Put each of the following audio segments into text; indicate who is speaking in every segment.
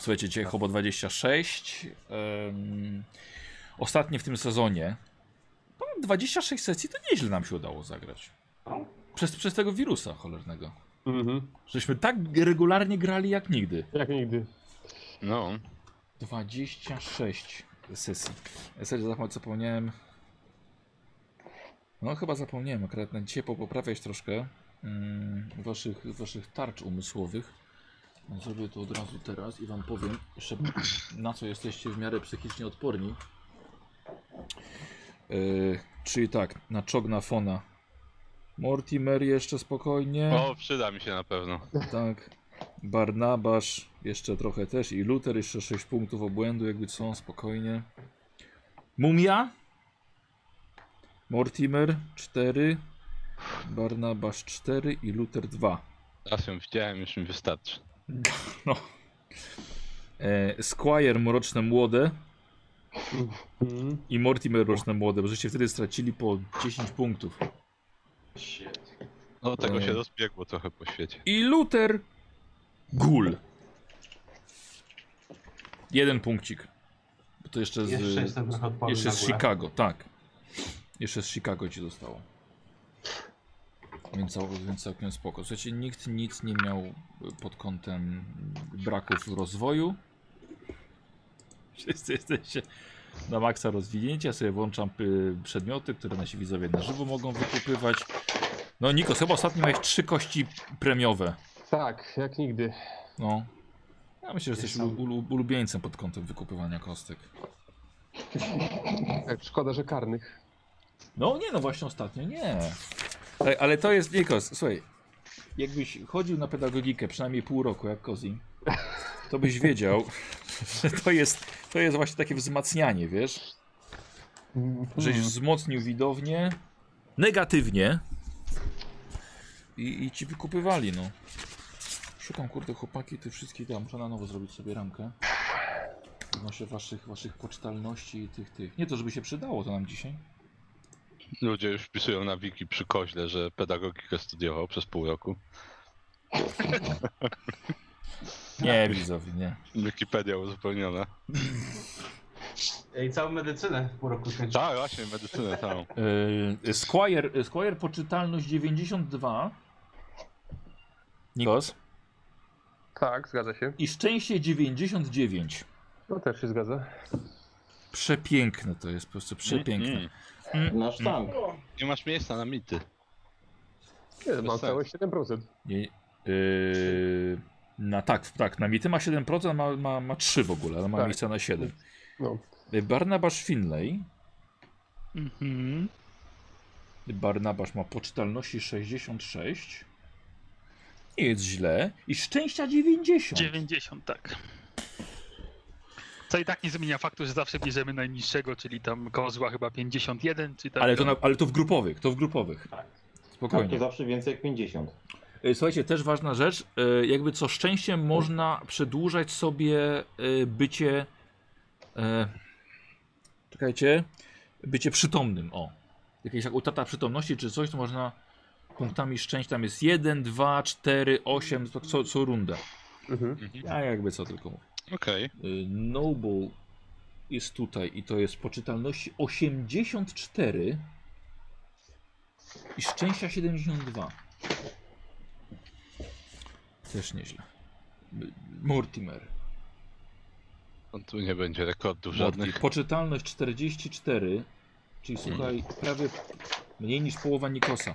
Speaker 1: Słuchajcie, dzisiaj Hobo 26. Um, ostatnie w tym sezonie. Powiem, 26 sesji to nieźle nam się udało zagrać. Przez, przez tego wirusa cholernego.
Speaker 2: Mhm.
Speaker 1: Żeśmy tak regularnie grali jak nigdy.
Speaker 2: Jak nigdy.
Speaker 3: No,
Speaker 1: 26 sesji. Serio, zapomniałem, zapomniałem. No, chyba zapomniałem akurat na dzisiaj poprawiać troszkę mm, waszych, waszych tarcz umysłowych. No, Zrobię to od razu teraz i wam powiem jeszcze na co jesteście w miarę psychicznie odporni. Yy, czyli tak, na czogna fona. Mortimer jeszcze spokojnie.
Speaker 3: o, przyda mi się na pewno.
Speaker 1: Tak. Barnabasz jeszcze trochę też i Luther jeszcze 6 punktów obłędu, jakby są spokojnie. Mumia. Mortimer 4. Barnabasz 4 i Luther 2.
Speaker 3: Raz ją widziałem, już mi wystarczy.
Speaker 1: E, Squire mroczne młode
Speaker 2: Mhm.
Speaker 1: i Mortimer mroczne młode, bo żeście wtedy stracili po 10 punktów.
Speaker 3: No, tego się
Speaker 1: Mm.
Speaker 3: rozbiegło trochę po świecie.
Speaker 1: I Luther Gul. Jeden punkcik. Bo to jeszcze z.
Speaker 4: Jeszcze jestem trochę odporny
Speaker 1: Jeszcze
Speaker 4: na
Speaker 1: z
Speaker 4: górę.
Speaker 1: Chicago, tak. Jeszcze z Chicago ci zostało. Więc, cał- więc całkiem spoko. Słuchajcie, nikt nic nie miał y, pod kątem braków rozwoju. Wszyscy jesteście na maksa rozwinięci. Ja sobie włączam y, przedmioty, które nasi widzowie na żywo mogą wykupywać. No Nikos, chyba ostatnio miałeś trzy kości premiowe.
Speaker 2: Tak, jak nigdy.
Speaker 1: No. Ja myślę, że jesteś
Speaker 4: Jestem.
Speaker 1: ulu- ulubieńcem pod kątem wykupywania kostek.
Speaker 2: Tak, Szkoda, że karnych.
Speaker 1: No nie, no właśnie ostatnio nie. Ale, ale to jest, Nikos, słuchaj, jakbyś chodził na pedagogikę przynajmniej pół roku jak Kozim, to byś wiedział, że to jest, to jest właśnie takie wzmacnianie, wiesz? Żeś wzmocnił widownię negatywnie i, i ci wykupywali, no. Szukam, kurde, chłopaki, tych wszystkich, ja muszę na nowo zrobić sobie ramkę. Odnośnie waszych, waszych pocztalności i tych, tych. Nie to, żeby się przydało to nam dzisiaj.
Speaker 3: Ludzie już wpisują na wiki przy koźle, że pedagogikę studiował przez pół roku.
Speaker 1: Nie, widzowie, nie.
Speaker 3: Wikipedia uzupełniona.
Speaker 4: I całą medycynę w pół roku skończyłem.
Speaker 3: Tak, właśnie, medycynę całą.
Speaker 1: Yy, Squire, y, Squire poczytalność 92. Nikos.
Speaker 2: Tak, zgadza się.
Speaker 1: I szczęście 99.
Speaker 2: No też się zgadza.
Speaker 1: Przepiękne to jest, po prostu przepiękne.
Speaker 3: Mm,
Speaker 5: Nasz tank.
Speaker 3: Nie masz miejsca na mity.
Speaker 2: Nie, mam
Speaker 3: sensu.
Speaker 2: całe 7%.
Speaker 1: Nie, yy, na tak, tak, na mity ma 7%, ma, ma, ma 3 w ogóle, ale ma
Speaker 2: Tak.
Speaker 1: miejsca na 7.
Speaker 2: No.
Speaker 1: Y, Barnabasz Finlay.
Speaker 3: Mhm.
Speaker 1: Barnabasz ma poczytalności 66. Nie jest źle. I szczęścia 90.
Speaker 6: 90, tak. Co i tak nie zmienia faktu, że zawsze bierzemy najniższego, czyli tam kozła chyba 51, czy tak. tam.
Speaker 1: Ale Tak, to, na, ale to w grupowych, to w grupowych.
Speaker 4: Tak.
Speaker 1: Spokojnie.
Speaker 5: Tak, to zawsze więcej jak 50.
Speaker 1: E, Słuchajcie, też ważna rzecz, e, jakby co szczęście można przedłużać sobie e, bycie. e, Czekajcie, bycie przytomnym. O, jakaś jak utrata przytomności czy coś, to można punktami szczęścia. Tam jest 1, 2, 4, 8, to co, co rundę.
Speaker 2: Mhm.
Speaker 1: Ja jakby co tylko mówię.
Speaker 3: Okej.
Speaker 1: E, Noble jest tutaj i to jest poczytalności 84 i szczęścia 72. Też nieźle. M- Mortimer.
Speaker 3: No Tu nie będzie rekordów
Speaker 1: Mortimer.
Speaker 3: żadnych.
Speaker 1: Poczytalność 44, czyli
Speaker 3: Mhm.
Speaker 1: słuchaj, prawie mniej niż połowa Nikosa.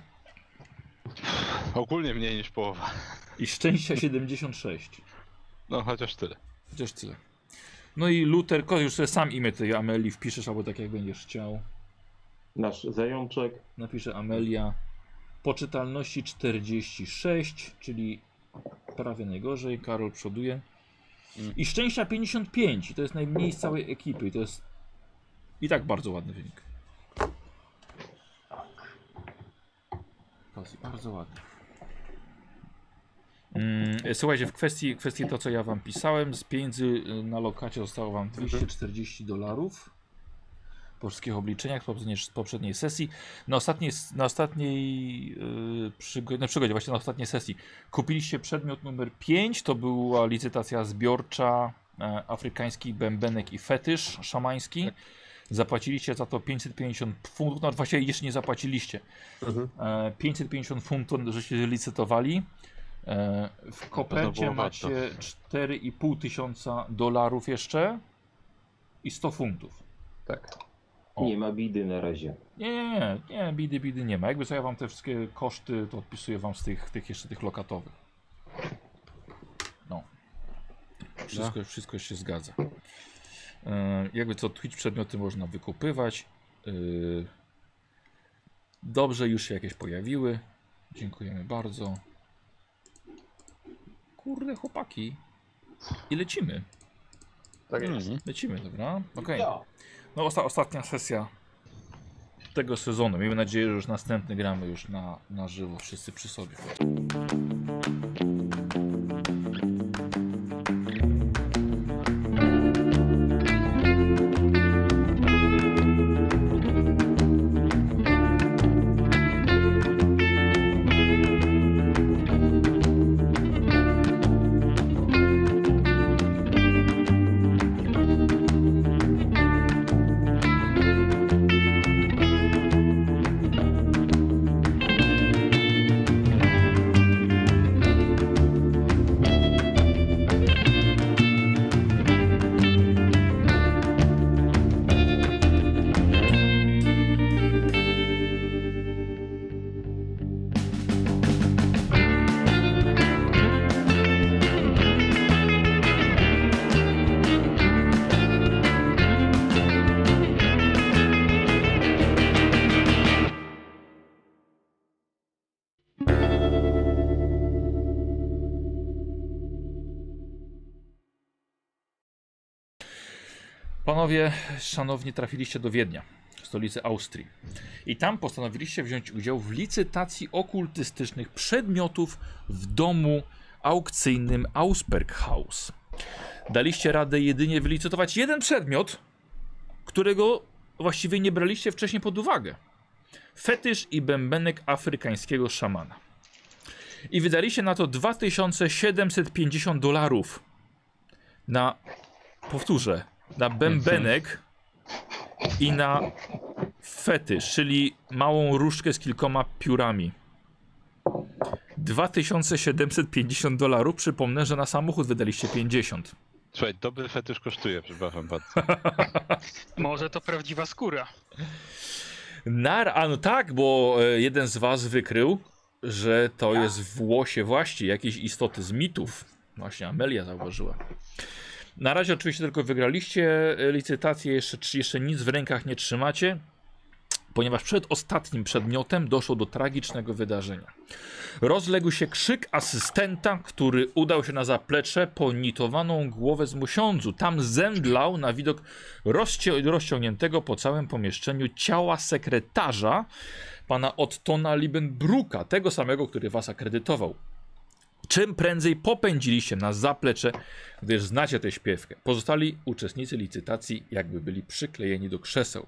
Speaker 3: Ogólnie mniej niż połowa.
Speaker 1: I szczęścia 76.
Speaker 3: No, chociaż tyle.
Speaker 1: Chociaż tyle. No i Luther, ko- już sobie sam imię tej Ameli wpiszesz, albo tak jak będziesz chciał.
Speaker 5: Nasz zajączek.
Speaker 1: napisze Amelia. Poczytalności 46, czyli prawie najgorzej. Karol przoduje.
Speaker 3: Mm.
Speaker 1: I szczęścia 55, i to jest najmniej z całej ekipy. I to jest i tak bardzo ładny wynik.
Speaker 5: Tak.
Speaker 1: Kozi, Bardzo ładny. Mm, słuchajcie, w kwestii, kwestii to, co ja wam pisałem, z pieniędzy y, na lokacie zostało wam 240 dolarów po wszystkich obliczeniach z poprzedniej, z poprzedniej sesji. Na ostatniej, na ostatniej yy, przygo- na przygodzie, właśnie na ostatniej sesji kupiliście przedmiot numer 5, to była licytacja zbiorcza e, afrykański bębenek i fetysz
Speaker 3: Tak.
Speaker 1: szamański. Zapłaciliście za to 550 funtów, no właściwie jeszcze nie zapłaciliście.
Speaker 2: Mhm.
Speaker 1: E, 550 funtów, żeście licytowali. E, W kopercie
Speaker 3: było
Speaker 1: macie
Speaker 3: warto.
Speaker 1: 4,5 tysiąca dolarów jeszcze i 100 funtów.
Speaker 2: Tak.
Speaker 1: O.
Speaker 5: Nie ma bidy na razie.
Speaker 1: Nie, nie, nie, nie, bidy, bidy nie ma. Jakby co ja wam te wszystkie koszty, to odpisuję wam z tych, tych jeszcze tych lokatowych. No. Wszystko, wszystko się zgadza. E, jakby co, Twitch przedmioty można wykupywać. E, dobrze, już się jakieś pojawiły. Dziękujemy bardzo. Kurde, chłopaki. I lecimy.
Speaker 2: Tak jest.
Speaker 3: Mhm.
Speaker 1: Lecimy, dobra? Okej.
Speaker 4: No.
Speaker 1: No osta ostatnia sesja tego sezonu. Miejmy nadzieję, że już następny gramy już na, na żywo wszyscy przy sobie. Panowie, szanowni, trafiliście do Wiednia, stolicy Austrii. I tam postanowiliście wziąć udział w licytacji okultystycznych przedmiotów w domu aukcyjnym Ausberghaus. Daliście radę jedynie wylicytować jeden przedmiot, którego właściwie nie braliście wcześniej pod uwagę. Fetysz i bębenek afrykańskiego szamana. I wydaliście na to 2750 dolarów. Na, powtórzę, na bębenek i na fetysz, czyli małą różdżkę z kilkoma piórami. 2750 dolarów. Przypomnę, że na samochód wydaliście 50.
Speaker 3: Słuchaj, dobry fetysz kosztuje, przepraszam bardzo.
Speaker 6: Może to prawdziwa skóra.
Speaker 1: Nar, a no tak, bo e, jeden z was wykrył, że to jest w łosie właśnie jakiejś istoty z mitów. Właśnie Amelia zauważyła. Na razie oczywiście tylko wygraliście e, licytację, jeszcze, czy- jeszcze nic w rękach nie trzymacie, ponieważ przed ostatnim przedmiotem doszło do tragicznego wydarzenia. Rozległ się krzyk asystenta, który udał się na zaplecze po nitowaną głowę z musiądzu. Tam zemdlał na widok rozci- rozciągniętego po całym pomieszczeniu ciała sekretarza pana Ottona Liebenbrucka, tego samego, który was akredytował. Czym prędzej popędziliście na zaplecze, gdyż znacie tę śpiewkę. Pozostali uczestnicy licytacji jakby byli przyklejeni do krzeseł.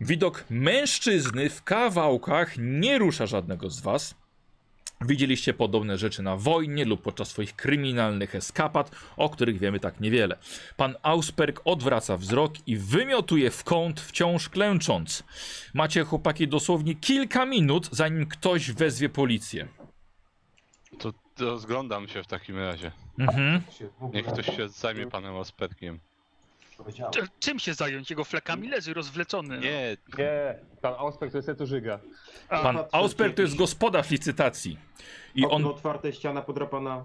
Speaker 1: Widok mężczyzny w kawałkach nie rusza żadnego z was. Widzieliście podobne rzeczy na wojnie lub podczas swoich kryminalnych eskapad, o których wiemy tak niewiele. Pan Ausperk odwraca wzrok i wymiotuje w kąt, wciąż klęcząc. Macie chłopaki dosłownie kilka minut, zanim ktoś wezwie policję.
Speaker 3: To rozglądam się w takim razie.
Speaker 1: Mhm.
Speaker 4: Się w ogóle
Speaker 3: Niech ktoś się zajmie panem Osperkiem.
Speaker 4: powiedziało.
Speaker 6: Cz- Czym się zająć? Jego flekami leży rozwleczony. no.
Speaker 3: Nie,
Speaker 2: Nie, pan Ospek to jest tu żyga.
Speaker 1: Pan
Speaker 5: patrzę,
Speaker 1: Ausperk
Speaker 5: czy
Speaker 1: to jest
Speaker 5: jakiś- no-
Speaker 1: gospodarz licytacji. I on.
Speaker 5: Okno otwarte, ściana podrapana.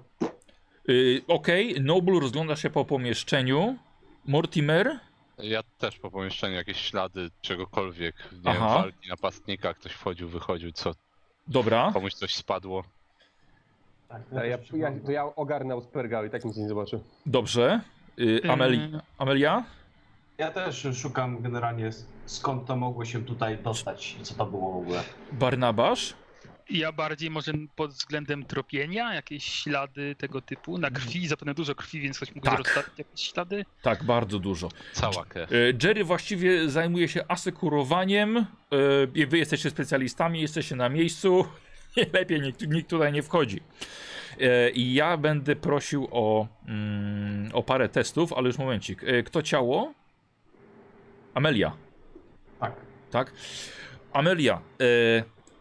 Speaker 1: Y, Okej, Noble rozgląda się po pomieszczeniu. Mortimer?
Speaker 3: ja też po pomieszczeniu jakieś ślady czegokolwiek. Nie wiem,
Speaker 1: Aha.
Speaker 3: walki napastnika, ktoś wchodził, wychodził, co
Speaker 1: Dobra.
Speaker 3: komuś coś spadło.
Speaker 4: Tak,
Speaker 2: Ja, ja,
Speaker 4: też
Speaker 2: ja, to ja ogarnę Osperga i tak nic nie zobaczy.
Speaker 1: Dobrze. Y,
Speaker 5: Mm.
Speaker 1: Ameli...
Speaker 6: Ym,
Speaker 1: Amelia?
Speaker 4: Ja też szukam generalnie skąd to mogło się tutaj dostać i co to było w ogóle.
Speaker 1: Barnabasz?
Speaker 6: Ja bardziej może pod względem tropienia, jakieś ślady tego typu, na krwi, zapewne dużo krwi, więc ktoś mógł
Speaker 1: Mhm. Tak.
Speaker 6: rozstawić jakieś ślady.
Speaker 1: Tak, bardzo dużo.
Speaker 3: Cała krew.
Speaker 1: E, Jerry właściwie zajmuje się asekurowaniem. e, Wy jesteście specjalistami, jesteście na miejscu. Lepiej nikt, nikt tutaj nie wchodzi. E, I ja będę prosił o, mm, o parę testów, ale już momencik. E, Kto ciało? Amelia.
Speaker 4: Tak.
Speaker 1: tak? Amelia, e,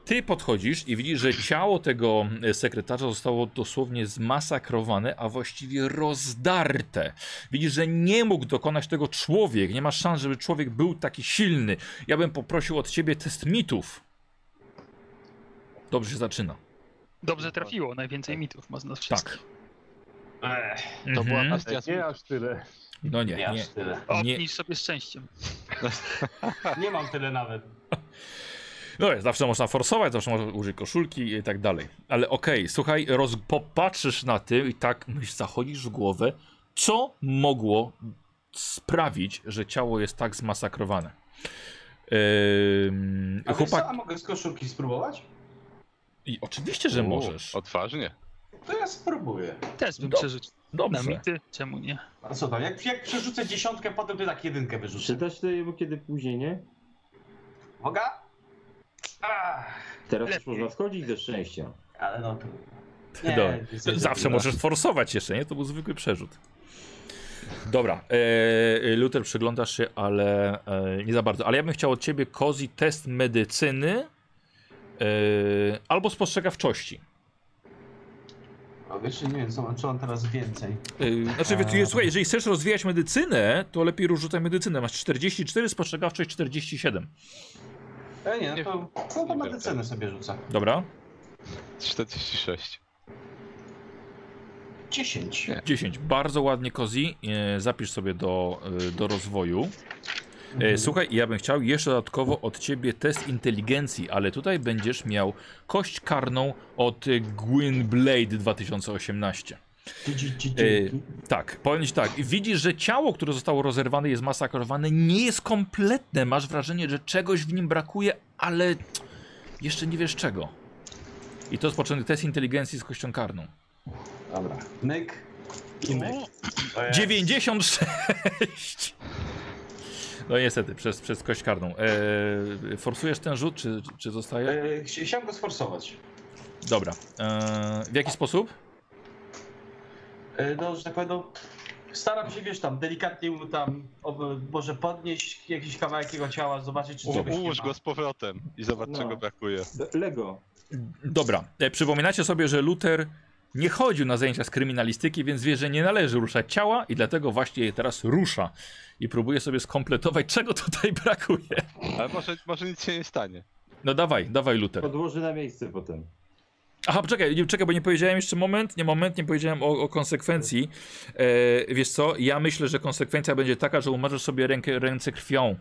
Speaker 1: ty podchodzisz i widzisz, że ciało tego e, sekretarza zostało dosłownie zmasakrowane, a właściwie rozdarte. Widzisz, że nie mógł dokonać tego człowiek. Nie ma szans, żeby człowiek był taki silny. Ja bym poprosił od ciebie test mitów. Dobrze się zaczyna.
Speaker 6: Dobrze trafiło, najwięcej mitów ma z
Speaker 1: Tak.
Speaker 6: nas wszystkich.
Speaker 4: Ech,
Speaker 3: To była
Speaker 1: Mhm.
Speaker 3: bestia z
Speaker 2: Nie aż tyle.
Speaker 1: No nie,
Speaker 4: nie
Speaker 1: nie.
Speaker 4: aż tyle.
Speaker 1: Nie.
Speaker 6: Obniż sobie szczęściem.
Speaker 4: Nie mam tyle nawet.
Speaker 1: No jest, zawsze można forsować, zawsze można użyć koszulki i tak dalej. Ale okej, słuchaj, roz... popatrzysz na tym i tak myśl, zachodzisz w głowę, co mogło sprawić, że ciało jest tak zmasakrowane. Ym,
Speaker 4: A Chłopak... co, a
Speaker 1: chłopak.
Speaker 4: mogę z koszulki spróbować?
Speaker 1: I oczywiście, że
Speaker 3: U,
Speaker 1: możesz.
Speaker 3: Odważnie.
Speaker 4: To ja spróbuję.
Speaker 6: Też bym
Speaker 1: Do-
Speaker 6: przerzucił na
Speaker 1: Dobrze.
Speaker 6: mity, czemu nie?
Speaker 4: A co tam, jak, jak przerzucę dziesiątkę, potem by tak jedynkę wyrzucę.
Speaker 5: Przyda się to jemu kiedy później, nie?
Speaker 4: Mogę? Ach,
Speaker 5: Teraz już
Speaker 6: Lepiej.
Speaker 5: można wchodzić do szczęścia.
Speaker 4: ale no to...
Speaker 1: Dobra.
Speaker 4: niestety
Speaker 1: Zawsze
Speaker 4: nie.
Speaker 1: możesz forsować jeszcze, nie? To był zwykły przerzut. Dobra, e, Luther przyglądasz się, ale e, nie za bardzo. Ale ja bym chciał od ciebie, Kozi, test medycyny e, albo spostrzegawczości.
Speaker 4: A wiesz, nie wiem, co, co mam teraz więcej.
Speaker 1: E, znaczy, wiesz, słuchaj, jeżeli chcesz rozwijać medycynę, to lepiej rzucaj medycynę. Masz 44, spostrzegawczość 47.
Speaker 4: E, nie,
Speaker 3: Nie-
Speaker 4: no to, no to
Speaker 3: nie
Speaker 4: medycynę sobie rzucę.
Speaker 1: Dobra?
Speaker 3: 46.
Speaker 4: 10.
Speaker 3: Nie.
Speaker 1: 10. Bardzo ładnie, Kozi. E, zapisz sobie do, e, do rozwoju. E, słuchaj, ja bym chciał jeszcze dodatkowo od ciebie test inteligencji, ale tutaj będziesz miał kość karną od e, Gwynblade 2018.
Speaker 4: Dzięki.
Speaker 1: Tak, powiem ci tak. Widzisz, że ciało, które zostało rozerwane, jest masakrowane, nie jest kompletne. Masz wrażenie, że czegoś w nim brakuje, ale jeszcze nie wiesz czego. I to jest potrzebny test inteligencji z kością karną.
Speaker 4: Dobra. Myk i myk.
Speaker 6: O,
Speaker 4: To jest-
Speaker 1: 96! No niestety, przez, przez kość karną. Eee, forsujesz ten rzut, czy, czy zostaje?
Speaker 4: E, chci- Chciałem go sforsować.
Speaker 1: Dobra. Eee, w jaki sposób?
Speaker 4: E, No, że tak powiem, no, staram się, wiesz, tam delikatnie mu tam, ob- może podnieść jakiś kawałek jego ciała, zobaczyć, czy
Speaker 3: U,
Speaker 4: czegoś
Speaker 3: ułóż
Speaker 4: nie ma.
Speaker 3: go z powrotem i zobacz
Speaker 5: No.
Speaker 3: czego brakuje.
Speaker 5: Lego.
Speaker 1: Dobra. E, przypominacie sobie, że Luther nie chodził na zajęcia z kryminalistyki, więc wie, że nie należy ruszać ciała i dlatego właśnie je teraz rusza. I próbuje sobie skompletować, czego tutaj brakuje.
Speaker 3: Ale może, może nic się nie stanie.
Speaker 1: No dawaj, dawaj Luther.
Speaker 5: Podłoży na miejsce potem.
Speaker 1: Aha, czekaj, nie- czekaj, bo nie powiedziałem jeszcze moment, nie moment, nie powiedziałem o, o konsekwencji. E, wiesz co, ja myślę, że konsekwencja będzie taka, że umarzysz sobie rękę, ręce krwią.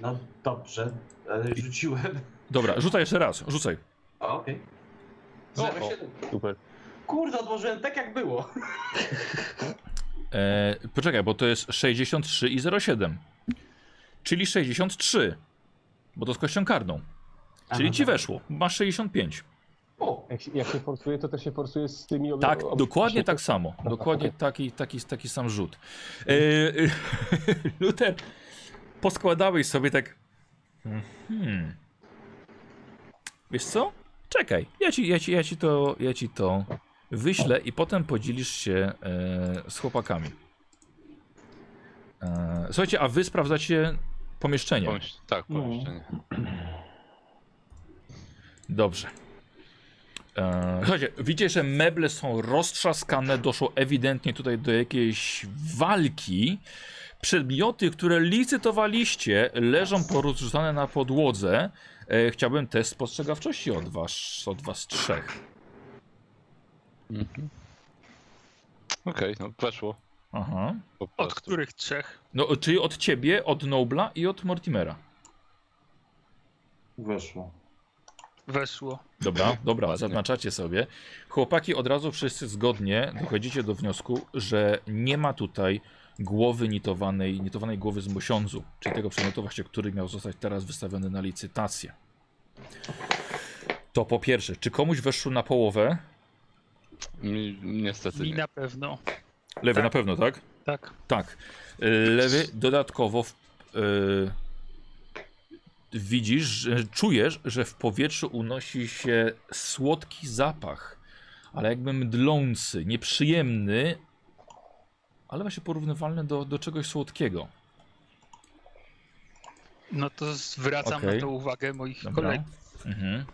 Speaker 4: No dobrze, ale rzuciłem.
Speaker 1: Dobra, rzucaj jeszcze raz, rzucaj.
Speaker 4: A, Okej.
Speaker 3: O,
Speaker 4: Okay.
Speaker 2: Super.
Speaker 4: Kurde, odłożyłem tak jak było.
Speaker 1: E, poczekaj, bo to jest 63 i 07. Czyli 63. Bo to z kością karną. Czyli ci weszło. Masz 65.
Speaker 4: O,
Speaker 2: Jak się, jak się forsuje, to też się forsuje z tymi obie-
Speaker 1: Tak,
Speaker 2: ob-
Speaker 1: dokładnie tak samo. Dokładnie taki, taki, taki sam rzut. E, e, Luther, poskładałeś sobie tak. Hmm. Wiesz co? Czekaj, ja ci, ja ci, ja ci, to, ja ci to wyślę i potem podzielisz się e, z chłopakami. E, słuchajcie, a wy sprawdzacie pomieszczenie.
Speaker 3: Pomyśl, tak,
Speaker 5: No.
Speaker 3: pomieszczenie.
Speaker 1: Dobrze. Eee, Słuchajcie, widzicie, że meble są roztrzaskane, doszło ewidentnie tutaj do jakiejś walki. Przedmioty, które licytowaliście, leżą porozrzucane na podłodze. E, chciałbym test spostrzegawczości od was, od was trzech.
Speaker 3: Mhm. Okej, no weszło.
Speaker 1: Aha.
Speaker 3: Po
Speaker 6: Od
Speaker 3: prostu.
Speaker 6: których trzech?
Speaker 1: No, czyli od ciebie, od Nobla i od Mortimera.
Speaker 5: Weszło.
Speaker 6: Weszło.
Speaker 1: Dobra, dobra, zaznaczacie sobie. Chłopaki od razu wszyscy zgodnie dochodzicie do wniosku, że nie ma tutaj głowy nitowanej, nitowanej głowy z mosiądzu, czyli tego przedmiotu właśnie, który miał zostać teraz wystawiony na licytację. To po pierwsze, czy komuś weszło na połowę?
Speaker 3: Mi, niestety
Speaker 6: Mi
Speaker 3: nie.
Speaker 6: na pewno.
Speaker 1: Lewy
Speaker 6: Tak.
Speaker 1: na pewno, tak?
Speaker 6: Tak.
Speaker 1: Tak. Lewy dodatkowo w, y, widzisz, że, czujesz, że w powietrzu unosi się słodki zapach. ale jakby mdlący, nieprzyjemny, ale właśnie porównywalny do, do czegoś słodkiego.
Speaker 6: No to zwracam
Speaker 1: Okej.
Speaker 6: na to uwagę moich
Speaker 1: Dobra.
Speaker 6: kolegów.
Speaker 1: Mhm.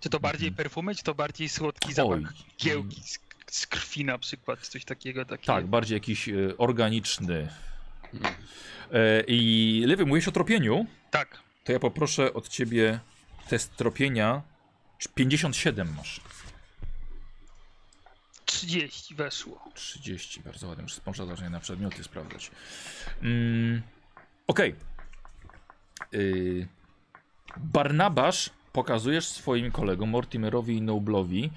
Speaker 6: Czy to bardziej
Speaker 1: Mhm.
Speaker 6: perfumy, czy to bardziej słodki
Speaker 1: Oj,
Speaker 6: zapach giełki z, z krwi na przykład, coś takiego? Takie...
Speaker 1: Tak, bardziej jakiś e, organiczny. E, I lewy, mówisz o tropieniu,
Speaker 6: Tak.
Speaker 1: to ja poproszę od ciebie test tropienia. Czy 57 masz.
Speaker 6: 30 weszło.
Speaker 1: 30, bardzo ładnie. Muszę spączać zacznie na przedmioty sprawdzać. Mm, Okej. Y, Barnabasz, pokazujesz swoim kolegom Mortimerowi i Noblowi,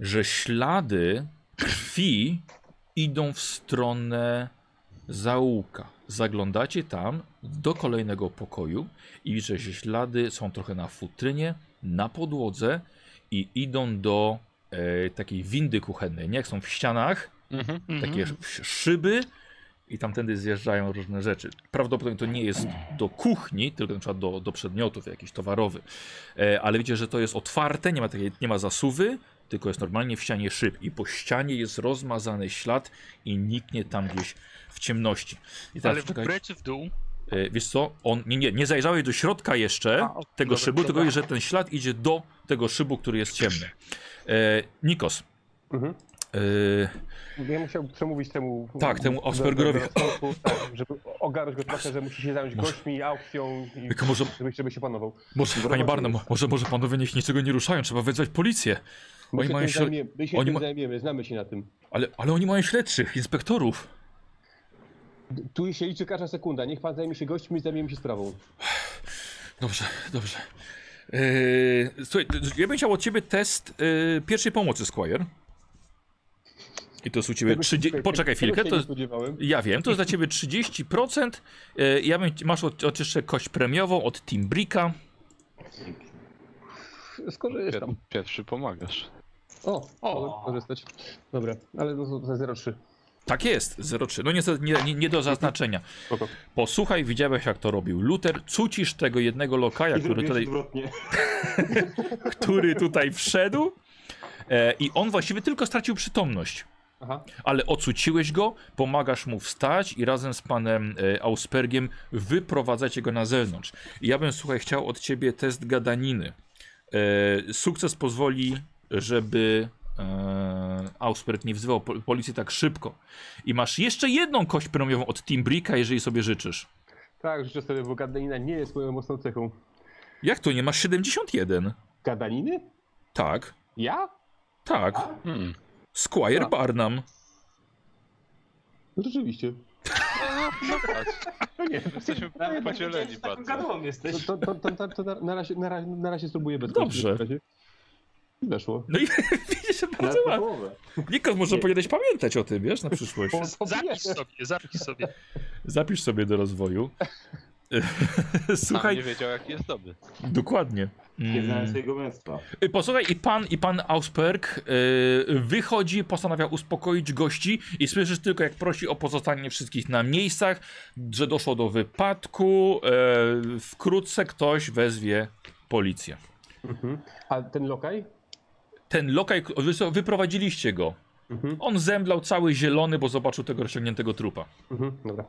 Speaker 1: że ślady krwi idą w stronę zaułka. Zaglądacie tam do kolejnego pokoju i widzicie, że ślady są trochę na futrynie, na podłodze i idą do e, takiej windy kuchennej. Nie jak są w ścianach,
Speaker 3: Mhm.
Speaker 1: takie
Speaker 6: Mhm.
Speaker 1: sz- szyby i tamtędy zjeżdżają różne rzeczy. Prawdopodobnie to nie jest do kuchni, tylko na przykład do, do przedmiotów jakiś towarowy. E, ale wiecie, że to jest otwarte, nie ma, takiej, nie ma zasuwy, tylko jest normalnie w ścianie szyb i po ścianie jest rozmazany ślad i niknie tam gdzieś w ciemności. I teraz
Speaker 6: Ale w
Speaker 1: czekaj,
Speaker 6: górę czy w dół?
Speaker 1: e, wiesz co, on, nie, nie, nie zajrzałeś do środka jeszcze
Speaker 6: A, o,
Speaker 1: tego
Speaker 6: dobra,
Speaker 1: szybu, tylko
Speaker 6: dobra.
Speaker 1: wiesz, że ten ślad idzie do tego szybu, który jest ciemny. E, Nikos,
Speaker 2: Mhm.
Speaker 1: e,
Speaker 2: No Ja musiał przemówić temu.
Speaker 1: Tak, temu
Speaker 2: do- do-
Speaker 1: Aspergerowi.
Speaker 2: do rozsądku, tak, żeby ogarnąć go trochę, że musi się zająć
Speaker 1: Może-
Speaker 2: gośćmi, aukcją i
Speaker 1: tylko może
Speaker 2: żeby, żeby się panował.
Speaker 1: Może, panie
Speaker 2: Zobaczymy.
Speaker 1: Barnum, może, może panowie niech niczego nie ruszają, trzeba wezwać policję.
Speaker 2: My
Speaker 1: Oni
Speaker 2: się,
Speaker 1: mają
Speaker 2: tym,
Speaker 1: się-
Speaker 2: zajmiemy, my się
Speaker 1: oni
Speaker 2: tym
Speaker 1: ma-
Speaker 2: zajmiemy, znamy się na tym.
Speaker 1: Ale, ale oni mają śledczych, inspektorów.
Speaker 2: Tu się liczy każda sekunda. Niech pan zajmie się gośćmi, zajmiemy się sprawą.
Speaker 1: Dobrze, dobrze. Yy, słuchaj, ja bym chciał od ciebie test yy, pierwszej pomocy, Squire. I to jest u ciebie
Speaker 2: Tego się-
Speaker 1: 30...
Speaker 2: tego-
Speaker 1: Poczekaj
Speaker 2: tego
Speaker 1: chwilkę,
Speaker 2: się
Speaker 1: to
Speaker 2: nie
Speaker 1: jest...
Speaker 2: spodziewałem.
Speaker 1: Ja wiem, to jest dla ciebie 30%. Yy, ja bym... Masz od, od jeszcze kość premiową od Timbrika.
Speaker 2: Skorzystam.
Speaker 3: Pier- Pierwszy pomagasz.
Speaker 2: O,
Speaker 4: O.
Speaker 2: mogę skorzystać. Dobra, ale no to za 03.
Speaker 1: Tak jest, 03. No niestety nie, nie, nie do zaznaczenia.
Speaker 2: Spoko.
Speaker 1: Posłuchaj, widziałeś jak to robił Luther. Cucisz tego jednego lokaja,
Speaker 5: I
Speaker 1: który
Speaker 5: zrobiłeś
Speaker 1: tutaj...
Speaker 5: odwrotnie.
Speaker 1: który tutaj wszedł. E, I on właściwie tylko stracił przytomność.
Speaker 2: Aha.
Speaker 1: Ale ocuciłeś go, pomagasz mu wstać i razem z panem e, Auspergiem wyprowadzacie go na zewnątrz. I ja bym, słuchaj, chciał od ciebie test gadaniny. E, sukces pozwoli, żeby e, Ausperg nie wzywał po- policji tak szybko. I masz jeszcze jedną kość premiową od Timbrika, jeżeli sobie życzysz.
Speaker 2: Tak, życzę sobie, bo gadanina nie jest moją mocną cechą.
Speaker 1: Jak to nie? Masz 71.
Speaker 2: Gadaniny?
Speaker 1: Tak,
Speaker 2: Ja?
Speaker 1: tak.
Speaker 3: Hmm.
Speaker 1: Squire
Speaker 2: A.
Speaker 1: Barnum.
Speaker 2: No rzeczywiście.
Speaker 3: No nie, jesteśmy
Speaker 4: Nawet nie wiedziałem,
Speaker 3: podzieleni
Speaker 4: że taką
Speaker 3: bardzo.
Speaker 4: gadłą jesteś.
Speaker 2: To, to, to, to, to, to na, na, razie, na, razie, na razie spróbuję bez
Speaker 1: Dobrze.
Speaker 2: końca w takim razie. I weszło.
Speaker 1: No i widzisz, że
Speaker 5: Na
Speaker 1: bardzo ładnie.
Speaker 5: połowę.
Speaker 1: Nikos może
Speaker 5: Nie.
Speaker 1: powinieneś pamiętać o tym, wiesz, na przyszłość.
Speaker 2: Po- po-
Speaker 6: Zapisz sobie, zapisz sobie.
Speaker 1: Zapisz sobie do rozwoju.
Speaker 3: Słuchaj.
Speaker 1: Słuchaj,
Speaker 3: nie wiedział, jaki jest dobry.
Speaker 1: dokładnie.
Speaker 5: Nie znałem
Speaker 1: Mm.
Speaker 5: swojego męstwa.
Speaker 1: Y, Posłuchaj, i pan, i pan Ausperk y, wychodzi, postanawia uspokoić gości i słyszysz tylko, jak prosi o pozostanie wszystkich na miejscach, że doszło do wypadku. y, wkrótce ktoś wezwie policję.
Speaker 2: Mhm. A ten lokaj?
Speaker 1: Ten lokaj, wy, wyprowadziliście go.
Speaker 2: Mhm.
Speaker 1: On zemdlał cały zielony, bo zobaczył tego rozciągniętego trupa.
Speaker 2: Mhm. Dobra.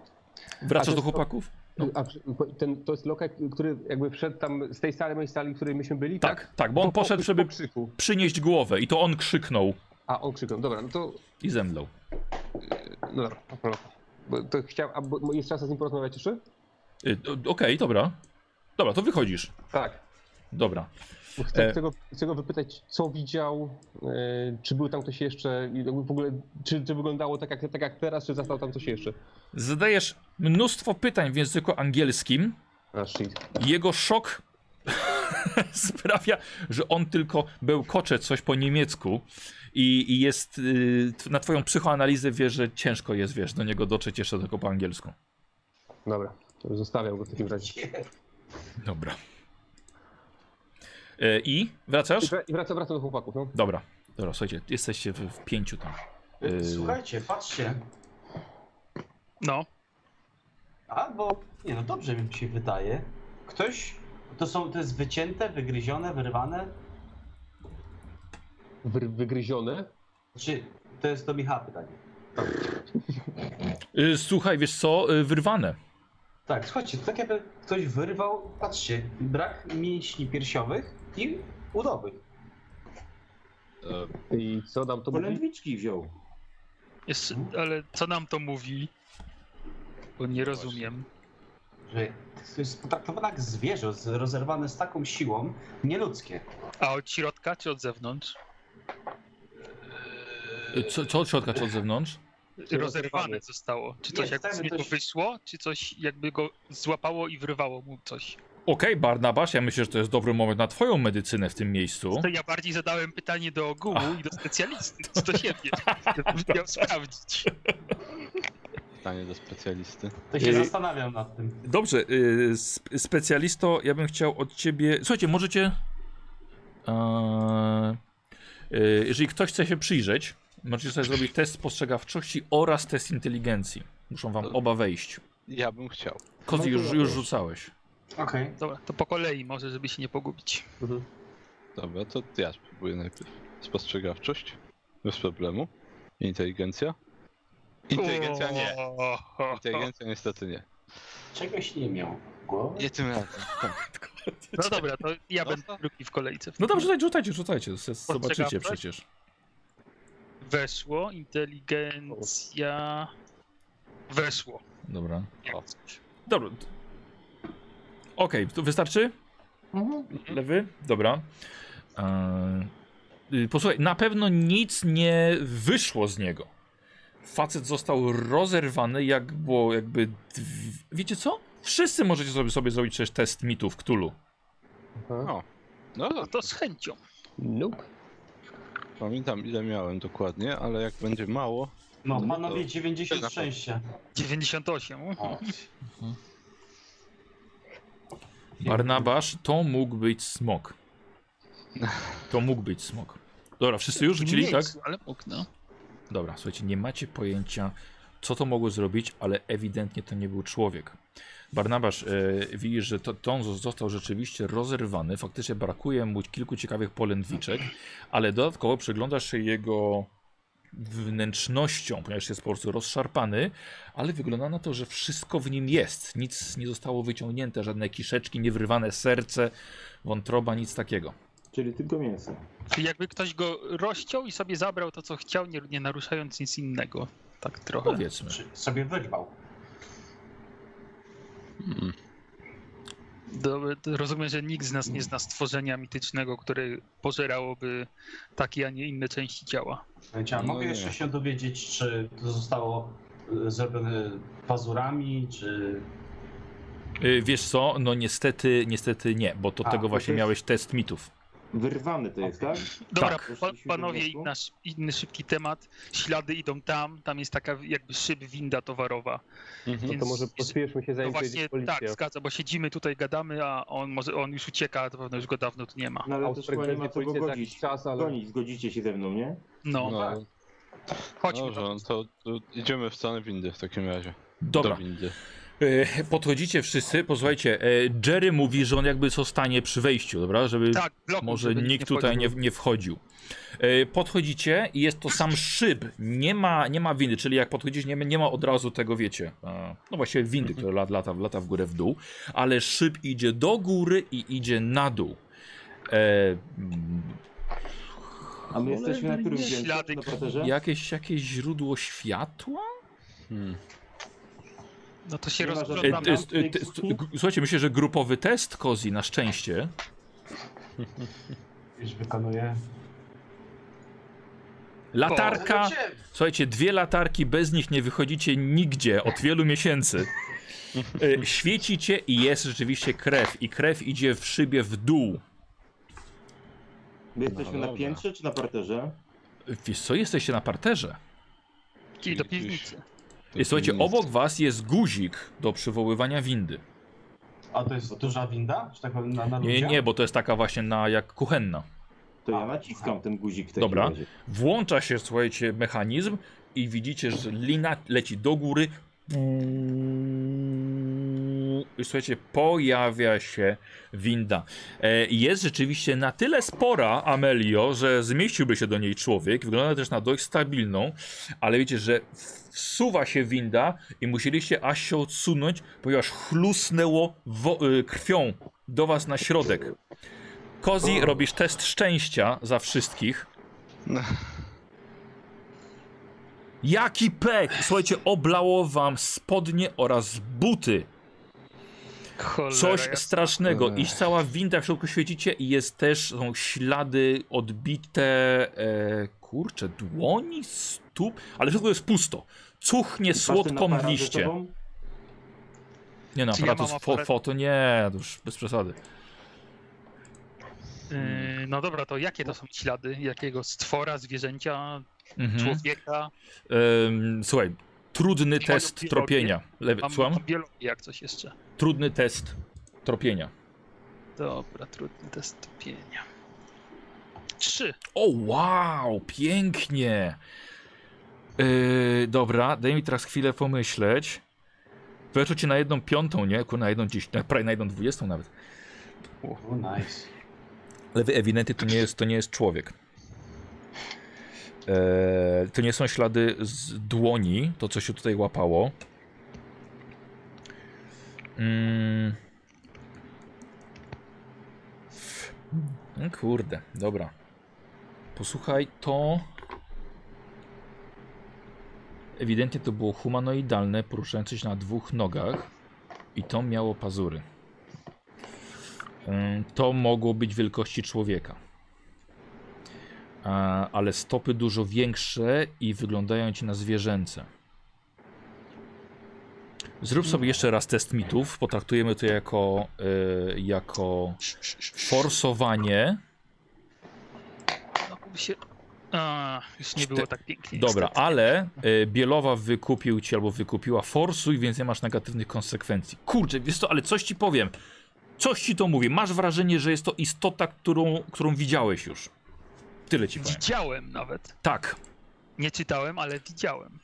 Speaker 1: Wracasz
Speaker 2: to-
Speaker 1: do chłopaków? No.
Speaker 2: A przy- po- ten, to jest lokaj, który jakby wszedł tam z tej sali, mojej sali, w której myśmy byli?
Speaker 1: Tak, tak, bo on poszedł, żeby
Speaker 2: Po krzyku.
Speaker 1: przynieść głowę i to on krzyknął
Speaker 2: A, on krzyknął. Dobra, no to...
Speaker 1: i zemdlał.
Speaker 2: No dobra, no dobra. Bo to chciał, a bo jest czas z nim porozmawiać jeszcze?
Speaker 1: Y, o- Okej, dobra. Dobra, to wychodzisz.
Speaker 2: Tak.
Speaker 1: Dobra.
Speaker 2: Bo Chcę,
Speaker 1: E.
Speaker 2: chcę, go, chcę go wypytać, co widział, e, czy był tam ktoś jeszcze, i jakby w ogóle, czy, czy wyglądało tak jak, tak jak teraz, czy zastał tam coś jeszcze.
Speaker 1: Zadajesz mnóstwo pytań w języku angielskim.
Speaker 2: A, shit.
Speaker 1: Jego szok sprawia, że on tylko bełkocze coś po niemiecku i, i jest y, tw- na twoją psychoanalizę wie, że ciężko jest, wiesz, do niego dotrzeć jeszcze tylko po angielsku.
Speaker 2: Dobra, to już zostawiam go w takim razie.
Speaker 1: Dobra. E, I wracasz?
Speaker 2: I wra- I wracam, wracam do chłopaków, no.
Speaker 1: Dobra. Dobra, słuchajcie, jesteście w, w pięciu tam. Y,
Speaker 4: Słuchajcie, patrzcie.
Speaker 6: No,
Speaker 4: Albo, nie no dobrze mi się wydaje. Ktoś, to są, to jest wycięte, wygryzione, wyrwane.
Speaker 2: Wy, wygryzione.
Speaker 4: Znaczy, to jest do Michała pytanie.
Speaker 1: Y, Słuchaj, wiesz co, y, wyrwane.
Speaker 4: Tak, słuchajcie, to tak jakby ktoś wyrwał, patrzcie, brak mięśni piersiowych i udowych.
Speaker 3: E,
Speaker 2: I co nam to mówi?
Speaker 5: Polędwiczki wziął.
Speaker 6: Jest, ale co nam to mówi? Bo nie rozumiem.
Speaker 4: Że tak, to jest potraktowane jak zwierzę, z- rozerwane z taką siłą, nieludzkie.
Speaker 6: A od środka czy od zewnątrz?
Speaker 1: Y, Co, co od środka, czy od zewnątrz?
Speaker 6: Rozerwane zostało. Czy coś
Speaker 4: Nie,
Speaker 6: jakby z
Speaker 4: chcemy
Speaker 6: niego
Speaker 4: coś-
Speaker 6: wyszło? Czy coś jakby go złapało i wyrwało mu coś?
Speaker 1: Okej, Barnabasz, ja myślę, że to jest dobry moment na twoją medycynę w tym miejscu.
Speaker 6: To ja bardziej zadałem pytanie do ogółu i do specjalisty, czy do siebie. Żebym miał sprawdzić.
Speaker 3: Pytanie do specjalisty.
Speaker 4: To się
Speaker 1: Yy.
Speaker 4: zastanawiam nad tym.
Speaker 1: Dobrze, y, sp- specjalisto, ja bym chciał od ciebie. Słuchajcie, możecie. Eee, y, jeżeli ktoś chce się przyjrzeć, możecie sobie zrobić test spostrzegawczości oraz test inteligencji. Muszą wam oba wejść.
Speaker 3: Ja bym chciał.
Speaker 1: Kozy już, już rzucałeś.
Speaker 4: Okej.
Speaker 6: Dobra, to po kolei może, żeby się nie pogubić.
Speaker 3: Dobra, to ja spróbuję najpierw. Spostrzegawczość. Bez problemu. Inteligencja. Inteligencja nie.
Speaker 6: O, o, o.
Speaker 3: Inteligencja niestety nie.
Speaker 4: Czegoś nie miał w głowie.
Speaker 3: Nie tym razem.
Speaker 6: No dobra, to ja
Speaker 3: No
Speaker 6: będę
Speaker 3: to-
Speaker 6: drugi w kolejce.
Speaker 1: No dobrze, rzucajcie, rzucajcie, rzucajcie. se- Zobaczycie
Speaker 6: Spostrzegawczość?
Speaker 1: przecież.
Speaker 6: Weszło, inteligencja... Weszło.
Speaker 1: Dobra.
Speaker 6: O.
Speaker 1: Dobra. d- Okej, to wystarczy? Lewy? Dobra. Eee, y, posłuchaj, na pewno nic nie wyszło z niego. Facet został rozerwany, jak było jakby. dw- Wiecie co? Wszyscy możecie sobie, sobie zrobić też test mitów Ktulu.
Speaker 2: Aha.
Speaker 3: No,
Speaker 6: No to z chęcią.
Speaker 2: Nope. No
Speaker 3: pamiętam ile miałem dokładnie, ale jak będzie mało,
Speaker 4: No,
Speaker 3: No,
Speaker 4: panowie,
Speaker 3: to-
Speaker 4: 90 szczęścia.
Speaker 6: 98.
Speaker 4: O.
Speaker 1: Barnabasz, to mógł być smok. To mógł być smok. Dobra, wszyscy już rzucili, tak?
Speaker 6: Miejscu, Ale mógł, no.
Speaker 1: Dobra, słuchajcie, nie macie pojęcia, co to mogło zrobić, ale ewidentnie to nie był człowiek. Barnabasz, e, widzisz, że to, to on został rzeczywiście rozerwany. Faktycznie brakuje mu kilku ciekawych polędwiczek, ale dodatkowo przyglądasz się jego wnętrznością, ponieważ jest po prostu rozszarpany, ale wygląda na to, że wszystko w nim jest. Nic nie zostało wyciągnięte, żadne kiszeczki, niewyrwane serce, wątroba, nic takiego.
Speaker 5: Czyli tylko mięso.
Speaker 6: Czyli jakby ktoś go rozciął i sobie zabrał to, co chciał, nie, nie naruszając nic innego. Tak trochę.
Speaker 1: Powiedzmy.
Speaker 4: Czy sobie wyrwał.
Speaker 6: Dobra, to rozumiem, że nikt z nas nie zna stworzenia mitycznego, które pożerałoby takie, a nie inne części ciała.
Speaker 4: Słuchajcie, a
Speaker 3: No
Speaker 4: mogę
Speaker 3: nie.
Speaker 4: jeszcze się dowiedzieć, czy to zostało e, zrobione pazurami, czy...
Speaker 1: Y, Wiesz co, no niestety, niestety nie, bo to
Speaker 4: A,
Speaker 1: tego
Speaker 5: to
Speaker 1: właśnie
Speaker 5: też-
Speaker 1: miałeś test mitów.
Speaker 5: Wyrwane to jest, tak?
Speaker 6: Dobra,
Speaker 1: Tak.
Speaker 6: pa, panowie, i nasz inny szybki temat. Ślady idą tam, tam jest taka jakby szyb winda towarowa.
Speaker 1: Mhm.
Speaker 2: No to
Speaker 6: Więc
Speaker 2: może
Speaker 6: jest-
Speaker 2: pospieszmy się,
Speaker 6: No
Speaker 2: zanim
Speaker 6: właśnie,
Speaker 2: przyjedzie policja.
Speaker 6: tak, zgadza, bo siedzimy tutaj, gadamy, a on może, on już ucieka, to pewno już go dawno tu nie ma.
Speaker 5: No ale też
Speaker 2: Augsburg
Speaker 5: chyba nie ma
Speaker 2: wezwie
Speaker 5: co go
Speaker 2: policję za jakiś
Speaker 5: godzić.
Speaker 2: czas, ale...
Speaker 5: Gonić, zgodzicie się ze mną, nie?
Speaker 6: No,
Speaker 3: no,
Speaker 6: chodźmy.
Speaker 3: dobrze, no to, to idziemy w stronę windy w takim razie.
Speaker 1: Dobra,
Speaker 3: Do windy.
Speaker 1: y, podchodzicie wszyscy, posłuchajcie, y, Jerry mówi, że on jakby zostanie przy wejściu, dobra, żeby
Speaker 6: tak, blokuj,
Speaker 1: może
Speaker 6: żeby
Speaker 1: nikt tutaj nie,
Speaker 6: wchodził.
Speaker 1: nie wchodził. Y, Podchodzicie i jest to sam szyb, nie ma, nie ma windy, czyli jak podchodzicie, nie, ma- nie ma od razu tego, wiecie, e, no właściwie windy, która lat, lata, lata w górę, w dół, ale szyb idzie do góry i idzie na dół. E, mm,
Speaker 5: A my jesteśmy na którym
Speaker 6: nie.
Speaker 5: piętrze?
Speaker 6: Ślady
Speaker 5: Na parterze?
Speaker 1: jakieś, jakieś źródło światła?
Speaker 3: Hmm.
Speaker 6: No to się
Speaker 5: Nie ma
Speaker 1: E,
Speaker 5: żadnych-
Speaker 6: rozglądamy.
Speaker 1: to jest, e, to jest,
Speaker 5: kuchni?
Speaker 1: g- słuchajcie, myślę, że grupowy test Kozi na szczęście.
Speaker 4: Już wykonuje.
Speaker 1: Latarka. Słuchajcie, dwie latarki, bez nich nie wychodzicie nigdzie od wielu miesięcy. E, Świecicie i jest rzeczywiście krew. I krew idzie w szybie w dół.
Speaker 5: My jesteśmy
Speaker 3: No
Speaker 5: na
Speaker 3: dobra.
Speaker 5: piętrze czy na parterze?
Speaker 1: Wiesz co, jesteście na parterze.
Speaker 6: Kij do piwnicy.
Speaker 1: I słuchajcie, obok was jest guzik do przywoływania windy.
Speaker 4: A to jest duża winda? Czy tak powiem, na, na
Speaker 1: Nie,
Speaker 4: ludziach?
Speaker 1: nie, bo to jest taka właśnie na, jak kuchenna.
Speaker 5: To ja naciskam ten guzik w takim
Speaker 1: Dobra.
Speaker 5: razie.
Speaker 1: Włącza się, słuchajcie, mechanizm i widzicie, że lina leci do góry. słuchajcie, pojawia się winda. E, Jest rzeczywiście na tyle spora, Amelio, że zmieściłby się do niej człowiek. Wygląda też na dość stabilną, ale wiecie, że wsuwa się winda i musieliście aż się odsunąć, ponieważ chlusnęło wo- y, krwią do was na środek. Kozi, robisz test szczęścia za wszystkich. Jaki pek! Słuchajcie, oblało wam spodnie oraz buty.
Speaker 6: Cholera,
Speaker 1: Coś
Speaker 6: jasna.
Speaker 1: strasznego. I cała winda w środku świecicie i jest też, są ślady odbite, e, kurczę, dłoni, stóp, ale w środku jest pusto. Cuchnie słodką liście. Nie no,
Speaker 6: Czy ja
Speaker 1: aparatu,
Speaker 6: mam
Speaker 1: fo,
Speaker 6: aparat?
Speaker 1: foto, nie, to już bez przesady.
Speaker 6: Yy, no dobra, to jakie to są ślady? Jakiego stwora, zwierzęcia,
Speaker 1: Mhm.
Speaker 6: człowieka?
Speaker 1: Ym, słuchaj, trudny
Speaker 6: Czy
Speaker 1: test
Speaker 6: mają
Speaker 1: tropienia. Lewy,
Speaker 6: Mam
Speaker 1: słucham?
Speaker 6: mam biologię, jak coś jeszcze.
Speaker 1: Trudny test tropienia.
Speaker 6: Dobra, trudny test topienia. Trzy.
Speaker 1: O, wow, pięknie. Yy, dobra, daj mi teraz chwilę pomyśleć. Weszło ci na jedną piątą, nie? Ku, na jedną dziś, na, prawie na jedną dwudziestą nawet.
Speaker 4: O, nice.
Speaker 1: Ale wy ewidentnie to nie jest, to nie jest człowiek. Eee, to nie są ślady z dłoni, to co się tutaj łapało. Mm. Mm, Kurde, dobra. Posłuchaj, to. Ewidentnie to było humanoidalne, poruszające się na dwóch nogach. I to miało pazury. Ym, To mogło być wielkości człowieka. A, Ale stopy dużo większe i wyglądają ci na zwierzęce. Zrób sobie jeszcze raz test mitów. Potraktujemy to jako, y, jako forsowanie.
Speaker 6: Znowu No, się... A, już nie
Speaker 1: Czte-
Speaker 6: było tak pięknie.
Speaker 1: Dobra,
Speaker 6: niestety.
Speaker 1: ale y, Bielowa wykupił ci albo wykupiła forsuj, więc nie masz negatywnych konsekwencji. Kurczę, wiesz to, ale coś ci powiem. Coś ci to mówi. Masz wrażenie, że jest to istota, którą, którą widziałeś już. Tyle ci powiem.
Speaker 6: Widziałem nawet.
Speaker 1: Tak.
Speaker 6: Nie czytałem, ale widziałem.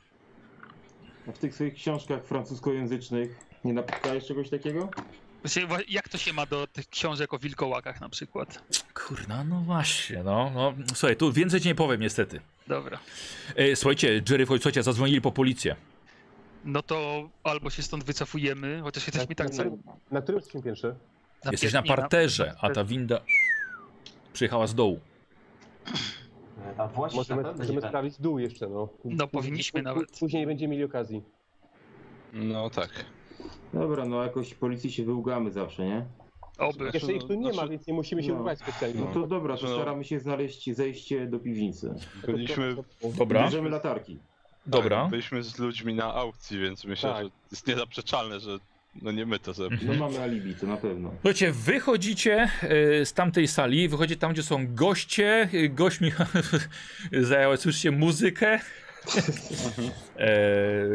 Speaker 5: A w tych swoich książkach francuskojęzycznych nie napotkałeś czegoś takiego?
Speaker 6: Właśnie, Znaczy, wa- Jak to się ma do tych książek o wilkołakach na przykład?
Speaker 1: Kurna, no właśnie, no, no. Słuchaj, tu więcej ci nie powiem niestety.
Speaker 6: Dobra.
Speaker 1: E, słuchajcie, Jerry, chodź, słuchajcie, zadzwonili po policję.
Speaker 6: No to albo się stąd wycofujemy, chociaż jesteśmy tak...
Speaker 2: na, na którym jesteśmy piętrze?
Speaker 6: za-
Speaker 1: Jesteś na
Speaker 6: zapierdni-
Speaker 1: parterze, a ta winda przyjechała z dołu.
Speaker 4: A właśnie,
Speaker 2: Możemy,
Speaker 4: na pewno
Speaker 2: możemy
Speaker 4: nie tak.
Speaker 2: sprawdzić dół jeszcze, no.
Speaker 6: No, powinniśmy
Speaker 2: Pó- pó-
Speaker 6: nawet.
Speaker 2: Później będziemy mieli okazji.
Speaker 3: No tak.
Speaker 5: Dobra, no jakoś policji się wyłgamy zawsze, nie?
Speaker 6: Oby.
Speaker 2: Tak Jeszcze ich tu nie ma,
Speaker 3: Znaczy-
Speaker 2: więc nie musimy się
Speaker 5: no.
Speaker 2: urywać specjalnie.
Speaker 5: No to dobra, to
Speaker 3: No.
Speaker 5: staramy się znaleźć zejście do piwnicy.
Speaker 3: Byliśmy,
Speaker 1: Dobra,
Speaker 5: Bierzemy latarki.
Speaker 1: dobra.
Speaker 3: Tak, byliśmy z ludźmi na aukcji, więc myślę,
Speaker 2: Tak.
Speaker 3: że jest niezaprzeczalne, że no nie my to zrobiliśmy.
Speaker 5: No mamy alibi, to na pewno.
Speaker 1: Słuchajcie, wychodzicie e, z tamtej sali, wychodzicie tam, gdzie są goście. E, Gośćmi zajęła, słyszycie, muzykę. E,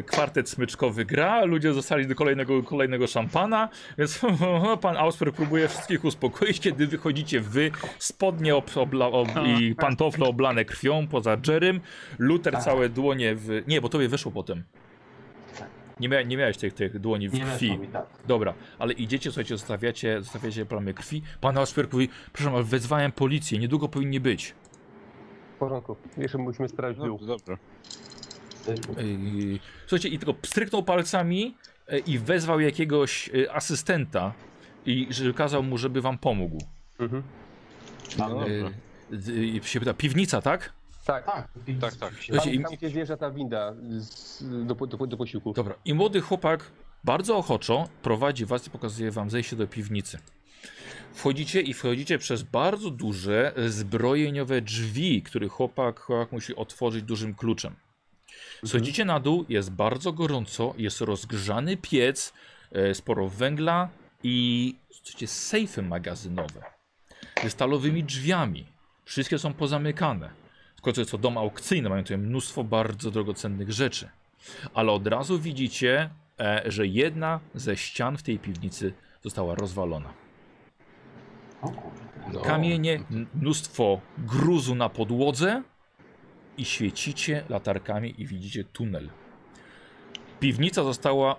Speaker 1: kwartet smyczkowy gra, ludzie zostali do kolejnego, kolejnego szampana, więc no, pan Ausper próbuje wszystkich uspokoić, kiedy wychodzicie wy, spodnie ob, obla, ob, i pantofle oblane krwią poza Jerem, Luther całe dłonie w... Nie, bo tobie weszło potem. Nie, mia, nie miałeś tych, tych dłoni w
Speaker 4: Nie
Speaker 1: krwi.
Speaker 4: weszło mi tak.
Speaker 1: Dobra, ale idziecie, słuchajcie, zostawiacie, zostawiacie plamy krwi. Pan Ausper mówi, przepraszam, ale wezwałem policję, niedługo powinni być.
Speaker 2: W porządku. Jeszcze musimy sprawdzić
Speaker 3: No,
Speaker 2: dół.
Speaker 3: dobra.
Speaker 4: Y,
Speaker 1: Yy, Słuchajcie, i tylko pstryknął palcami yy, i wezwał jakiegoś yy, asystenta i że kazał mu, żeby wam pomógł. E,
Speaker 2: Mhm.
Speaker 3: No, dobra.
Speaker 1: Yy, yy, I się pyta, piwnica, tak?
Speaker 2: Tak.
Speaker 4: Tak,
Speaker 3: Tak, tak.
Speaker 4: Się...
Speaker 1: Słuchajcie,
Speaker 2: Tam,
Speaker 1: i,
Speaker 2: tam gdzie zjeżdża ta winda z, do, po- do, po- do posiłku.
Speaker 1: dobra, i młody chłopak bardzo ochoczo prowadzi was i pokazuje wam zejście do piwnicy. Wchodzicie i wchodzicie przez bardzo duże yy, zbrojeniowe drzwi, które chłopak, chłopak musi otworzyć dużym kluczem. Schodzicie na dół, jest bardzo gorąco, jest rozgrzany piec, e, sporo węgla i słuchajcie, sejfy magazynowe ze stalowymi drzwiami. Wszystkie są pozamykane. W końcu jest to dom aukcyjny, mają tutaj mnóstwo bardzo drogocennych rzeczy. Ale od razu widzicie, e, że jedna ze ścian w tej piwnicy została rozwalona.
Speaker 4: O kurde.
Speaker 3: No.
Speaker 1: Kamienie, m- mnóstwo gruzu na podłodze i świecicie latarkami i widzicie tunel. Piwnica została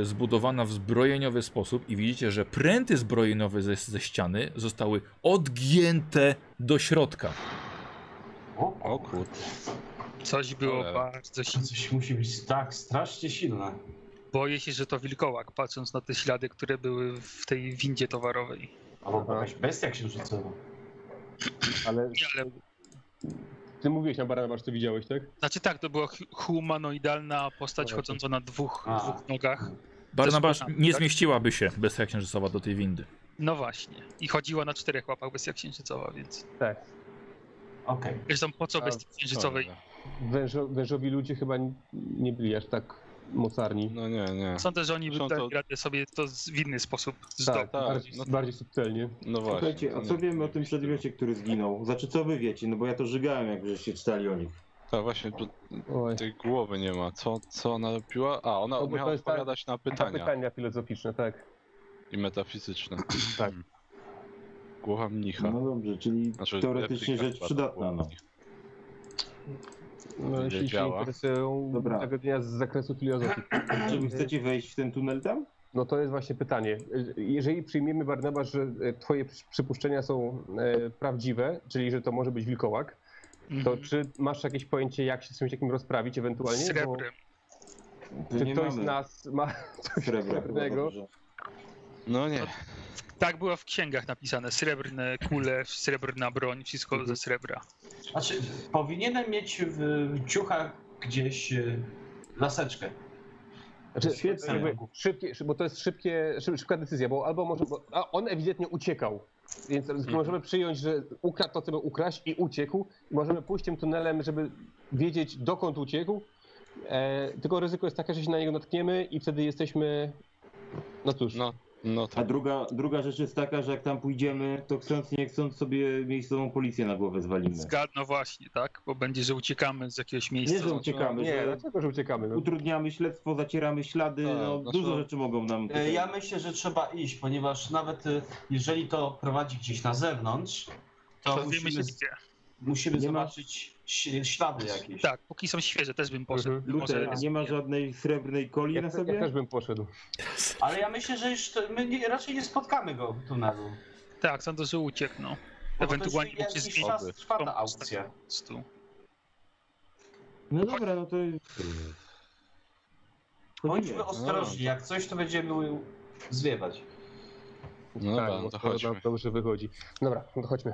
Speaker 1: e, zbudowana w zbrojeniowy sposób i widzicie, że pręty zbrojeniowe ze, ze ściany zostały odgięte do środka.
Speaker 3: O kurde.
Speaker 6: Coś było
Speaker 3: Ale-
Speaker 6: bardzo
Speaker 4: To
Speaker 6: silne.
Speaker 4: coś musi być tak strasznie silne.
Speaker 6: Boję się, że to wilkołak, patrząc na te ślady, które były w tej windzie towarowej.
Speaker 4: Albo jakaś bestia księżycowa.
Speaker 2: Ale
Speaker 6: Nie, ale...
Speaker 2: ty mówiłeś na barana, masz to widziałeś, tak?
Speaker 6: Znaczy tak, to była hu- humanoidalna postać
Speaker 2: Dobra.
Speaker 6: chodząca na dwóch,
Speaker 4: A.
Speaker 6: dwóch nogach.
Speaker 1: Barnabasz
Speaker 6: Ze szponami,
Speaker 1: nie
Speaker 6: tak?
Speaker 1: zmieściłaby się bestia księżycowa do tej windy.
Speaker 6: No właśnie. I chodziła na czterech łapach bestia księżycowa, więc...
Speaker 2: Tak.
Speaker 4: Okej.
Speaker 6: Zresztą po co
Speaker 3: A,
Speaker 6: bestii księżycowej?
Speaker 3: Cholera.
Speaker 2: Wężo, wężowi ludzie chyba n- nie byli aż tak mocarni.
Speaker 3: No nie, nie.
Speaker 6: Sądzę, że oni by
Speaker 3: Są to-
Speaker 6: dali radę sobie to z- w inny sposób zdobyć.
Speaker 2: Tak,
Speaker 3: tak,
Speaker 2: bardziej,
Speaker 3: no to-
Speaker 2: bardziej subtelnie.
Speaker 3: No właśnie.
Speaker 5: Słuchajcie, a
Speaker 3: to
Speaker 5: co
Speaker 3: nie-
Speaker 5: wiemy o
Speaker 3: nie
Speaker 5: tym
Speaker 3: widziałem.
Speaker 5: przedmiocie, który zginął? Znaczy, co wy wiecie? No bo ja to żygałem, jak żeście czytali o nich.
Speaker 3: Tak, właśnie, tu
Speaker 2: Oj.
Speaker 3: tej głowy nie ma. Co, co ona robiła? A, ona
Speaker 2: No bo to
Speaker 3: miała
Speaker 2: jest tak-
Speaker 3: odpowiadać na
Speaker 2: A
Speaker 3: pytania.
Speaker 2: pytania filozoficzne, tak.
Speaker 3: I metafizyczne.
Speaker 2: Tak.
Speaker 3: Głowa mnicha.
Speaker 5: No dobrze, czyli
Speaker 3: Znaczy,
Speaker 5: teoretycznie
Speaker 3: replika
Speaker 5: rzecz
Speaker 3: chyba to
Speaker 5: przydatna.
Speaker 3: głowa
Speaker 5: No.
Speaker 3: mnicha.
Speaker 2: No, jeśli się
Speaker 3: Wiedziała.
Speaker 2: interesują
Speaker 5: Dobra.
Speaker 2: zagadnienia z zakresu filozofii.
Speaker 5: Czy wy chcecie wejść w ten tunel tam?
Speaker 2: No to jest właśnie pytanie. Jeżeli przyjmiemy, Barnabasz, że e, twoje przy- przypuszczenia są e, prawdziwe, czyli że to może być wilkołak, to
Speaker 6: Mhm.
Speaker 2: czy masz jakieś pojęcie, jak się z czymś takim rozprawić
Speaker 6: Z
Speaker 2: ewentualnie? Bo
Speaker 6: srebrem.
Speaker 5: Tu
Speaker 2: Czy
Speaker 5: nie
Speaker 2: ktoś z
Speaker 5: mamy
Speaker 2: nas ma coś
Speaker 5: srebra chyba
Speaker 2: srebrnego?
Speaker 5: dobrze.
Speaker 3: No nie.
Speaker 6: Tak było w księgach napisane. Srebrne kule, srebrna broń, wszystko ze srebra.
Speaker 4: Znaczy, powinienem mieć w ciuchach gdzieś e, laseczkę.
Speaker 2: Znaczy,
Speaker 5: Świetnie.
Speaker 2: jakby Szybkie, szy- bo to jest szybkie, szy- szybka decyzja, bo albo może. Bo, a on ewidentnie uciekał. Więc możemy przyjąć, że ukradł to, co miał ukraść i uciekł. I możemy pójść tym tunelem, żeby wiedzieć, dokąd uciekł. E, tylko ryzyko jest takie, że się na niego natkniemy i wtedy jesteśmy. No cóż,
Speaker 3: No, no
Speaker 5: A
Speaker 3: tak.
Speaker 5: druga, druga rzecz jest taka, że jak tam pójdziemy, to chcąc nie chcąc sobie miejscową policję na głowę zwalimy.
Speaker 6: Zgad, no właśnie, tak? Bo będzie, że uciekamy z jakiegoś
Speaker 5: Nie, no,
Speaker 6: miejsca.
Speaker 5: że uciekamy,
Speaker 2: no. nie,
Speaker 5: że
Speaker 2: dlaczego, że uciekamy? No.
Speaker 5: utrudniamy śledztwo, zacieramy ślady,
Speaker 3: Tak,
Speaker 5: no,
Speaker 3: znaczy-
Speaker 5: dużo rzeczy mogą nam...
Speaker 4: E,
Speaker 5: tutaj-
Speaker 4: Ja myślę, że trzeba iść, ponieważ nawet e, jeżeli to prowadzi gdzieś na zewnątrz, to,
Speaker 6: To wiemy się
Speaker 4: musimy,
Speaker 6: gdzie.
Speaker 4: musimy
Speaker 5: Nie ma-
Speaker 4: zobaczyć ś- ślady jakieś.
Speaker 6: Tak, póki są świeże, też bym poszedł.
Speaker 2: Mhm.
Speaker 6: Może
Speaker 5: Luther, nie ma żadnej srebrnej koli
Speaker 2: Ja,
Speaker 5: na
Speaker 2: te- ja
Speaker 5: sobie?
Speaker 2: też bym poszedł.
Speaker 4: Ale ja myślę, że już to, my nie, raczej nie spotkamy go w tunelu.
Speaker 6: Tak, sądzę, że uciekną.
Speaker 4: Bo
Speaker 6: Ewentualnie
Speaker 4: to
Speaker 6: mógł się
Speaker 4: jest jakiś
Speaker 6: zmienić
Speaker 4: czas
Speaker 3: Oby.
Speaker 4: trwa ta aukcja.
Speaker 6: po prostu.
Speaker 5: No dobra, no to...
Speaker 4: Bądźmy ostrożni, jak coś to będziemy zwiewać.
Speaker 3: No dobra, no
Speaker 2: Tak, bo
Speaker 3: to
Speaker 2: to
Speaker 3: chodźmy.
Speaker 2: nam dobrze wychodzi. Dobra, no to chodźmy.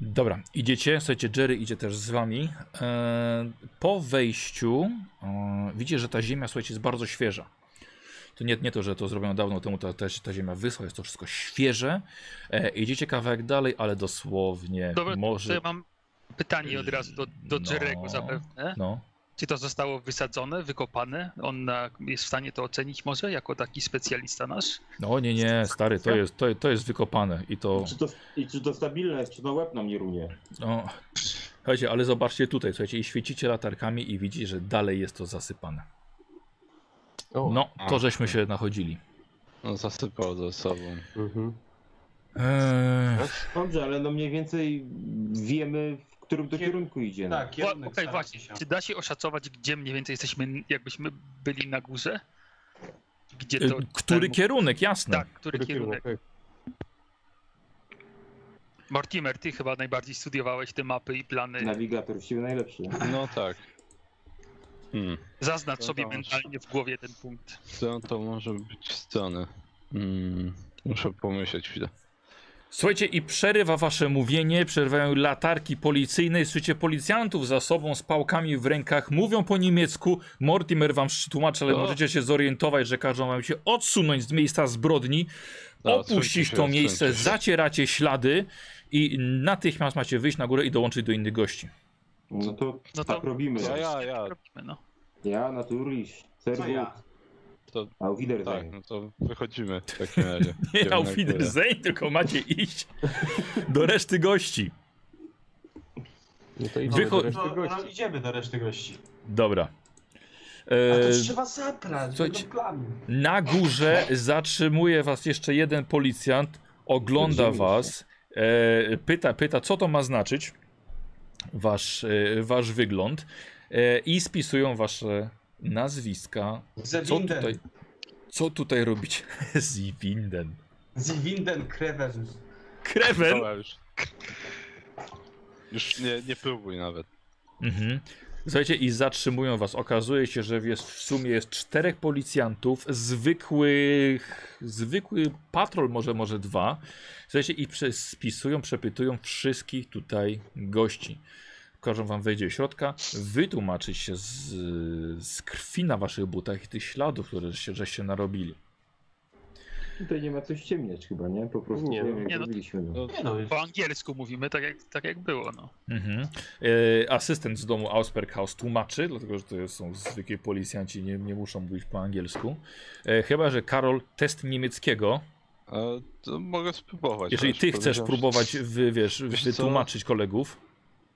Speaker 1: Dobra, idziecie, słuchajcie, Jerry idzie też z wami. E, po wejściu e, widzicie, że ta ziemia, słuchajcie, jest bardzo świeża. To nie, nie to, że to zrobiono dawno temu, ta, ta, ta ziemia wyschła, jest to wszystko świeże. E, idziecie kawałek dalej, ale dosłownie
Speaker 6: Dobra, To
Speaker 1: może...
Speaker 6: ja mam pytanie od razu do, do
Speaker 1: No.
Speaker 6: Jerego zapewne.
Speaker 1: No.
Speaker 6: Czy to zostało wysadzone, wykopane? On na, jest w stanie to ocenić może, jako taki specjalista nasz?
Speaker 1: no nie, nie, stary, to jest, to, to jest wykopane i to...
Speaker 5: Czy to, I czy to stabilne jest, czy to łeb nam nie runie?
Speaker 1: No. Słuchajcie, ale zobaczcie tutaj, słuchajcie, i świecicie latarkami i widzicie, że dalej jest to zasypane.
Speaker 2: O.
Speaker 1: No, to żeśmy się nachodzili.
Speaker 3: No zasypał ze sobą.
Speaker 2: Mhm.
Speaker 5: E,
Speaker 1: Eee,
Speaker 5: Dobrze, ale no mniej więcej wiemy, w którym to
Speaker 4: Kie-
Speaker 5: kierunku idzie. No.
Speaker 4: Tak,
Speaker 6: Ła-
Speaker 4: kierunek
Speaker 6: Okej,
Speaker 4: staramy
Speaker 6: właśnie.
Speaker 4: się.
Speaker 6: Czy da się oszacować, gdzie mniej więcej jesteśmy, jakbyśmy byli na górze? Gdzie
Speaker 1: e,
Speaker 6: to...
Speaker 3: Y, no.
Speaker 1: który
Speaker 6: ten-
Speaker 1: kierunek, jasne.
Speaker 6: Tak, który kierunek?
Speaker 2: tak.
Speaker 6: Mortimer, ty chyba najbardziej studiowałeś te mapy i plany.
Speaker 5: Nawigator, siły najlepszy.
Speaker 3: No tak. Hmm.
Speaker 6: Zaznacz
Speaker 3: No
Speaker 6: sobie
Speaker 3: dobrze.
Speaker 6: mentalnie w głowie ten punkt.
Speaker 3: Co to może być sceny? Hmm. Muszę pomyśleć chwilę.
Speaker 1: Słuchajcie, i przerywa wasze mówienie, przerywają latarki policyjne i słyszycie policjantów za sobą z pałkami w rękach, mówią po niemiecku, Mortimer wam tłumaczy, ale
Speaker 3: O.
Speaker 1: możecie się zorientować, że każą wam się odsunąć z miejsca zbrodni,
Speaker 3: No,
Speaker 1: opuścić
Speaker 3: odsuńcie się,
Speaker 1: to miejsce,
Speaker 3: odsuńcie się.
Speaker 1: zacieracie ślady i natychmiast macie wyjść na górę i dołączyć do innych gości.
Speaker 5: No to,
Speaker 6: No
Speaker 5: tak
Speaker 6: to-
Speaker 5: robimy.
Speaker 3: Ja,
Speaker 5: Ja,
Speaker 3: ja, ja.
Speaker 6: Robimy, no.
Speaker 5: Naturlisch, Servus,
Speaker 4: ja?
Speaker 3: To,
Speaker 5: Auf
Speaker 3: tak,
Speaker 5: Wiedersehen.
Speaker 3: no to wychodzimy w takim razie.
Speaker 1: Nie,
Speaker 3: Idziemy
Speaker 1: auf
Speaker 3: na górę.
Speaker 1: Wiedersehen, tylko macie iść do reszty gości.
Speaker 2: No to idziemy
Speaker 1: Wycho-
Speaker 2: do reszty
Speaker 4: No,
Speaker 2: gości.
Speaker 4: no, idziemy do reszty gości.
Speaker 1: Dobra.
Speaker 4: A to
Speaker 1: E,
Speaker 4: trzeba zabrać, no,
Speaker 1: słuchajcie-
Speaker 4: Słuchajcie... plan.
Speaker 1: Na górze zatrzymuje was jeszcze jeden policjant, ogląda
Speaker 5: Widzimy
Speaker 1: was, e, pyta, pyta, co to ma znaczyć, wasz, e, wasz wygląd e, i spisują wasze nazwiska. Co
Speaker 4: Zewinder.
Speaker 1: tutaj, Co tutaj robić z Winden?
Speaker 4: Z Winden Krewen.
Speaker 1: Krewen!
Speaker 3: Dobra, już. Już nie, nie próbuj nawet.
Speaker 1: Mhm. Słuchajcie, i zatrzymują was. Okazuje się, że jest, w sumie jest czterech policjantów, zwykłych, zwykły patrol może, może dwa. Słuchajcie, i prze- spisują, przepytują wszystkich tutaj gości. Każą wam wejdzie do środka, wytłumaczyć się z, z krwi na waszych butach i tych śladów, które się, żeście narobili.
Speaker 5: Tutaj nie ma co ściemniać chyba, nie? Po prostu
Speaker 2: Nie.
Speaker 5: nie, wiem, jak
Speaker 6: Nie, no-
Speaker 5: robiliśmy. No.
Speaker 4: Nie no,
Speaker 6: Po angielsku mówimy, tak jak, tak jak było, no.
Speaker 1: Mhm. E, asystent z domu Ausperghaus tłumaczy, dlatego że to są zwykli policjanci, nie, nie muszą mówić po angielsku. E, chyba, że Karol test niemieckiego.
Speaker 3: A, to mogę spróbować.
Speaker 1: Jeżeli
Speaker 3: chociaż
Speaker 1: ty chcesz
Speaker 3: powiedziałem, tak, że-
Speaker 1: próbować wy, wiesz,
Speaker 3: Wiesz co?
Speaker 1: wytłumaczyć kolegów,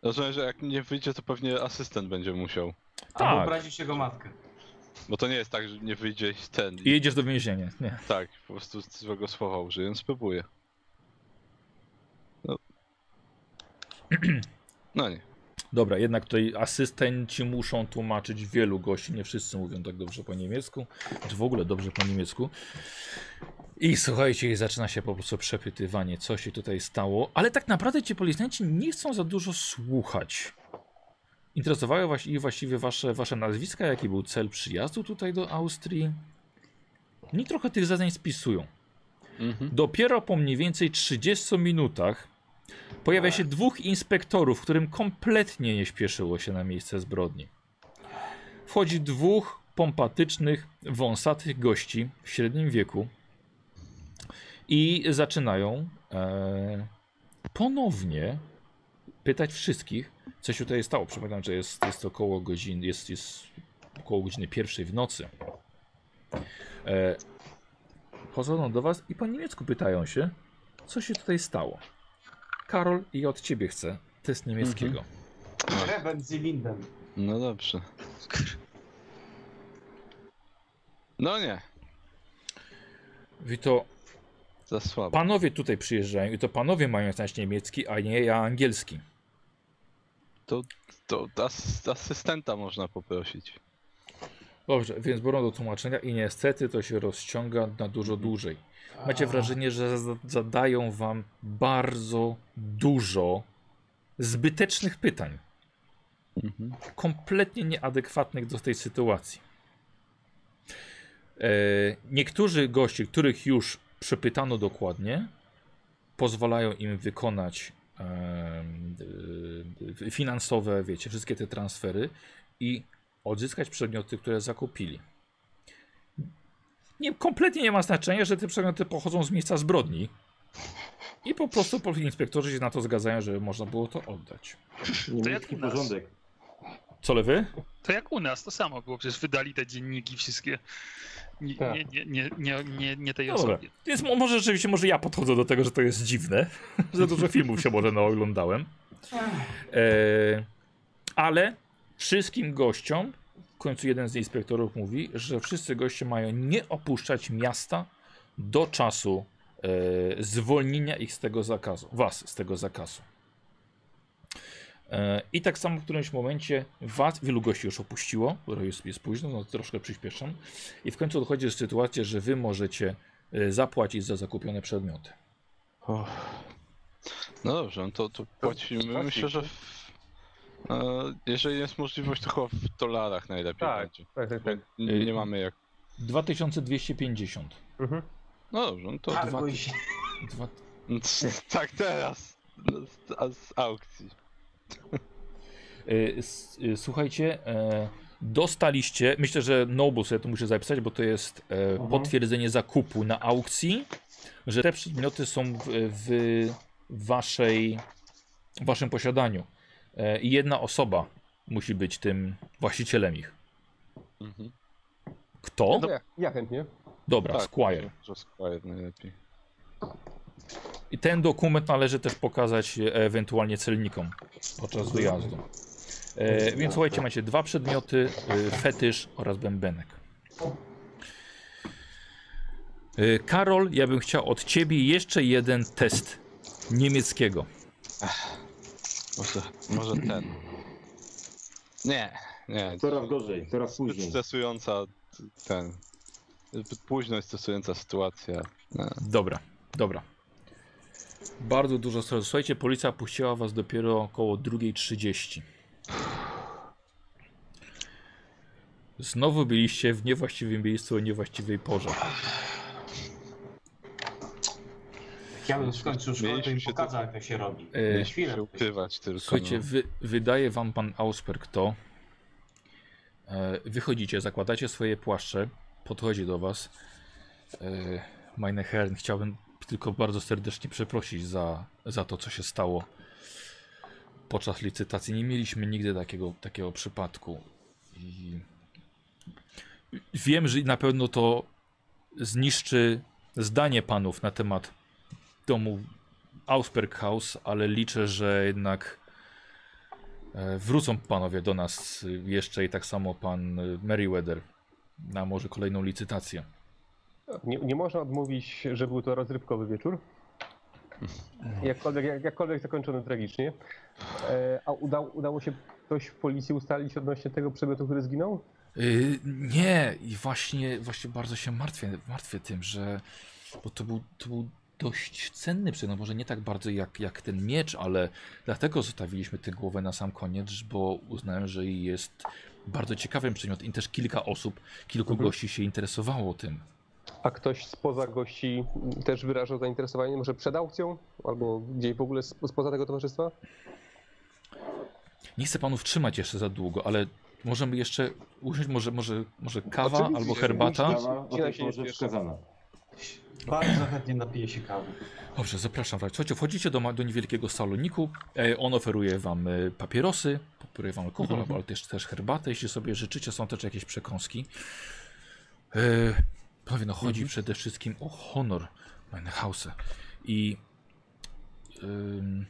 Speaker 3: Rozumiem, że jak nie wyjdzie, to pewnie asystent będzie musiał.
Speaker 4: albo
Speaker 1: tak.
Speaker 4: obrazić jego matkę.
Speaker 3: Bo to nie jest tak, że nie wyjdzie i ten.
Speaker 1: i jedziesz do więzienia. Nie.
Speaker 3: Tak, po prostu złego słowa użyję, więc spróbuję. No. no nie.
Speaker 1: Dobra, jednak tutaj asystenci muszą tłumaczyć wielu gości. Nie wszyscy mówią tak dobrze po niemiecku, czy w ogóle dobrze po niemiecku. I słuchajcie, i zaczyna się po prostu przepytywanie, co się tutaj stało. Ale tak naprawdę ci policjanci nie chcą za dużo słuchać. Interesowały was i właściwie wasze, wasze nazwiska, jaki był cel przyjazdu tutaj do Austrii. Oni trochę tych zadań spisują. Dopiero po mniej więcej 30 minutach pojawia się dwóch inspektorów, którym kompletnie nie śpieszyło się na miejsce zbrodni. Wchodzi dwóch pompatycznych, wąsatych gości w średnim wieku i zaczynają e, ponownie pytać wszystkich, co się tutaj stało. Przypominam, że jest, jest około godzin, jest, jest około godziny pierwszej w nocy. E, chodzą do was i po niemiecku pytają się, co się tutaj stało. Karol, i od ciebie chcę test niemieckiego.
Speaker 4: Krewen z Winden.
Speaker 3: No dobrze. No nie,
Speaker 1: Mówi to
Speaker 3: za słabo.
Speaker 1: panowie tutaj przyjeżdżają i to panowie mają znać niemiecki, a nie ja angielski.
Speaker 3: To as asystenta można poprosić.
Speaker 1: Dobrze, więc biorą do tłumaczenia i niestety to się rozciąga na dużo dłużej. Macie wrażenie, że za- zadają wam bardzo dużo zbytecznych pytań, kompletnie nieadekwatnych do tej sytuacji. E, niektórzy goście, których już przepytano dokładnie, pozwalają im wykonać em, y, finansowe, wiecie, wszystkie te transfery i odzyskać przedmioty, które zakupili. Nie, kompletnie nie ma znaczenia, że te przedmioty pochodzą z miejsca zbrodni. I po prostu po- inspektorzy się na to zgadzają, że można było to oddać.
Speaker 5: Niemiecki
Speaker 6: jak u nas.
Speaker 5: porządek.
Speaker 1: Co lewy?
Speaker 6: To jak u nas, to samo było, przecież wydali te dzienniki wszystkie. Nie,
Speaker 2: Tak.
Speaker 6: nie, nie, nie, nie, nie, nie tej
Speaker 1: Dobra.
Speaker 6: osobie.
Speaker 1: Więc mo- może rzeczywiście, może ja podchodzę do tego, że to jest dziwne. Za dużo filmów się może naoglądałem. E, ale wszystkim gościom, w końcu jeden z inspektorów mówi, że wszyscy goście mają nie opuszczać miasta do czasu e, zwolnienia ich z tego zakazu, was z tego zakazu. E, I tak samo w którymś momencie was, wielu gości już opuściło, bo jest, jest późno, no troszkę przyspieszam. I w końcu dochodzi do sytuacji, że wy możecie e, zapłacić za zakupione przedmioty.
Speaker 3: No dobrze, no to, to płacimy. Myślę, że w, e, jeżeli jest możliwość, to chyba w dolarach najlepiej
Speaker 2: Tak.
Speaker 3: będzie.
Speaker 2: Tak, tak, tak.
Speaker 1: Y-
Speaker 3: Nie, nie mamy jak.
Speaker 1: 2250.
Speaker 2: Mhm.
Speaker 3: No dobrze, no to.
Speaker 4: Targuj się.
Speaker 1: Dwa...
Speaker 3: Tak teraz. Z, z aukcji.
Speaker 1: E, s- e, Słuchajcie, e, dostaliście, myślę, że Nobu sobie to muszę zapisać, bo to jest e, potwierdzenie zakupu na aukcji, że te przedmioty są w, w waszej, w waszym posiadaniu. E, I jedna osoba musi być tym właścicielem ich.
Speaker 3: Mhm. tak.
Speaker 1: Kto?
Speaker 2: Ja, ja chętnie.
Speaker 1: Dobra, Squire.
Speaker 3: Że, że Squire najlepiej.
Speaker 1: I ten dokument należy też pokazać e, ewentualnie celnikom podczas wyjazdu. E, więc słuchajcie, macie dwa przedmioty, e, fetysz oraz bębenek. E, Karol, ja bym chciał od ciebie jeszcze jeden test niemieckiego.
Speaker 3: Może, może ten. Nie, nie.
Speaker 5: Coraz gorzej, coraz
Speaker 3: Zbyt
Speaker 5: później.
Speaker 3: stresująca t- ten Zbyt późno jest stosująca sytuacja.
Speaker 1: Dobra, dobra. Bardzo dużo strachu. Słuchajcie, policja puściła was dopiero około 2.30. Znowu byliście w niewłaściwym miejscu o niewłaściwej porze.
Speaker 4: Jak ja bym skończył szkołę, to im
Speaker 3: Mieliśmy się
Speaker 4: pokazał, jak to się robi.
Speaker 1: E,
Speaker 3: Mieliśmy
Speaker 4: Chwilę.
Speaker 3: się ukrywać tylko.
Speaker 1: Słuchajcie,
Speaker 3: no.
Speaker 1: wy, wydaje wam pan Ausperk to. E, Wychodzicie, zakładacie swoje płaszcze, podchodzi do was. E, Meine Herren, chciałbym tylko bardzo serdecznie przeprosić za, za to, co się stało podczas licytacji. Nie mieliśmy nigdy takiego, takiego przypadku. I wiem, że na pewno to zniszczy zdanie panów na temat domu Ausperkhaus, ale liczę, że jednak e, wrócą panowie do nas y, jeszcze i tak samo pan y, Merriweather na może kolejną licytację.
Speaker 2: Nie, nie można odmówić, że był to rozrywkowy wieczór. Jakkolwiek, jak, jakkolwiek zakończony tragicznie. E, a udało, udało się coś w policji ustalić odnośnie tego przedmiotu, który zginął?
Speaker 1: Y, nie, i właśnie, właśnie bardzo się martwię, martwię tym, że bo to był, to był dość cenny przedmiot, może nie tak bardzo jak, jak ten miecz, ale dlatego zostawiliśmy tę głowę na sam koniec, bo uznałem, że jest bardzo ciekawym przedmiotem i też kilka osób, kilku
Speaker 2: Mhm.
Speaker 1: gości się interesowało tym.
Speaker 2: A ktoś spoza gości też wyrażał zainteresowanie może przed aukcją? Albo gdzieś w ogóle sp- spoza tego towarzystwa?
Speaker 1: Nie chcę panów trzymać jeszcze za długo, ale możemy jeszcze usiąść, może, może, może kawa
Speaker 2: Oczywiście,
Speaker 1: albo
Speaker 2: oczywiście.
Speaker 1: herbata.
Speaker 5: Prawa o
Speaker 2: Ci na
Speaker 5: tej
Speaker 2: się nie
Speaker 5: porze
Speaker 2: spieszę.
Speaker 5: wskazana.
Speaker 4: Bardzo chętnie napiję się kawy.
Speaker 1: Dobrze, zapraszam. Słuchajcie, wchodzicie do, ma- do niewielkiego saloniku. E, on oferuje wam e, papierosy, oferuje wam alkohol, ale też, też herbatę, jeśli sobie życzycie. Są też jakieś przekąski. E, panowie, no chodzi przede wszystkim o honor Meine Hause. I ym,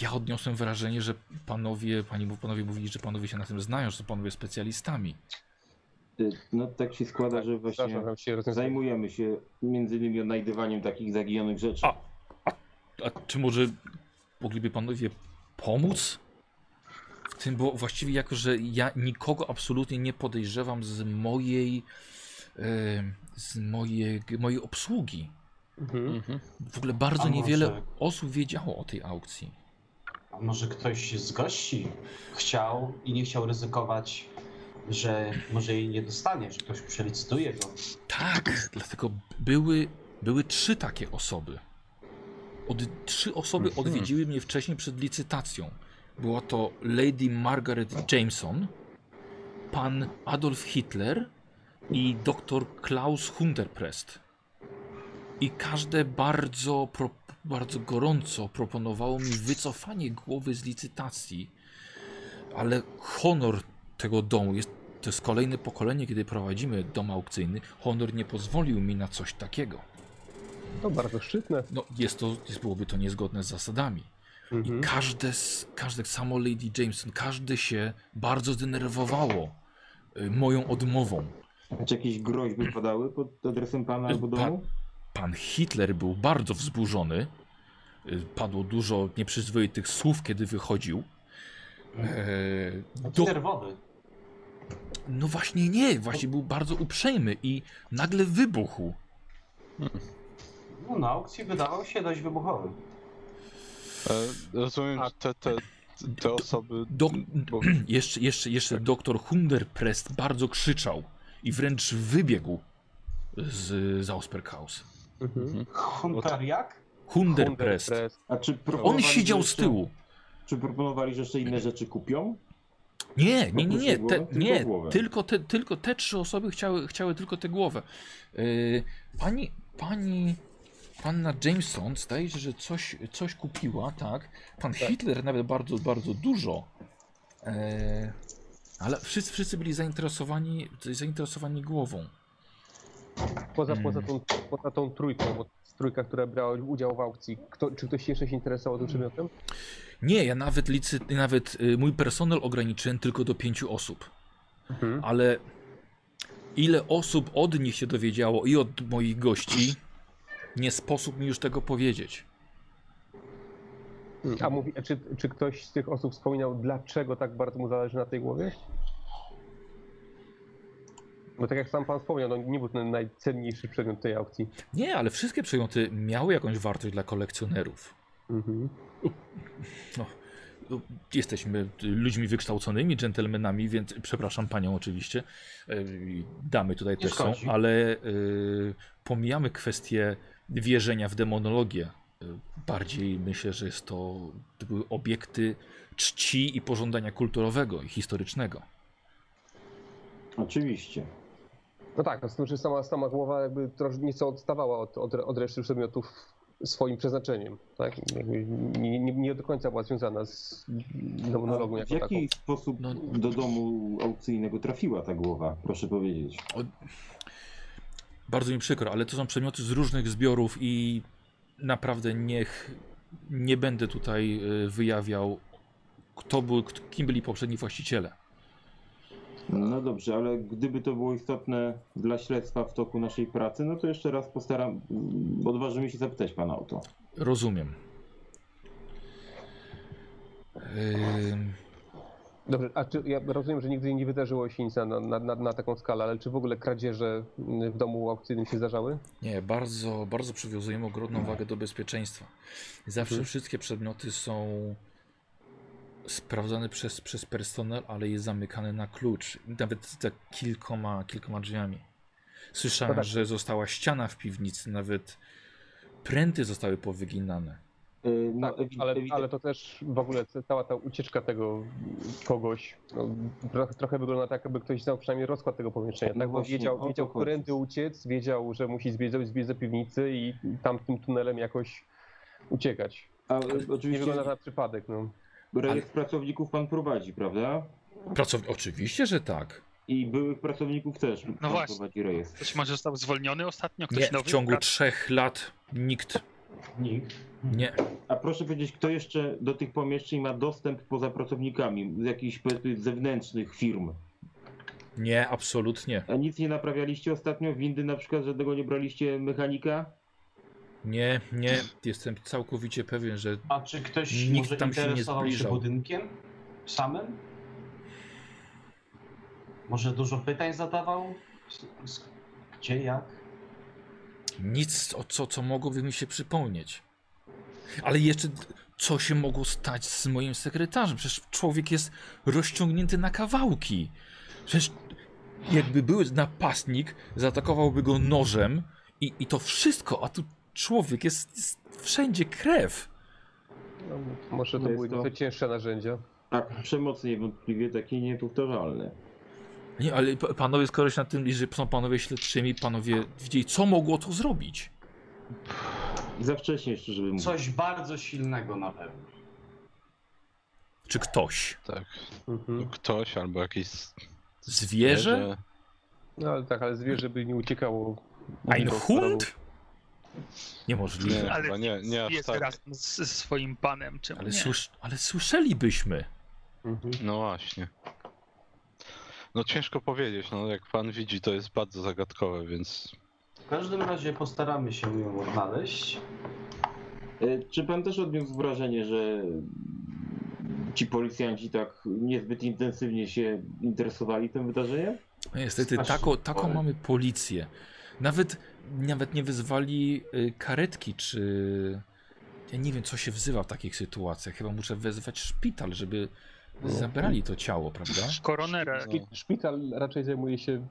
Speaker 1: ja odniosłem wrażenie, że panowie, pani, panowie mówili, że panowie się na tym znają, że są panowie specjalistami.
Speaker 5: Y, No tak się składa, że właśnie
Speaker 2: Przepraszam, tam się rozwiązałem.
Speaker 5: zajmujemy się między innymi odnajdywaniem takich zaginionych rzeczy.
Speaker 1: A. A czy może mogliby panowie pomóc? W tym, bo właściwie jako, że ja nikogo absolutnie nie podejrzewam z mojej, e, z mojej, mojej obsługi.
Speaker 2: Mhm.
Speaker 1: W ogóle bardzo
Speaker 4: A
Speaker 1: niewiele
Speaker 4: może-
Speaker 1: osób wiedziało o tej aukcji.
Speaker 4: A może ktoś z gości chciał i nie chciał ryzykować, że może jej nie dostanie, że ktoś przelicytuje go.
Speaker 1: Tak, dlatego były, były trzy takie osoby. Od, trzy osoby
Speaker 3: Mhm.
Speaker 1: odwiedziły mnie wcześniej przed licytacją. Była to Lady Margaret Jameson, pan Adolf Hitler i dr Klaus Hunterprest. I każde bardzo, pro, bardzo gorąco proponowało mi wycofanie głowy z licytacji, ale honor tego domu jest to jest kolejne pokolenie, kiedy prowadzimy dom aukcyjny. Honor nie pozwolił mi na coś takiego.
Speaker 2: To bardzo szczytne.
Speaker 1: No, jest to, jest, byłoby to niezgodne z zasadami.
Speaker 2: Mhm.
Speaker 1: I każde, z, każde, samo Lady Jameson, każde się bardzo zdenerwowało y, moją odmową.
Speaker 5: Czy jakieś groźby padały pod adresem pana albo
Speaker 1: Pa-
Speaker 5: domu?
Speaker 1: Pan Hitler był bardzo wzburzony. Y, Padło dużo nieprzyzwoitych słów, kiedy wychodził. E,
Speaker 4: Taki nerwowy.
Speaker 1: No właśnie nie, właśnie był bardzo uprzejmy i nagle wybuchł.
Speaker 4: No, na aukcji wydawał się dość wybuchowy.
Speaker 3: E, Rozumiem,
Speaker 2: A-
Speaker 3: że te, te, te osoby.
Speaker 1: do-
Speaker 3: bo-
Speaker 1: Jeszcze, jeszcze, jeszcze
Speaker 5: Tak.
Speaker 1: doktor Hunderprest bardzo krzyczał i wręcz wybiegł z, z Ausperkaus. No
Speaker 4: Huntariak?
Speaker 1: Hunderprest.
Speaker 2: Hunderprest.
Speaker 5: A czy
Speaker 1: On
Speaker 5: proponowali,
Speaker 1: siedział
Speaker 5: że
Speaker 1: z
Speaker 5: jeszcze-
Speaker 1: tyłu.
Speaker 5: Czy proponowali, że jeszcze inne rzeczy kupią?
Speaker 1: Nie, nie, nie, nie.
Speaker 5: Oprócz
Speaker 1: Te,
Speaker 5: głowy? Tylko
Speaker 1: nie
Speaker 5: głowę.
Speaker 1: tylko, te, tylko te trzy osoby chciały, chciały tylko tę głowę. Yy, pani, pani, panna Jameson zdaje się, że coś, coś kupiła, tak? Pan Hitler nawet bardzo, bardzo dużo. Yy, ale wszyscy, wszyscy byli zainteresowani, zainteresowani głową.
Speaker 2: Poza,
Speaker 1: Mm.
Speaker 2: poza, tą, poza tą trójką, bo to jest trójka, która brała udział w aukcji, kto, czy ktoś jeszcze się interesował tym przedmiotem?
Speaker 1: Nie, ja nawet licy, nawet y, mój personel ograniczyłem tylko do pięciu osób. Ale ile osób od nich się dowiedziało i od moich gości, nie sposób mi już tego powiedzieć.
Speaker 2: A
Speaker 5: Mhm.
Speaker 2: mówi, czy, czy ktoś z tych osób wspominał, dlaczego tak bardzo mu zależy na tej głowie? Bo tak jak sam pan wspomniał, no, nie był ten najcenniejszy przedmiot tej aukcji.
Speaker 1: Nie, ale wszystkie przedmioty miały jakąś wartość dla kolekcjonerów.
Speaker 2: Mhm.
Speaker 1: No, Jesteśmy y, ludźmi wykształconymi, dżentelmenami, więc przepraszam panią oczywiście. y, Damy tutaj
Speaker 4: Nie
Speaker 1: też są,
Speaker 4: szkodzi.
Speaker 1: ale y, pomijamy kwestię wierzenia w demonologię. Y, Bardziej myślę, że jest to, to były obiekty czci i pożądania kulturowego i historycznego.
Speaker 5: Oczywiście.
Speaker 2: No tak, no z tym, że sama, sama głowa jakby trosz- nieco odstawała od, od, od reszty przedmiotów swoim przeznaczeniem, tak? Jakby Nie, nie, nie do końca była związana z demonologią
Speaker 5: A w
Speaker 2: jako taką.
Speaker 5: jaki sposób
Speaker 1: No-
Speaker 5: do domu aukcyjnego trafiła ta głowa? Proszę powiedzieć.
Speaker 1: Bardzo mi przykro, ale to są przedmioty z różnych zbiorów i naprawdę niech nie będę tutaj y, wyjawiał, kto był, k- kim byli poprzedni właściciele.
Speaker 5: No dobrze, ale gdyby to było istotne dla śledztwa w toku naszej pracy, no to jeszcze raz postaram, odważymy się zapytać pana o to.
Speaker 1: Rozumiem. Ym,
Speaker 2: Dobrze, a czy, ja rozumiem, że nigdy nie wydarzyło się nic na, na, na, na taką skalę, ale czy w ogóle kradzieże mm, w domu aukcyjnym się zdarzały?
Speaker 1: nie, bardzo, bardzo przywiązujemy ogromną wagę do bezpieczeństwa. Zawsze
Speaker 2: Mhm.
Speaker 1: wszystkie przedmioty są sprawdzane przez, przez personel, ale jest zamykane na klucz. Nawet za kilkoma, kilkoma drzwiami. Słyszałem,
Speaker 2: No tak.
Speaker 1: że została ściana w piwnicy, nawet pręty zostały powyginane.
Speaker 5: Yy, No,
Speaker 2: Tak,
Speaker 5: ewi-
Speaker 2: ale,
Speaker 5: ewidentnie-
Speaker 2: ale to też w ogóle ca- cała ta ucieczka tego kogoś no, trochę, trochę wygląda tak, jakby ktoś znał przynajmniej rozkład tego pomieszczenia.
Speaker 5: No
Speaker 2: Tak, bo
Speaker 5: właśnie, o
Speaker 2: wiedział,
Speaker 5: to
Speaker 2: wiedział
Speaker 5: chodzi.
Speaker 2: którędy uciec, wiedział, że musi zwiedzać, zwiedzać piwnicy i tamtym tunelem jakoś uciekać.
Speaker 5: A, e,
Speaker 2: Nie
Speaker 5: oczywiście
Speaker 2: wygląda na przypadek. No.
Speaker 5: rejestr pracowników pan prowadzi, prawda?
Speaker 1: Pracowni- Oczywiście, że tak.
Speaker 5: I byłych pracowników też
Speaker 2: No
Speaker 5: pan
Speaker 6: właśnie.
Speaker 5: prowadzi rejestr.
Speaker 6: Ktoś może został zwolniony ostatnio? Ktoś
Speaker 1: Nie, w
Speaker 6: nowy?
Speaker 1: ciągu
Speaker 6: Brat-
Speaker 1: trzech lat nikt.
Speaker 4: Nikt.
Speaker 1: Nie.
Speaker 5: A proszę powiedzieć, kto jeszcze do tych pomieszczeń ma dostęp poza pracownikami z jakichś powiedzmy, zewnętrznych firm?
Speaker 1: Nie, absolutnie.
Speaker 5: A nic nie naprawialiście ostatnio? Windy na przykład, żadnego nie braliście mechanika?
Speaker 1: Nie, nie. Jestem całkowicie pewien, że
Speaker 4: A czy ktoś
Speaker 1: Nikt
Speaker 4: może
Speaker 1: tam się nie
Speaker 4: interesował się,
Speaker 1: zbliżał.
Speaker 4: budynkiem samym? Może dużo pytań zadawał? S- s- Gdzie, jak?
Speaker 1: nic, o co, co mogłoby mi się przypomnieć. Ale jeszcze, co się mogło stać z moim sekretarzem? Przecież człowiek jest rozciągnięty na kawałki. Przecież jakby był napastnik, zaatakowałby go nożem i, i to wszystko, a tu człowiek jest, jest wszędzie krew.
Speaker 2: No, może to
Speaker 5: Jest
Speaker 2: były
Speaker 5: to-
Speaker 2: nieco cięższe narzędzia.
Speaker 5: Tak, przemoc niewątpliwie takie niepowtarzalne.
Speaker 1: Nie, ale pa- panowie, skoro się na tym, że są panowie śledczymi, panowie widzieli, co mogło to zrobić?
Speaker 5: Za wcześnie jeszcze, żeby mówić.
Speaker 4: Coś bardzo silnego na pewno.
Speaker 1: Czy ktoś?
Speaker 3: Tak.
Speaker 2: Mhm.
Speaker 3: Ktoś albo jakiś. z-
Speaker 1: Zwierzę?
Speaker 2: No ale tak, ale zwierzę by nie uciekało.
Speaker 1: Ein
Speaker 2: Do
Speaker 1: Hund?
Speaker 3: Nie,
Speaker 1: Niemożliwe.
Speaker 6: Ale
Speaker 3: chyba nie, nie aż
Speaker 6: jest
Speaker 3: tak.
Speaker 6: razem z, z swoim panem, czemu
Speaker 1: Ale,
Speaker 6: nie?
Speaker 1: słysz, ale słyszelibyśmy.
Speaker 2: Mhm.
Speaker 3: No właśnie. No ciężko powiedzieć, no jak pan widzi, to jest bardzo zagadkowe, więc
Speaker 4: W każdym razie postaramy się ją odnaleźć.
Speaker 5: E, Czy pan też odniósł wrażenie, że ci policjanci tak niezbyt intensywnie się interesowali tym wydarzeniem?
Speaker 1: No Niestety,
Speaker 4: Strasznie
Speaker 1: taką, taką
Speaker 4: chory.
Speaker 1: mamy policję. Nawet, nawet nie wyzwali y, karetki, czy... Ja nie wiem, co się wzywa w takich sytuacjach. Chyba muszę wezwać szpital, żeby
Speaker 5: No.
Speaker 1: zabrali to ciało, prawda?
Speaker 6: Koronera.
Speaker 3: No.
Speaker 2: Szpi- Szpital raczej zajmuje się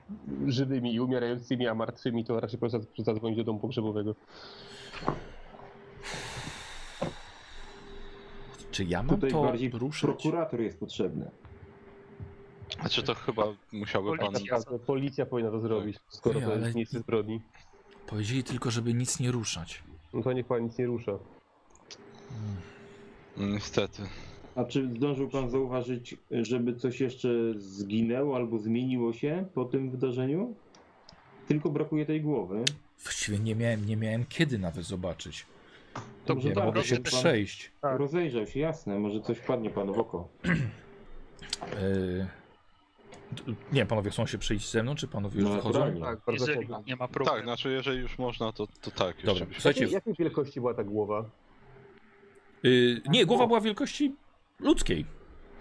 Speaker 2: żywymi i umierającymi, a martwymi to raczej po prostu zadzwonić do domu pogrzebowego.
Speaker 1: Czy ja mam
Speaker 5: Tutaj
Speaker 1: to
Speaker 5: bardziej
Speaker 1: ruszyć?
Speaker 5: prokurator jest potrzebny.
Speaker 3: znaczy to chyba musiałby pan.
Speaker 6: Policja.
Speaker 2: Albo Tak, Policja powinna to zrobić, skoro
Speaker 1: Tak. Nie,
Speaker 2: to
Speaker 1: ale-
Speaker 2: jest miejsce zbrodni.
Speaker 1: Powiedzieli tylko, żeby nic nie ruszać.
Speaker 2: No to niech pan nic nie rusza.
Speaker 3: Mm, Niestety.
Speaker 5: A czy zdążył pan zauważyć, żeby coś jeszcze zginęło albo zmieniło się po tym wydarzeniu? Tylko brakuje tej głowy.
Speaker 1: Właściwie nie miałem, nie miałem kiedy nawet zobaczyć.
Speaker 6: To
Speaker 5: Może
Speaker 1: Nie
Speaker 5: tak, no pan
Speaker 1: mogę się
Speaker 5: rozejrzał-
Speaker 1: przejść.
Speaker 5: pan Rozejrzał się, jasne, może coś padnie panu w oko.
Speaker 1: Yy... d- Nie, panowie chcą się przejść ze mną, czy panowie już
Speaker 5: No,
Speaker 1: wychodzą?
Speaker 5: naturalnie.
Speaker 2: Tak, bardzo
Speaker 6: Jeżeli
Speaker 2: chętnie.
Speaker 6: nie ma
Speaker 3: Tak,
Speaker 6: problemu.
Speaker 3: znaczy jeżeli już można, to, to tak. już
Speaker 1: Dobra,
Speaker 3: oczywiście.
Speaker 1: słuchajcie, w-
Speaker 2: Jakiej wielkości była ta głowa?
Speaker 1: yy, nie, głowa była wielkości ludzkiej.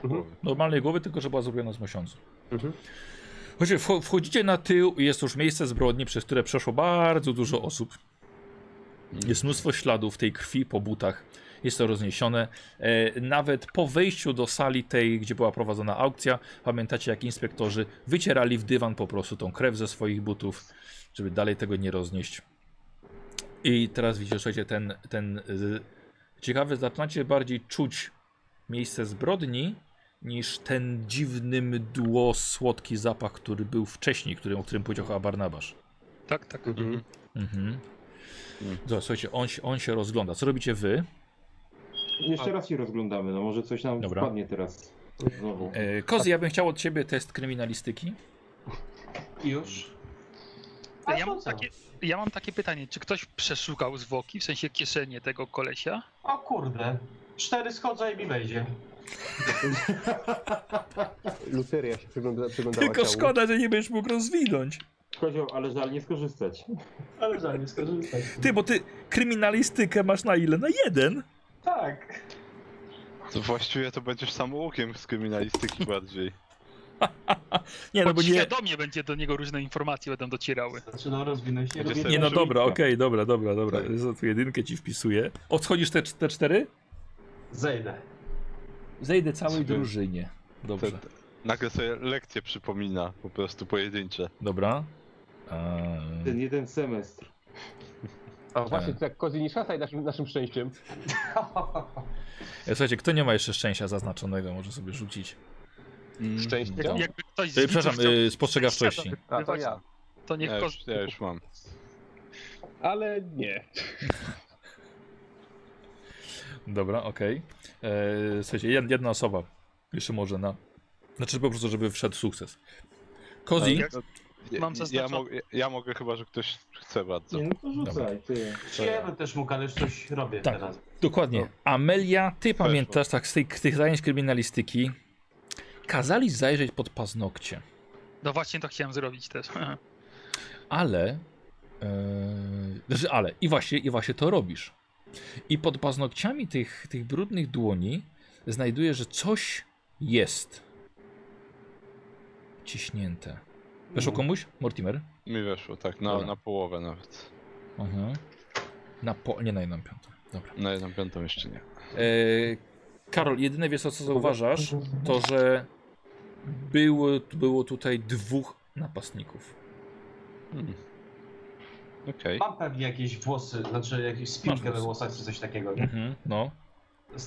Speaker 2: Mhm.
Speaker 1: Normalnej głowy, tylko że była zrobiona z mosiądzu.
Speaker 2: Mhm.
Speaker 1: Chodźcie, wcho- wchodzicie na tył i jest już miejsce zbrodni, przez które przeszło bardzo dużo osób. Jest mnóstwo śladów tej krwi po butach. Jest to rozniesione. E, nawet po wejściu do sali tej, gdzie była prowadzona aukcja, pamiętacie jak inspektorzy wycierali w dywan po prostu tą krew ze swoich butów, żeby dalej tego nie roznieść. I teraz widzicie, słuchajcie, ten, ten y, ciekawy, zaczynacie bardziej czuć miejsce zbrodni, niż ten dziwny mdło, słodki zapach, który był wcześniej, który, o którym powiedział chyba Barnabasz.
Speaker 6: Tak, tak.
Speaker 3: Mhm.
Speaker 1: Mhm. Dobra, słuchajcie, on, się- on się rozgląda. Co robicie wy?
Speaker 5: Jeszcze raz się rozglądamy, no może coś nam
Speaker 1: Dobra.
Speaker 5: wpadnie teraz znowu.
Speaker 1: E, Kozy, ja bym chciał od ciebie test kryminalistyki.
Speaker 4: Już.
Speaker 6: A
Speaker 4: A
Speaker 6: Ja mam,
Speaker 4: po co?
Speaker 6: takie, ja mam takie pytanie, czy ktoś przeszukał zwłoki, w sensie kieszenie tego kolesia?
Speaker 4: O kurde. Cztery schodzą i mi wejdzie.
Speaker 2: Luteria się przygląda, przyglądała
Speaker 1: Tylko
Speaker 2: ciału.
Speaker 1: szkoda, że nie będziesz mógł rozwinąć.
Speaker 5: Kozioł, ale żal nie skorzystać.
Speaker 4: Ale za nie skorzystać.
Speaker 1: Ty, bo ty kryminalistykę masz na ile? Na jeden?
Speaker 4: Tak.
Speaker 3: To właściwie to będziesz samoukiem z kryminalistyki bardziej.
Speaker 1: Nie, no bo nie...
Speaker 6: świadomie będzie do niego różne informacje będą docierały.
Speaker 4: Zaczynam rozwinąć. Nie
Speaker 3: Będzie
Speaker 4: robię
Speaker 3: sobie-
Speaker 1: Nie, no dobra, okej, dobra, dobra, dobra.
Speaker 3: Tak.
Speaker 1: Za tu jedynkę ci wpisuję. Odchodzisz te, te cztery?
Speaker 4: Zejdę.
Speaker 1: Zejdę całej
Speaker 3: Sobie. Tak.
Speaker 1: drużynie.
Speaker 3: To,
Speaker 1: Dobrze.
Speaker 3: nagle sobie lekcje przypomina, po prostu pojedyncze.
Speaker 1: Dobra. Eee,
Speaker 5: Ten jeden semestr.
Speaker 2: A właśnie, tak Kozi, nie szasaj naszym, naszym szczęściem.
Speaker 1: E, Słuchajcie, kto nie ma jeszcze szczęścia zaznaczonego, może sobie rzucić.
Speaker 2: Szczęście?
Speaker 1: Tak.
Speaker 6: Jakby ktoś z
Speaker 1: E,
Speaker 6: widzów
Speaker 1: Przepraszam,
Speaker 6: chciał
Speaker 1: e, spostrzegawczości.
Speaker 6: ślada
Speaker 2: A, to
Speaker 6: wykrywać,
Speaker 2: ja.
Speaker 6: To niech
Speaker 3: Ja
Speaker 6: ja
Speaker 3: już, ja już mam.
Speaker 2: Ale nie.
Speaker 1: Dobra, okej. E, Słuchajcie, jed- jedna osoba jeszcze może na... Znaczy po prostu, żeby wszedł sukces. Kozi,
Speaker 6: Tak,
Speaker 3: Ja,
Speaker 6: Mam
Speaker 3: ja,
Speaker 6: zaznaczone.
Speaker 3: mogę, ja mogę chyba, że ktoś chce bardzo.
Speaker 5: Nie, no to rzucaj, ty.
Speaker 4: Ja bym też mógł, ale już coś robię
Speaker 1: Tak.
Speaker 4: teraz.
Speaker 1: dokładnie. Amelia, ty pamiętasz tak z tych, tych zajęć kryminalistyki. Kazali zajrzeć pod paznokcie.
Speaker 6: No właśnie to chciałem zrobić też.
Speaker 1: ale. Yy, znaczy, ale i właśnie, i właśnie to robisz. I pod paznokciami tych, tych brudnych dłoni znajdujesz, że coś jest. Ciśnięte. Weszło komuś? Mortimer?
Speaker 3: Mi weszło, tak, na,
Speaker 1: Dobra.
Speaker 3: na połowę nawet.
Speaker 1: Mhm. Na po, nie na jedną piątą. Dobra.
Speaker 3: Na jedną piątą jeszcze nie.
Speaker 1: Yy, Karol, jedyne wiesz, o co zauważasz, to że było, było tutaj dwóch napastników.
Speaker 3: Hmm. Okej.
Speaker 4: Mam pewnie jakieś włosy, znaczy jakieś
Speaker 1: Masz
Speaker 4: spinkę
Speaker 1: włosy.
Speaker 4: we włosach czy coś takiego, nie?
Speaker 1: Mhm. No,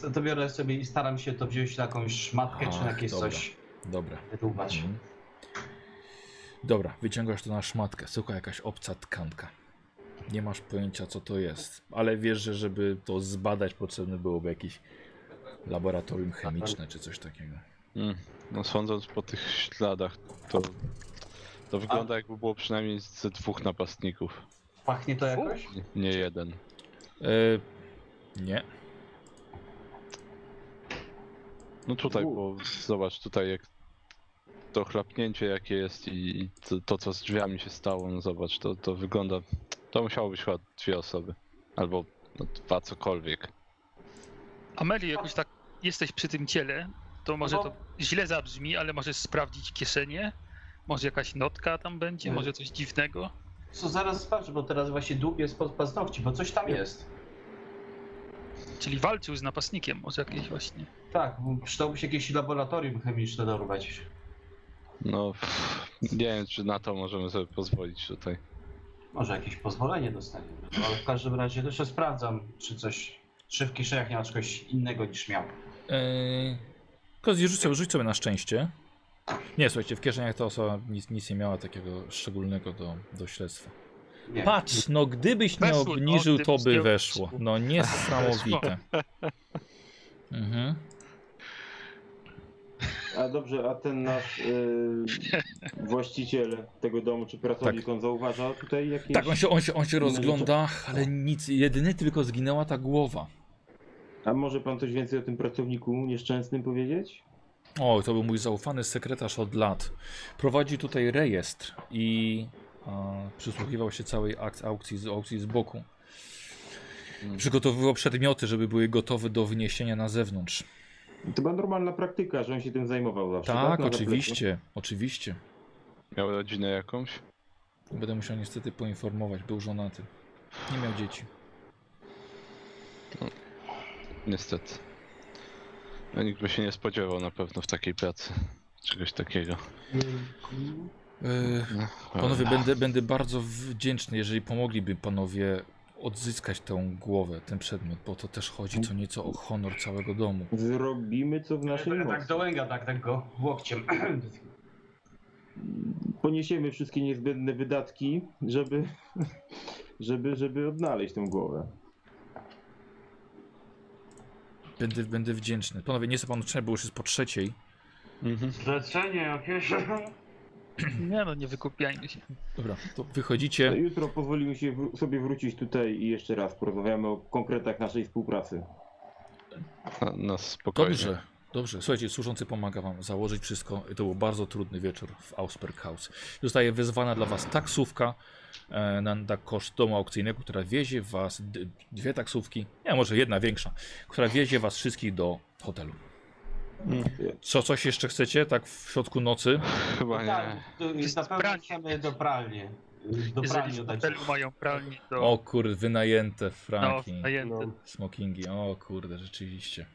Speaker 4: To- To biorę sobie i staram się to wziąć na jakąś szmatkę czy na
Speaker 1: Ach,
Speaker 4: jakieś
Speaker 1: dobra.
Speaker 4: coś
Speaker 1: dobra.
Speaker 4: wydłubać.
Speaker 1: Mhm. Dobra, wyciągasz to na szmatkę. Słuchaj, jakaś obca tkanka. Nie masz pojęcia, co to jest, ale wiesz, że żeby to zbadać, potrzebne byłoby jakieś laboratorium chemiczne czy coś takiego.
Speaker 3: Mm. No sądząc po tych śladach, to, to wygląda jakby było przynajmniej ze dwóch napastników.
Speaker 4: Pachnie to jakoś?
Speaker 3: Nie, nie jeden.
Speaker 1: E, nie.
Speaker 3: No tutaj, bo zobacz, tutaj jak to chlapnięcie jakie jest i to, to co z drzwiami się stało, no zobacz, to, to wygląda... To musiało być chyba dwie osoby. Albo no, dwa cokolwiek.
Speaker 6: Amelio, jakoś tak jesteś przy tym ciele, to może
Speaker 4: No.
Speaker 6: to źle zabrzmi, ale możesz sprawdzić kieszenie, może jakaś notka tam będzie,
Speaker 4: Nie.
Speaker 6: może coś dziwnego.
Speaker 4: Co zaraz sprawdzę, bo teraz właśnie dłubię spod paznokci, bo coś tam jest.
Speaker 6: Czyli walczył z napastnikiem, może jakieś właśnie.
Speaker 4: Tak, przydałoby się jakieś laboratorium chemiczne dorwać.
Speaker 3: No pff, nie wiem czy na to możemy sobie pozwolić tutaj.
Speaker 4: Może jakieś pozwolenie dostaniemy, no, ale w każdym razie jeszcze sprawdzam, czy coś, czy w kieszeniach nie ma czegoś innego niż miał.
Speaker 1: E, Kozi, rzuć sobie, rzuć sobie na szczęście. Nie, słuchajcie, w kieszeniach ta osoba nic, nic nie miała takiego szczególnego do, do śledztwa.
Speaker 4: Nie.
Speaker 1: Patrz, no gdybyś nie
Speaker 6: Weszło, no,
Speaker 1: obniżył, to
Speaker 6: gdybyś nie
Speaker 1: by weszło.
Speaker 6: obniżył.
Speaker 1: No niesamowite. Mhm.
Speaker 5: A dobrze, a ten nasz y, właściciel tego domu, czy pracownik, on zauważa tutaj jakieś...
Speaker 1: Tak, on się, on się, on się
Speaker 5: Inne
Speaker 1: rozgląda, ale nic. Jedyny tylko zginęła ta głowa.
Speaker 5: A może pan coś więcej o tym pracowniku nieszczęsnym powiedzieć?
Speaker 1: O, to był mój zaufany sekretarz od lat. Prowadzi tutaj rejestr i e, przysłuchiwał się całej ak- aukcji, z, aukcji z boku.
Speaker 3: Mm.
Speaker 1: Przygotowywał przedmioty, żeby były gotowe do wyniesienia na zewnątrz.
Speaker 5: To była normalna praktyka, że on się tym zajmował zawsze.
Speaker 1: Tak,
Speaker 5: Na zapleczu.
Speaker 1: oczywiście, oczywiście.
Speaker 3: Miał rodzinę jakąś?
Speaker 1: Będę musiał niestety poinformować, był żonaty. Nie miał dzieci.
Speaker 3: Niestety. No, nikt by się nie spodziewał na pewno w takiej pracy. Czegoś takiego.
Speaker 1: E,
Speaker 3: No,
Speaker 1: Panowie, będę, będę bardzo wdzięczny, jeżeli pomogliby panowie odzyskać tę głowę, ten przedmiot, bo to też chodzi co nieco o honor całego domu.
Speaker 5: Zrobimy co w naszej
Speaker 4: Tak,
Speaker 5: mocy.
Speaker 4: tak do łęga, tak, tak go łokciem.
Speaker 5: Poniesiemy wszystkie niezbędne wydatki, żeby, żeby, żeby odnaleźć tę głowę.
Speaker 1: Będę, będę wdzięczny. Panowie, nie chcę panu trzeba, bo już jest po trzeciej.
Speaker 3: Mhm.
Speaker 4: Zlecenie jakieś. No
Speaker 6: Nie no, nie wykupiajmy się.
Speaker 1: Dobra, to wychodzicie.
Speaker 5: No Jutro pozwolimy się wró- sobie wrócić tutaj i jeszcze raz porozmawiamy o konkretach naszej współpracy.
Speaker 3: Na, nas spokojnie.
Speaker 1: Dobrze, dobrze. Słuchajcie, służący pomaga wam założyć wszystko. To był bardzo trudny wieczór w Ausperkhaus. Zostaje wezwana dla was taksówka e, na, na koszt domu aukcyjnego, która wiezie was, d- dwie taksówki, nie, może jedna większa, która wiezie was wszystkich do hotelu. Co, coś jeszcze chcecie, tak w środku nocy?
Speaker 3: Chyba
Speaker 4: Tak,
Speaker 3: nie.
Speaker 4: to- i na pewno
Speaker 6: Pranie.
Speaker 4: chcemy do pralni. Do
Speaker 6: Jeżeli
Speaker 4: pralni
Speaker 6: w
Speaker 4: oddać.
Speaker 6: hotelu mają pralnię, to
Speaker 1: O kurde, wynajęte
Speaker 6: no,
Speaker 1: franki,
Speaker 6: zajęte.
Speaker 2: No.
Speaker 1: smokingi, o kurde, rzeczywiście.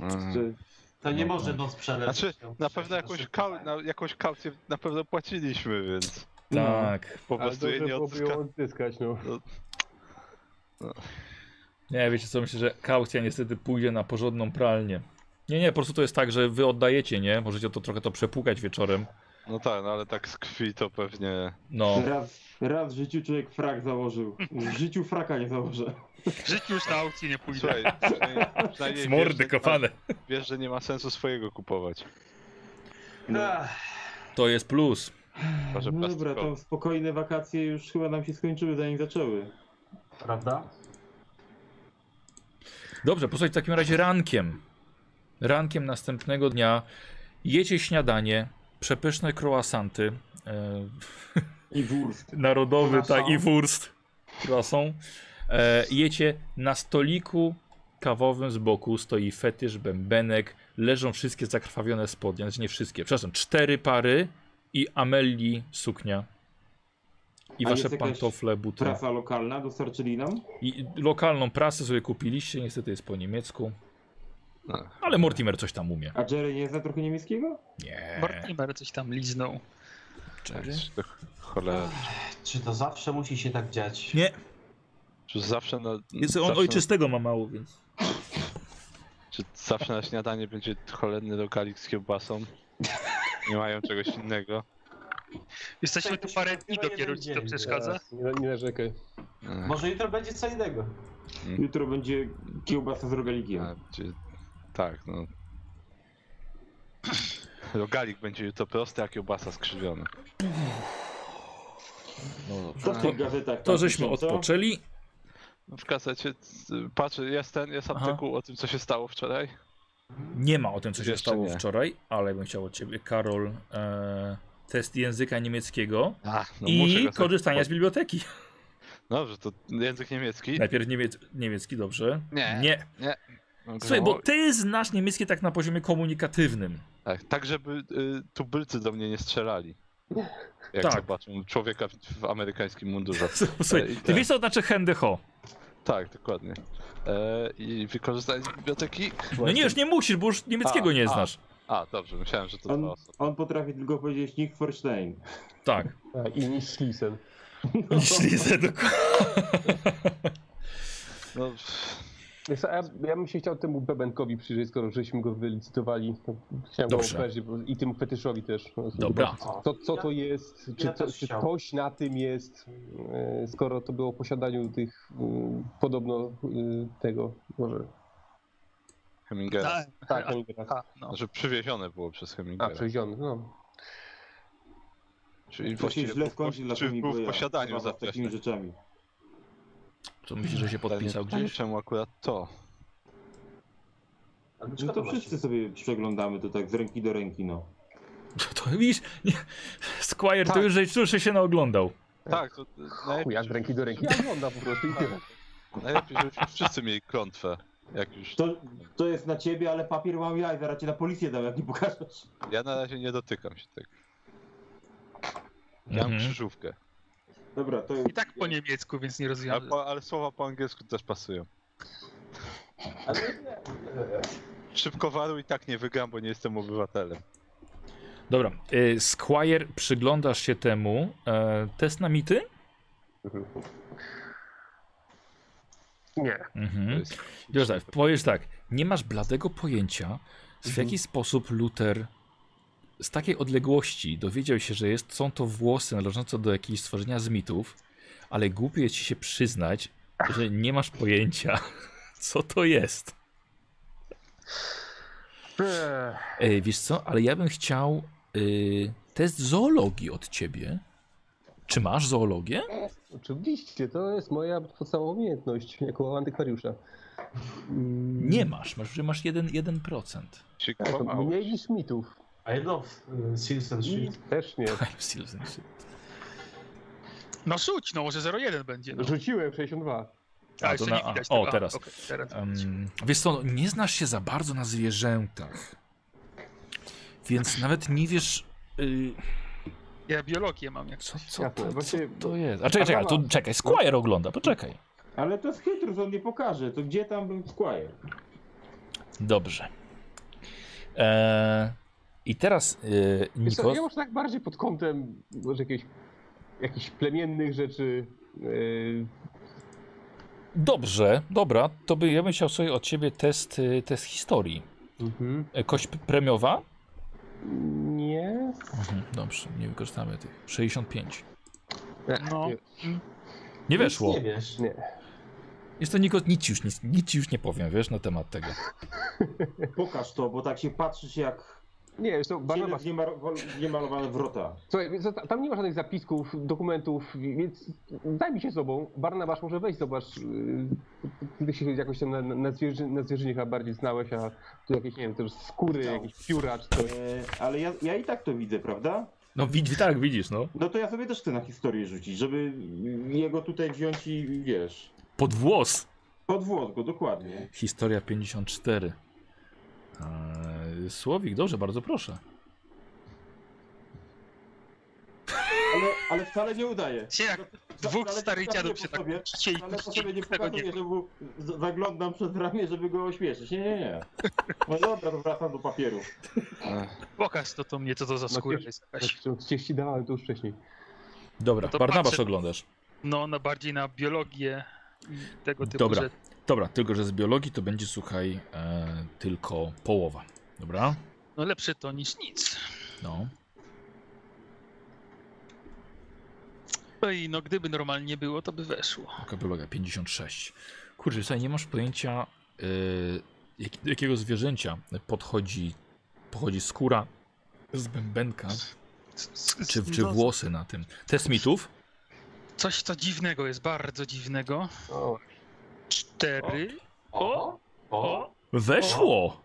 Speaker 1: Hmm.
Speaker 3: Mm.
Speaker 5: Czy
Speaker 4: To nie może noc przelecieć.
Speaker 3: Znaczy,
Speaker 4: To
Speaker 3: na
Speaker 4: muszę
Speaker 3: pewno
Speaker 4: się
Speaker 3: jakąś,
Speaker 4: dosypać.
Speaker 3: kau- na, jakąś kaucję na pewno płaciliśmy, więc
Speaker 1: Tak,
Speaker 3: po
Speaker 2: Ale
Speaker 3: prostu jej
Speaker 2: dobrze
Speaker 3: nie
Speaker 2: byłoby ją
Speaker 3: odzyska.
Speaker 2: odzyskać, no.
Speaker 1: nie, wiecie co, myślę, że kaucja niestety pójdzie na porządną pralnię. Nie, nie, po prostu to jest tak, że wy oddajecie, nie? Możecie to trochę to przepłukać wieczorem.
Speaker 3: No tak, no ale tak z krwi to pewnie...
Speaker 1: No,
Speaker 5: raz, raz w życiu człowiek frak założył. W życiu fraka nie założę.
Speaker 6: W życiu już na aukcję nie pójdę.
Speaker 3: Słuchaj, przynajmniej- przynajmniej
Speaker 1: z
Speaker 3: wiesz, że
Speaker 1: mordy
Speaker 3: nie ma-
Speaker 1: kopane.
Speaker 3: Wiesz, że nie ma sensu swojego kupować.
Speaker 4: Ach,
Speaker 1: To jest plus.
Speaker 3: Chyba, No, że
Speaker 5: No dobra,
Speaker 3: plastikowe.
Speaker 5: to spokojne wakacje już chyba nam się skończyły, zanim zaczęły.
Speaker 4: tak, Prawda?
Speaker 1: Dobrze, posłuchajcie, w takim razie rankiem. Rankiem następnego dnia jecie śniadanie, przepyszne croissanty, e,
Speaker 5: I wurst.
Speaker 1: narodowy,
Speaker 4: Croissant.
Speaker 1: tak, i wurst. Croissant. E, jecie na stoliku kawowym z boku stoi fetysz, bębenek, leżą wszystkie zakrwawione spodnie, znaczy nie wszystkie, przepraszam, cztery pary i Amelii suknia. I
Speaker 5: A
Speaker 1: wasze
Speaker 5: jest jakaś
Speaker 1: pantofle, buty.
Speaker 5: Prasa lokalna dostarczyli nam.
Speaker 1: I lokalną prasę sobie kupiliście, niestety jest po niemiecku.
Speaker 3: Ach.
Speaker 1: Ale Mortimer coś tam umie.
Speaker 5: A Jerry nie zna trochę niemieckiego?
Speaker 1: Nie.
Speaker 6: Mortimer coś tam liznął.
Speaker 3: Tak,
Speaker 1: Jerry?
Speaker 3: to Cholera.
Speaker 4: Czy to zawsze musi się tak dziać?
Speaker 1: Nie.
Speaker 3: Czy zawsze na...
Speaker 1: Jest on
Speaker 3: zawsze,
Speaker 1: ojczystego ma mało, więc.
Speaker 3: Czy zawsze na śniadanie będzie cholerny lokalik z kiełbasą? Nie mają czegoś innego.
Speaker 6: Jesteśmy
Speaker 4: Jesteśmy
Speaker 6: tu parę dni
Speaker 4: tylko
Speaker 6: dopiero,
Speaker 4: jeden
Speaker 6: ci to
Speaker 4: dzień,
Speaker 6: przeszkadza?
Speaker 2: Teraz, Nie, nie narzekaj.
Speaker 3: Ech,
Speaker 4: Może jutro będzie co innego.
Speaker 3: Mm.
Speaker 5: Jutro będzie kiełbasa z rogalikiem.
Speaker 3: a czy- Tak, no. Rogalik będzie jutro prosty, a kiełbasa skrzywiona. No,
Speaker 5: Co
Speaker 3: tak.
Speaker 5: w tych gazetach? tam
Speaker 1: To żeśmy
Speaker 5: piszą, co?
Speaker 1: odpoczęli.
Speaker 3: W kasecie, c- patrzę, jest ten, jest
Speaker 1: Aha.
Speaker 3: artykuł o tym, co się stało wczoraj.
Speaker 1: Nie ma o tym, co się
Speaker 3: Jeszcze
Speaker 1: stało
Speaker 3: nie.
Speaker 1: wczoraj, ale bym chciał od ciebie, Karol, e, test języka niemieckiego
Speaker 3: Ach, no muszę
Speaker 1: i
Speaker 3: go sobie
Speaker 1: korzystania z biblioteki.
Speaker 3: Dobrze, to język niemiecki.
Speaker 1: Najpierw niemiec, niemiecki, dobrze?
Speaker 3: Nie.
Speaker 1: Nie.
Speaker 3: No,
Speaker 1: Słuchaj,
Speaker 3: no,
Speaker 1: bo ty znasz niemiecki tak na poziomie komunikatywnym.
Speaker 3: Tak, tak żeby y, tubylcy do mnie nie strzelali. Jak
Speaker 1: Tak.
Speaker 3: zobaczą człowieka w, w amerykańskim mundurze.
Speaker 1: Słuchaj, ty
Speaker 3: tak.
Speaker 1: wiesz, co znaczy hände ho.
Speaker 3: Tak, dokładnie. E, I wykorzystać z biblioteki?
Speaker 1: No nie, już nie musisz, bo już niemieckiego
Speaker 3: A,
Speaker 1: nie
Speaker 3: a.
Speaker 1: znasz.
Speaker 3: A, dobrze, myślałem, że to
Speaker 5: On-
Speaker 3: dwa osoby.
Speaker 5: On potrafi tylko powiedzieć Nick Forstein.
Speaker 1: Tak.
Speaker 2: A, I niż Schliessen.
Speaker 1: Ślizę do
Speaker 3: No, pff,
Speaker 2: Wiesz co, a Ja, ja bym się chciał temu bebenkowi przyjrzeć, skoro żeśmy go wylicytowali. To Chciałem go
Speaker 1: Dobrze.
Speaker 2: obejrzeć, bo- i temu fetyszowi też.
Speaker 1: Dobra.
Speaker 4: O,
Speaker 2: To, co
Speaker 4: ja-
Speaker 2: to jest? Czy,
Speaker 4: ja
Speaker 2: to,
Speaker 4: też
Speaker 2: czy
Speaker 4: chciałbym.
Speaker 2: coś na tym jest? e, Skoro to było o posiadaniu tych mm, podobno y, tego może.
Speaker 3: Hemingera.
Speaker 2: Tak,
Speaker 6: a-
Speaker 2: oni teraz.
Speaker 6: a, no.
Speaker 3: Znaczy przywiezione było przez
Speaker 2: A,
Speaker 3: Hemingera.
Speaker 2: przewieziony, no.
Speaker 3: Czyli
Speaker 5: To się
Speaker 3: właściwie
Speaker 5: źle
Speaker 3: był-
Speaker 5: skończy dla
Speaker 3: czy był w
Speaker 5: Hemingwaya,
Speaker 3: posiadaniu za
Speaker 5: zabawa z takimi
Speaker 3: wcześnie.
Speaker 5: rzeczami.
Speaker 1: Co myślisz, że się podpisał
Speaker 3: Pytanie,
Speaker 1: gdzieś?
Speaker 3: Czemu akurat to?
Speaker 4: A dlaczego
Speaker 5: No to
Speaker 4: właśnie?
Speaker 5: wszyscy sobie przeglądamy to tak z ręki do ręki, no.
Speaker 1: To widzisz, nie. Squire to
Speaker 3: Tak.
Speaker 1: już, żeś- już się naoglądał.
Speaker 3: Tak, to
Speaker 2: Chuj, jak z ręki do ręki. No, Ja ogląda po prostu i tyle.
Speaker 3: najlepiej, żebyśmy wszyscy mieli klątwę. Jak już...
Speaker 5: To, to jest na ciebie, ale papier mam ja i zaraz cię na policję dam, jak nie pokażesz.
Speaker 3: Ja na razie nie dotykam się tego. Ja mam
Speaker 1: Mhm.
Speaker 3: krzyżówkę.
Speaker 5: Dobra, to
Speaker 6: I tak po niemiecku, więc nie
Speaker 3: Ale,
Speaker 6: rozumiem.
Speaker 3: po, ale słowa po angielsku też pasują.
Speaker 4: Ale nie,
Speaker 3: Szybko waru i tak nie wygram, bo nie jestem obywatelem.
Speaker 1: Dobra, y, Squire, przyglądasz się temu. E, test na mity?
Speaker 2: Nie.
Speaker 3: To
Speaker 1: Mhm.
Speaker 3: jest
Speaker 1: Wiesz tak, Mhm. powiesz tak, nie masz bladego pojęcia, w jaki sposób Luther z takiej odległości dowiedział się, że jest, są to włosy należące do jakiegoś stworzenia z mitów, ale głupio jest ci się przyznać, że nie masz pojęcia, co to jest.
Speaker 2: Eee,
Speaker 1: Ej, wiesz co, ale ja bym chciał y, test zoologii od ciebie. Czy masz zoologię?
Speaker 2: Oczywiście, to jest moja podstawowa umiejętność jako antykwariusza.
Speaker 1: Nie masz, masz, że masz 1%. 1%.
Speaker 3: Się
Speaker 2: Tak, to
Speaker 3: kłamał.
Speaker 2: mniej niż mitów.
Speaker 4: A jedno w y, Simpsons Shield.
Speaker 2: Też nie.
Speaker 6: No rzuć, no może 0,1 będzie. No.
Speaker 2: Rzuciłem 62.
Speaker 1: A, to
Speaker 6: jeszcze
Speaker 1: na-
Speaker 6: nie
Speaker 1: a,
Speaker 6: widać
Speaker 1: o,
Speaker 6: tego. A,
Speaker 1: teraz.
Speaker 6: okej, teraz widać.
Speaker 1: Um, wiesz co, no, nie znasz się za bardzo na zwierzętach. Więc nawet nie wiesz, y,
Speaker 6: Ja biologię mam jak
Speaker 1: co, co,
Speaker 2: Ja
Speaker 1: to, co
Speaker 2: właśnie- No.
Speaker 1: to jest. A czekaj, czekaj,
Speaker 2: Adama-
Speaker 1: tu, czekaj, Squire ogląda, poczekaj.
Speaker 5: Ale to z Hytrus on nie pokaże, to gdzie tam bym Squire?
Speaker 1: Dobrze. Eee, I teraz, e,
Speaker 2: Wiesz co,
Speaker 1: Nikos,
Speaker 2: ja może tak bardziej pod kątem może jakichś, jakichś plemiennych rzeczy. Yy,
Speaker 1: dobrze, dobra, to by, ja bym chciał sobie od ciebie test, y, test historii. E, Kość p- premiowa?
Speaker 2: Nie.
Speaker 1: Mhm, dobrze, nie wykorzystamy tych. 65.
Speaker 2: E,
Speaker 6: No.
Speaker 2: Nie.
Speaker 1: Nie
Speaker 4: Nic
Speaker 1: weszło.
Speaker 4: Nie wiesz.
Speaker 1: Jest to Nikos, nic ci już, nic, nic ci już nie powiem, wiesz, na temat tego.
Speaker 5: Pokaż to, bo tak się patrzysz jak
Speaker 2: Nie, wiesz, to bardzo
Speaker 5: Barnabas. niemalowane wrota.
Speaker 2: Słuchaj, wiesz co, ta- tam nie ma żadnych zapisków, dokumentów, więc daj mi się sobą. Barnabasz może wejść, zobacz. yy, Ty się jakoś tam na, na, zwierzy, na zwierzynie chyba bardziej znałeś, a tu jakieś, nie wiem, też skóry, jakieś pióra czy coś.
Speaker 5: E, ale ja, ja i tak to widzę, prawda?
Speaker 1: No widz, tak, widzisz, no.
Speaker 5: No to ja sobie też chcę na historię rzucić, żeby jego tutaj wziąć i wiesz.
Speaker 1: Pod włos.
Speaker 5: Pod włos go, dokładnie.
Speaker 1: Historia 54. Eee, Słowik, dobrze, bardzo proszę.
Speaker 5: Ale, ale wcale nie udaje.
Speaker 6: Się jak dwóch starych dziadów się tak chcieli
Speaker 5: Ale po sobie
Speaker 6: puścili,
Speaker 5: nie
Speaker 6: tego nie
Speaker 5: pokazuję, że mu z- zaglądam przez ramię, żeby go ośmieszyć. Nie, nie, nie. No dobra, to wracam do papieru.
Speaker 6: Pokaż to, to mnie, co to za
Speaker 2: No,
Speaker 6: skóra
Speaker 2: wiesz,
Speaker 6: jest
Speaker 2: Tak,
Speaker 6: jakaś.
Speaker 2: Przecież ci dawałem to już wcześniej.
Speaker 1: Dobra,
Speaker 6: No to
Speaker 1: Barnabasz
Speaker 6: patrzę.
Speaker 1: oglądasz.
Speaker 6: No, na bardziej na biologię i tego typu
Speaker 1: Dobra.
Speaker 6: rzeczy.
Speaker 1: Dobra, tylko że z biologii to będzie, słuchaj, e, tylko połowa. Dobra?
Speaker 6: No lepsze to niż nic.
Speaker 1: No.
Speaker 6: No i no, gdyby normalnie było, to by weszło.
Speaker 1: Taka biologia 56. Kurczę, słuchaj, nie masz pojęcia, e, jak, do jakiego zwierzęcia podchodzi, pochodzi skóra z bębenka,
Speaker 6: S- s-
Speaker 1: czy,
Speaker 6: s-
Speaker 1: czy
Speaker 6: no,
Speaker 1: włosy na tym. Test mitów?
Speaker 6: Coś co dziwnego jest, bardzo dziwnego.
Speaker 2: O,
Speaker 6: Cztery.
Speaker 4: O! O!
Speaker 6: O!
Speaker 1: Weszło!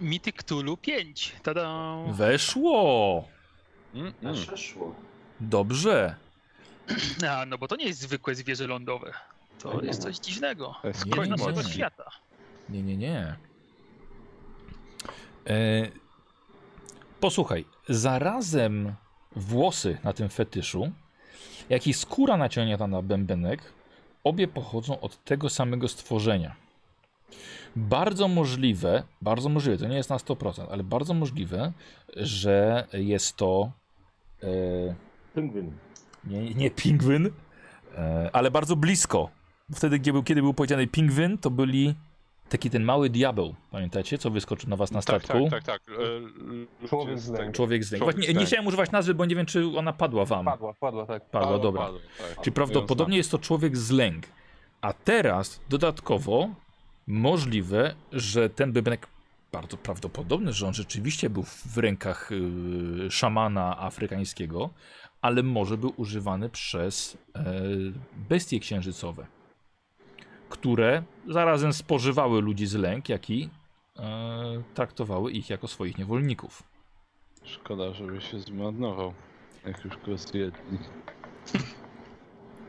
Speaker 6: Mity Cthulhu 5. Tada!
Speaker 1: Weszło!
Speaker 3: Mm,
Speaker 4: Na
Speaker 3: mm.
Speaker 4: przeszło.
Speaker 1: Dobrze.
Speaker 6: A, no bo to nie jest zwykłe zwierzę lądowe. To jest
Speaker 5: no.
Speaker 6: coś dziwnego.
Speaker 3: To jest
Speaker 1: Nie,
Speaker 6: Koń
Speaker 1: nie,
Speaker 6: naszego
Speaker 1: nie.
Speaker 6: świata.
Speaker 1: Nie, nie, nie. E, posłuchaj, zarazem włosy na tym fetyszu, jak i skóra naciągnięta na bębenek, obie pochodzą od tego samego stworzenia. Bardzo możliwe, bardzo możliwe, to nie jest na 100%, ale bardzo możliwe, że jest to e,
Speaker 5: Pingwin.
Speaker 1: nie, nie pingwin, e, ale bardzo blisko. Wtedy, kiedy był, kiedy był powiedziany pingwin, to byli taki ten mały diabeł, pamiętacie, co wyskoczył na was na
Speaker 3: Tak,
Speaker 1: statku?
Speaker 3: tak, tak, tak. E, l- l-
Speaker 2: Człowiek
Speaker 3: z
Speaker 2: z lęku.
Speaker 1: Człowiek z lęku.
Speaker 3: Człowiek z
Speaker 1: Właśnie, nie
Speaker 3: lęku.
Speaker 1: chciałem używać nazwy, bo nie wiem, czy ona padła wam. Padła,
Speaker 2: Tak. padła, padła, tak.
Speaker 1: dobra.
Speaker 3: Padło, tak.
Speaker 1: Czyli prawdopodobnie jest to człowiek z lęk. A teraz dodatkowo możliwe, że ten bębenek, bardzo prawdopodobny, że on rzeczywiście był w rękach yy, szamana afrykańskiego, ale może był używany przez e, bestie księżycowe, które zarazem spożywały ludzi z lęk, jak i e, traktowały ich jako swoich niewolników.
Speaker 3: Szkoda, żeby się zmarnował. Jak już go zjedli.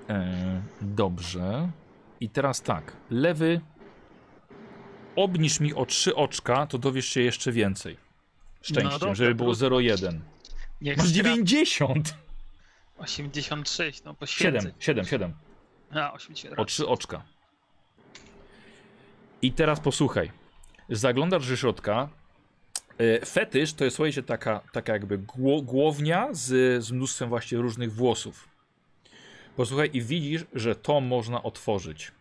Speaker 1: E, dobrze. I teraz tak. Lewy. Obniż mi o trzy oczka, to dowiesz się jeszcze więcej. Szczęściem,
Speaker 6: No dobra,
Speaker 1: żeby było
Speaker 6: trudno.
Speaker 1: 0,1.
Speaker 6: Niech
Speaker 1: Masz
Speaker 6: skra-
Speaker 1: 90!
Speaker 6: 86, no poświęcę.
Speaker 1: 7, 7, 7.
Speaker 6: A, 87.
Speaker 1: O trzy oczka. I teraz posłuchaj. Zaglądasz do środka. E, Fetysz to jest, słuchajcie, taka, taka jakby gło, głownia z, z mnóstwem właśnie różnych włosów. Posłuchaj i widzisz, że to można otworzyć.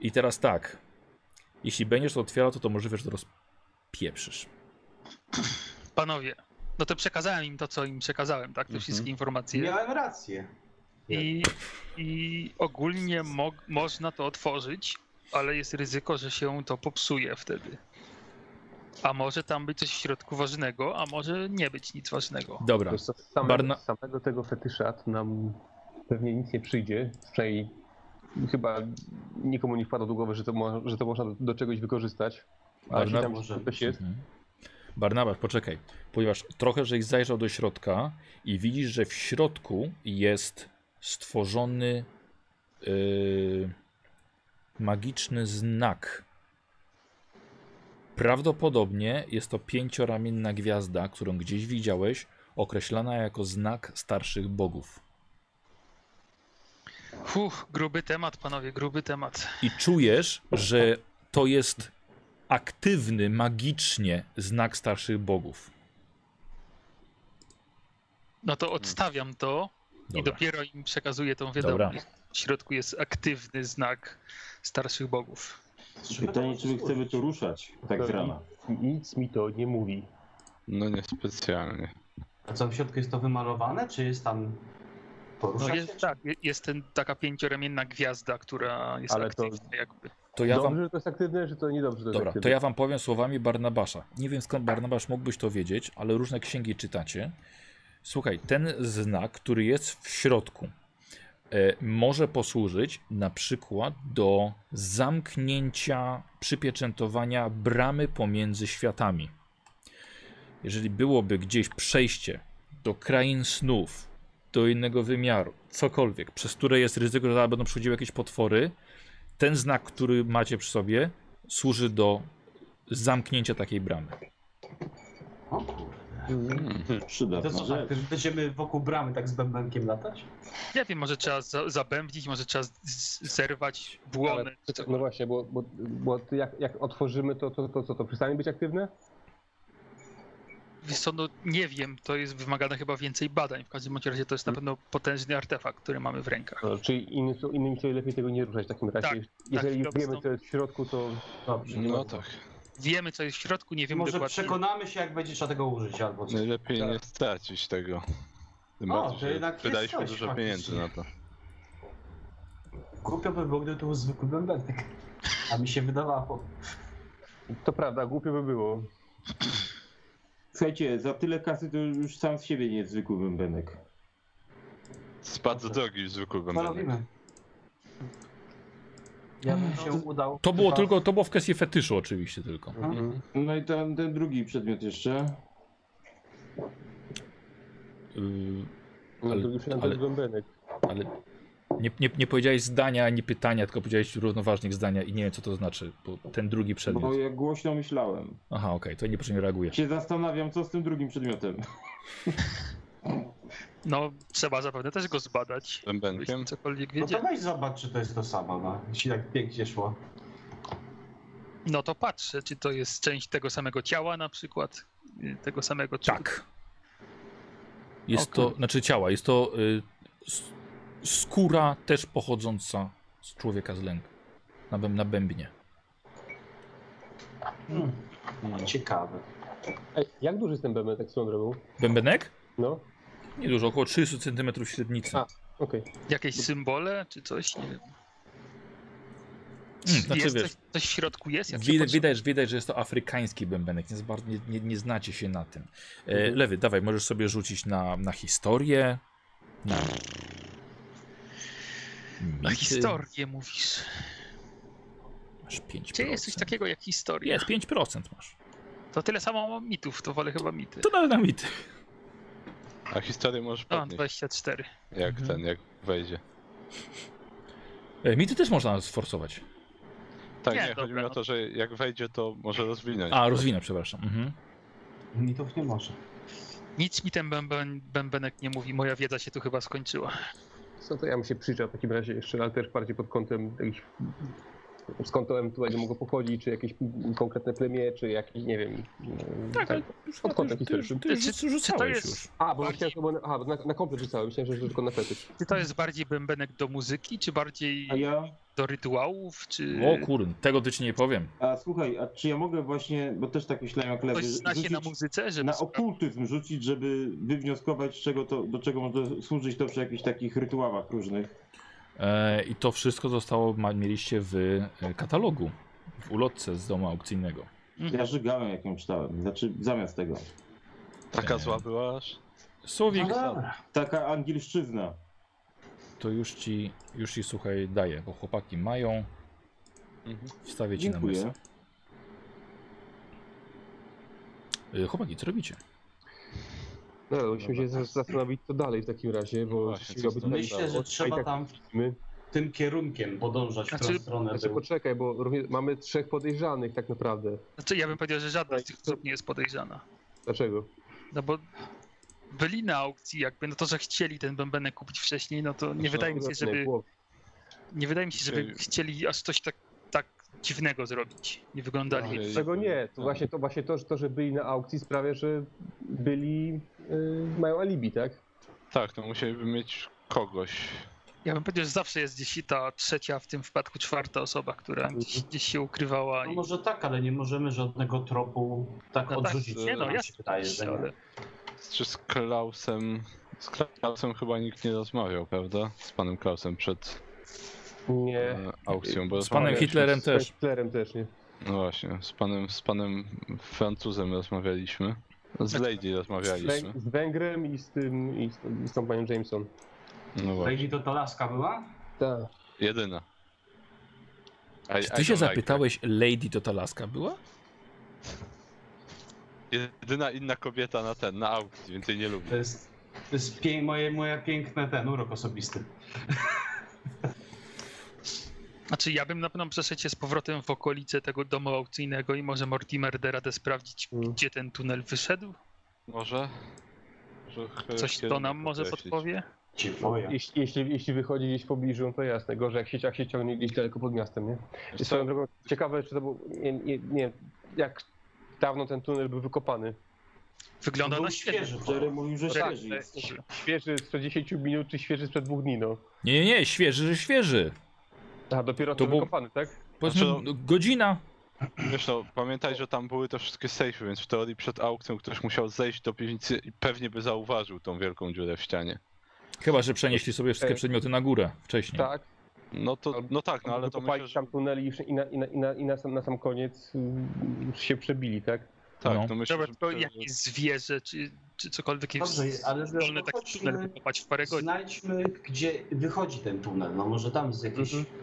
Speaker 1: I teraz tak. Jeśli będziesz to otwierał, to to możliwe, że to rozpieprzysz.
Speaker 6: Panowie, no to przekazałem im to, co im przekazałem, tak? Te
Speaker 3: Mhm.
Speaker 6: wszystkie informacje.
Speaker 4: Miałem rację.
Speaker 6: I, i ogólnie mo można to otworzyć, ale jest ryzyko, że się to popsuje wtedy. A może tam być coś w środku ważnego, a może nie być nic ważnego.
Speaker 1: Dobra.
Speaker 2: Wiesz co, z samego,
Speaker 1: Barna-
Speaker 2: z samego tego fetysza to nam pewnie nic nie przyjdzie. Przynajmniej chyba nikomu nie wpadło do głowy, że to, mo- że to można do, do czegoś wykorzystać. A jeśli
Speaker 1: Barna-
Speaker 2: tam może coś jest,
Speaker 1: Mhm. Barnabasz, poczekaj, ponieważ trochę, żeś zajrzał do środka i widzisz, że w środku jest stworzony yy, magiczny znak. Prawdopodobnie jest to pięcioramienna gwiazda, którą gdzieś widziałeś, określana jako znak starszych bogów.
Speaker 6: Fuh, gruby temat, panowie, gruby temat.
Speaker 1: I czujesz, że to jest aktywny magicznie znak starszych bogów.
Speaker 6: No to odstawiam to i
Speaker 1: Dobra.
Speaker 6: dopiero im przekazuję tą wiadomość. W środku jest aktywny znak starszych bogów.
Speaker 5: Pytanie, czy my chcemy tu ruszać tak z rana.
Speaker 2: nic mi to nie mówi.
Speaker 3: No niespecjalnie.
Speaker 4: A co, w środku jest to wymalowane, czy jest tam
Speaker 6: No
Speaker 4: poruszać
Speaker 6: jest, tak, je- jest ten, taka pięcioramienna gwiazda, która jest
Speaker 2: Ale to-
Speaker 6: aktywna jakby.
Speaker 1: To ja
Speaker 2: dobrze,
Speaker 1: wam
Speaker 2: że to jest aktywne, że to niedobrze, że to jest
Speaker 1: Dobra,
Speaker 2: aktywne.
Speaker 1: to ja wam powiem słowami Barnabasza. Nie wiem skąd Barnabasz mógłbyś to wiedzieć, ale różne księgi czytacie. Słuchaj, ten znak, który jest w środku, e, może posłużyć na przykład do zamknięcia, przypieczętowania bramy pomiędzy światami. Jeżeli byłoby gdzieś przejście do krain snów, do innego wymiaru, cokolwiek, przez które jest ryzyko, że zaraz będą przychodziły jakieś potwory, ten znak, który macie przy sobie, służy do zamknięcia takiej bramy.
Speaker 4: O kurde.
Speaker 3: Hmm.
Speaker 4: To
Speaker 5: Przydatna
Speaker 4: co, tak,
Speaker 5: rzecz.
Speaker 4: będziemy wokół bramy tak z bębenkiem latać?
Speaker 6: Nie wiem, może trzeba za zabębnić, może trzeba z- z- zerwać błonę. czy
Speaker 4: tak
Speaker 6: coś.
Speaker 2: No właśnie, bo, bo, bo ty jak, jak otworzymy to, to, to co, to przestanie być aktywne?
Speaker 6: Wiesz co, no nie wiem, to jest wymagane chyba więcej badań. W każdym bądź razie to jest
Speaker 4: Mm.
Speaker 6: na pewno potężny artefakt, który mamy w rękach.
Speaker 2: No, czyli innym, sł- innymi słowy lepiej tego nie ruszać w takim razie.
Speaker 6: Tak,
Speaker 2: Jeżeli
Speaker 6: tak,
Speaker 2: wiemy,
Speaker 6: stąd.
Speaker 2: co jest w środku, to
Speaker 4: Dobrze.
Speaker 3: No tak.
Speaker 6: Wiemy, co jest w środku, nie wiemy
Speaker 4: Może
Speaker 6: dokładnie.
Speaker 4: przekonamy się, jak będzie trzeba tego użyć albo coś.
Speaker 3: Najlepiej nie
Speaker 4: Tak.
Speaker 3: stracić tego. Tym
Speaker 4: O,
Speaker 3: bardziej,
Speaker 4: to
Speaker 3: że
Speaker 4: jednak jest
Speaker 3: wydaliśmy
Speaker 4: coś
Speaker 3: dużo
Speaker 4: faktycznie.
Speaker 3: pieniędzy na to.
Speaker 4: Głupio by było, gdyby to był zwykły bębenek. A mi się wydawało.
Speaker 2: to prawda, głupio by było.
Speaker 5: Słuchajcie, za tyle kasy to już sam z siebie nie jest zwykły bębenek.
Speaker 3: Spadł z drogi zwykły
Speaker 4: Co
Speaker 3: bębenek.
Speaker 4: robimy? Ja bym się udał.
Speaker 1: To było
Speaker 4: chyba-
Speaker 1: tylko, to było w kwestii fetyszu oczywiście tylko.
Speaker 4: Mhm.
Speaker 5: No i ten, ten drugi przedmiot jeszcze.
Speaker 1: Yy,
Speaker 2: No,
Speaker 1: Ale-
Speaker 2: ale, drugi przynajmniej
Speaker 1: ale-
Speaker 2: ale... bębenek.
Speaker 1: ale nie, nie, nie powiedziałeś zdania, ani pytania, tylko powiedziałeś równoważnik zdania i nie wiem co to znaczy, bo ten drugi
Speaker 5: Bo
Speaker 1: przedmiot.
Speaker 5: ja głośno myślałem.
Speaker 1: Aha, okej, to nie proszę nie reaguje.
Speaker 5: Się zastanawiam, co z tym drugim przedmiotem.
Speaker 6: No trzeba zapewne też go zbadać,
Speaker 3: Bębenkiem?
Speaker 6: byśmy cokolwiek
Speaker 4: No to
Speaker 6: wiedzieli.
Speaker 4: weź zobacz, czy to jest to samo, no. Jeśli tak pięknie szło.
Speaker 6: No to patrzę, czy to jest część tego samego ciała na przykład, y, tego samego czy...
Speaker 1: Tak. Jest
Speaker 6: Okej.
Speaker 1: to, znaczy ciała, jest to y, s- skóra też pochodząca z człowieka z lęk. Na, bęb- na bębnie.
Speaker 4: Hmm.
Speaker 3: Hmm.
Speaker 4: Ciekawe.
Speaker 2: Ej, jak duży jest ten bębenek, tak swoją drogą?
Speaker 1: Bębenek?
Speaker 2: No,
Speaker 1: Nie dużo, około 300 cm średnicy.
Speaker 2: A, okej.
Speaker 6: Jakieś symbole czy coś, nie wiem.
Speaker 1: Mm, znaczy
Speaker 6: jest
Speaker 1: wiesz-
Speaker 6: coś, coś w środku jest? Jak się
Speaker 1: Wid-
Speaker 6: patrzy-
Speaker 1: widać, widać, że jest to afrykański bębenek. Nie, za bardzo- nie, nie, nie znacie się na tym. E, lewy, dawaj, możesz sobie rzucić na, na historię. Na,
Speaker 6: Na
Speaker 1: mity.
Speaker 6: historię mówisz.
Speaker 1: Masz 5%.
Speaker 6: Gdzie jest coś takiego jak historia?
Speaker 1: Jest, 5% masz.
Speaker 6: To tyle samo mam mitów, to wolę chyba mity.
Speaker 1: To nawet na mity.
Speaker 3: A historię możesz
Speaker 6: A,
Speaker 3: podnieść,
Speaker 6: 24.
Speaker 3: jak
Speaker 1: Mhm.
Speaker 3: ten, jak wejdzie.
Speaker 1: E, mity też można sforsować.
Speaker 3: Tak,
Speaker 6: Nie,
Speaker 3: nie,
Speaker 6: dobra,
Speaker 3: chodzi mi o
Speaker 6: no.
Speaker 3: to, że jak wejdzie, to może rozwinąć.
Speaker 1: A, rozwinę, przepraszam. Mhm.
Speaker 4: Mitów nie może.
Speaker 6: Nic mi ten bęben, bębenek nie mówi, moja wiedza się tu chyba skończyła.
Speaker 2: Co to ja bym się przyjrzał w takim razie jeszcze, ale też bardziej pod kątem jakichś, skąd to ewentualnie mogło pochodzić, czy jakieś konkretne plemię, czy jakieś, nie wiem. e,
Speaker 1: Tak, ale już na to
Speaker 2: Odkąd taki
Speaker 1: ty już,
Speaker 2: pierwszy?
Speaker 1: ty już
Speaker 6: Czy-
Speaker 1: rzuc-
Speaker 6: czy to
Speaker 1: rzucałeś
Speaker 6: jest-
Speaker 1: już.
Speaker 2: A, bo myślałem, że to było na, aha, bo na, na komplet rzucałem, myślałem, że to tylko na fetysz.
Speaker 6: Czy to jest bardziej bębenek do muzyki, czy bardziej
Speaker 5: A ja, No,
Speaker 6: do rytuałów, czy
Speaker 1: O kurn, tego ty ci nie powiem.
Speaker 5: a słuchaj, a czy ja mogę właśnie, bo też tak myślałem jak lewy,
Speaker 6: ktoś zna się na
Speaker 5: rzucić
Speaker 6: muzyce, żeby...
Speaker 5: na okultyzm rzucić, żeby wywnioskować, czego to, do czego może służyć to przy jakichś takich rytuałach różnych.
Speaker 1: E, I to wszystko zostało, ma, mieliście w e, katalogu, w ulotce z domu aukcyjnego.
Speaker 5: Ja żygałem, jak ją czytałem, znaczy zamiast tego.
Speaker 3: Taka
Speaker 1: Nie.
Speaker 3: zła była aż.
Speaker 1: Słowik,
Speaker 4: No dobra.
Speaker 5: Taka angielszczyzna.
Speaker 1: to już ci, już ci słuchaj daję, bo chłopaki mają,
Speaker 3: Mhm.
Speaker 1: wstawię ci na
Speaker 5: Dziękuję.
Speaker 1: mesę. E, Chłopaki, co robicie?
Speaker 2: No, ale musimy się z- zastanowić, co dalej w takim razie,
Speaker 3: No
Speaker 2: bo
Speaker 3: właśnie,
Speaker 2: rzeczywiście
Speaker 3: co
Speaker 2: robić
Speaker 3: z
Speaker 2: tak
Speaker 3: tym?
Speaker 2: dało.
Speaker 4: Myślę, że
Speaker 2: A i
Speaker 4: trzeba
Speaker 2: tak
Speaker 4: tam
Speaker 2: widzimy.
Speaker 4: tym kierunkiem podążać, w
Speaker 6: Znaczy-
Speaker 4: którą stronę
Speaker 2: Znaczy,
Speaker 4: był. No
Speaker 2: poczekaj, bo również mamy trzech podejrzanych tak naprawdę.
Speaker 6: Znaczy, ja bym powiedział, że żadna z tych osób nie jest podejrzana.
Speaker 2: Dlaczego?
Speaker 6: No bo byli na aukcji jakby, no to, że chcieli ten bębenek kupić wcześniej, no to nie
Speaker 3: No,
Speaker 6: wydaje mi się, żeby,
Speaker 2: Było-
Speaker 6: nie wydaje mi się, żeby
Speaker 3: Czyli-
Speaker 6: chcieli aż coś tak, tak dziwnego zrobić. Nie
Speaker 5: No,
Speaker 6: wyglądali.
Speaker 3: Czyli-
Speaker 2: Dlaczego nie? To
Speaker 3: Tak.
Speaker 2: właśnie, to, właśnie to, że, to, że byli na aukcji sprawia, że byli, y, mają alibi, tak?
Speaker 3: Tak, to musieliby mieć kogoś.
Speaker 6: Ja bym powiedział, że zawsze jest gdzieś ta trzecia, w tym wypadku czwarta osoba, która
Speaker 4: Mhm.
Speaker 6: gdzieś, gdzieś się ukrywała
Speaker 4: No
Speaker 6: i...
Speaker 4: może tak, ale nie możemy żadnego tropu tak
Speaker 6: No tak,
Speaker 4: odrzucić.
Speaker 6: nie no,
Speaker 4: nam
Speaker 6: ja
Speaker 4: się wydaje, że nie.
Speaker 6: ale...
Speaker 3: Czy z Klausem. Z Klausem chyba nikt nie rozmawiał, prawda? Z panem Klausem przed
Speaker 2: Nie.
Speaker 3: e, aukcją. Bo
Speaker 1: Z panem
Speaker 3: rozmawialiśmy
Speaker 1: Hitlerem
Speaker 3: z-
Speaker 1: też.
Speaker 2: Klerem też nie.
Speaker 3: No właśnie, z panem, z panem Francuzem rozmawialiśmy. Z Lady
Speaker 2: Tak. Z,
Speaker 3: rozmawialiśmy.
Speaker 2: Węg- z Węgrem i z tym, i z, i z tą panią Jameson.
Speaker 3: No właśnie.
Speaker 4: Wejdzie to ta laska była?
Speaker 2: Tak.
Speaker 3: Jedyna. I-
Speaker 1: Czy ty
Speaker 3: I
Speaker 1: się
Speaker 3: don't like
Speaker 1: zapytałeś, Lady to ta laska była?
Speaker 3: her. Jedyna inna kobieta na ten, na aukcji, więc jej nie lubię.
Speaker 4: To jest, to jest pie, moje, moje piękne ten urok osobisty.
Speaker 6: Znaczy, ja bym na pewno przeszedł się z powrotem w okolice tego domu aukcyjnego i może Mortimer da radę sprawdzić,
Speaker 4: Mhm.
Speaker 2: Mm.
Speaker 6: gdzie ten tunel wyszedł.
Speaker 3: Może? Może ch-
Speaker 6: Coś to
Speaker 3: kierunek
Speaker 6: nam może
Speaker 3: określić.
Speaker 6: podpowie.
Speaker 4: Cię boję.
Speaker 2: Jeśli, jeśli, jeśli wychodzi gdzieś w pobliżu, no to jasne. Gorzej jak się, jak się ciągnie gdzieś daleko pod miastem, nie?
Speaker 3: Co?
Speaker 2: Swoją drogą, ciekawe, czy to był, nie, nie, nie jak dawno ten tunel był wykopany.
Speaker 6: Wygląda
Speaker 4: Był
Speaker 6: na świeży.
Speaker 4: świeży.
Speaker 5: Jerry mówił, że
Speaker 2: Tak,
Speaker 5: świeży jest.
Speaker 2: Świeży sprzed 10 minut, czy świeży sprzed dwóch dni, no.
Speaker 1: Nie, nie, nie, świeży, że świeży.
Speaker 2: A dopiero
Speaker 1: To
Speaker 2: to
Speaker 1: był-
Speaker 2: wykopany, tak?
Speaker 1: Powiedzmy,
Speaker 3: Znaczy-
Speaker 1: godzina.
Speaker 3: Wiesz no, pamiętaj, że tam były te wszystkie sejfy, więc w teorii przed aukcją ktoś musiał zejść do piwnicy i pewnie by zauważył tą wielką dziurę w ścianie.
Speaker 1: Chyba, że przenieśli sobie wszystkie
Speaker 2: E.
Speaker 1: przedmioty na górę wcześniej.
Speaker 2: Tak.
Speaker 3: No to, no tak, no ale to
Speaker 2: Wykopali
Speaker 3: myślę, że,
Speaker 2: tam tunel i, już- i, na, i, na, i, na, i na, sam, na sam koniec y, się przebili, tak?
Speaker 1: No.
Speaker 3: tak, to myślę,
Speaker 6: Dobra,
Speaker 3: że,
Speaker 6: to
Speaker 3: że-
Speaker 6: jakieś zwierzę, czy, czy cokolwiek jest
Speaker 4: Dobrze, ale
Speaker 6: zdolne tak
Speaker 4: chodźmy-
Speaker 6: tunel wykopać w parę godzin.
Speaker 4: Znajdźmy, gdzie wychodzi ten tunel. No może tam z jakiejś
Speaker 6: Mhm.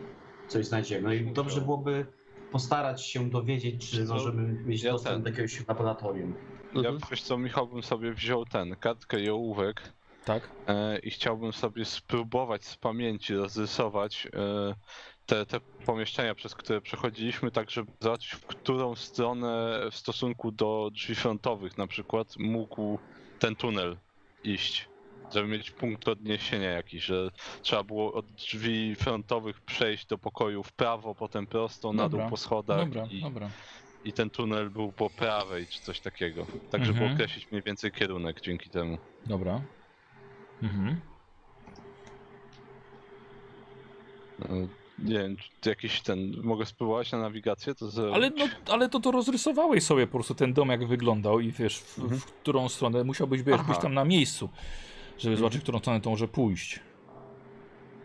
Speaker 4: coś znajdziemy. No i dobrze byłoby postarać się dowiedzieć, czy
Speaker 3: Co?
Speaker 4: możemy mieć
Speaker 3: Ja
Speaker 4: dostęp
Speaker 3: ten.
Speaker 4: do jakiegoś laboratorium.
Speaker 3: Ja wiesz co, Michał bym sobie wziął ten, kartkę i ołówek
Speaker 1: Tak?
Speaker 3: e, i chciałbym sobie spróbować z pamięci rozrysować e, te, te pomieszczenia, przez które przechodziliśmy, tak żeby zobaczyć, w którą stronę w stosunku do drzwi frontowych na przykład mógł ten tunel iść. Żeby mieć punkt odniesienia jakiś, że trzeba było od drzwi frontowych przejść do pokoju w prawo, potem prosto, na dół
Speaker 1: Dobra,
Speaker 3: po schodach
Speaker 1: dobra,
Speaker 3: Tak i,
Speaker 1: dobra.
Speaker 3: i ten tunel był po prawej czy coś takiego. Tak, żeby
Speaker 1: Mhm.
Speaker 3: określić mniej więcej kierunek dzięki temu.
Speaker 1: Dobra. Mhm.
Speaker 3: E, Nie wiem, czy jakiś ten. Mogę spróbować na nawigację? To zrobić?
Speaker 1: Ale, no, ale to to rozrysowałeś sobie po prostu ten dom, jak wyglądał i wiesz, w,
Speaker 3: Mhm.
Speaker 1: w którą stronę musiałbyś wiesz,
Speaker 3: Aha. Mhm.
Speaker 1: być tam na miejscu, żeby zobaczyć, w którą stronę to może pójść.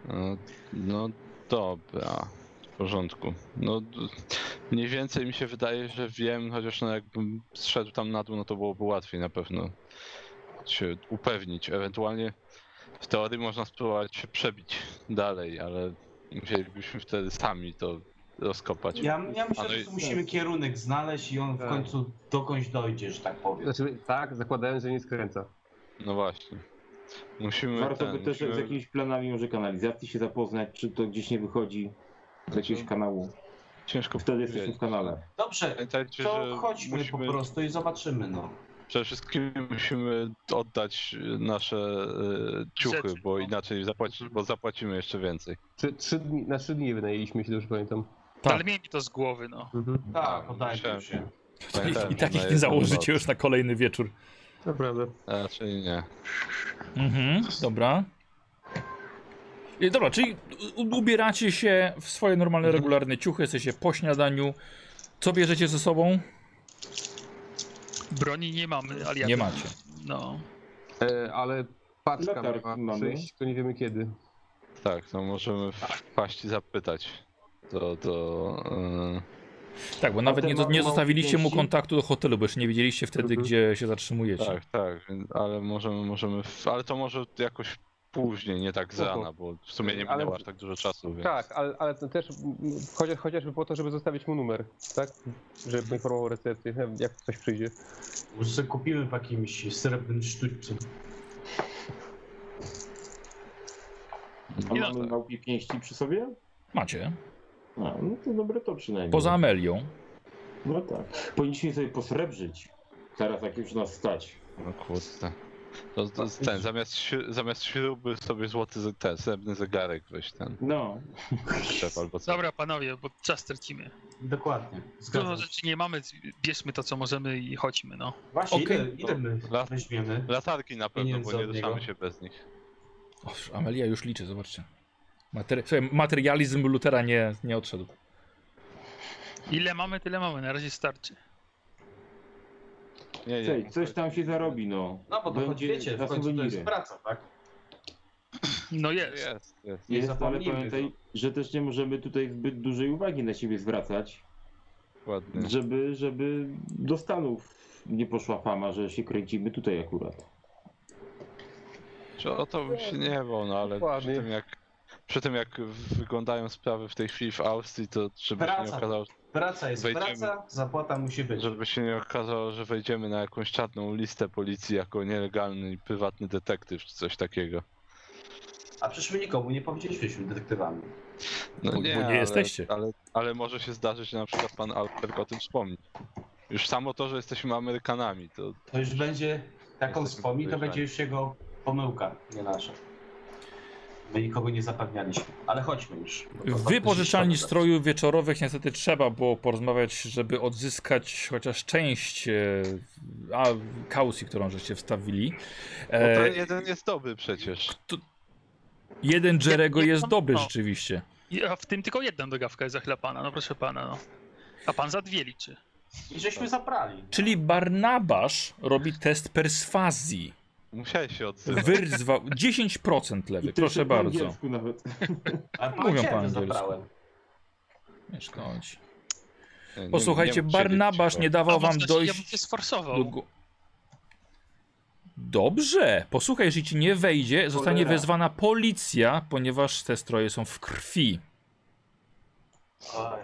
Speaker 3: E, No dobra. W porządku. No d- mniej więcej mi się wydaje, że wiem, chociaż no jakbym zszedł tam na dół, no to byłoby łatwiej na pewno się upewnić. Ewentualnie w teorii można spróbować się przebić dalej, ale musielibyśmy wtedy sami to rozkopać.
Speaker 4: Ja, ja myślę,
Speaker 3: Ale-
Speaker 4: że tu musimy kierunek znaleźć i on w
Speaker 2: Tak.
Speaker 4: końcu dokądś dojdzie, że tak powiem.
Speaker 2: Znaczy, tak, zakładając, że nie skręca.
Speaker 3: No właśnie. Musimy.
Speaker 5: Warto
Speaker 3: ten,
Speaker 5: by też
Speaker 3: musimy...
Speaker 5: z jakimiś planami może kanalizacji się zapoznać, czy to gdzieś nie wychodzi z jakiegoś kanału.
Speaker 3: Ciężko
Speaker 5: Wtedy jesteśmy w
Speaker 3: powiedzieć.
Speaker 5: kanale.
Speaker 4: Dobrze,
Speaker 3: Pamiętajcie,
Speaker 4: to
Speaker 3: że
Speaker 4: chodźmy
Speaker 3: musimy...
Speaker 4: po prostu i zobaczymy no.
Speaker 3: Przede wszystkim musimy oddać nasze e, ciuchy,
Speaker 6: Rzeczy,
Speaker 3: bo
Speaker 6: no.
Speaker 3: inaczej zapłaci, bo zapłacimy jeszcze więcej.
Speaker 2: Trzy, trzy dni, na trzy dni wynajęliśmy, jeśli dobrze pamiętam.
Speaker 1: Tak.
Speaker 6: Ale miej mi to z głowy, no.
Speaker 4: Tak, oddaję
Speaker 3: Myślałem.
Speaker 4: się.
Speaker 3: Pamiętajmy,
Speaker 1: I
Speaker 3: tak, na
Speaker 1: takich nie
Speaker 3: jedną
Speaker 1: założycie
Speaker 3: noc.
Speaker 1: już na kolejny wieczór.
Speaker 2: Naprawdę.
Speaker 3: no, Raczej nie.
Speaker 1: Mhm, dobra. I Dobra, czyli u- ubieracie się w swoje normalne, regularne ciuchy, jesteście po śniadaniu. Co bierzecie ze sobą?
Speaker 6: Broni nie mamy, ale ja
Speaker 1: Nie
Speaker 6: bym-
Speaker 1: macie.
Speaker 6: No.
Speaker 2: E, ale paczka
Speaker 5: Latarki
Speaker 2: miała
Speaker 5: mamy.
Speaker 2: przyjść, to nie wiemy kiedy.
Speaker 3: Tak, no możemy wpaść i zapytać do, do e,
Speaker 1: Tak, bo nawet
Speaker 5: te
Speaker 1: nie, do-
Speaker 5: ma-
Speaker 1: nie
Speaker 5: małe
Speaker 1: zostawiliście mu
Speaker 5: pięści?
Speaker 1: kontaktu do hotelu, bo jeszcze nie wiedzieliście wtedy,
Speaker 2: Mhm.
Speaker 1: gdzie się zatrzymujecie.
Speaker 3: Tak, tak, więc- ale możemy, możemy, w- ale to może jakoś później, nie tak z
Speaker 2: Spoko.
Speaker 3: rana, bo w sumie nie
Speaker 2: Ale-
Speaker 3: minęło aż tak dużo czasu, więc
Speaker 2: Tak, ale, ale to też mm, chociaż, chociażby po to, żeby zostawić mu numer, tak? Żeby poinformował recepcję, jak coś przyjdzie.
Speaker 4: Może sobie kupimy w jakimś srebrnym sztućcu.
Speaker 5: A
Speaker 6: Nie,
Speaker 3: tak.
Speaker 5: mamy małpie pięści przy sobie?
Speaker 1: Macie.
Speaker 5: A, no to dobre to przynajmniej.
Speaker 1: Poza
Speaker 3: Mhm.
Speaker 1: Amelią.
Speaker 5: No tak. Powinniśmy sobie posrebrzyć. Teraz jak już nas stać.
Speaker 3: no kurde. To, to, jest
Speaker 1: Tak.
Speaker 3: ten, zamiast, śru- zamiast śruby sobie złoty ze- ten, srebrny zegarek weź ten,
Speaker 5: No.
Speaker 3: szczep albo coś.
Speaker 6: Dobra, panowie, bo czas tracimy.
Speaker 4: Dokładnie.
Speaker 6: Dużo
Speaker 4: Zgadzam się.
Speaker 6: rzeczy nie mamy, bierzmy to, co możemy i chodźmy, no.
Speaker 4: Właśnie,
Speaker 1: Okej.
Speaker 4: ile, ile my
Speaker 3: Lat-
Speaker 4: weźmiemy?
Speaker 3: Latarki na pewno,
Speaker 4: Pieniędzy
Speaker 3: bo nie
Speaker 4: od
Speaker 3: ruszamy
Speaker 4: niego.
Speaker 3: się bez nich.
Speaker 1: O, Amelia już liczy, zobaczcie. Materi- Słuchaj, materializm Lutera nie, nie odszedł.
Speaker 6: Ile mamy, tyle mamy, na razie starczy.
Speaker 3: Nie, nie,
Speaker 5: Ej, coś tam się zarobi, no.
Speaker 4: No bo to choć
Speaker 5: na
Speaker 4: wiecie, w końcu to jest
Speaker 5: suweniry.
Speaker 4: praca, tak?
Speaker 6: No jest.
Speaker 3: jest, jest.
Speaker 4: Nie
Speaker 5: Jest, ale
Speaker 4: zapomnijmy,
Speaker 5: pamiętaj, że też nie możemy tutaj zbyt dużej uwagi na siebie zwracać,
Speaker 3: Dokładnie.
Speaker 5: żeby, żeby do Stanów nie poszła fama, że się kręcimy tutaj akurat.
Speaker 3: Czy o to bym się nie bał, no ale przy
Speaker 2: Dokładnie.
Speaker 3: tym jak, przy tym jak wyglądają sprawy w tej chwili w Austrii, to żeby się nie
Speaker 4: Wraca.
Speaker 3: okazało,
Speaker 4: Praca jest
Speaker 3: Wejdziemy.
Speaker 4: praca, zapłata musi być.
Speaker 3: Żeby się nie okazało, że wejdziemy na jakąś czarną listę policji jako nielegalny i prywatny detektyw czy coś takiego.
Speaker 4: A przecież my nikomu nie powiedzieliśmy, że jesteśmy detektywami.
Speaker 3: No
Speaker 1: Bo- bo nie
Speaker 3: ale,
Speaker 1: jesteście.
Speaker 3: Ale, ale może się zdarzyć, że na przykład pan Alberg o tym wspomni. Już samo to, że jesteśmy Amerykanami, to
Speaker 4: To już będzie, jak on
Speaker 3: Jesteśmy
Speaker 4: wspomni, to
Speaker 3: podejrzani.
Speaker 4: będzie już jego pomyłka, nie nasza. My nikogo nie zapewnialiśmy, ale chodźmy już. bo
Speaker 1: No
Speaker 4: to
Speaker 1: tak,
Speaker 4: faktycznie
Speaker 1: Wypożyczalni
Speaker 4: szkoda.
Speaker 1: strojów wieczorowych niestety trzeba było porozmawiać, żeby odzyskać chociaż część e, a, kaucji, którą żeście wstawili.
Speaker 3: bo ten
Speaker 1: E,
Speaker 3: jeden jest dobry przecież.
Speaker 1: jeden Jerego
Speaker 6: No nie
Speaker 1: jest
Speaker 6: tam-
Speaker 1: dobry
Speaker 6: no.
Speaker 1: rzeczywiście.
Speaker 6: I- A w tym tylko jedna dogawka jest zachlapana, no proszę pana, no. A pan za dwie liczy.
Speaker 4: I żeśmy zabrali.
Speaker 1: Czyli Barnabasz robi test perswazji.
Speaker 3: Musiałeś się odzywać.
Speaker 1: Wyrzwał 10%
Speaker 5: I
Speaker 1: lewy,
Speaker 5: też
Speaker 1: proszę
Speaker 5: po
Speaker 1: bardzo.
Speaker 5: angielsku Nawet.
Speaker 4: Ale
Speaker 1: Mówią
Speaker 4: powiedziałem,
Speaker 1: po
Speaker 4: że
Speaker 1: angielsku.
Speaker 4: zabrałem.
Speaker 1: Nie szkodzi.
Speaker 3: E, Nie, nie-
Speaker 1: Posłuchajcie,
Speaker 3: nie mógł siedzieć
Speaker 1: Barnabasz
Speaker 3: cicho.
Speaker 1: nie
Speaker 6: A
Speaker 1: dawał wam
Speaker 6: można się- No Ja bym
Speaker 1: dojść
Speaker 6: się
Speaker 1: do...
Speaker 6: sforsował.
Speaker 1: gó- Dobrze, posłuchaj, jeśli ci nie wejdzie, zostanie
Speaker 5: Cholera.
Speaker 1: wezwana policja, ponieważ te stroje są w krwi.
Speaker 4: Oj.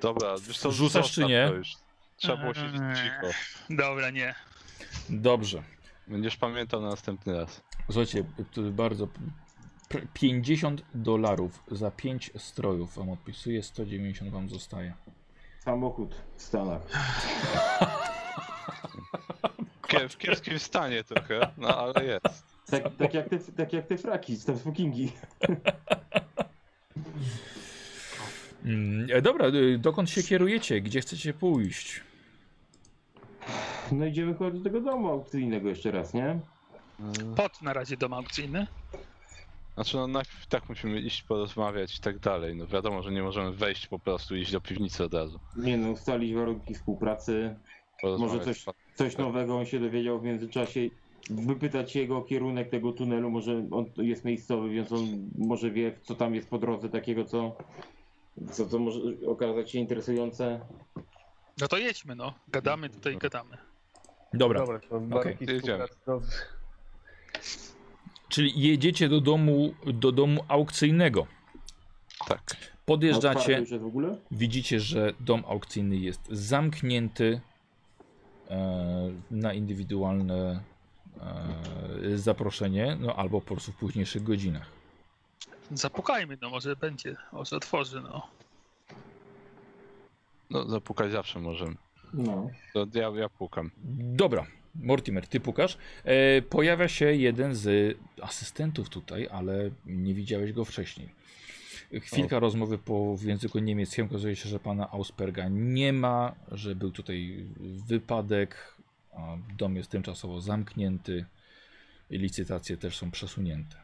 Speaker 3: Dobra, wiesz co,
Speaker 1: Rzucasz
Speaker 3: zostaw
Speaker 1: czy nie?
Speaker 3: to już. Trzeba było siedzieć
Speaker 6: Eee.
Speaker 3: cicho.
Speaker 6: Dobra, nie.
Speaker 1: Dobrze.
Speaker 3: Będziesz pamiętał na następny raz.
Speaker 1: Słuchajcie, to bardzo. pr- 50 dolarów za 5 strojów wam odpisuję, 190 wam zostaje.
Speaker 5: Samochód w Stanach.
Speaker 3: Kie- W kiepskim stanie trochę, no ale jest.
Speaker 5: Tak, tak, jak, te, tak jak te fraki, z tam smokingi.
Speaker 1: Mm, e, dobra, y, dokąd się kierujecie? Gdzie chcecie pójść?
Speaker 5: No idziemy chyba do tego domu aukcyjnego jeszcze raz, nie?
Speaker 3: E,
Speaker 6: Pot na razie dom aukcyjny.
Speaker 3: Znaczy, no najpierw tak musimy iść, porozmawiać i tak dalej. No wiadomo, że nie możemy wejść po prostu i iść do piwnicy od razu.
Speaker 5: Nie no, ustalić warunki współpracy,
Speaker 3: Porozmawiać.
Speaker 5: Może coś nowego on się dowiedział w międzyczasie. Wypytać jego o kierunek tego tunelu, może on jest miejscowy, więc on może wie, co tam jest po drodze takiego, co, co, co może okazać się interesujące.
Speaker 6: No to jedźmy, no. Gadamy tutaj, gadamy.
Speaker 1: Dobra,
Speaker 2: Dobra, to no, warunki
Speaker 3: Jedziemy.
Speaker 2: współpracy, dobrze.
Speaker 1: czyli jedziecie do domu, do domu aukcyjnego.
Speaker 3: Tak.
Speaker 5: Otwarte
Speaker 1: Podjeżdżacie,
Speaker 5: już jest w ogóle?
Speaker 1: widzicie, że dom aukcyjny jest zamknięty e, na indywidualne e, zaproszenie, no albo po prostu w późniejszych godzinach.
Speaker 6: Zapukajmy, no może będzie, może otworzy, no.
Speaker 3: No zapukać zawsze możemy.
Speaker 5: No.
Speaker 3: To ja, ja pukam.
Speaker 1: Dobra, Mortimer, ty pukasz. E, pojawia się jeden z asystentów tutaj, ale nie widziałeś go wcześniej. Chwilka rozmowy po, w języku niemieckim. Okazuje się, że pana Ausperga nie ma, że był tutaj wypadek, a dom jest tymczasowo zamknięty i licytacje też są przesunięte.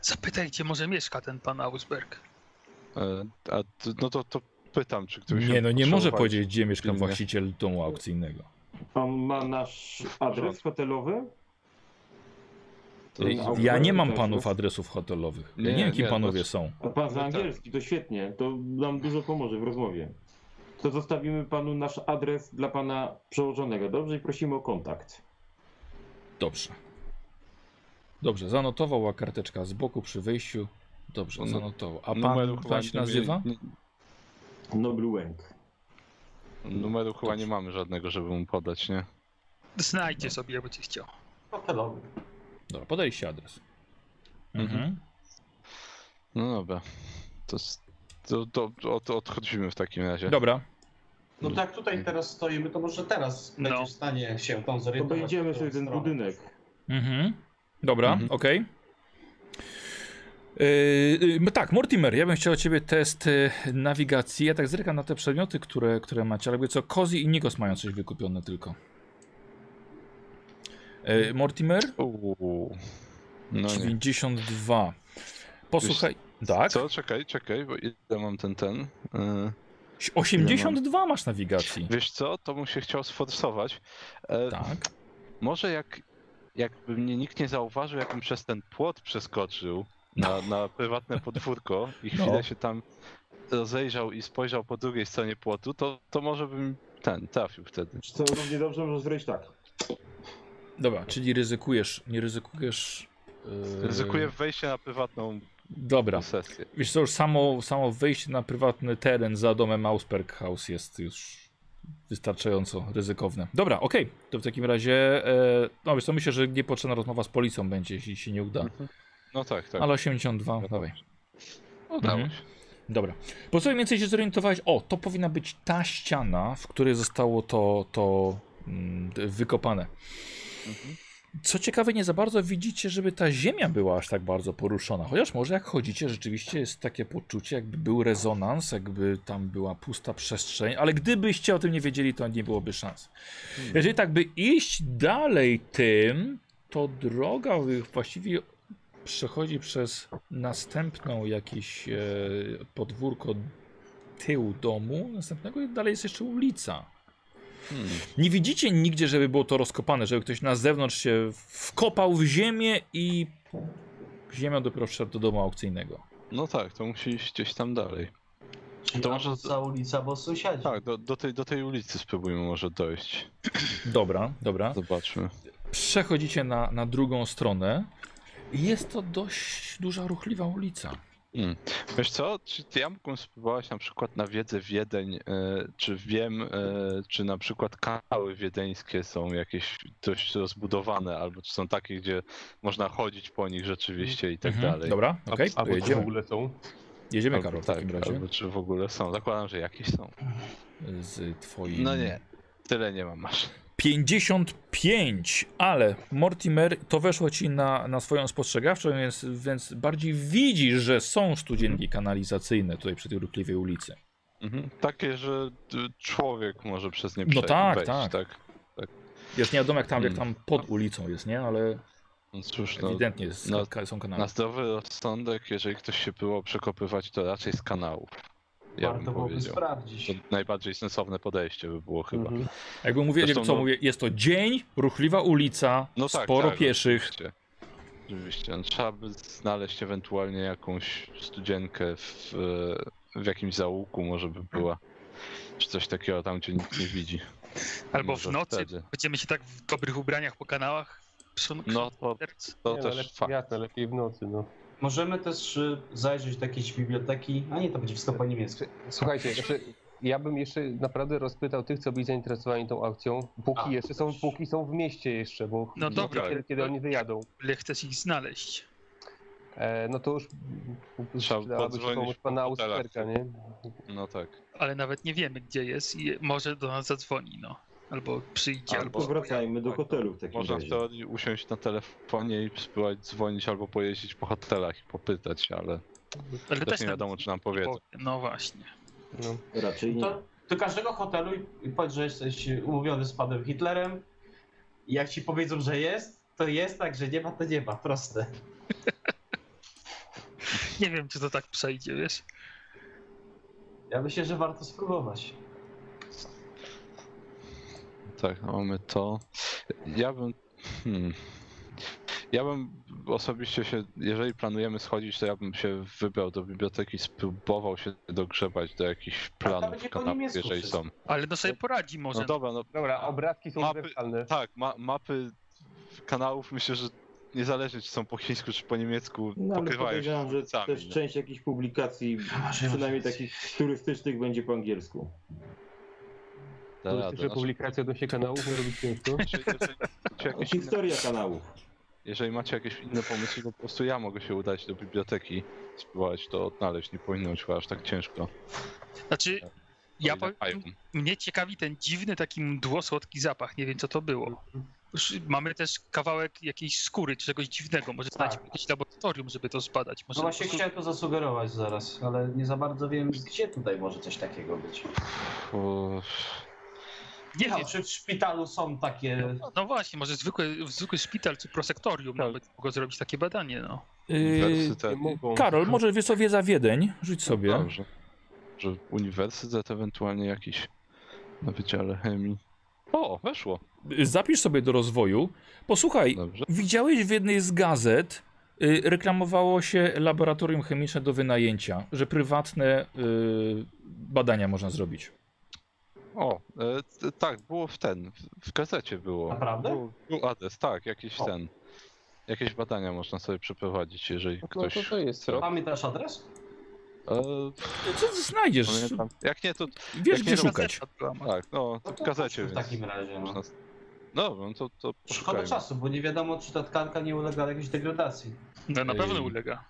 Speaker 6: Zapytajcie, może mieszka ten pan Ausberg.
Speaker 3: E, A, t- no to, to pytam, czy ktoś.
Speaker 1: Nie, no nie może
Speaker 3: potrzebował-
Speaker 1: powiedzieć, gdzie mieszka
Speaker 3: pilnie.
Speaker 1: właściciel domu aukcyjnego.
Speaker 5: Pan ma nasz adres hotelowy?
Speaker 3: To-
Speaker 5: Ej,
Speaker 3: to-
Speaker 1: Ja nie mam
Speaker 5: też
Speaker 1: panów
Speaker 5: jest?
Speaker 1: adresów hotelowych. Ja nie,
Speaker 3: Nie,
Speaker 1: wiem, kim
Speaker 3: nie,
Speaker 1: panowie
Speaker 3: znaczy-
Speaker 1: są.
Speaker 5: A pan
Speaker 3: No
Speaker 5: zna
Speaker 3: tak.
Speaker 5: angielski, to świetnie. To nam dużo pomoże w rozmowie. To zostawimy panu nasz adres dla pana przełożonego, dobrze? I prosimy o kontakt.
Speaker 1: Dobrze. Dobrze, zanotowała karteczka z boku przy wyjściu. Dobrze,
Speaker 3: No,
Speaker 1: zanotował. A
Speaker 3: numeru
Speaker 1: pan,
Speaker 3: chyba
Speaker 1: pan się
Speaker 3: nie-
Speaker 1: nazywa?
Speaker 3: nie-
Speaker 5: Noblu Łęk.
Speaker 3: Numeru chyba
Speaker 1: Dobrze.
Speaker 3: nie mamy żadnego, żeby mu podać, nie?
Speaker 6: Znajdzie sobie, jakby cię chciał.
Speaker 4: Hotelowy.
Speaker 1: Dobra, podaliście adres.
Speaker 3: Mhm.
Speaker 1: Mhm.
Speaker 3: No dobra. To, s- to, to, to od, odchodzimy w takim razie.
Speaker 1: Dobra,
Speaker 4: No tak, tutaj teraz stoimy, to może teraz
Speaker 6: No.
Speaker 4: będziesz w stanie się tam
Speaker 5: To
Speaker 4: zorientować.
Speaker 5: będziemy
Speaker 4: w którą
Speaker 5: sobie ten
Speaker 4: stronę.
Speaker 5: budynek.
Speaker 1: Mhm. Dobra,
Speaker 3: Mhm.
Speaker 1: okej. Yy, yy, tak, Mortimer, ja bym chciał od ciebie test yy, nawigacji. Ja tak zerkam na te przedmioty, które, które macie, ale jakby co, Kozi i Nikos mają coś wykupione tylko. Yy, Mortimer,
Speaker 3: Uuu. No nie.
Speaker 1: 92. Posłuchaj, tak?
Speaker 3: Co? Czekaj, czekaj, bo ile mam ten ten. Y,
Speaker 1: 82 masz nawigacji.
Speaker 3: Wiesz co, to bym się chciał sforsować. E,
Speaker 1: Tak.
Speaker 3: Może jak jakby mnie nikt nie zauważył, jakbym przez ten płot przeskoczył na, na prywatne podwórko i
Speaker 1: No.
Speaker 3: chwilę się tam rozejrzał i spojrzał po drugiej stronie płotu, to, to może bym ten trafił wtedy.
Speaker 5: Czy to równie dobrze może zrobić tak?
Speaker 1: Dobra, czyli ryzykujesz, nie ryzykujesz. yy,
Speaker 3: Ryzykuję wejście na prywatną
Speaker 1: Dobra.
Speaker 3: sesję.
Speaker 1: Wiesz co, już samo, samo wejście na prywatny teren za domem Ausberg House jest już wystarczająco ryzykowne. Dobra, okej, to w takim razie, e, no wiesz co, myślę, że niepotrzebna rozmowa z policją będzie, jeśli się nie uda.
Speaker 3: No tak, tak.
Speaker 1: Ale 82,
Speaker 3: Ja
Speaker 1: dawaj.
Speaker 3: Udało
Speaker 1: Mhm.
Speaker 3: się.
Speaker 1: Dobra. Po co mniej więcej się zorientowałeś? O, to powinna być ta ściana, w której zostało to, to mm, d- wykopane. Co ciekawe, nie za bardzo widzicie, żeby ta ziemia była aż tak bardzo poruszona. Chociaż może jak chodzicie, rzeczywiście jest takie poczucie, jakby był rezonans, jakby tam była pusta przestrzeń, ale gdybyście o tym nie wiedzieli, to nie byłoby szans. Jeżeli tak by iść dalej tym, to droga wy- właściwie przechodzi przez następną jakieś e, podwórko tyłu domu, następnego i dalej jest jeszcze ulica.
Speaker 3: Hmm.
Speaker 1: Nie widzicie nigdzie, żeby było to rozkopane, żeby ktoś na zewnątrz się wkopał w ziemię i ziemią dopiero wszedł do domu aukcyjnego.
Speaker 3: No tak, to musi iść gdzieś tam dalej.
Speaker 4: Czyli
Speaker 3: To
Speaker 4: to
Speaker 3: może-
Speaker 4: może za ulica, bo sąsiadzi.
Speaker 3: Tak, do, do, tej, do tej ulicy spróbujmy może dojść.
Speaker 1: Dobra, dobra.
Speaker 3: Zobaczmy.
Speaker 1: Przechodzicie na, na drugą stronę. Jest to dość duża, ruchliwa ulica.
Speaker 3: Wiesz co, czy ty ja mógłbym spróbować na przykład na wiedzę Wiedeń, e, czy wiem, e, czy na przykład kanały wiedeńskie są jakieś dość rozbudowane, albo czy są takie, gdzie można chodzić po nich rzeczywiście i tak
Speaker 1: Mhm,
Speaker 3: dalej.
Speaker 1: Dobra, okej,
Speaker 2: A
Speaker 1: to
Speaker 2: bo w
Speaker 1: jedziemy.
Speaker 2: ogóle są?
Speaker 1: Jedziemy,
Speaker 3: Albo
Speaker 1: Karol, w
Speaker 3: tak,
Speaker 1: takim razie.
Speaker 3: Albo czy w ogóle są, zakładam, że jakieś są.
Speaker 1: Z twoim...
Speaker 3: No nie, tyle nie mam masz.
Speaker 1: 55, ale Mortimer, to weszło ci na, na swoją spostrzegawczą, więc, więc bardziej widzisz, że są studzienki kanalizacyjne tutaj przy tej ruchliwej ulicy.
Speaker 3: Mhm. Takie, że y, człowiek może przez nie
Speaker 1: No
Speaker 3: przejść,
Speaker 1: tak,
Speaker 3: wejść,
Speaker 1: tak.
Speaker 3: tak?
Speaker 1: Jest nie wiadomo jak tam, jak
Speaker 3: Hmm.
Speaker 1: tam pod ulicą jest, nie? Ale
Speaker 3: No cóż, no,
Speaker 1: ewidentnie jest,
Speaker 3: no,
Speaker 1: ka- są kanały.
Speaker 3: na zdrowy rozsądek, jeżeli ktoś się było przekopywać, to raczej z kanałów. Ja
Speaker 4: Warto
Speaker 3: bym
Speaker 4: byłoby
Speaker 3: powiedział.
Speaker 4: sprawdzić.
Speaker 3: To najbardziej sensowne podejście by było chyba.
Speaker 5: Mhm.
Speaker 1: Jakby mówię,
Speaker 3: Zresztą,
Speaker 1: jakby co
Speaker 3: no-
Speaker 1: mówię, jest to dzień, ruchliwa ulica,
Speaker 3: No tak,
Speaker 1: sporo
Speaker 3: tak,
Speaker 1: pieszych.
Speaker 3: Oczywiście. Oczywiście. No, trzeba by znaleźć ewentualnie jakąś studzienkę w, w jakimś zaułku może by była. Czy coś takiego tam, gdzie nikt nie widzi.
Speaker 6: Albo
Speaker 3: Może
Speaker 6: w nocy.
Speaker 3: wtedy.
Speaker 6: Będziemy się tak w dobrych ubraniach po kanałach. przemknąć.
Speaker 3: No to, to
Speaker 2: nie, no,
Speaker 3: też
Speaker 2: lepiej,
Speaker 3: fakt.
Speaker 2: jasne, lepiej w nocy, no.
Speaker 4: Możemy też y, zajrzeć do jakiejś biblioteki, a nie, to będzie wszystko po niemiecku.
Speaker 2: Słuchajcie, znaczy, ja bym jeszcze naprawdę rozpytał tych, co byli zainteresowani tą akcją, póki
Speaker 4: A.
Speaker 2: jeszcze są, póki są w mieście jeszcze, bo
Speaker 6: No
Speaker 2: zobaczycie,
Speaker 3: tak,
Speaker 6: dobra.
Speaker 2: kiedy oni wyjadą,
Speaker 6: Ile chcesz ich znaleźć?
Speaker 2: e, no to już
Speaker 3: Trzeba
Speaker 2: przydałaby się
Speaker 3: podzwonić
Speaker 2: pomóc
Speaker 3: po
Speaker 2: pana
Speaker 3: hotelach.
Speaker 2: Ausperka, nie?
Speaker 3: No tak.
Speaker 6: ale nawet nie wiemy, gdzie jest i może do nas zadzwoni, no. Albo przyjdzie,
Speaker 3: Albo-
Speaker 6: albo...
Speaker 5: Powracajmy do hotelu w takim
Speaker 3: Tak. Można w
Speaker 5: razie.
Speaker 3: teorii usiąść na telefonie i spróbować dzwonić albo pojeździć po hotelach i popytać, ale
Speaker 6: Ale
Speaker 3: też nie
Speaker 6: nam
Speaker 3: wiadomo, czy nam
Speaker 6: nie
Speaker 3: powiedzą.
Speaker 6: powie. No właśnie.
Speaker 2: No.
Speaker 5: Raczej nie.
Speaker 4: To do każdego hotelu i- i powiedz, że jesteś umówiony z panem Hitlerem. I jak ci powiedzą, że jest, to jest, tak, że nie ma, to nie ma. Proste.
Speaker 6: Nie wiem, czy to tak przejdzie, wiesz?
Speaker 4: Ja myślę, że warto spróbować. No
Speaker 3: Tak, mamy to. Ja bym. Hmm. Ja bym osobiście się, jeżeli planujemy schodzić, to ja bym się wybrał do biblioteki, spróbował się dogrzebać do jakichś planów
Speaker 4: będzie po
Speaker 3: kanapów,
Speaker 4: niemiecku
Speaker 3: jeżeli
Speaker 4: wszystko.
Speaker 3: są.
Speaker 6: Ale no sobie poradzi może.
Speaker 3: No dobra, no
Speaker 2: Dobra, obrazki są
Speaker 3: Mapy-
Speaker 2: uniwersalne.
Speaker 3: tak, ma, mapy kanałów myślę, że niezależnie czy są po chińsku czy po niemiecku,
Speaker 5: No ale
Speaker 3: pokrywają się
Speaker 5: podejrzewam, że
Speaker 3: sami, no.
Speaker 5: też
Speaker 3: nie?
Speaker 5: część jakichś publikacji,
Speaker 6: no.
Speaker 4: Masz
Speaker 5: przynajmniej takich turystycznych, będzie po angielsku.
Speaker 3: Da
Speaker 2: Tu
Speaker 3: radę,
Speaker 2: Słyszę
Speaker 3: znaczy,
Speaker 2: publikację odnośnie kanałów, nie robić ciężko.
Speaker 3: jeżeli- jeżeli macie jakieś inne-
Speaker 5: Historia kanałów.
Speaker 3: Jeżeli macie jakieś inne pomysły, to po prostu ja mogę się udać do biblioteki, spróbować to odnaleźć, nie powinno być chyba aż tak ciężko.
Speaker 6: Znaczy, ja
Speaker 3: O ile Tak. mają.
Speaker 6: powiem, mnie ciekawi ten dziwny, taki mdło-słodki zapach, nie wiem co to było. Już Mamy też kawałek jakiejś skóry, czy czegoś dziwnego, może znajdziemy jakieś laboratorium, żeby to zbadać. Może
Speaker 4: Tak. No właśnie chciałem to zasugerować zaraz, ale nie za bardzo wiem, gdzie tutaj może coś takiego być.
Speaker 3: O,
Speaker 6: Nie
Speaker 4: Michał,
Speaker 6: wiem,
Speaker 4: czy w szpitalu są takie...
Speaker 6: no właśnie, może zwykły, zwykły szpital czy prosektorium
Speaker 4: Tak.
Speaker 6: nawet mogło zrobić takie badanie, no.
Speaker 1: Yy,
Speaker 3: Uniwersytet.
Speaker 2: mogą.
Speaker 1: Karol, może wiesz co, wiedza Wiedeń, rzuć sobie.
Speaker 3: Dobrze. Że uniwersytet ewentualnie jakiś na Wydziale Chemii. O, weszło.
Speaker 1: Yy, Zapisz sobie do rozwoju. Posłuchaj,
Speaker 3: Dobrze.
Speaker 1: widziałeś w jednej z gazet, yy, reklamowało się laboratorium chemiczne do wynajęcia, że prywatne yy, badania można zrobić.
Speaker 3: O, e, t- tak, było w ten, w- w gazecie było.
Speaker 4: Naprawdę?
Speaker 3: Był, był adres, tak, jakiś
Speaker 4: O.
Speaker 3: ten. Jakieś badania można sobie przeprowadzić, jeżeli
Speaker 2: No
Speaker 3: ktoś...
Speaker 2: to, to jest rok.
Speaker 4: Pamiętasz adres?
Speaker 3: E,
Speaker 1: Co ty znajdziesz?
Speaker 3: pamiętam. Jak nie, to
Speaker 1: Wiesz
Speaker 3: tak. jak
Speaker 1: gdzie
Speaker 3: nie
Speaker 1: szukać.
Speaker 6: Gazeta była, ma-
Speaker 3: Tak, no, to
Speaker 4: No
Speaker 3: w
Speaker 4: to
Speaker 3: gazecie.
Speaker 4: chodźmy w
Speaker 3: więc
Speaker 4: takim razie, no.
Speaker 3: można s- Dobra, no to, to
Speaker 4: Szkoda
Speaker 3: poszukajmy.
Speaker 4: czasu, bo nie wiadomo, czy ta tkanka nie ulega jakiejś degradacji.
Speaker 6: No na pewno
Speaker 3: Ej.
Speaker 6: ulega.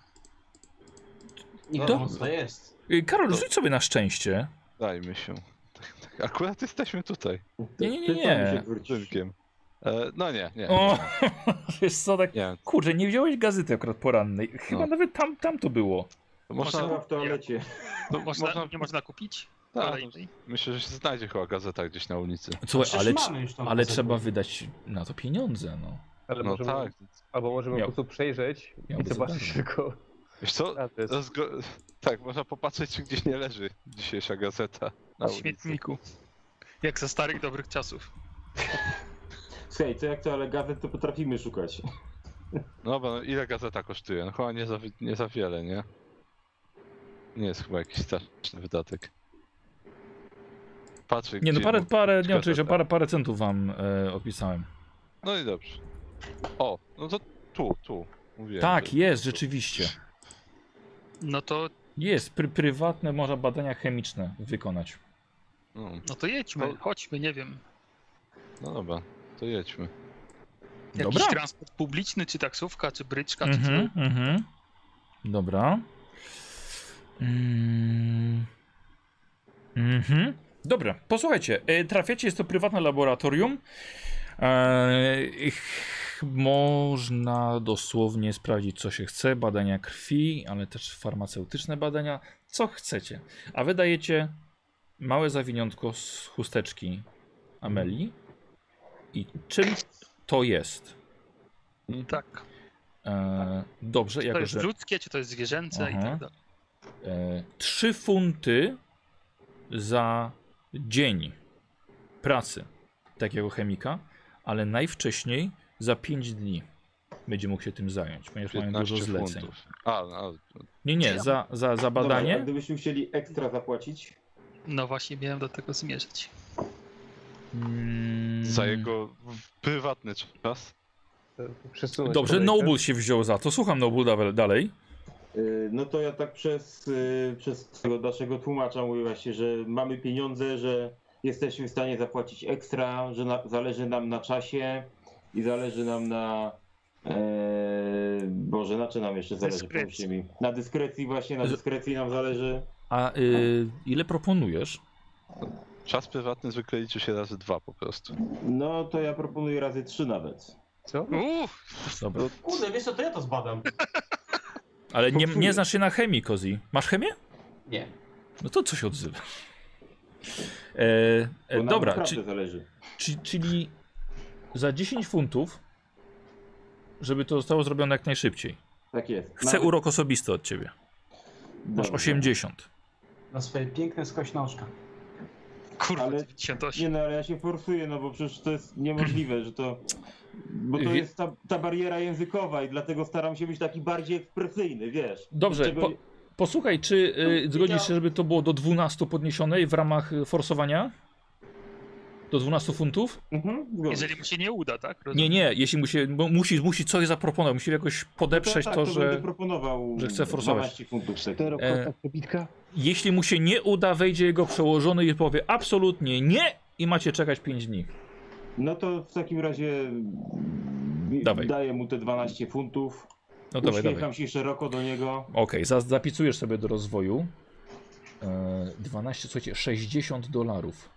Speaker 4: Nie
Speaker 1: To-
Speaker 4: wiadomo, co to jest.
Speaker 1: Yy, Karol,
Speaker 3: No.
Speaker 1: rzuć sobie na szczęście.
Speaker 3: Dajmy się. Tak, tak. Akurat jesteśmy tutaj,
Speaker 1: Nie, nie, nie,
Speaker 5: Ty sam
Speaker 1: nie.
Speaker 5: się wrócisz.
Speaker 3: rynkiem. E, no nie, nie.
Speaker 1: O, wiesz co, tak...
Speaker 3: Nie,
Speaker 1: Kurczę, nie wziąłeś gazety akurat porannej. Chyba
Speaker 3: No.
Speaker 1: nawet tam, tam to było.
Speaker 3: można,
Speaker 5: Trzeba w toalecie.
Speaker 3: no,
Speaker 6: Można,
Speaker 3: można,
Speaker 6: Nie można kupić?
Speaker 3: tak,
Speaker 6: Kolejnej?
Speaker 3: myślę, że się znajdzie chyba gazeta gdzieś na ulicy.
Speaker 1: Słuchaj,
Speaker 4: Przecież
Speaker 1: ale,
Speaker 4: mamy już tą
Speaker 1: ale
Speaker 4: gazetę.
Speaker 1: trzeba wydać na to pieniądze, no.
Speaker 2: Ale
Speaker 3: No
Speaker 2: możemy,
Speaker 3: tak.
Speaker 2: Albo możemy
Speaker 1: Miał-
Speaker 2: po prostu przejrzeć i
Speaker 1: miałby
Speaker 2: zobaczyć
Speaker 1: zadarmo.
Speaker 2: tylko
Speaker 3: Wiesz co?
Speaker 2: adres.
Speaker 3: To zgo... Tak, można popatrzeć, czy gdzieś nie leży dzisiejsza gazeta na
Speaker 6: W
Speaker 3: ulicy.
Speaker 6: śmietniku. Jak za starych dobrych czasów.
Speaker 5: Słuchaj, co jak to, ale gazet to potrafimy szukać.
Speaker 3: No bo no, ile gazeta kosztuje? No chyba nie za, wi- nie za wiele, nie? Nie jest chyba jakiś straszny wydatek. Patrzę,
Speaker 1: Nie no,
Speaker 3: gdzie
Speaker 1: parę,
Speaker 3: mu-
Speaker 1: parę, nie
Speaker 3: Zgadza
Speaker 1: oczywiście,
Speaker 3: się. tak.
Speaker 1: parę, parę centów wam e, odpisałem.
Speaker 3: No i dobrze. O, no to tu, tu. Mówiłem,
Speaker 1: tak,
Speaker 3: że-
Speaker 1: jest, rzeczywiście.
Speaker 6: No to,
Speaker 1: Jest, pry, prywatne można badania chemiczne wykonać.
Speaker 3: No,
Speaker 6: no to jedźmy, chodźmy, nie wiem.
Speaker 3: no dobra, to jedźmy.
Speaker 6: Jakiś
Speaker 1: Dobra.
Speaker 6: transport publiczny, czy taksówka, czy bryczka, czy
Speaker 1: Mhm, mhm. Dobra. Mm. Mhm. Dobra, posłuchajcie, e, trafiacie, jest to prywatne laboratorium. E, ch- Można dosłownie sprawdzić, co się chce, badania krwi, ale też farmaceutyczne badania, co chcecie. A wydajecie małe zawiniątko z chusteczki Ameli. I czym to jest?
Speaker 3: Mm,
Speaker 6: Tak.
Speaker 1: E, dobrze,
Speaker 6: To
Speaker 1: jako
Speaker 6: jest
Speaker 1: że
Speaker 6: ludzkie, czy to jest zwierzęce i
Speaker 1: Aha.
Speaker 6: tak dalej.
Speaker 1: e, 3 funty za dzień pracy takiego chemika, ale najwcześniej za 5 dni będzie mógł się tym zająć, ponieważ mają dużo
Speaker 3: 15
Speaker 1: zleceń.
Speaker 3: funtów. A, no, a,
Speaker 1: Nie, nie, za, za, za
Speaker 5: Dobra, a
Speaker 1: badanie.
Speaker 5: gdybyśmy chcieli ekstra zapłacić,
Speaker 6: No właśnie, miałem do tego zmierzyć.
Speaker 1: Mm,
Speaker 3: za jego w- prywatny czas.
Speaker 2: Przesunąć
Speaker 1: Dobrze, no
Speaker 2: kolejkę.
Speaker 1: Noble się wziął za to. Słucham Noble dawe- dalej.
Speaker 5: yy, no to ja tak przez, yy, przez tego naszego tłumacza mówię właśnie, że mamy pieniądze, że jesteśmy w stanie zapłacić ekstra, że na, zależy nam na czasie i zależy nam na... Yy, Boże, na czym nam jeszcze zależy?
Speaker 6: Dyskrecji.
Speaker 5: Pomyślcie mi. Na dyskrecji właśnie, na
Speaker 1: Że-
Speaker 5: dyskrecji nam zależy.
Speaker 1: A y, ile proponujesz?
Speaker 3: Czas prywatny zwykle liczy się razy dwa po prostu.
Speaker 5: No to ja proponuję razy trzy nawet.
Speaker 3: Co?
Speaker 6: Uuu,
Speaker 1: Dobra.
Speaker 4: Kurde, wiesz co, to ja to zbadam.
Speaker 1: Ale nie,
Speaker 5: Popsuję.
Speaker 1: nie znasz się na chemii, Kozi. Masz chemię?
Speaker 4: Nie.
Speaker 1: No to co się odzywa? E,
Speaker 5: Bo
Speaker 1: e,
Speaker 5: nam
Speaker 1: dobra,
Speaker 5: naprawdę
Speaker 1: czy,
Speaker 5: zależy.
Speaker 1: czy, czyli za 10 funtów, żeby to zostało zrobione jak najszybciej.
Speaker 5: Tak jest.
Speaker 1: Chcę
Speaker 5: Nawet-
Speaker 1: urok osobisty od ciebie. Masz
Speaker 5: Dobrze.
Speaker 1: 80.
Speaker 4: Na swoje piękne skośnążka.
Speaker 6: kurwa,
Speaker 5: Ale-
Speaker 6: 98.
Speaker 5: Nie no, ale ja się forsuję, no bo przecież to jest niemożliwe, że to... Bo to
Speaker 1: Wie-
Speaker 5: jest ta, ta bariera językowa i dlatego staram się być taki bardziej ekspresyjny, wiesz.
Speaker 1: Dobrze,
Speaker 5: Czego-
Speaker 1: po, posłuchaj, czy y, zgodzisz się, żeby to było do 12 podniesione i w ramach y, forsowania? Do 12 funtów?
Speaker 5: Mhm, zgodzę.
Speaker 6: Jeżeli mu się nie uda, tak? Rozumiem.
Speaker 1: Nie, nie, jeśli mu się, bo musi, musi coś zaproponować, musi jakoś podeprzeć
Speaker 5: tak,
Speaker 1: to,
Speaker 5: Będę
Speaker 1: że
Speaker 5: proponował
Speaker 1: że chcę forsować.
Speaker 5: 12 funtów wtedy.
Speaker 2: Cztero
Speaker 1: E.
Speaker 2: kostek dobitka?
Speaker 1: jeśli mu się nie uda, wejdzie jego przełożony i powie absolutnie nie i macie czekać 5 dni.
Speaker 5: No to w takim razie
Speaker 1: Dawaj.
Speaker 5: daję mu te 12 funtów.
Speaker 1: No dawaj,
Speaker 5: Uśmiecham
Speaker 1: dawaj.
Speaker 5: się szeroko do niego.
Speaker 1: Okej, za zapisujesz sobie do rozwoju. E, 12, słuchajcie, 60 dolarów.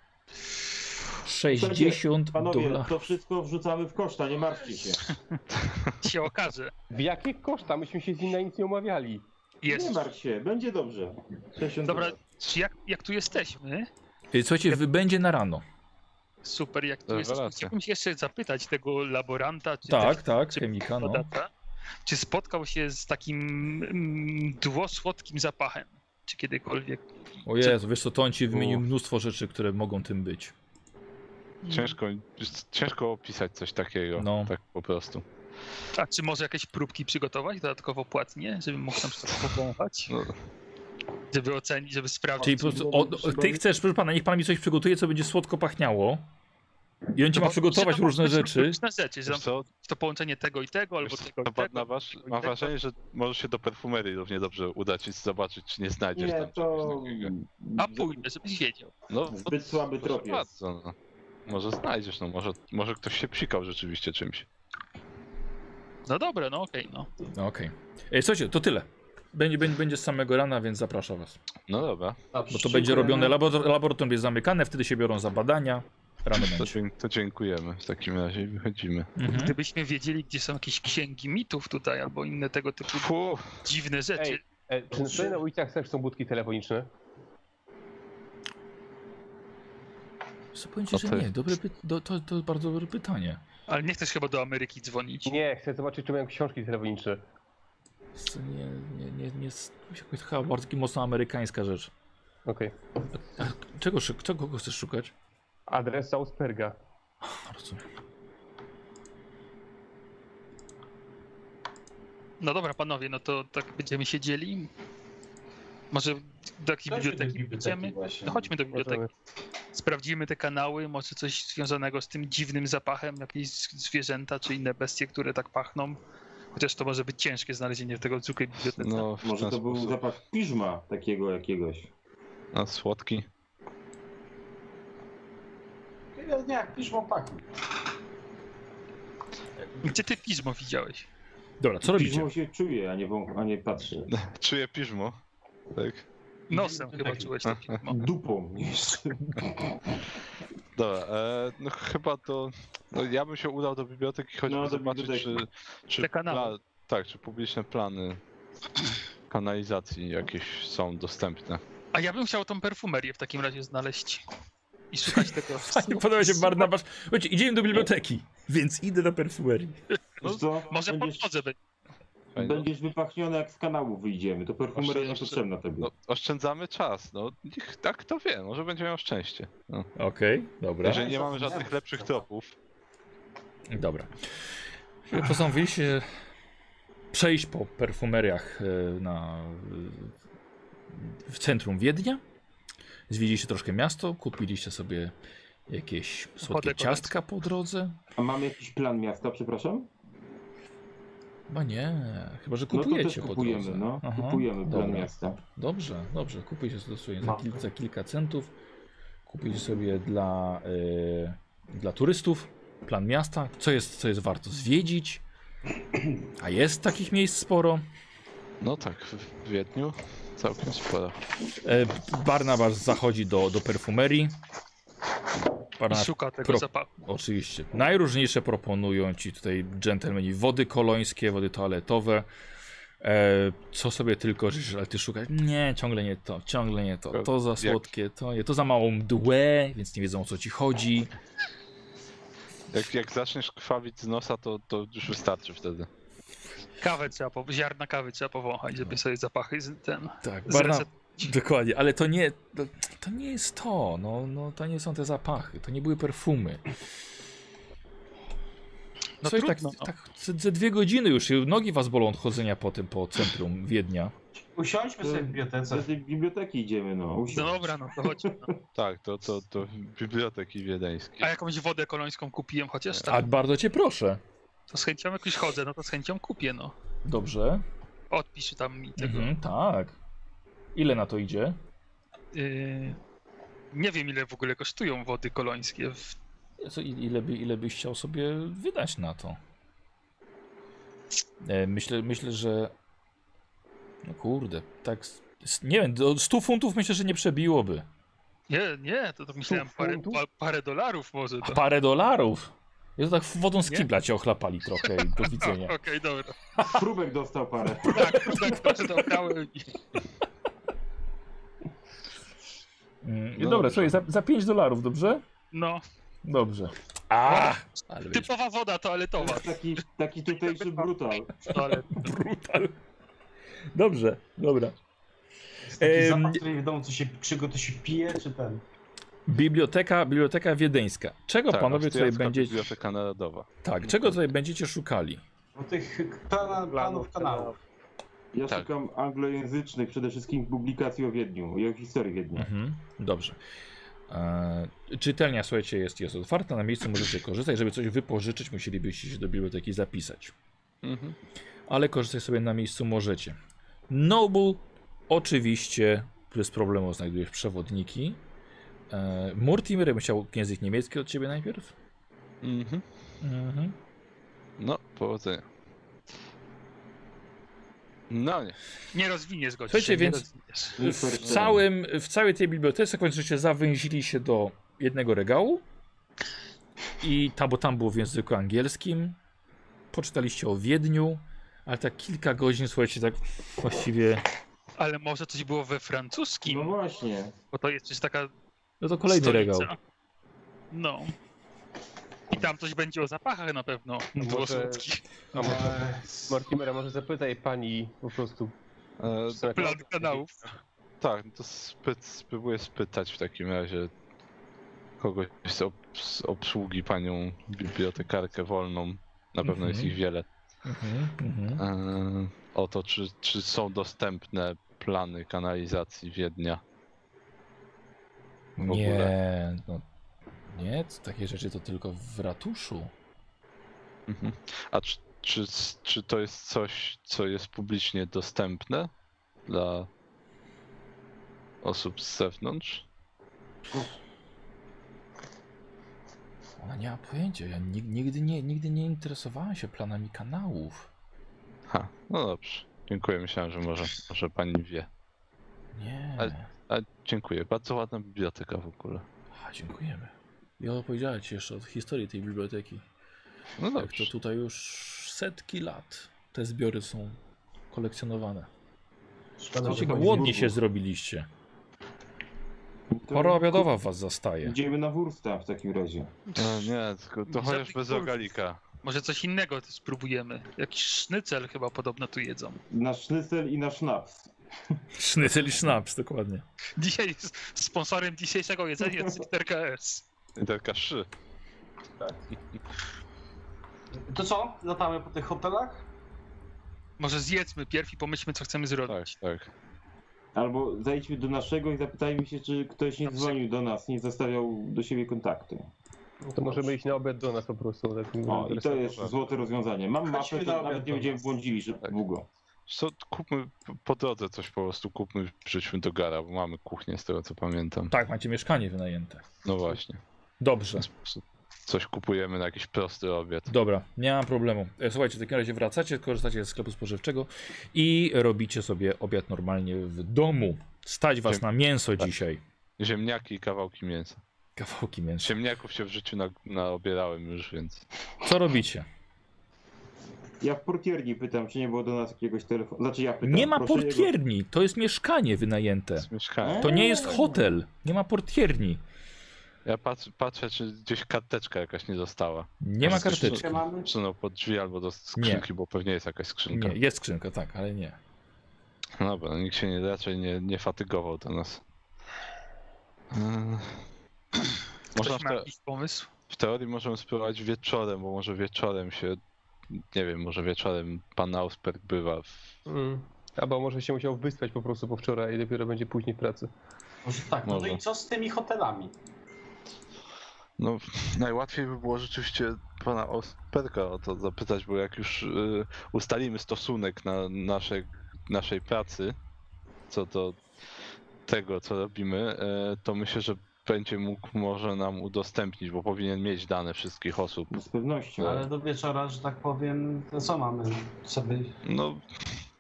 Speaker 1: 60
Speaker 5: Panowie,
Speaker 1: dolarów.
Speaker 5: to wszystko wrzucamy w koszta, nie martwcie się.
Speaker 6: Się okaże.
Speaker 2: W jakie koszta? Myśmy się z nim na nic nie umawiali.
Speaker 5: Nie
Speaker 6: Jest.
Speaker 5: martw się, będzie dobrze. 60
Speaker 6: Dobra,
Speaker 5: dolarów.
Speaker 6: czy jak, jak tu jesteśmy?
Speaker 1: Y, Słuchajcie, wy- będzie na rano.
Speaker 6: Super, jak tu
Speaker 3: Rewelacja.
Speaker 6: jesteśmy. Chciałbym się jeszcze zapytać tego laboranta, czy
Speaker 1: Tak,
Speaker 6: też,
Speaker 1: tak,
Speaker 6: czy
Speaker 1: chemika, no.
Speaker 6: badacza, czy spotkał się z takim mm, dłosłodkim zapachem? Czy kiedykolwiek?
Speaker 1: O Jezu, wiesz co, to on ci wymienił
Speaker 3: Uff.
Speaker 1: mnóstwo rzeczy, które mogą tym być.
Speaker 3: Ciężko, ciężko opisać coś takiego.
Speaker 1: No.
Speaker 3: Tak po prostu.
Speaker 6: A czy może jakieś próbki przygotować dodatkowo płatnie, żeby mógł tam coś popąchać?
Speaker 3: No.
Speaker 6: Żeby ocenić, żeby sprawdzić.
Speaker 1: Czyli po prostu o, o- ty chcesz, proszę pana, niech pan mi coś przygotuje, co będzie słodko pachniało. I on ci ma
Speaker 6: No,
Speaker 1: przygotować
Speaker 6: czy tam
Speaker 1: różne
Speaker 6: po prostu
Speaker 1: rzeczy.
Speaker 6: Różne rzeczy, że
Speaker 3: Wiesz
Speaker 6: tam
Speaker 3: co,
Speaker 6: to połączenie tego i tego, albo tak.
Speaker 3: wiesz co,
Speaker 6: tego i
Speaker 3: to
Speaker 6: tego.
Speaker 3: waż,
Speaker 6: tego i
Speaker 3: mam
Speaker 6: tego.
Speaker 3: wrażenie, że możesz się do perfumerii równie dobrze udać i zobaczyć, czy nie znajdziesz
Speaker 5: Nie,
Speaker 3: tam
Speaker 5: to...
Speaker 3: czegoś takiego.
Speaker 6: A pójdę, żebyś wiedział.
Speaker 3: No,
Speaker 5: Zbyt
Speaker 3: no,
Speaker 5: słaby
Speaker 3: proszę
Speaker 5: trop jest.
Speaker 3: bardzo, no. Może znajdziesz, no może, może ktoś się psikał rzeczywiście czymś.
Speaker 6: No dobra, no okej, no.
Speaker 1: No, Okej. Ej, Słuchajcie, to tyle. Będzie, będzie, będzie z samego rana, więc zapraszam was.
Speaker 3: No dobra,
Speaker 1: Bo to będzie robione, labor- laboratorium jest zamykane, wtedy się biorą za badania. Rano
Speaker 3: to,
Speaker 1: będzie.
Speaker 3: dzięk- to dziękujemy w takim razie i wychodzimy.
Speaker 1: Mhm.
Speaker 6: Gdybyśmy wiedzieli, gdzie są jakieś księgi mitów tutaj, albo inne tego typu
Speaker 3: Fu,
Speaker 6: dziwne rzeczy.
Speaker 2: Ej. E, czy tutaj na ulicach też są budki telefoniczne?
Speaker 1: Co powiem ci,
Speaker 3: A
Speaker 1: że
Speaker 3: ty?
Speaker 1: nie, dobre py- do, to, to bardzo dobre pytanie.
Speaker 6: Ale nie chcesz chyba do Ameryki dzwonić.
Speaker 2: Nie, chcę zobaczyć, czy mają książki telefoniczne.
Speaker 1: To nie, nie, nie, nie jest jakoś taka bardzo mocno amerykańska rzecz.
Speaker 2: Okej.
Speaker 1: Czego, szy- czego kogo chcesz szukać?
Speaker 2: Adres Southperga.
Speaker 1: No, rozumiem.
Speaker 6: No dobra, panowie, no to tak będziemy się dzieli. Może do jakiejś biblioteki będziemy? No chodźmy do
Speaker 3: tak-
Speaker 6: biblioteki.
Speaker 2: Możemy.
Speaker 6: Sprawdzimy te kanały, może coś związanego z tym dziwnym zapachem, jakieś z- zwierzęta czy inne bestie, które tak pachną. Chociaż to może być ciężkie znalezienie w tego zwykłej bibliotece.
Speaker 3: no w
Speaker 5: Może
Speaker 3: ten
Speaker 5: to był
Speaker 3: sposób.
Speaker 5: zapach piżma takiego jakiegoś.
Speaker 3: A słodki.
Speaker 4: Nie, jak pisz tak. łopaku.
Speaker 6: Gdzie ty pismo widziałeś?
Speaker 1: Dobra, co robicie?
Speaker 5: Piżmą się czuje, a nie, wą- a nie patrzy.
Speaker 3: Czuję piżmo. Tak.
Speaker 6: Nosem
Speaker 4: Nie,
Speaker 6: chyba
Speaker 4: tak.
Speaker 6: czułeś to pismo.
Speaker 5: Dupą jeszcze.
Speaker 3: Dobra, e, no chyba to. No ja bym się udał do biblioteki, choćby
Speaker 5: No, do
Speaker 3: zobaczyć, czy,
Speaker 5: biblioteki.
Speaker 3: czy,
Speaker 6: Te kanały.
Speaker 3: tak, czy publiczne plany kanalizacji jakieś są dostępne.
Speaker 6: A ja bym chciał tą perfumerię w takim razie znaleźć. I szukać tego.
Speaker 1: Fajnie, podoba się Barnabasz. Słuchajcie, idziemy do biblioteki, więc idę do perfumerii.
Speaker 5: Wiesz co?
Speaker 6: No, Może po
Speaker 5: Będziesz,
Speaker 6: drodze będzie.
Speaker 3: Fajnie.
Speaker 5: będziesz wypachniony jak z kanału wyjdziemy, to perfumeria
Speaker 3: Jeszcze-
Speaker 5: nie
Speaker 3: jeszcze-
Speaker 5: potrzebna tobie.
Speaker 3: No, oszczędzamy czas, no niech tak to wie, może będzie miał szczęście. No.
Speaker 1: Okej, dobra.
Speaker 3: Jeżeli nie mamy żadnych lepszych tropów,
Speaker 1: Dobra. Postanowiliście przejść po perfumeriach e, na, e, w centrum Wiednia. Zwiedziliście troszkę miasto, kupiliście sobie jakieś słodkie
Speaker 6: Podek-
Speaker 1: ciastka po drodze.
Speaker 5: A mamy jakiś plan miasta, przepraszam?
Speaker 1: Chyba nie, chyba że
Speaker 5: No to też
Speaker 1: kupujecie po
Speaker 5: kupujemy,
Speaker 1: drodze.
Speaker 5: no.
Speaker 1: Aha,
Speaker 5: Kupujemy plan
Speaker 1: dobra.
Speaker 5: miasta.
Speaker 1: Dobrze, dobrze. Kupujcie sobie dosłownie za,
Speaker 4: No.
Speaker 1: kil, za kilka centów. Kupujcie sobie dla, y, dla turystów plan miasta, co jest, co jest warto zwiedzić. A jest takich miejsc sporo.
Speaker 3: No tak, w Wiedniu całkiem spora.
Speaker 1: E, Barnabasz zachodzi do, do perfumerii.
Speaker 6: I
Speaker 1: Barnabasz,
Speaker 6: szuka tego
Speaker 1: pro-
Speaker 6: zapachu.
Speaker 1: oczywiście. Najróżniejsze proponują ci tutaj dżentelmeni wody kolońskie, wody toaletowe. E, co sobie tylko życzysz, ale ty szukasz. Nie, ciągle nie to, ciągle nie to. To za
Speaker 3: Jak-
Speaker 1: słodkie, to nie, to za małą mdłę, więc nie wiedzą o co ci chodzi.
Speaker 3: Jak, jak zaczniesz krwawić z nosa, to, to już wystarczy wtedy.
Speaker 6: Kawę trzeba, po, ziarna kawy trzeba powąchać, żeby sobie zapachy z, ten,
Speaker 1: Tak, Barna,
Speaker 6: zreset...
Speaker 1: Dokładnie, ale to nie, to, to nie jest to, no, no, to nie są te zapachy, to nie były perfumy. No
Speaker 6: No
Speaker 1: Słuchaj,
Speaker 6: trudno,
Speaker 1: tak,
Speaker 6: no.
Speaker 1: tak ze, ze dwie godziny już, i nogi was bolą od chodzenia po tym, po centrum Wiednia.
Speaker 4: Usiądźmy sobie w bibliotece.
Speaker 5: Do tej biblioteki idziemy, no.
Speaker 6: No
Speaker 5: usiądź.
Speaker 6: dobra, no to chodź. No.
Speaker 3: Tak, to, to, to biblioteki wiedeńskie.
Speaker 6: A jakąś wodę kolońską kupiłem chociaż
Speaker 1: A
Speaker 6: tak.
Speaker 1: bardzo cię proszę.
Speaker 6: To z chęcią jakoś chodzę, no to z chęcią kupię, no.
Speaker 1: Dobrze.
Speaker 6: Odpisz tam mi tego.
Speaker 1: Mhm, tak. Ile na to idzie?
Speaker 6: Y, Nie wiem ile w ogóle kosztują wody kolońskie. W...
Speaker 1: Co, i- ile, by, ile byś chciał sobie wydać na to? E, myślę, myślę, że. No kurde, tak. s- s- Nie wiem, do 100 funtów myślę, że nie przebiłoby.
Speaker 6: Nie, nie, to, to myślałem parę,
Speaker 2: funtów?
Speaker 6: pa, parę dolarów może.
Speaker 1: A
Speaker 6: To.
Speaker 1: parę dolarów? Jest tak wodą z
Speaker 6: Nie?
Speaker 1: kibla cię ochlapali trochę i do widzenia.
Speaker 6: Okej, dobra.
Speaker 5: Próbek dostał parę.
Speaker 6: Tak, tak, dobrze dobrałem i
Speaker 1: Mm,
Speaker 3: No
Speaker 1: dobra,
Speaker 3: dobrze.
Speaker 1: słuchaj, za, za 5 dolarów, dobrze?
Speaker 6: No,
Speaker 1: Dobrze. A, ale będziesz
Speaker 6: typowa woda
Speaker 5: To
Speaker 6: toaletowa.
Speaker 5: jest taki, taki tutejszy brutal.
Speaker 6: Toalet.
Speaker 1: brutal. Dobrze, dobra.
Speaker 4: Jest taki
Speaker 1: Em,
Speaker 4: zapach, który nie wiadomo, co się, czego to się pije, czy ten.
Speaker 1: Biblioteka, biblioteka wiedeńska. Czego
Speaker 3: tak,
Speaker 1: panowie tutaj
Speaker 3: austriacka
Speaker 1: będziecie.
Speaker 3: Biblioteka narodowa.
Speaker 1: Tak, czego tutaj będziecie szukali?
Speaker 4: O tych plan, planów kanałów.
Speaker 5: Ja
Speaker 3: Tak.
Speaker 5: szukam anglojęzycznych, przede wszystkim publikacji o Wiedniu i o historii Wiednia.
Speaker 1: Mhm, dobrze. E, czytelnia, słuchajcie, jest, jest otwarta, na miejscu możecie korzystać. Żeby coś wypożyczyć, musielibyście się do biblioteki zapisać.
Speaker 3: Mhm.
Speaker 1: ale korzystać sobie na miejscu możecie. Noble oczywiście bez problemu znajdujesz przewodniki. E, Mortimer, ja bym chciał język niemiecki od ciebie najpierw.
Speaker 3: Mhm.
Speaker 1: Mhm.
Speaker 3: No, powodzenia. No nie.
Speaker 6: Nie rozwiniesz go
Speaker 1: Słuchajcie,
Speaker 6: dzisiaj, nie
Speaker 1: więc-
Speaker 6: rozwiniesz.
Speaker 1: W, całym, w całej tej bibliotece kończycie zawęzili się do jednego regału i tam, bo tam było w języku angielskim. Poczytaliście o Wiedniu, ale tak kilka godzin, słuchajcie, tak właściwie...
Speaker 6: Ale może coś było we francuskim,
Speaker 5: No właśnie.
Speaker 6: bo to jest coś taka
Speaker 1: No to kolejny
Speaker 6: stolica.
Speaker 1: regał.
Speaker 6: No. I tam coś będzie o zapachach na pewno.
Speaker 1: No
Speaker 6: Dwosłodkich.
Speaker 3: A może
Speaker 2: Mortimera, może zapytaj pani po prostu.
Speaker 3: e,
Speaker 2: co-
Speaker 6: Plan kanałów.
Speaker 3: tak, to spyt, spróbuję spytać w takim razie kogoś z, obs- z obsługi panią bibliotekarkę wolną. Na pewno
Speaker 1: Mhm.
Speaker 3: jest ich wiele.
Speaker 1: Mhm, mhm.
Speaker 3: E, o to, czy, czy są dostępne plany kanalizacji Wiednia. w ogóle.
Speaker 1: Nie, no, nie, c- takie rzeczy to tylko w ratuszu.
Speaker 3: Mhm. A czy, czy, czy to jest coś, co jest publicznie dostępne dla osób z zewnątrz?
Speaker 1: Ona nie ma pojęcia, ja nig- nigdy nie, nigdy nie interesowałem się planami kanałów.
Speaker 3: Ha, no dobrze. Dziękuję, myślałem, że może, może pani wie.
Speaker 1: Nie,
Speaker 3: Ale- A dziękuję, bardzo ładna biblioteka w ogóle.
Speaker 1: a, dziękujemy. Ja opowiedziałem ci jeszcze od historii tej biblioteki.
Speaker 3: No
Speaker 1: Tak, to
Speaker 3: dobrze.
Speaker 1: tutaj już setki lat te zbiory są kolekcjonowane.
Speaker 2: No,
Speaker 1: Słuchajcie,
Speaker 2: chodzi.
Speaker 1: głodni się zrobiliście. Pora obiadowa was zastaje.
Speaker 5: Idziemy na Wursta w takim razie.
Speaker 3: No nie, tylko to
Speaker 6: Zabij
Speaker 3: chociaż bez
Speaker 6: kurw.
Speaker 3: rogalika.
Speaker 6: Może coś innego spróbujemy. Jakiś sznycel chyba podobno tu jedzą.
Speaker 5: Na sznycel i na sznaps.
Speaker 1: Sznycel i sznaps, dokładnie.
Speaker 6: Dzisiaj jest sponsorem dzisiejszego jedzenia jest RKS.
Speaker 3: I Taka szy.
Speaker 4: To co? Latamy po tych hotelach?
Speaker 6: Może zjedzmy pierw i pomyślmy, co chcemy
Speaker 3: Tak,
Speaker 6: zrobić.
Speaker 3: tak.
Speaker 5: Albo zajdźmy do naszego i zapytajmy się, czy ktoś nie dzwonił do nas, nie zostawiał do siebie kontaktu.
Speaker 2: To możemy iść na obiad do nas po prostu. Tak,
Speaker 5: O, i to jest złote rozwiązanie. Mam
Speaker 4: Chodźmy
Speaker 5: mapę,
Speaker 4: na
Speaker 5: to
Speaker 4: obiad
Speaker 5: nawet nie
Speaker 4: do
Speaker 5: będziemy
Speaker 4: nas.
Speaker 5: błądzili że
Speaker 3: Tak.
Speaker 5: długo.
Speaker 3: Co, kupmy po drodze coś po prostu, kupmy, przyjdźmy do gara, bo mamy kuchnię z tego co pamiętam.
Speaker 1: Tak, macie mieszkanie wynajęte.
Speaker 3: No właśnie.
Speaker 1: Dobrze.
Speaker 3: W ten sposób. coś kupujemy na jakiś prosty obiad.
Speaker 1: Dobra, nie mam problemu. E, Słuchajcie, w takim razie wracacie, korzystacie ze sklepu spożywczego i robicie sobie obiad normalnie w domu. Stać was
Speaker 3: Dzie-
Speaker 1: na mięso
Speaker 3: tak.
Speaker 1: dzisiaj.
Speaker 3: Ziemniaki i kawałki mięsa.
Speaker 1: Kawałki mięsa.
Speaker 3: Ziemniaków się w życiu na, naobierałem już, więc
Speaker 1: Co robicie?
Speaker 5: Ja w portierni pytam, czy nie było do nas jakiegoś telefonu. Znaczy ja pytam.
Speaker 1: Nie ma
Speaker 5: proszę jego-
Speaker 1: portierni, to jest mieszkanie wynajęte.
Speaker 3: z mieszkania.
Speaker 6: No.
Speaker 1: To nie jest
Speaker 5: Eee.
Speaker 1: hotel, nie ma portierni.
Speaker 3: Ja patrzę, patrzę, czy gdzieś karteczka jakaś nie została.
Speaker 1: Nie ma
Speaker 3: Jest jeszcze-
Speaker 1: karteczki.
Speaker 5: mamy?
Speaker 3: Przesunął pod drzwi albo do skrzynki, bo pewnie jest jakaś skrzynka.
Speaker 1: Nie, jest skrzynka, tak, ale nie.
Speaker 3: No dobra, nikt się nie, raczej nie, nie fatygował do nas. Mm. Można
Speaker 6: Ktoś
Speaker 3: w,
Speaker 6: ma
Speaker 3: te,
Speaker 6: jakiś pomysł?
Speaker 3: w teorii możemy spróbować wieczorem, bo może wieczorem się, nie wiem, może wieczorem pan Ausberg bywa w...
Speaker 2: Mm. Albo może się musiał wyspać po prostu po wczoraj i dopiero będzie później w pracy.
Speaker 4: Może tak, no, no
Speaker 3: Może.
Speaker 4: i co z tymi hotelami?
Speaker 3: No, najłatwiej by było rzeczywiście pana Ausberga o to zapytać, bo jak już y, ustalimy stosunek na naszej, naszej pracy, co do tego, co robimy, y, to myślę, że będzie mógł może nam udostępnić, bo powinien mieć dane wszystkich osób.
Speaker 5: No, Z pewnością.
Speaker 1: No.
Speaker 3: Tak.
Speaker 4: Ale do wieczora, że tak powiem, to co mamy sobie
Speaker 3: No,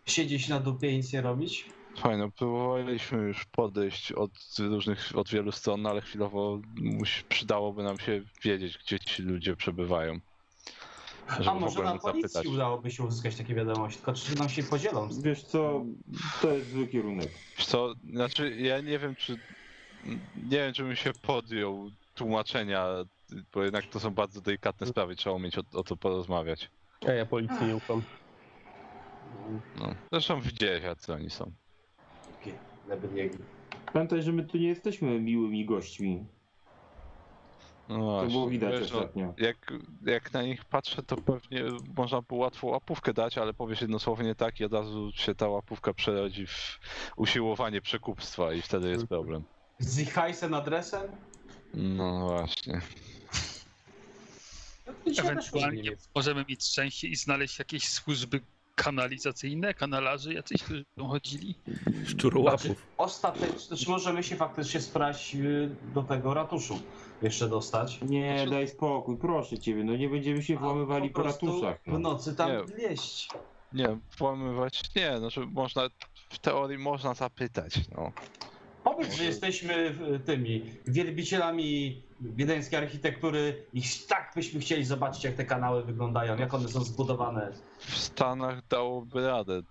Speaker 4: siedzieć na dupie i nic nie robić?
Speaker 3: Słuchaj, no próbowaliśmy już podejść od różnych, od wielu stron, no ale chwilowo musi, przydałoby nam się wiedzieć, gdzie ci ludzie przebywają. Żeby
Speaker 4: A może
Speaker 3: mogłem
Speaker 4: na policji
Speaker 3: zapytać.
Speaker 4: udałoby się uzyskać takie wiadomości, tylko czy nam się podzielą?
Speaker 5: Wiesz co, to jest zły kierunek.
Speaker 3: Wiesz Co, znaczy ja nie wiem, czy nie wiem, czy bym się podjął tłumaczenia, bo jednak to są bardzo delikatne sprawy, trzeba umieć o, o to porozmawiać.
Speaker 2: A ja policji nie ufam.
Speaker 3: No. Zresztą widziałeś, jak co oni są.
Speaker 4: Żeby biegli.
Speaker 5: Pamiętaj, że my tu nie jesteśmy miłymi gośćmi.
Speaker 3: No
Speaker 5: To
Speaker 3: właśnie,
Speaker 5: było widać
Speaker 3: wiesz, no,
Speaker 5: ostatnio.
Speaker 3: jak, jak na nich patrzę, to pewnie można było łatwo łapówkę dać, ale powiesz jednosłownie tak i od razu się ta łapówka przerodzi w usiłowanie przekupstwa i wtedy jest problem.
Speaker 4: Z ich hajsem, adresem?
Speaker 3: No właśnie.
Speaker 4: No to dzisiaj też może nie
Speaker 6: Ewentualnie
Speaker 4: jest.
Speaker 6: możemy mieć szczęście i znaleźć jakieś służby kanalizacyjne, kanalarzy jacyś, którzy będą chodzili.
Speaker 1: Znaczy- Szczurołapów.
Speaker 4: Ostatecznie, czy możemy się faktycznie sprać y, do tego ratuszu jeszcze dostać?
Speaker 5: Nie,
Speaker 3: Znaczy-
Speaker 5: daj spokój, proszę ciebie, no nie będziemy się włamywali
Speaker 4: A
Speaker 5: po
Speaker 4: prostu
Speaker 5: ratuszach.
Speaker 4: W
Speaker 5: No.
Speaker 4: nocy tam
Speaker 3: Nie.
Speaker 4: wleść.
Speaker 3: Nie, włamywać nie, znaczy można, w teorii można zapytać, no.
Speaker 4: Powiedz,
Speaker 3: Może-
Speaker 4: że jesteśmy y, tymi wielbicielami wiedeńskiej architektury i tak byśmy chcieli zobaczyć, jak te kanały wyglądają, jak one są zbudowane.
Speaker 3: W Stanach dałoby radę,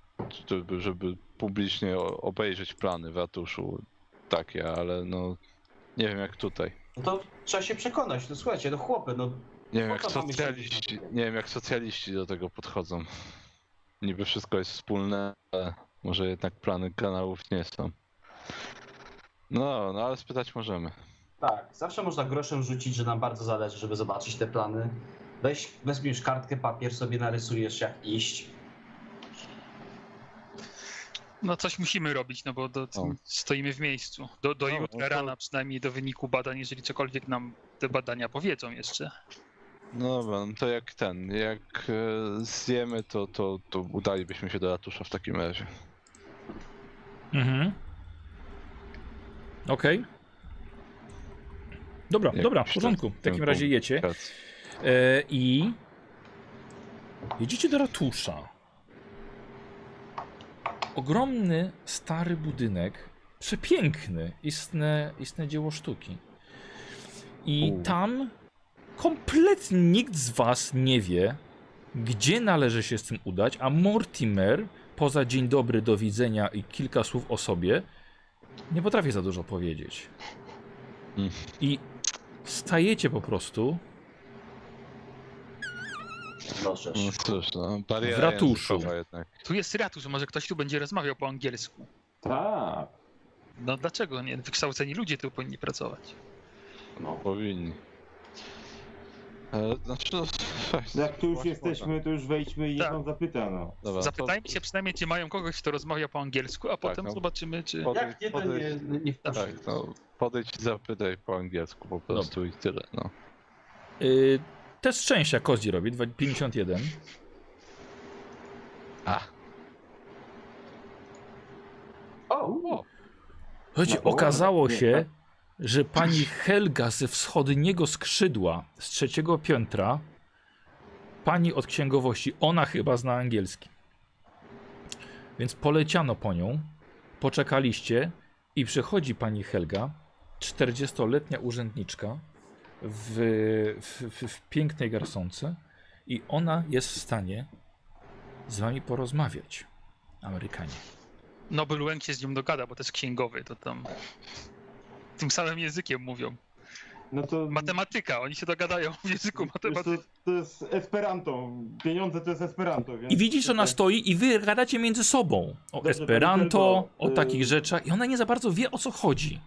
Speaker 3: żeby, żeby publicznie o- obejrzeć plany w ratuszu takie, ale no nie wiem jak tutaj.
Speaker 4: No to trzeba się przekonać, no słuchajcie, no chłopy, no
Speaker 3: Nie wiem,
Speaker 4: Po
Speaker 3: jak
Speaker 4: co mamy
Speaker 3: socjaliści,
Speaker 4: siedzieć na tym?
Speaker 3: nie wiem, jak socjaliści do tego podchodzą. Niby wszystko jest wspólne, ale może jednak plany kanałów nie są. No, no ale spytać możemy.
Speaker 4: tak, zawsze można groszem rzucić, że nam bardzo zależy, żeby zobaczyć te plany. Weź, weźmiesz kartkę, papier, sobie narysujesz, jak iść.
Speaker 6: No coś musimy robić, no bo do,
Speaker 3: O.
Speaker 6: stoimy w miejscu. Do, do
Speaker 3: No,
Speaker 6: jutra
Speaker 3: no to-
Speaker 6: rana przynajmniej do wyniku badań, jeżeli cokolwiek nam te badania powiedzą jeszcze.
Speaker 3: No dobra, no to jak ten, jak e, zjemy, to, to, to udalibyśmy się do ratusza w takim razie.
Speaker 1: Mhm. Okej. Dobra,
Speaker 3: Jak
Speaker 1: dobra, w
Speaker 3: już
Speaker 1: porządku. W takim razie jecie.
Speaker 3: Kac.
Speaker 1: E, I jedziecie do ratusza. Ogromny, stary budynek, przepiękny, istne, istne dzieło sztuki. I
Speaker 3: U.
Speaker 1: tam kompletnie nikt z was nie wie, gdzie należy się z tym udać, a Mortimer, poza dzień dobry, do widzenia i kilka słów o sobie, nie potrafi za dużo powiedzieć.
Speaker 3: Mm.
Speaker 1: I stajecie po prostu
Speaker 4: Proszę.
Speaker 3: No cóż, no, bariera
Speaker 1: W ratuszu.
Speaker 3: językowa jednak.
Speaker 6: Tu jest ratusz, może ktoś tu będzie rozmawiał po angielsku.
Speaker 5: Tak,
Speaker 6: No dlaczego nie? Wykształceni ludzie tu powinni pracować.
Speaker 5: no.
Speaker 3: Powinni. E, znaczy, no,
Speaker 5: Jak tu już jesteśmy, to już wejdźmy i niech
Speaker 6: Tak.
Speaker 5: on zapyta, no.
Speaker 3: Dobra,
Speaker 6: Zapytajmy się przynajmniej, czy mają kogoś, kto rozmawia po angielsku, a potem
Speaker 3: no.
Speaker 6: zobaczymy, czy...
Speaker 3: Pod-
Speaker 4: Jak nie, to nie, nie wpuszczę.
Speaker 3: Tak, no podejdź i zapytaj po angielsku po prostu i tyle, no.
Speaker 1: Y, test szczęścia Kozi robi, dwa- 51.
Speaker 3: A,
Speaker 4: O, o,
Speaker 1: Słuchajcie,
Speaker 5: No, o,
Speaker 1: okazało
Speaker 5: nie,
Speaker 1: się, że pani Helga ze wschodniego skrzydła z trzeciego piętra, pani od księgowości, ona chyba zna angielski. Więc poleciano po nią, poczekaliście i przychodzi pani Helga, 40-letnia urzędniczka w, w, w, w pięknej garsonce i ona jest w stanie z wami porozmawiać, Amerykanie.
Speaker 6: Nobel Łęk się z nią dogada, bo to jest księgowy, to tam tym samym językiem mówią.
Speaker 5: No to,
Speaker 6: Matematyka, oni się dogadają w języku
Speaker 5: wiesz, to,
Speaker 6: matematycznym.
Speaker 5: to jest Esperanto. Pieniądze to jest Esperanto. Więc
Speaker 1: I widzisz, ona stoi i wy gadacie między sobą o
Speaker 5: Dobrze,
Speaker 1: Esperanto,
Speaker 5: pani
Speaker 1: o
Speaker 5: Helgo,
Speaker 1: takich
Speaker 5: y-
Speaker 1: rzeczach i ona nie za bardzo wie o co chodzi.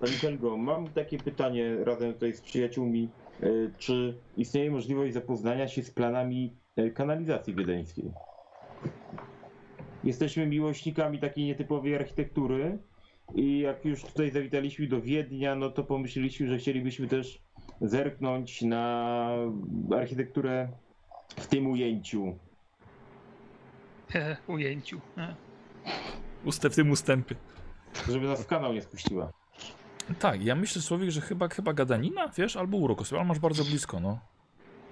Speaker 5: Pani Helgo, mam takie pytanie razem tutaj z przyjaciółmi. E, Czy istnieje możliwość zapoznania się z planami e, kanalizacji wiedeńskiej? Jesteśmy miłośnikami takiej nietypowej architektury i jak już tutaj zawitaliśmy do Wiednia, no to pomyśleliśmy, że chcielibyśmy też zerknąć na architekturę w tym ujęciu.
Speaker 6: Ujęciu. e.
Speaker 1: Ustęp w tym ustępie.
Speaker 5: Żeby nas w kanał nie spuściła.
Speaker 1: Tak, ja myślę Słowik, że chyba, chyba gadanina, wiesz, albo urok, ale masz bardzo blisko, no.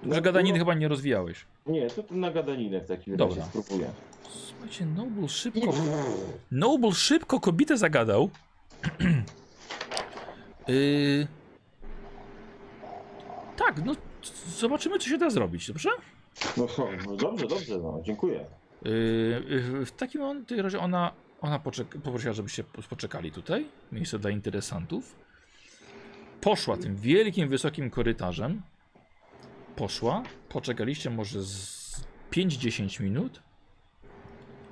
Speaker 5: No,
Speaker 1: Że gadaniny
Speaker 5: no-
Speaker 1: chyba nie rozwijałeś.
Speaker 5: Nie, to, to na gadaninę w takim
Speaker 1: Dobra.
Speaker 5: razie spróbuję.
Speaker 1: Słuchajcie, Noble szybko. Noble szybko kobietę zagadał. yy... Tak, no z- zobaczymy, co się da zrobić, dobrze?
Speaker 5: No, no dobrze, dobrze, no, dziękuję.
Speaker 1: Yy, yy, w takim on- tej razie ona, ona poczek- poprosiła, żebyście po- poczekali tutaj, miejsce dla interesantów. Poszła tym wielkim, wysokim korytarzem. Poszła, poczekaliście może z 5-10 minut.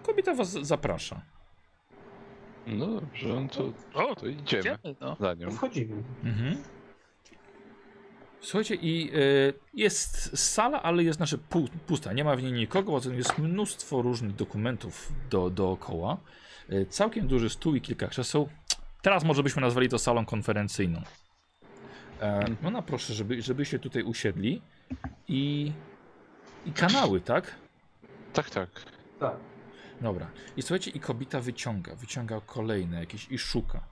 Speaker 1: Kobieta was zaprasza.
Speaker 3: No dobrze, no to,
Speaker 6: O,
Speaker 3: to idziemy
Speaker 6: idziemy, no.
Speaker 3: za nią.
Speaker 4: Wchodzimy.
Speaker 1: Mhm. Słuchajcie, i e, jest sala, ale jest znaczy pu- pusta. Nie ma w niej nikogo, poza tym jest mnóstwo różnych dokumentów do, dookoła. E, całkiem duży stół i kilka krzeseł. Teraz może byśmy nazwali to salą konferencyjną. E, ona proszę, żeby, żeby się tutaj usiedli. I, I kanały, tak?
Speaker 3: Tak, tak.
Speaker 4: Tak.
Speaker 1: Dobra. I słuchajcie, i kobieta wyciąga, wyciąga kolejne jakieś i szuka.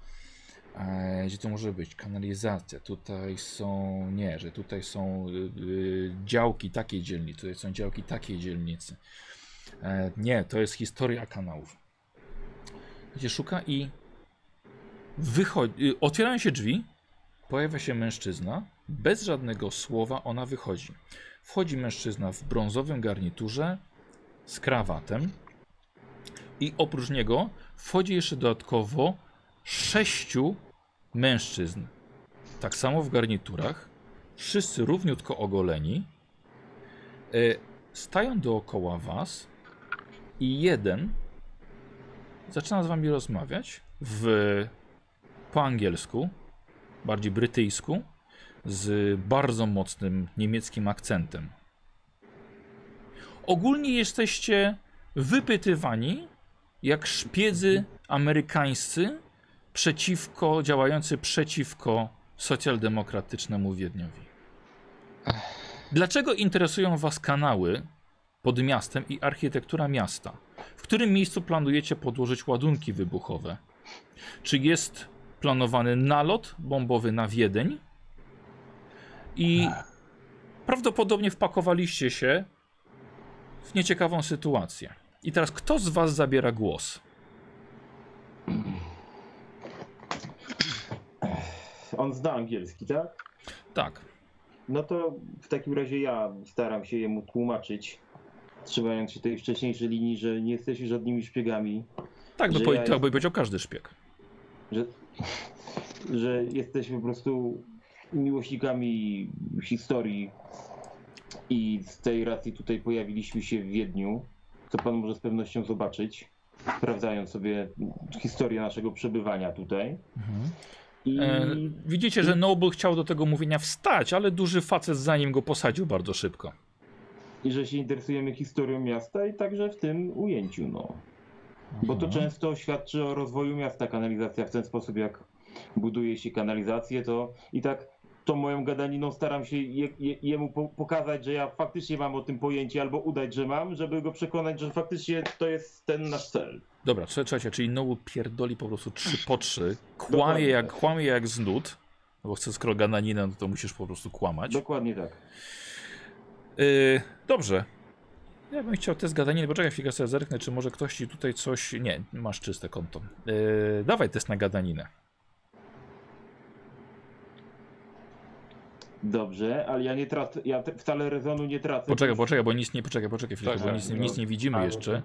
Speaker 1: E, gdzie to może być? Kanalizacja. Tutaj są, nie, że tutaj są y, y, działki takiej dzielnicy, tutaj są działki takiej dzielnicy. E, nie, to jest historia kanałów. Gdzie szuka i wychodzi, y, otwierają się drzwi, pojawia się mężczyzna, bez żadnego słowa ona wychodzi. Wchodzi mężczyzna w brązowym garniturze z krawatem, i oprócz niego wchodzi jeszcze dodatkowo sześciu mężczyzn. Tak samo w garniturach. Wszyscy równiutko ogoleni. E, Stają dookoła was i jeden zaczyna z wami rozmawiać w, po angielsku, bardziej brytyjsku, z bardzo mocnym niemieckim akcentem. Ogólnie jesteście wypytywani jak szpiedzy amerykańscy przeciwko, działający przeciwko socjaldemokratycznemu Wiedniowi. Dlaczego interesują Was kanały pod miastem i architektura miasta? W którym miejscu planujecie podłożyć ładunki wybuchowe? Czy jest planowany nalot bombowy na Wiedeń? I prawdopodobnie wpakowaliście się w nieciekawą sytuację. I teraz kto z was zabiera głos?
Speaker 5: On zna angielski, tak?
Speaker 1: Tak.
Speaker 5: No to w takim razie ja staram się jemu tłumaczyć, trzymając się tej wcześniejszej linii, że nie jesteśmy żadnymi szpiegami,
Speaker 1: Tak by,
Speaker 5: Że
Speaker 1: powie-
Speaker 5: ja
Speaker 1: tak by powiedział każdy szpieg.
Speaker 5: że, że jesteśmy po prostu miłośnikami historii i z tej racji tutaj pojawiliśmy się w Wiedniu, co pan może z pewnością zobaczyć, sprawdzając sobie historię naszego przebywania tutaj. I
Speaker 1: E, widzicie, że Noble chciał do tego mówienia wstać, ale duży facet za nim go posadził bardzo szybko.
Speaker 5: i że się interesujemy historią miasta i także w tym ujęciu, no. Bo to
Speaker 1: Mhm.
Speaker 5: często świadczy o rozwoju miasta kanalizacja w ten sposób, jak buduje się kanalizację, to i tak tą moją gadaniną staram się je, je, jemu po, pokazać, że ja faktycznie mam o tym pojęcie, albo udać, że mam, żeby go przekonać, że faktycznie to jest ten nasz cel.
Speaker 1: Dobra, trze- trzecie, czyli Nowu pierdoli po prostu trzy po trzy, kłamie
Speaker 5: tak.
Speaker 1: jak, kłamie jak znud, no bo chce skoro gananinę, no to musisz po prostu kłamać.
Speaker 5: Dokładnie tak.
Speaker 1: Yy, dobrze. Ja bym chciał test gadaniny, poczekaj chwilkę sobie zerknę, czy może ktoś ci tutaj coś... Nie, masz czyste konto. Yy, dawaj test na gadaninę.
Speaker 5: Dobrze, ale ja nie tracę, ja te, wcale rezonu nie tracę.
Speaker 1: Poczekaj, poczekaj, bo nic nie... Poczekaj, poczekaj chwilkę,
Speaker 3: Tak,
Speaker 1: bo
Speaker 3: tak,
Speaker 1: nic,
Speaker 3: no.
Speaker 1: nic nie widzimy
Speaker 5: A, no
Speaker 1: jeszcze.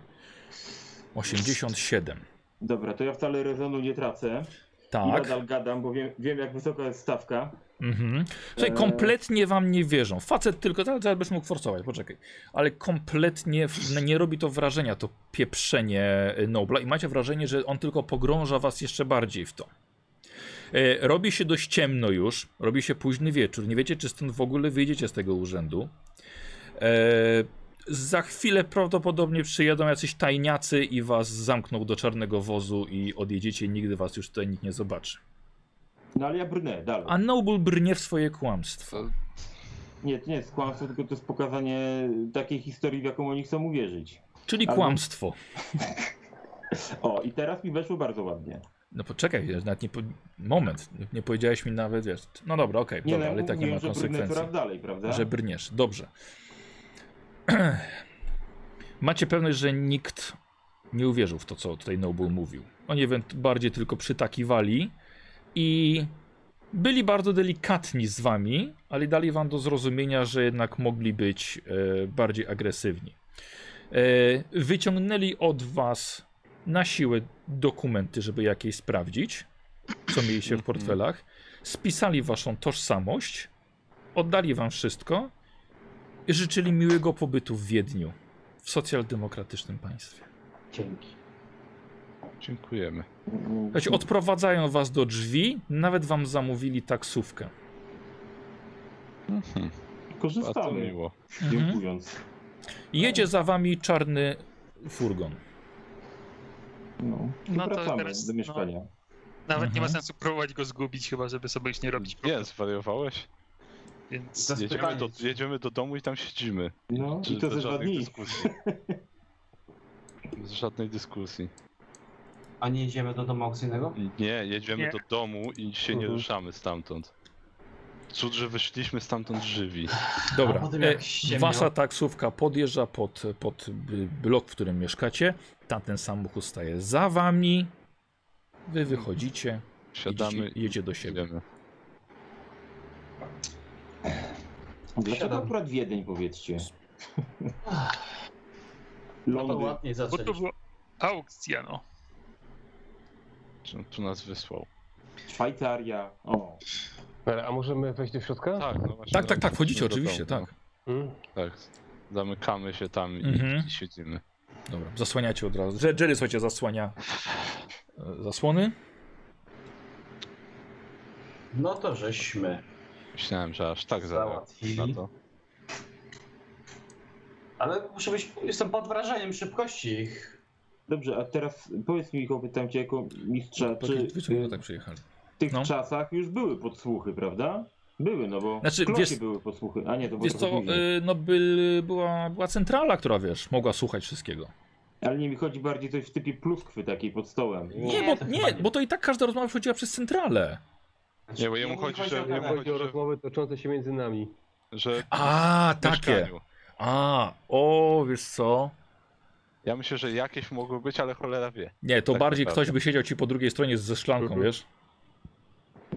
Speaker 1: 87.
Speaker 5: Dobra, to ja wcale rezonu nie tracę. I
Speaker 1: Tak.
Speaker 5: nadal gadam, bo wiem, wiem jak wysoka jest stawka.
Speaker 1: Mhm. Słuchaj,
Speaker 5: Eee.
Speaker 1: kompletnie wam nie wierzą. Facet tylko, zaraz zaraz będziesz mógł forsować, poczekaj. Ale kompletnie w- nie robi to wrażenia, to pieprzenie y, Nobla i macie wrażenie, że on tylko pogrąża was jeszcze bardziej w to. E, Robi się dość ciemno już, robi się późny wieczór. Nie wiecie, czy stąd w ogóle wyjdziecie z tego urzędu. E, Za chwilę prawdopodobnie przyjadą jacyś tajniacy i was zamkną do czarnego wozu i odjedziecie i nigdy was już tutaj nikt nie zobaczy.
Speaker 5: No ale ja brnę dalej.
Speaker 1: A Noble brnie w swoje kłamstwo.
Speaker 5: Nie, to nie jest kłamstwo, tylko to jest pokazanie takiej historii, w jaką oni chcą uwierzyć.
Speaker 1: Czyli
Speaker 5: Ale-
Speaker 1: kłamstwo.
Speaker 5: O, i teraz mi weszło bardzo ładnie.
Speaker 1: No poczekaj, ja nawet nie po... moment, nie, nie powiedziałeś mi nawet, wiesz, no dobra, okej,
Speaker 5: Nie,
Speaker 1: dobra,
Speaker 5: no,
Speaker 1: ale i tak nie ma
Speaker 5: mówiłem, że brnę
Speaker 1: konsekwencji,
Speaker 5: coraz dalej, prawda?
Speaker 1: że brniesz, dobrze. Macie pewność, że nikt nie uwierzył w to, co tutaj Noble mówił. Oni ewent- bardziej tylko przytakiwali i byli bardzo delikatni z wami, ale dali wam do zrozumienia, że jednak mogli być e, bardziej agresywni. E, wyciągnęli od was na siłę dokumenty, żeby jakieś sprawdzić, co mieliście w portfelach. Spisali waszą tożsamość, oddali wam wszystko i życzyli miłego pobytu w Wiedniu, w socjaldemokratycznym państwie.
Speaker 5: Dzięki.
Speaker 3: Dziękujemy.
Speaker 1: Słuchajcie, odprowadzają was do drzwi, nawet wam zamówili taksówkę.
Speaker 3: Mhm.
Speaker 5: No
Speaker 3: A to
Speaker 5: Korzystamy,
Speaker 3: miło.
Speaker 5: dziękując.
Speaker 1: Jedzie za wami czarny furgon.
Speaker 5: No,
Speaker 6: No
Speaker 5: no
Speaker 6: to
Speaker 5: wracamy
Speaker 6: teraz-
Speaker 5: do mieszkania.
Speaker 6: Nawet nie ma
Speaker 1: Mhm.
Speaker 6: sensu próbować go zgubić, chyba żeby sobie już nie robić
Speaker 3: Nie,
Speaker 6: problemów,
Speaker 3: zwariowałeś?
Speaker 6: więc
Speaker 4: Za
Speaker 3: Jedziemy
Speaker 4: spytanie.
Speaker 3: do, jedziemy do domu i tam siedzimy.
Speaker 5: No, i to
Speaker 3: bez
Speaker 5: ze dwa
Speaker 3: żadnych
Speaker 5: dni.
Speaker 3: dyskusji. Bez żadnej dyskusji.
Speaker 4: A nie jedziemy do domu aukcyjnego?
Speaker 3: Nie, jedziemy
Speaker 6: Nie.
Speaker 3: do domu i się nie
Speaker 2: Mhm.
Speaker 3: ruszamy stamtąd. Cud, że wyszliśmy stamtąd żywi.
Speaker 1: Dobra,
Speaker 4: A potem
Speaker 1: e,
Speaker 4: jak ściemniał.
Speaker 1: wasza taksówka podjeżdża pod, pod b- blok, w którym mieszkacie. Tamten samochód staje za wami. Wy wychodzicie,
Speaker 3: Siadamy
Speaker 1: Idziecie- jedzie do siebie.
Speaker 3: Idziemy.
Speaker 5: Dlaczego
Speaker 4: Siadam.
Speaker 5: akurat Wiedeń, powiedzcie?
Speaker 4: Ach, No to
Speaker 5: Londyn.
Speaker 4: ładnie
Speaker 6: bo to
Speaker 4: zaczęliśmy.
Speaker 6: była aukcja, no.
Speaker 3: Czy tu nas wysłał?
Speaker 5: Szwajcaria. O.
Speaker 2: Ale, a możemy wejść do środka?
Speaker 3: Tak, no właśnie.
Speaker 1: Tak, tak, tak, wchodzicie
Speaker 3: do
Speaker 1: oczywiście,
Speaker 3: domu,
Speaker 1: tak.
Speaker 2: Mm.
Speaker 3: no. Tak, zamykamy się tam i,
Speaker 1: Mhm.
Speaker 3: i siedzimy.
Speaker 1: Dobra, zasłaniacie od razu. Jer- Jerry, słuchajcie, zasłania e, zasłony.
Speaker 4: No to żeśmy
Speaker 3: Myślałem, że aż tak zareaguję na
Speaker 4: załatwili.
Speaker 3: to.
Speaker 4: Ale muszę być, jestem pod wrażeniem szybkości ich.
Speaker 5: Dobrze, a teraz powiedz mi, pytam cię jako mistrza, czy
Speaker 1: Wy ciągle
Speaker 5: y,
Speaker 1: tak przyjechali.
Speaker 5: w tych
Speaker 1: no.
Speaker 5: czasach już były podsłuchy, prawda? Były, no bo
Speaker 1: Znaczy,
Speaker 5: w klosie
Speaker 1: wiesz-
Speaker 5: były podsłuchy, a nie, to było
Speaker 1: Wiesz co,
Speaker 5: trochę później.
Speaker 1: y, no by, była, była centrala, która wiesz, mogła słuchać wszystkiego.
Speaker 5: Ale nie mi chodzi bardziej coś w typie pluskwy takiej pod stołem.
Speaker 1: Nie,
Speaker 4: Nie,
Speaker 1: bo,
Speaker 4: to
Speaker 1: nie,
Speaker 4: chyba nie.
Speaker 1: bo to i tak każda rozmowa przechodziła przez centralę.
Speaker 3: Nie, bo jemu
Speaker 4: mi
Speaker 3: chodzi, Tak, że-
Speaker 4: o
Speaker 3: jemu
Speaker 4: gadanie.
Speaker 2: Chodzi o rozmowy toczące się między nami.
Speaker 3: Że
Speaker 1: A,
Speaker 3: w
Speaker 1: takie.
Speaker 3: mieszkaniu.
Speaker 1: A, o, wiesz co?
Speaker 3: Ja myślę, że jakieś mogły być, ale cholera wie.
Speaker 1: Nie, to
Speaker 3: Tak
Speaker 1: bardziej
Speaker 3: naprawdę.
Speaker 1: ktoś by siedział ci po drugiej stronie ze szklanką,
Speaker 2: Mhm.
Speaker 1: wiesz?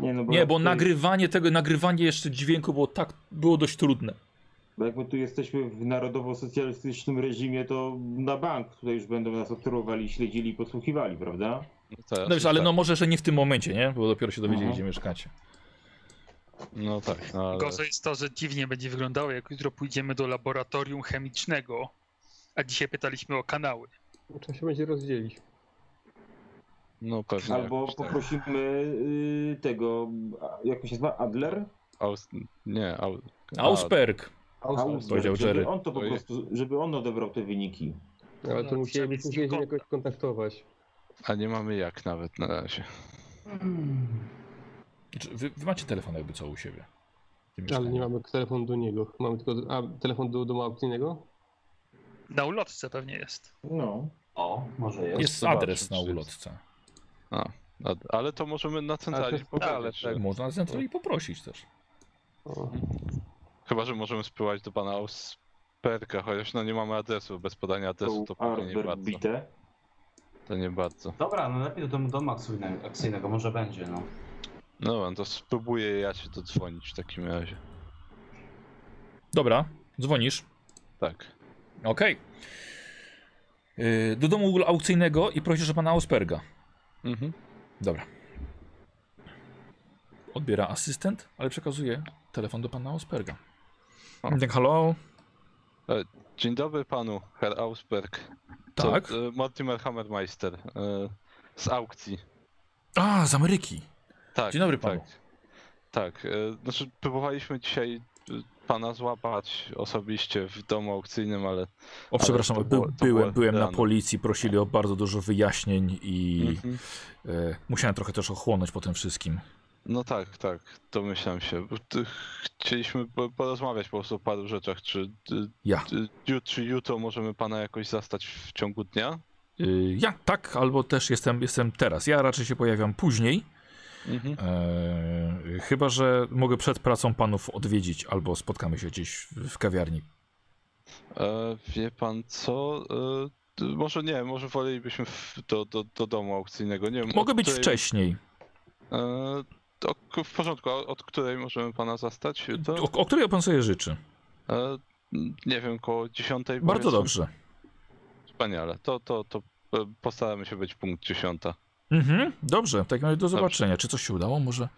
Speaker 5: Nie, no bo,
Speaker 1: Nie,
Speaker 5: jak
Speaker 1: bo
Speaker 5: tu-
Speaker 1: nagrywanie tego, nagrywanie jeszcze dźwięku było tak, było dość trudne.
Speaker 5: Bo jak my tu jesteśmy w narodowo-socjalistycznym reżimie, to na bank tutaj już będą nas obserwowali, śledzili i podsłuchiwali, prawda?
Speaker 3: No, teraz
Speaker 1: No wiesz, ale
Speaker 3: tak.
Speaker 1: no może, że nie w tym momencie, nie? Bo dopiero się dowiedzieli,
Speaker 5: Mhm.
Speaker 1: gdzie mieszkacie.
Speaker 3: No tak, no ale...
Speaker 6: Gorzej jest to, że dziwnie będzie wyglądało, jak jutro pójdziemy do laboratorium chemicznego, a dzisiaj pytaliśmy o kanały.
Speaker 2: No, Trzeba się będzie rozdzielić.
Speaker 3: No pewnie.
Speaker 5: Albo
Speaker 3: jakoś tak.
Speaker 5: poprosimy y, tego, a, jak on się nazywa, Adler?
Speaker 3: Aus... Nie, au...
Speaker 1: Ausperk.
Speaker 5: Ausberg,
Speaker 1: powiedział Jerry.
Speaker 5: żeby on to po
Speaker 3: To jest-
Speaker 5: prostu, żeby on odebrał te wyniki.
Speaker 2: Ale
Speaker 6: No,
Speaker 2: to
Speaker 6: trzeba
Speaker 2: musielibyśmy
Speaker 6: mieć
Speaker 2: się
Speaker 6: z nim
Speaker 2: jakoś kontaktować.
Speaker 3: A nie mamy jak nawet na razie.
Speaker 4: Hmm.
Speaker 1: Znaczy, Wy, wy macie telefon jakby co u siebie.
Speaker 7: Te
Speaker 2: Ale nie
Speaker 7: mieszkania.
Speaker 2: mamy telefon do niego. Mamy tylko. A telefon do domu aukcyjnego?
Speaker 6: Na ulotce pewnie jest.
Speaker 5: No.
Speaker 4: O, może jest.
Speaker 7: Jest
Speaker 3: Zobaczę,
Speaker 7: adres na
Speaker 3: czy jest.
Speaker 7: ulotce.
Speaker 3: A, ale to możemy na centrali
Speaker 2: jest-
Speaker 3: pogadać.
Speaker 2: ale
Speaker 1: tak.
Speaker 3: że-
Speaker 7: Można na centrali poprosić też.
Speaker 2: O.
Speaker 3: Chyba, że możemy spływać do pana Ausperka, chociaż no nie mamy adresu. Bez podania adresu to pewnie nie
Speaker 5: Arbor
Speaker 3: bardzo.
Speaker 5: bite.
Speaker 3: To nie bardzo.
Speaker 4: Dobra, no lepiej do domu domu akcyjnego, akcyjnego, może będzie, no.
Speaker 3: No dobra, to spróbuję ja się dodzwonić w takim razie.
Speaker 1: Dobra, dzwonisz.
Speaker 3: Tak.
Speaker 1: Okej. Yy, Do domu aukcyjnego i prosisz o pana Osperga.
Speaker 3: Mhm.
Speaker 1: Dobra. Odbiera asystent, ale przekazuje telefon do pana Osperga.
Speaker 3: O.
Speaker 1: Tak, halo?
Speaker 3: Dzień dobry panu, Herr Ausberg. To,
Speaker 1: Tak.
Speaker 3: e, Mortimer Hammermeister e, z aukcji.
Speaker 1: A, z Ameryki.
Speaker 3: Tak,
Speaker 1: Dzień dobry panu.
Speaker 3: Tak, tak e, znaczy próbowaliśmy dzisiaj e, pana złapać osobiście w domu aukcyjnym, ale
Speaker 1: O,
Speaker 3: Ale
Speaker 1: przepraszam,
Speaker 3: to
Speaker 1: by,
Speaker 3: było- to
Speaker 1: byłem,
Speaker 3: było
Speaker 1: byłem na
Speaker 3: rano.
Speaker 1: policji, prosili o bardzo dużo wyjaśnień i
Speaker 3: mhm.
Speaker 1: e, musiałem trochę też ochłonąć po tym wszystkim.
Speaker 3: no tak, tak, domyślam się. Bo ty- Chcieliśmy po- porozmawiać po prostu o paru rzeczach. Czy, y,
Speaker 1: Ja.
Speaker 3: y, ju- czy jutro możemy pana jakoś zastać w ciągu dnia?
Speaker 1: Y, ja tak, albo też jestem, jestem teraz. Ja raczej się pojawiam później,
Speaker 3: Mhm.
Speaker 1: e, chyba że mogę przed pracą panów odwiedzić albo spotkamy się gdzieś w, w kawiarni.
Speaker 3: E, wie pan co? E, d- może nie, może wolelibyśmy w, do, do, do domu aukcyjnego. Nie wiem,
Speaker 1: Mogę
Speaker 3: od
Speaker 1: być
Speaker 3: której-
Speaker 1: wcześniej.
Speaker 3: E, to k- w porządku, a od której możemy pana zastać? To,
Speaker 1: O, o której pan sobie życzy?
Speaker 3: e, nie wiem, koło 10.
Speaker 1: Bardzo
Speaker 3: powiedzmy.
Speaker 1: dobrze.
Speaker 3: Wspaniale. To, to, to e, postaramy się być punkt 10.
Speaker 1: Mhm, dobrze, w takim razie do zobaczenia. Czy coś się udało? Może.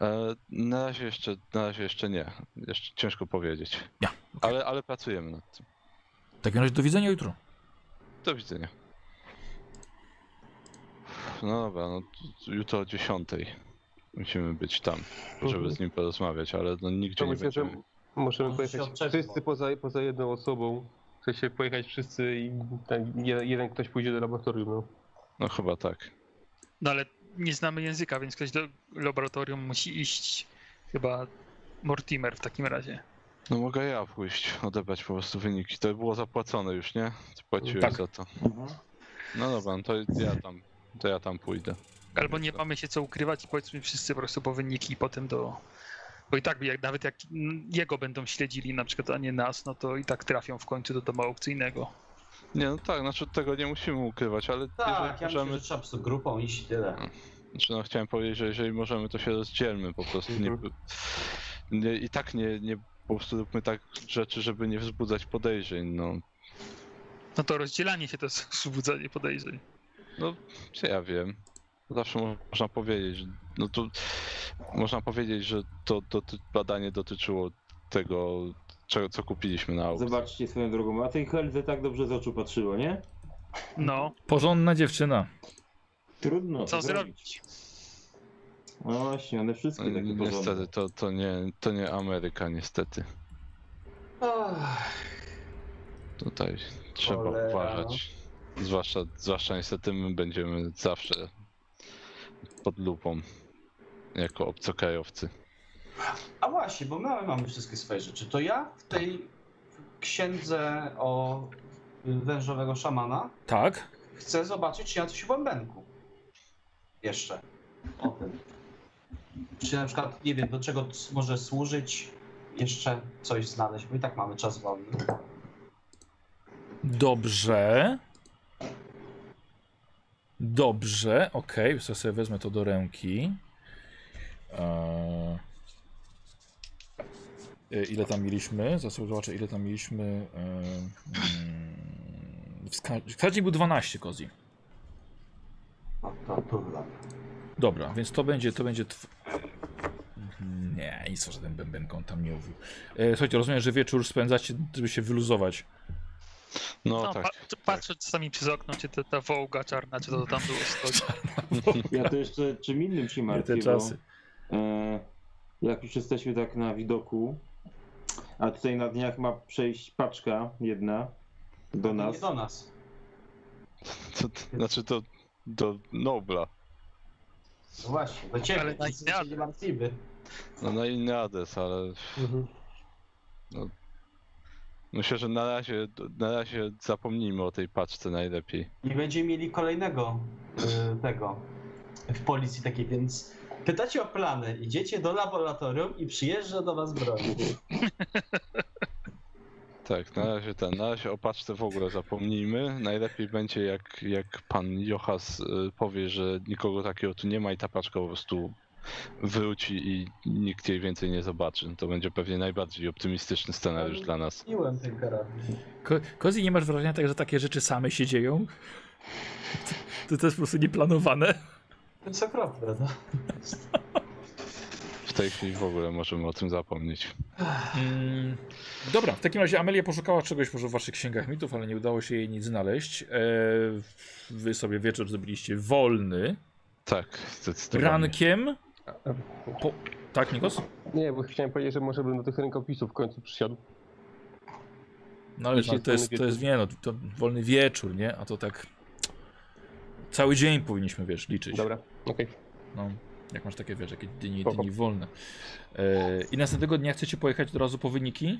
Speaker 3: E, na, razie jeszcze, na razie jeszcze nie. Jeszcze ciężko powiedzieć.
Speaker 1: Ja,
Speaker 3: Ale, ale pracujemy nad tym.
Speaker 1: W takim razie do widzenia jutro.
Speaker 3: Do widzenia. No dobra, no t- jutro o 10. Musimy być tam, żeby z nim porozmawiać, ale no nigdzie
Speaker 2: Mhm. To
Speaker 3: nie
Speaker 2: myślę, że
Speaker 3: będziemy.
Speaker 2: możemy
Speaker 4: On się
Speaker 2: pojechać
Speaker 4: odczepnął.
Speaker 2: wszyscy poza, poza jedną osobą. W sensie pojechać wszyscy i ten, jeden, jeden ktoś pójdzie do laboratorium. No.
Speaker 3: No chyba tak.
Speaker 6: No ale nie znamy języka, więc ktoś do laboratorium musi iść. Chyba Mortimer w takim razie.
Speaker 3: No mogę ja pójść, odebrać po prostu wyniki. To było zapłacone już, nie? Płaciłeś
Speaker 1: Tak.
Speaker 3: za to.
Speaker 5: Mhm.
Speaker 3: No dobra, no to ja tam, to ja tam pójdę.
Speaker 6: Albo nie mamy się co ukrywać i powiedzmy wszyscy po prostu po wyniki potem do... Bo i tak jak, nawet jak mm, jego będą śledzili na przykład, a nie nas, no to i tak trafią w końcu do domu aukcyjnego.
Speaker 3: Nie, no tak, znaczy tego nie musimy ukrywać, ale
Speaker 4: Tak, ja
Speaker 3: jeżeli
Speaker 4: myślę,
Speaker 3: no, możemy,
Speaker 4: że trzeba po prostu grupą iść i tyle.
Speaker 3: znaczy no chciałem powiedzieć, że jeżeli możemy, to się rozdzielmy po prostu. Nie, nie, I tak nie, nie, po prostu róbmy tak rzeczy, żeby nie wzbudzać podejrzeń, no.
Speaker 6: No to rozdzielanie się to jest wzbudzanie podejrzeń.
Speaker 3: Co ja wiem. Zawsze mo- można powiedzieć, że- no to można powiedzieć, że to, doty- badanie dotyczyło tego, czego, co kupiliśmy na aukcji.
Speaker 5: Zobaczcie swoją drogą. A tej Helze tak dobrze z oczu patrzyło, nie?
Speaker 6: No,
Speaker 1: Porządna dziewczyna.
Speaker 5: Trudno.
Speaker 6: co
Speaker 5: to
Speaker 6: zrobić?
Speaker 5: No właśnie, one wszystkie takie
Speaker 3: Ni-
Speaker 5: porządne.
Speaker 3: No, Niestety, to, to, nie, to nie Ameryka, niestety.
Speaker 4: Ach,
Speaker 3: Tutaj trzeba
Speaker 4: Cholera.
Speaker 3: uważać. Zwłaszcza, zwłaszcza niestety my będziemy zawsze pod lupą. Jako obcokrajowcy.
Speaker 4: A właśnie, bo my mamy wszystkie swoje rzeczy. To ja w tej księdze o wężowego szamana
Speaker 1: Tak?
Speaker 4: chcę zobaczyć, czy ja coś w bębenku. Jeszcze. O tym. Czy na przykład, nie wiem, do czego c- może służyć, jeszcze coś znaleźć, bo i tak mamy czas wolny.
Speaker 1: Dobrze. Dobrze, okej, okay. sobie wezmę to do ręki. Eee... e, Ile tam mieliśmy? Zaraz sobie zobaczę, ile tam mieliśmy. Eee... mm, wska- Wskaźnik był 12 kozi.
Speaker 4: No to turla.
Speaker 1: Dobra, więc to będzie, to będzie. Tw... Mhm, Nie, nic o żaden bębenką tam nie mówił. E, słuchajcie, rozumiem, że wieczór spędzacie, żeby się wyluzować.
Speaker 3: No,
Speaker 6: No,
Speaker 3: tak.
Speaker 6: pa- patrzę czasami przez okno, czy to, ta wołga czarna, czy to, tam było stoi.
Speaker 5: Ja to jeszcze czym innym się martwię, bo e, jak już jesteśmy tak na widoku, a tutaj na dniach ma przejść paczka jedna do
Speaker 4: No
Speaker 5: nas.
Speaker 4: nie do nas.
Speaker 3: To, to, znaczy to do Nobla.
Speaker 4: No właśnie, do ciebie.
Speaker 6: Ale na
Speaker 4: Nic się nie martwimy.
Speaker 3: No na inny adres, ale
Speaker 2: Mhm.
Speaker 3: myślę, że na razie, na razie zapomnijmy o tej paczce najlepiej.
Speaker 4: Nie będziemy mieli kolejnego y, tego w policji takiej, więc pytacie o plany, idziecie do laboratorium i przyjeżdża do was broń.
Speaker 3: Tak, na razie ten, na razie o paczce w ogóle zapomnijmy. Najlepiej będzie jak, jak pan Jochas y, powie, że nikogo takiego tu nie ma i ta paczka po prostu wróci i nikt jej więcej nie zobaczy. To będzie pewnie najbardziej optymistyczny scenariusz dla nas.
Speaker 4: Miłem ten karabin.
Speaker 1: Ko- Kozi, nie masz wrażenia tak, że takie rzeczy same się dzieją? To, to, to jest po prostu nieplanowane.
Speaker 4: To jest okropne, no.
Speaker 3: W tej chwili w ogóle możemy o tym zapomnieć.
Speaker 1: Mm, dobra, w takim razie Amelia poszukała czegoś może w waszych księgach mitów, ale nie udało się jej nic znaleźć. E, wy sobie wieczór zrobiliście wolny.
Speaker 3: Tak, zdecydowanie.
Speaker 1: Rankiem. Po... Tak, Nikos?
Speaker 2: Nie, bo chciałem powiedzieć, że może bym do tych rękopisów w końcu przysiadł.
Speaker 1: No ale
Speaker 2: Jeśli
Speaker 1: to jest,
Speaker 2: wolny
Speaker 1: to jest, nie no, to wolny wieczór, nie? A to tak cały dzień powinniśmy, wiesz, liczyć.
Speaker 2: Dobra, okej.
Speaker 1: No, jak masz takie, wiesz, jakie dni,
Speaker 2: Spoko.
Speaker 1: dni wolne. E, I następnego dnia chcecie pojechać od razu po wyniki?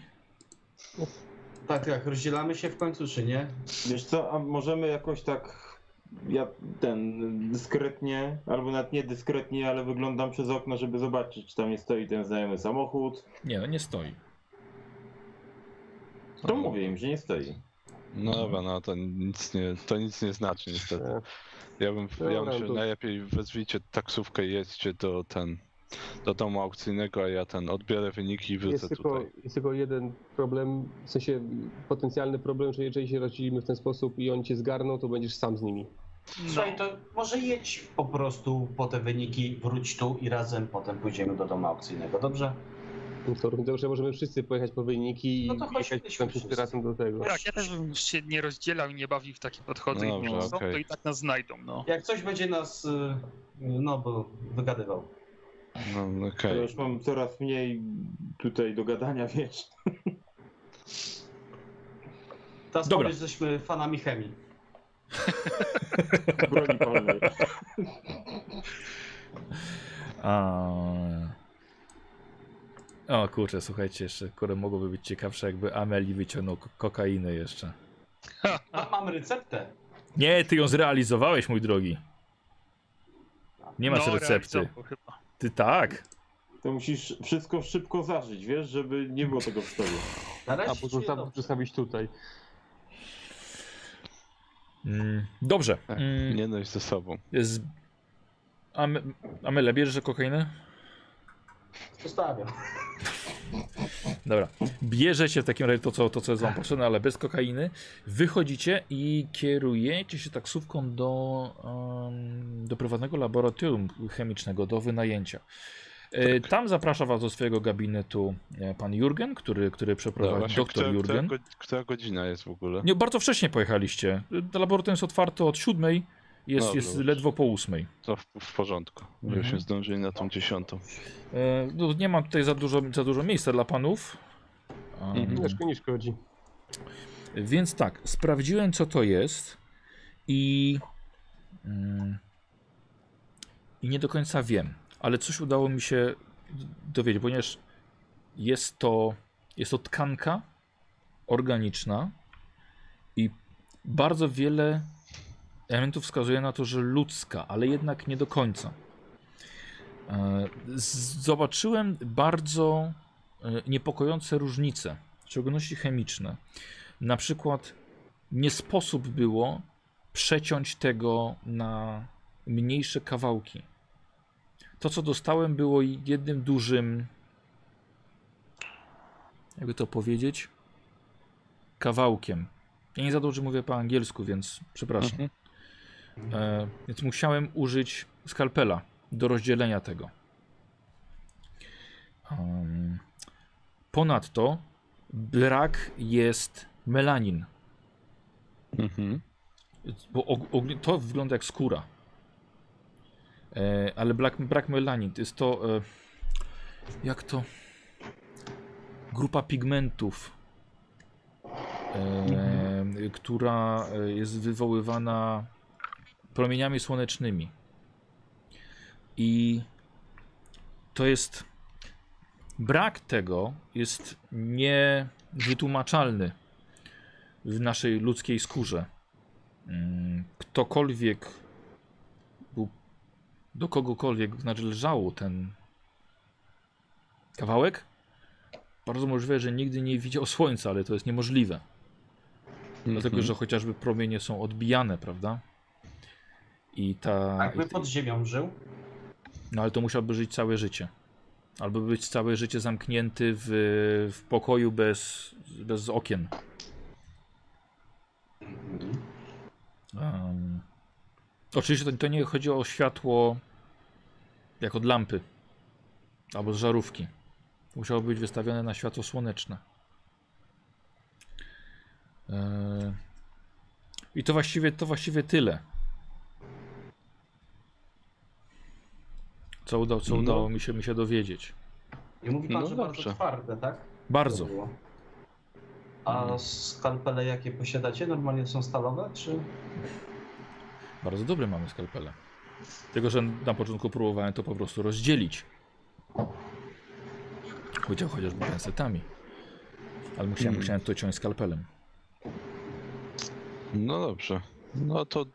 Speaker 4: Tak, tak, rozdzielamy się w końcu, czy nie?
Speaker 5: Wiesz co, a możemy jakoś tak. Ja ten dyskretnie, albo nawet nie dyskretnie, ale wyglądam przez okno, żeby zobaczyć, czy tam nie stoi ten znajomy samochód.
Speaker 1: Nie, no nie stoi.
Speaker 5: To mówię im, że nie stoi.
Speaker 3: No dobra, no to nic nie, to nic nie znaczy niestety. Ja bym, ja
Speaker 2: Dobra,
Speaker 3: bym się
Speaker 2: to-
Speaker 3: najlepiej wezwijcie taksówkę i jedźcie do ten do domu aukcyjnego, a ja ten odbiorę wyniki i wrócę
Speaker 2: Jest tylko,
Speaker 3: tutaj.
Speaker 2: jest tylko jeden problem, w sensie potencjalny problem, że jeżeli się rozdzielimy w ten sposób i oni cię zgarną, to będziesz sam z nimi.
Speaker 6: No,
Speaker 4: Słuchaj, to może jedź po prostu po te wyniki, wróć tu i razem potem pójdziemy do domu aukcyjnego, dobrze?
Speaker 2: No To dobrze, możemy wszyscy pojechać po wyniki i
Speaker 4: No to chodźmy,
Speaker 2: jechać tam wszyscy
Speaker 4: wszyscy.
Speaker 2: razem do tego.
Speaker 6: tak, ja też bym się nie rozdzielał i nie bawił w takie podchody.
Speaker 3: No
Speaker 6: No,
Speaker 3: dobrze,
Speaker 6: są,
Speaker 3: okej.
Speaker 6: To i tak nas znajdą, no.
Speaker 4: Jak coś będzie nas, y, no, bo wygadywał.
Speaker 3: No
Speaker 5: Ja
Speaker 3: okej.
Speaker 5: już mam coraz mniej tutaj do gadania, wiesz.
Speaker 4: Teraz
Speaker 1: Dobra.
Speaker 4: powiedz, żeśmy fanami chemii.
Speaker 5: Broni palnej.
Speaker 1: A... e. O kurczę, słuchajcie, jeszcze kurę mogłoby być ciekawsze, jakby Ameli wyciągnął ko- kokainę jeszcze.
Speaker 4: A, mam receptę.
Speaker 1: Nie, ty ją zrealizowałeś, mój drogi. Nie masz
Speaker 6: no,
Speaker 1: recepty.
Speaker 6: realizował Chyba.
Speaker 1: Ty tak.
Speaker 5: To musisz wszystko szybko zażyć, wiesz, żeby nie było tego w tobie.
Speaker 4: Na
Speaker 2: A
Speaker 4: razie
Speaker 2: potem
Speaker 4: ci
Speaker 2: sam przedstawić tutaj.
Speaker 1: Mm, dobrze.
Speaker 3: Tak,
Speaker 1: Mm,
Speaker 3: Nie dość ze sobą.
Speaker 1: z... Am- Amelia, bierzesz kokainę?
Speaker 4: zostawiam.
Speaker 1: Dobra. Bierzecie w takim razie to, co, to, co jest
Speaker 3: Tak.
Speaker 1: wam potrzebne, ale bez kokainy. Wychodzicie i kierujecie się taksówką do, em, do prywatnego laboratorium chemicznego do wynajęcia. E,
Speaker 3: Tak.
Speaker 1: Tam zaprasza was do swojego gabinetu e, pan Jurgen, który, który
Speaker 3: No,
Speaker 1: przeprowadzi,
Speaker 3: właśnie,
Speaker 1: doktor
Speaker 3: która, która,
Speaker 1: Jurgen.
Speaker 3: go- która godzina jest w ogóle?
Speaker 1: Nie, bardzo wcześnie pojechaliście. E, Laboratorium jest otwarte od siódmej, jest,
Speaker 3: Dobra,
Speaker 1: jest
Speaker 3: dobrze.
Speaker 1: ledwo po ósmej.
Speaker 3: To w, w porządku.
Speaker 1: Mhm.
Speaker 3: Byśmy zdążyli na tą dziesiątą.
Speaker 1: E, No, nie ma tutaj za dużo, za dużo miejsca dla panów. Em,
Speaker 3: Mhm.
Speaker 2: Ciężko nie szkodzi.
Speaker 1: Więc tak, sprawdziłem co to jest i, mm, i nie do końca wiem, ale coś udało mi się dowiedzieć, ponieważ jest to, jest to tkanka organiczna i bardzo wiele elementów wskazuje na to, że ludzka, ale jednak nie do końca. E, z- Zobaczyłem bardzo e, niepokojące różnice, w szczególności chemiczne. Na przykład nie sposób było przeciąć tego na mniejsze kawałki. To, co dostałem, było jednym dużym, jakby to powiedzieć, kawałkiem. Ja nie za dobrze mówię po angielsku, więc przepraszam.
Speaker 3: Mhm.
Speaker 1: E, więc musiałem użyć skalpela do rozdzielenia tego. Em, ponadto brak jest melanin,
Speaker 3: Mhm.
Speaker 1: bo og- ogni- to wygląda jak skóra. E, ale brak, brak melanin to jest to. E, jak to? Grupa pigmentów, e, która e, jest wywoływana promieniami słonecznymi. I to jest. Brak tego jest niewytłumaczalny w naszej ludzkiej skórze. Mm, Ktokolwiek był, do kogokolwiek należało ten kawałek, bardzo możliwe, że nigdy nie widział słońca, ale to jest niemożliwe. Dlatego,
Speaker 3: Mhm.
Speaker 1: że chociażby promienie są odbijane, prawda? I ta.
Speaker 4: Jakby
Speaker 1: i-
Speaker 4: Tak, pod ziemią żył,
Speaker 1: No ale to musiałby żyć całe życie. Albo być całe życie zamknięty w, w pokoju bez, bez okien. Em, oczywiście to, to nie chodzi o światło jak od lampy albo z żarówki. Musiało być wystawione na światło słoneczne. E, I to właściwie, to właściwie tyle. Co, uda, co
Speaker 3: No.
Speaker 1: udało mi się, mi się dowiedzieć.
Speaker 4: i mówi pan,
Speaker 3: No
Speaker 4: że
Speaker 3: dobrze.
Speaker 4: bardzo twarde, tak?
Speaker 1: Bardzo.
Speaker 4: To było.
Speaker 3: Mhm.
Speaker 4: A skalpele jakie posiadacie? Normalnie są stalowe, czy...
Speaker 1: Bardzo dobre mamy skalpele. Tylko, że na początku próbowałem to po prostu rozdzielić. Chociaż chociażby pensetami. Ale musiałem,
Speaker 3: Mm.
Speaker 1: musiałem to ciąć skalpelem.
Speaker 3: No dobrze. No to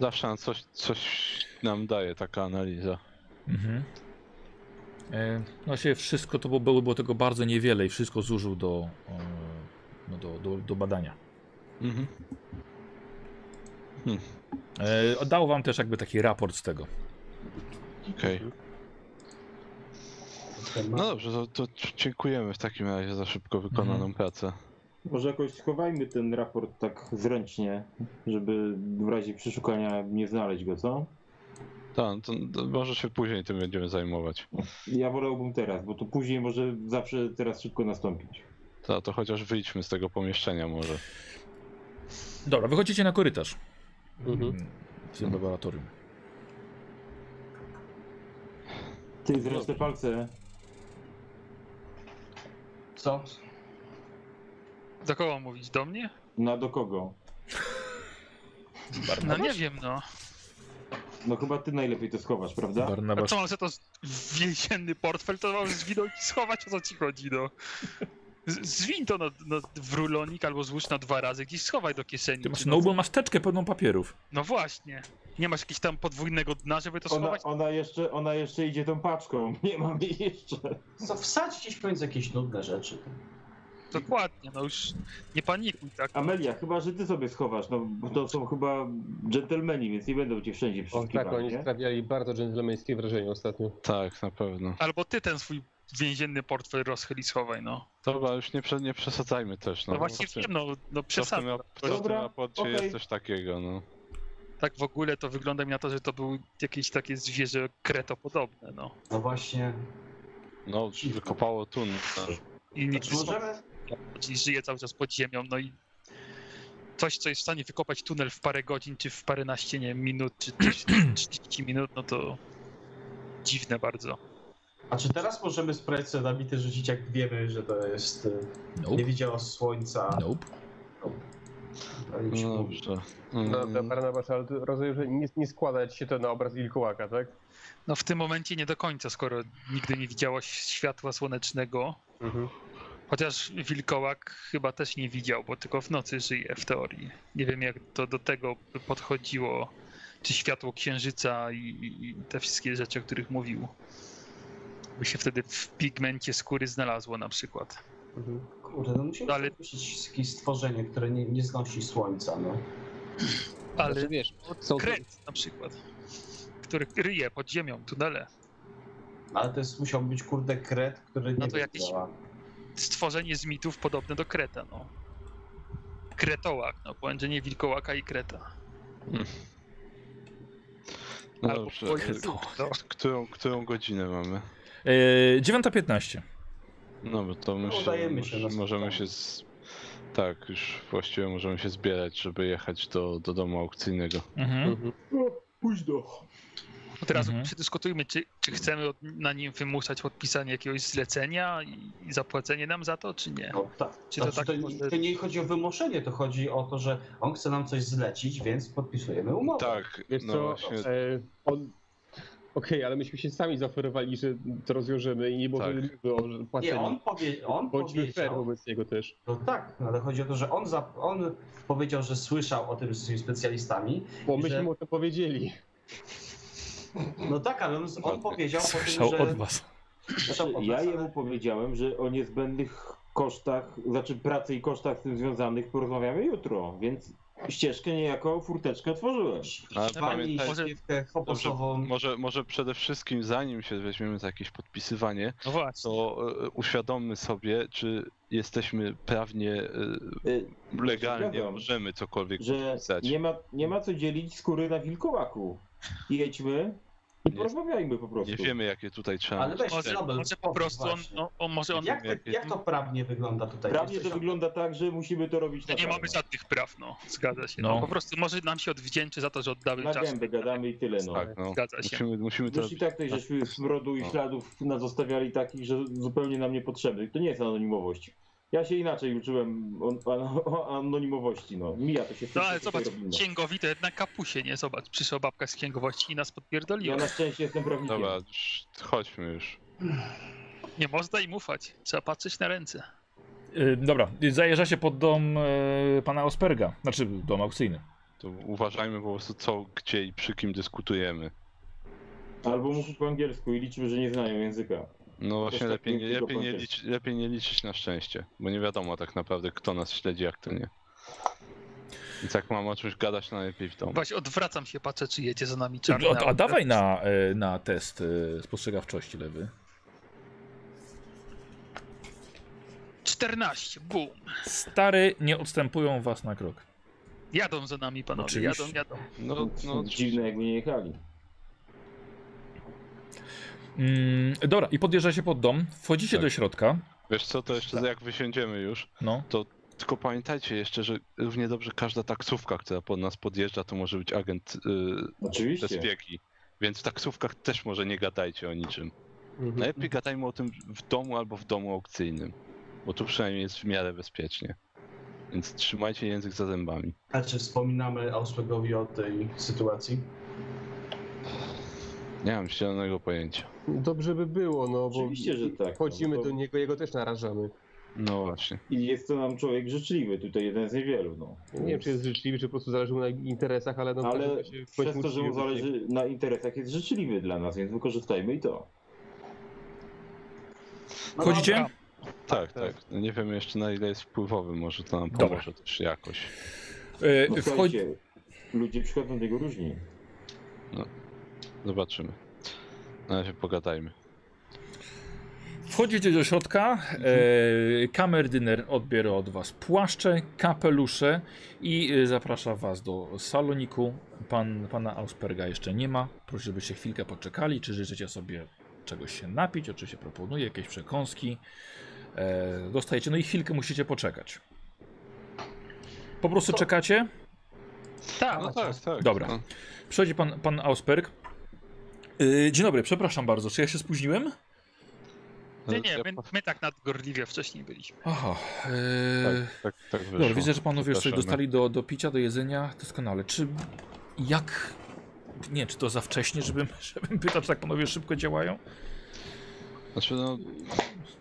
Speaker 3: zawsze nam coś, coś nam daje taka analiza.
Speaker 1: Mhm. E, no Właśnie wszystko to było, było tego bardzo niewiele i wszystko zużył do, e, no do, do, do badania.
Speaker 3: Mhm.
Speaker 1: E, Dał wam też jakby taki raport z tego.
Speaker 3: Okej. No dobrze, to, to dziękujemy w takim razie za szybko wykonaną
Speaker 1: Mhm.
Speaker 3: pracę.
Speaker 5: Może jakoś schowajmy ten raport tak zręcznie, żeby w razie przeszukania nie znaleźć go, co?
Speaker 3: Tak, to, to może się później tym będziemy zajmować.
Speaker 5: Ja wolałbym teraz, bo to później może zawsze teraz szybko nastąpić.
Speaker 3: Ta, to chociaż wyjdźmy z tego pomieszczenia może.
Speaker 1: Dobra, wychodzicie na korytarz
Speaker 2: Mhm.
Speaker 1: w tym
Speaker 3: Mhm.
Speaker 1: laboratorium.
Speaker 5: Ty zresztą te palce
Speaker 4: Co?
Speaker 6: Do kogo mówić? Do mnie?
Speaker 5: na do kogo?
Speaker 6: No nie wiem, no.
Speaker 5: No chyba ty najlepiej to schowasz, prawda?
Speaker 6: A
Speaker 1: Barnabasz
Speaker 6: co mam sobie to z- więzienny portfel, to mam zwinąć i schować, o co ci chodzi, no. Z- Zwin to na, na, w rulonik albo złóż na dwa razy, gdzieś schowaj do kieszeni.
Speaker 1: Ty masz
Speaker 6: czy no,
Speaker 1: nobą masteczkę pełną papierów.
Speaker 6: no właśnie. Nie masz jakiegoś tam podwójnego dna, żeby to
Speaker 5: Ona,
Speaker 6: schować?
Speaker 5: ona, jeszcze, ona jeszcze idzie tą paczką, nie mam jej jeszcze.
Speaker 4: No, Co, wsadź gdzieś pomiędzy jakieś nudne rzeczy.
Speaker 6: Dokładnie, no już nie panikuj, tak.
Speaker 5: Amelia, chyba, że ty sobie schowasz, no bo to są chyba dżentelmeni, więc nie będą cię wszędzie
Speaker 2: O, tak,
Speaker 5: przeszukiwali,
Speaker 2: oni
Speaker 5: nie?
Speaker 2: sprawiali bardzo dżentelmeńskie wrażenie ostatnio.
Speaker 3: Tak, na pewno.
Speaker 6: Albo ty ten swój więzienny portfel rozchyli, schowaj, no.
Speaker 3: Dobra, już nie, prze, nie przesadzajmy też. No,
Speaker 6: No właśnie
Speaker 3: Co w
Speaker 6: wiem, no, no
Speaker 3: co w tym,
Speaker 6: przesadzam.
Speaker 3: rap- co w tym
Speaker 5: Dobra,
Speaker 3: raporcie
Speaker 5: okej.
Speaker 3: jest coś takiego, no.
Speaker 6: Tak w ogóle to wygląda mi na to, że to był jakieś takie zwierzę kretopodobne, no.
Speaker 4: No właśnie.
Speaker 3: No, wykopało tun.
Speaker 6: I
Speaker 4: Czy
Speaker 6: nigdy
Speaker 4: Znaczy, możemy?
Speaker 6: i żyje cały czas pod ziemią, no i coś, co jest w stanie wykopać tunel w parę godzin, czy w paręnaście nie, wiem, minut, czy, czy 30 minut, no to dziwne bardzo.
Speaker 4: A czy teraz możemy sprawdzić sobie nabity rzucić, jak wiemy, że to jest... y, Nie
Speaker 1: Nope,
Speaker 4: widziało słońca.
Speaker 1: nope.
Speaker 4: ale nic
Speaker 3: No
Speaker 4: nie mówi.
Speaker 3: dobrze.
Speaker 2: Dobra,
Speaker 3: Mm,
Speaker 2: Barnabasz, ale to rozumiem, że nie, nie składa ci się to na obraz wilkołaka, tak?
Speaker 6: No w tym momencie nie do końca, skoro nigdy nie widziałaś światła słonecznego,
Speaker 2: Mhm.
Speaker 6: chociaż wilkołak chyba też nie widział, bo tylko w nocy żyje w teorii. Nie wiem jak to do tego by podchodziło, czy światło księżyca i, i- i te wszystkie rzeczy, o których mówił. By się wtedy w pigmencie skóry znalazło na przykład.
Speaker 2: Mhm.
Speaker 4: Kurde, no musimy
Speaker 6: Ale-
Speaker 4: Ale... jakieś stworzenie, które nie, nie znosi słońca, no.
Speaker 6: Ale
Speaker 2: Znaczy, wiesz,
Speaker 6: od
Speaker 2: są-
Speaker 6: kret na przykład, który ryje pod ziemią tunele.
Speaker 4: Ale to jest, musiał być kurde kret, który nie
Speaker 6: No to
Speaker 4: wiem,
Speaker 6: jakieś-
Speaker 4: działa.
Speaker 6: Stworzenie z mitów podobne do kreta, no. Kretołak, no połączenie wilkołaka i kreta.
Speaker 3: no
Speaker 6: Albo
Speaker 3: dobrze.
Speaker 6: pojezu, no.
Speaker 3: Którą, którą godzinę mamy?
Speaker 1: E, 9.15.
Speaker 3: No bo to my się,
Speaker 4: udajemy się
Speaker 3: moż-
Speaker 4: na
Speaker 3: możemy
Speaker 4: spotkanie.
Speaker 3: się z... Tak, już właściwie możemy się zbierać, żeby jechać do, do domu aukcyjnego.
Speaker 1: Mhm.
Speaker 2: Mhm.
Speaker 5: Pójdź do...
Speaker 6: Od razu
Speaker 1: Mhm.
Speaker 6: przedyskutujmy, czy, czy chcemy od, na nim wymuszać podpisanie jakiegoś zlecenia i, i zapłacenie nam za to, czy nie.
Speaker 4: No, tak.
Speaker 6: Czy to
Speaker 4: Znaczy,
Speaker 6: tak
Speaker 4: to,
Speaker 6: może-
Speaker 4: to nie chodzi o wymuszenie, to chodzi o to, że on No, chce nam coś zlecić, więc podpisujemy umowę.
Speaker 3: Tak,
Speaker 2: Wiesz
Speaker 3: no
Speaker 2: co,
Speaker 3: właśnie.
Speaker 2: e, on, Okej, ale myśmy się sami zaoferowali, że to rozwiążemy i nie było
Speaker 3: Tak.
Speaker 2: było płacenia.
Speaker 4: Nie, on, powie, on
Speaker 2: Znaczy, Bądźmy fair
Speaker 4: powiedział.
Speaker 2: wobec niego też.
Speaker 4: No tak, no ale chodzi o to, że on, zap- on powiedział, że słyszał o tym z tymi specjalistami.
Speaker 2: Bo myśmy
Speaker 4: Że-
Speaker 2: mu to powiedzieli.
Speaker 4: No tak, ale on, on powiedział po tym,
Speaker 7: Słyszał
Speaker 4: że...
Speaker 7: od was.
Speaker 4: Słyszał od
Speaker 5: Znaczy, Ja
Speaker 4: nas, ale-
Speaker 5: jemu powiedziałem, że o niezbędnych kosztach, znaczy pracy i kosztach z tym związanych porozmawiamy jutro, więc ścieżkę niejako furteczkę otworzyłem.
Speaker 3: Ale
Speaker 4: Pani
Speaker 3: pamiętaj-
Speaker 4: ścieżkę
Speaker 3: Dobrze,
Speaker 4: hoposową.
Speaker 3: może, może przede wszystkim, zanim się weźmiemy za jakieś podpisywanie,
Speaker 6: No właśnie.
Speaker 3: to e, uświadommy sobie, czy jesteśmy prawnie, e,
Speaker 5: Y,
Speaker 3: legalnie,
Speaker 5: Zgadzam.
Speaker 3: możemy cokolwiek
Speaker 5: Że
Speaker 3: podpisać.
Speaker 5: nie ma, nie ma co dzielić skóry na wilkołaku. Jedźmy i
Speaker 3: Nie-
Speaker 5: porozmawiajmy po prostu.
Speaker 3: Nie wiemy, jakie tutaj trzeba
Speaker 4: Ale
Speaker 3: mieć
Speaker 4: weź
Speaker 6: Może,
Speaker 4: Nobel,
Speaker 6: może po prostu on,
Speaker 4: właśnie.
Speaker 6: no, on, może on
Speaker 4: Jak,
Speaker 3: jak-
Speaker 4: to, jak to prawnie wygląda tutaj?
Speaker 5: Prawnie to
Speaker 4: Jesteś-
Speaker 5: wygląda tak, że musimy to robić na
Speaker 6: nie mamy
Speaker 5: czarno.
Speaker 6: żadnych praw, no. Zgadza się.
Speaker 1: No.
Speaker 6: No. Po prostu może nam się odwdzięczy za to, że oddamy
Speaker 5: Na
Speaker 4: No
Speaker 6: czas.
Speaker 5: gębę gadamy i tyle no.
Speaker 3: Tak, no.
Speaker 6: Zgadza się.
Speaker 3: Musimy, musimy to
Speaker 5: Już i
Speaker 3: robić.
Speaker 5: tak tej żeśmy smrodu i
Speaker 3: No.
Speaker 5: śladów nazostawiali takich, że zupełnie nam niepotrzebnych. To nie jest anonimowość. Ja się inaczej uczyłem o, o, o anonimowości, no. Mija to się
Speaker 6: No
Speaker 5: wszystko,
Speaker 6: ale
Speaker 5: co
Speaker 6: zobacz,
Speaker 5: tutaj robimy.
Speaker 6: księgowi to jednak kapusie, nie? Zobacz, przyszła babka z księgowości i nas podpierdoliła.
Speaker 5: Ja na szczęście jestem prawnikiem.
Speaker 3: Dobra, już chodźmy już.
Speaker 6: Nie można im ufać. Trzeba patrzeć na ręce.
Speaker 1: Y, dobra, zajeżdża się pod dom y, pana Osperga, znaczy dom aukcyjny.
Speaker 3: To uważajmy po prostu, co, gdzie i przy kim dyskutujemy.
Speaker 5: Albo mówisz po angielsku i liczymy, że nie znają języka.
Speaker 3: No właśnie,
Speaker 5: Ostatnio
Speaker 3: lepiej, nie-
Speaker 5: tylko
Speaker 3: lepiej, nie
Speaker 5: kończę.
Speaker 3: liczyć, lepiej nie liczyć na szczęście, bo nie wiadomo tak naprawdę, kto nas śledzi, jak to nie. Więc jak mam o czymś gadać, najlepiej w domu.
Speaker 6: Właśnie odwracam się, patrzę, czy jedzie za nami
Speaker 1: A,
Speaker 6: czarny.
Speaker 1: a, a dawaj na, y, na test y, spostrzegawczości lewy.
Speaker 6: 14, bum.
Speaker 1: Stary, nie odstępują was na krok.
Speaker 6: Jadą za nami panowie,
Speaker 1: Oczywiście.
Speaker 6: jadą, jadą.
Speaker 3: No, no,
Speaker 5: Dziwne, jakby nie jechali.
Speaker 1: Mm, dobra, i podjeżdża się pod dom, wchodzicie
Speaker 3: Tak.
Speaker 1: do środka.
Speaker 3: wiesz co, to jeszcze jak wysiądziemy już,
Speaker 1: No.
Speaker 3: Tylko pamiętajcie jeszcze, że równie dobrze każda taksówka, która pod nas podjeżdża, to może być agent y,
Speaker 5: Oczywiście.
Speaker 3: bezpieki. Więc w taksówkach też może nie gadajcie o niczym. Najlepiej gadajmy o tym w domu albo w domu aukcyjnym. Bo tu przynajmniej jest w miarę bezpiecznie. Więc trzymajcie język za zębami.
Speaker 4: A czy wspominamy Ausbergowi o tej sytuacji?
Speaker 3: Nie mam zielonego pojęcia.
Speaker 2: Dobrze by było, no bo
Speaker 5: Oczywiście, że tak, no,
Speaker 2: chodzimy
Speaker 5: bo to-
Speaker 2: do niego, jego też narażamy.
Speaker 3: No właśnie.
Speaker 5: I jest to nam człowiek życzliwy, tutaj jeden z niewielu, no.
Speaker 2: Nie wiem, czy jest życzliwy, czy po prostu zależy mu na interesach, ale no... w każdym
Speaker 5: Ale
Speaker 2: razie
Speaker 5: przez
Speaker 2: bądźmy
Speaker 5: to, że mu
Speaker 2: uczciwi.
Speaker 5: zależy na interesach, jest życzliwy dla nas, więc wykorzystajmy i to.
Speaker 4: No
Speaker 1: Wchodzicie?
Speaker 4: dobra.
Speaker 3: Tak, tak. No nie wiem jeszcze na ile jest wpływowy, może to nam
Speaker 1: Dobra.
Speaker 3: pomoże też jakoś.
Speaker 1: Y,
Speaker 5: No,
Speaker 1: wchodzi...
Speaker 5: słuchajcie, Ludzie przychodzą do niego różni.
Speaker 3: Zobaczymy. Na razie pogadajmy.
Speaker 1: Wchodzicie do środka, e, kamerdyner odbiera od was płaszcze, kapelusze i e, zaprasza was do saloniku. Pan, pana Ausperga jeszcze nie ma. Proszę, żebyście chwilkę poczekali, czy życzycie sobie czegoś się napić. Oczywiście proponuję jakieś przekąski. E, dostajecie, no i chwilkę musicie poczekać. Po prostu
Speaker 4: Co?
Speaker 1: czekacie.
Speaker 6: Tak,
Speaker 3: No tak, tak.
Speaker 1: Dobra.
Speaker 3: No.
Speaker 1: Przychodzi pan, pan Ausperg. E, dzień dobry, przepraszam bardzo, czy ja się spóźniłem?
Speaker 6: nie, nie,
Speaker 3: Ja
Speaker 6: my,
Speaker 3: po-
Speaker 6: my tak nadgorliwie wcześniej byliśmy.
Speaker 1: Aha. e,
Speaker 3: Tak, tak, tak wyszło.
Speaker 1: Dobra, widzę, że panowie już coś
Speaker 3: Przepraszamy.
Speaker 1: dostali do, do picia, do jedzenia. Doskonale. Czy jak. Nie, czy to za wcześnie, żebym, żebym pytał, czy tak panowie szybko działają?
Speaker 3: Znaczy no,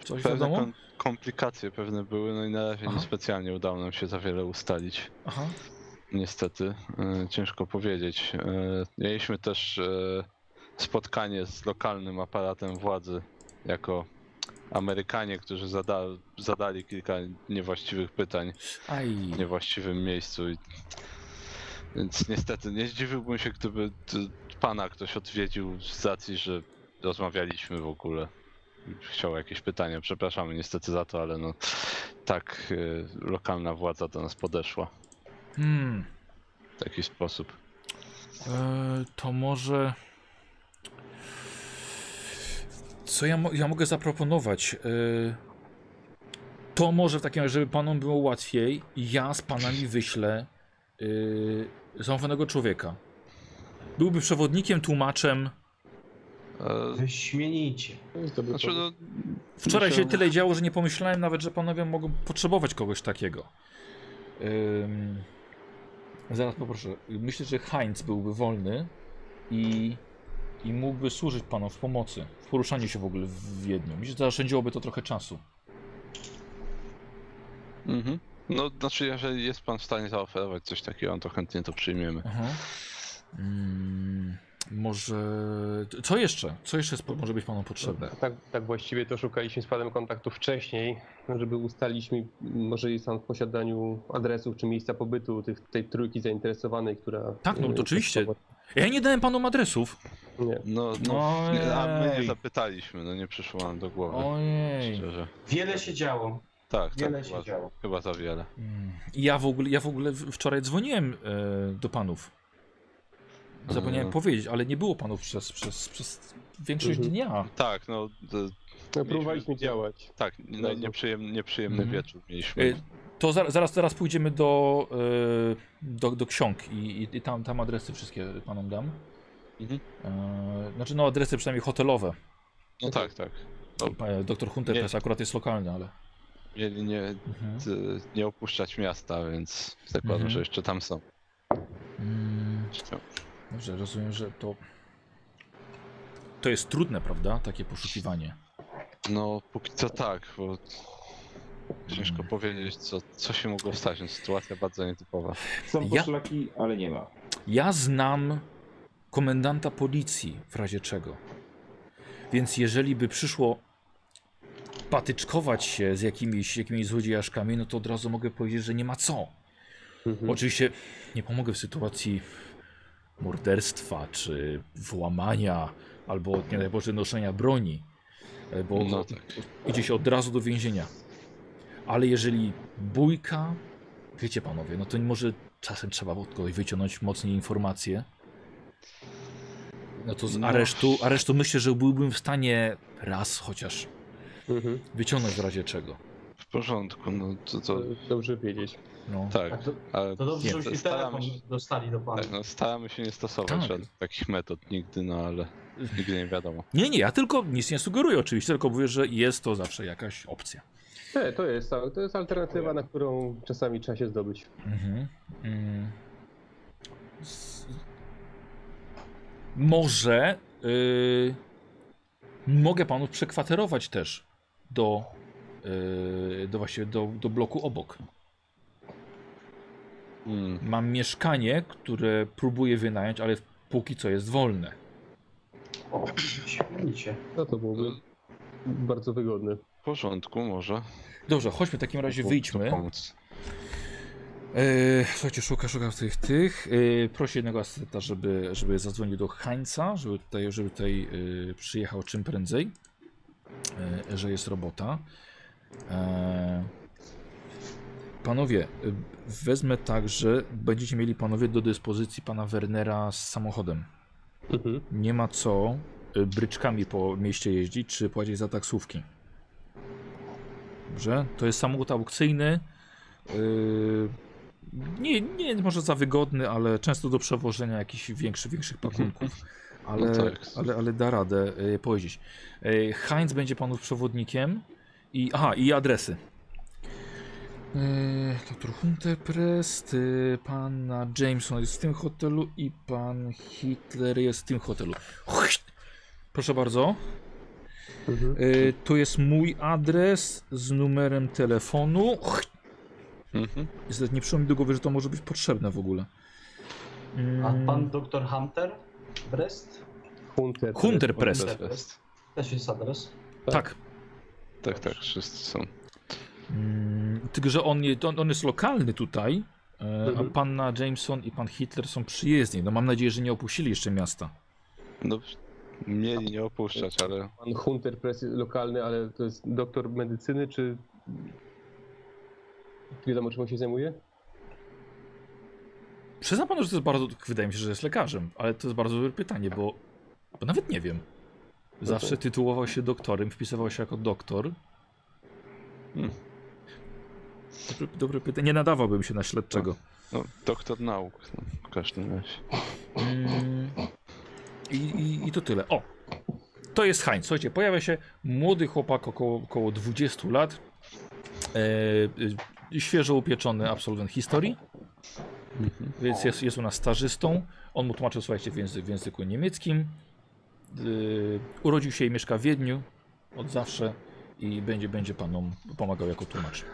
Speaker 1: Coś
Speaker 3: pewne
Speaker 1: wiadomo?
Speaker 3: kon- komplikacje pewne były, no i na razie
Speaker 1: Aha.
Speaker 3: niespecjalnie udało nam się za wiele ustalić.
Speaker 1: Aha.
Speaker 3: Niestety, e, ciężko powiedzieć. E, mieliśmy też e, spotkanie z lokalnym aparatem władzy jako Amerykanie, którzy zada, zadali kilka niewłaściwych pytań
Speaker 1: Aj.
Speaker 3: w niewłaściwym miejscu. I... Więc niestety nie zdziwiłbym się, gdyby t- pana ktoś odwiedził z racji, że rozmawialiśmy w ogóle. Chciał jakieś pytania, przepraszamy niestety za to, ale no tak y, lokalna władza do nas podeszła
Speaker 1: Hmm.
Speaker 3: w taki sposób.
Speaker 1: E, to może. Co ja, mo- ja mogę zaproponować? E, to może w takim razie, żeby panom było łatwiej, ja z panami wyślę e, zaufanego człowieka. Byłby przewodnikiem, tłumaczem.
Speaker 3: E,
Speaker 4: Wyśmienicie.
Speaker 2: To jest dobry
Speaker 3: Znaczy,
Speaker 2: pomysł.
Speaker 3: no,
Speaker 1: Wczoraj się
Speaker 3: myślę-
Speaker 1: tyle działo, że nie pomyślałem nawet, że panowie mogą potrzebować kogoś takiego. Ym, zaraz poproszę. Myślę, że Heinz byłby wolny i, i mógłby służyć panom w pomocy, w poruszaniu się w ogóle w Wiedniu. Myślę, że zaszczędziłoby to trochę czasu.
Speaker 3: Mhm. No, znaczy, jeżeli jest pan w stanie zaoferować coś takiego, no to chętnie to przyjmiemy.
Speaker 1: Aha. Mm, może... Co jeszcze? Co jeszcze jest, może być panom potrzebne?
Speaker 2: Tak, tak właściwie to szukaliśmy z panem kontaktu wcześniej, no, żeby ustalić mi, może jest pan w posiadaniu adresów czy miejsca pobytu tych, tej trójki zainteresowanej, która...
Speaker 1: Tak, no
Speaker 2: e,
Speaker 1: to oczywiście.
Speaker 2: podstawowo-
Speaker 1: Ja nie dałem panom adresów.
Speaker 2: Nie.
Speaker 3: No, no, nie, a my nie
Speaker 1: Ojej.
Speaker 3: zapytaliśmy, no nie przyszło nam do głowy.
Speaker 1: Ojej.
Speaker 3: Szczerze.
Speaker 4: Wiele się działo,
Speaker 3: Tak,
Speaker 4: wiele
Speaker 3: tak,
Speaker 4: się
Speaker 3: chyba,
Speaker 4: działo.
Speaker 3: chyba za wiele.
Speaker 1: Mm, Ja w ogóle, ja w ogóle w- wczoraj dzwoniłem e, do panów. Zapomniałem
Speaker 3: Mm.
Speaker 1: powiedzieć, ale nie było panów przez, przez, przez większość
Speaker 2: Mhm.
Speaker 1: dnia.
Speaker 3: Tak, no, d-
Speaker 2: No, próbowaliśmy działać.
Speaker 3: tak, no, nieprzyjemny, nieprzyjemny
Speaker 1: Mhm.
Speaker 3: wieczór mieliśmy.
Speaker 1: E, To zaraz, zaraz, zaraz pójdziemy do, e, do, do ksiąg i, i, i tam, tam adresy wszystkie panom dam.
Speaker 3: Mhm.
Speaker 1: E, Znaczy no adresy przynajmniej hotelowe.
Speaker 3: No tak, tak.
Speaker 1: Pa- Doktor
Speaker 3: Nie.
Speaker 1: Hunter akurat jest lokalny, ale...
Speaker 3: Mieli nie,
Speaker 1: Mhm.
Speaker 3: d- nie opuszczać miasta, więc zakładam,
Speaker 1: Mhm.
Speaker 3: że jeszcze tam są.
Speaker 1: Mm. Dobrze, rozumiem, że to. To jest trudne, prawda? Takie poszukiwanie.
Speaker 3: No, póki co tak, bo ciężko powiedzieć, co, co się mogło stać. No, sytuacja bardzo nietypowa.
Speaker 5: Są
Speaker 1: Ja-
Speaker 5: poszlaki, ale nie ma.
Speaker 1: Ja znam komendanta policji w razie czego. Więc jeżeli by przyszło patyczkować się z jakimiś, jakimiś złodziejaszkami, no to od razu mogę powiedzieć, że nie ma co.
Speaker 2: Mhm.
Speaker 1: Oczywiście nie pomogę w sytuacji morderstwa, czy włamania, albo nie daj Boże noszenia broni, e, bo
Speaker 3: No tak.
Speaker 1: idzie się od razu do więzienia. Ale jeżeli bójka, wiecie panowie, no to może czasem trzeba od kogoś wyciągnąć mocniej informacje. No to z
Speaker 3: No.
Speaker 1: aresztu, aresztu myślę, że byłbym w stanie raz chociaż
Speaker 2: Mhm.
Speaker 1: wyciągnąć w razie czego.
Speaker 3: W porządku, no to,
Speaker 2: To
Speaker 3: to
Speaker 2: dobrze wiedzieć.
Speaker 1: No.
Speaker 3: tak.
Speaker 4: Tak, to,
Speaker 3: Ale
Speaker 4: to dobrze,
Speaker 3: nie,
Speaker 4: żebyśmy
Speaker 3: staramy
Speaker 4: telefon
Speaker 3: się,
Speaker 4: dostali do pana.
Speaker 3: tak, no, staramy się nie stosować
Speaker 1: Tak.
Speaker 3: żadnych takich metod nigdy, no ale nigdy nie wiadomo.
Speaker 1: Nie, nie, ja tylko nic nie sugeruję oczywiście, tylko mówię, że jest to zawsze jakaś opcja.
Speaker 2: Nie, E, to jest, to jest alternatywa, na którą czasami trzeba się zdobyć.
Speaker 1: Mhm. Mm. S- Może y, mogę panu przekwaterować też do, y, do właśnie do, do bloku obok.
Speaker 3: Mm,
Speaker 1: Mam mieszkanie, które próbuję wynająć, ale póki co jest wolne.
Speaker 4: O, świetnie.
Speaker 2: No to byłoby bardzo wygodne.
Speaker 3: w porządku, może.
Speaker 1: Dobrze, chodźmy w takim razie,
Speaker 3: Mógłby to
Speaker 1: wyjdźmy.
Speaker 3: Pomóc.
Speaker 1: E, słuchajcie, szuka, szuka tych, tych. E, prosi jednego asystenta, żeby, żeby zadzwonił do Hańca, żeby tutaj, żeby tutaj e, przyjechał czym prędzej, e, że jest robota. E, panowie, e, wezmę także, będziecie mieli panowie do dyspozycji pana Wernera z samochodem.
Speaker 2: Mhm.
Speaker 1: Nie ma co e, bryczkami po mieście jeździć, czy płacić za taksówki. Dobrze, to jest samochód aukcyjny. Yy, nie, nie może za wygodny, ale często do przewożenia jakichś większych, większych pakunków. Ale,
Speaker 3: No tak.
Speaker 1: ale, ale da radę yy, pojeździć. Yy, Heinz będzie panów przewodnikiem. I, aha, i adresy. Yy, Doktor Hunter Prest, yy, pana Jameson jest w tym hotelu i pan Hitler jest w tym hotelu. Proszę bardzo.
Speaker 2: Mhm.
Speaker 1: Yy, tu jest mój adres z numerem telefonu.
Speaker 3: Mhm.
Speaker 1: Niestety nie przyszło mi do głowy, że to może być potrzebne w ogóle.
Speaker 4: A
Speaker 1: Mm,
Speaker 4: pan doktor Hunter? Brest?
Speaker 2: Hunter.
Speaker 1: Hunter Press.
Speaker 3: Hunter. Brest.
Speaker 4: Też jest adres.
Speaker 1: Tak.
Speaker 3: Tak, tak, wszyscy są.
Speaker 1: Mm, tylko, że on, je- on, on jest lokalny tutaj, e,
Speaker 2: Mhm.
Speaker 1: a panna Jameson i pan Hitler są przyjezdni. No mam nadzieję, że nie opuścili jeszcze miasta.
Speaker 3: No, mieli nie opuszczać, ale
Speaker 2: Pan Hunter Press jest lokalny, ale to jest doktor medycyny, czy wiadomo czym on się zajmuje?
Speaker 1: Przyznam panu, że to jest bardzo. Wydaje mi się, że jest lekarzem, ale to jest bardzo dobre pytanie, bo, bo nawet nie wiem. Zawsze tytułował się doktorem, wpisywał się jako doktor.
Speaker 3: Hmm.
Speaker 1: Dobre, dobre pytanie. Nie nadawałbym się na śledczego.
Speaker 3: no, doktor nauk no, w każdym razie.
Speaker 1: Mm, I, i, I to tyle. O! To jest Heinz. Słuchajcie, pojawia się młody chłopak około, około 20 lat. E, e, świeżo upieczony absolwent historii. Więc jest, jest u nas stażystą. On mu tłumaczył, słuchajcie, w, języ, w języku niemieckim. y, urodził się i mieszka w Wiedniu od zawsze i będzie, będzie panom pomagał jako tłumacz. E,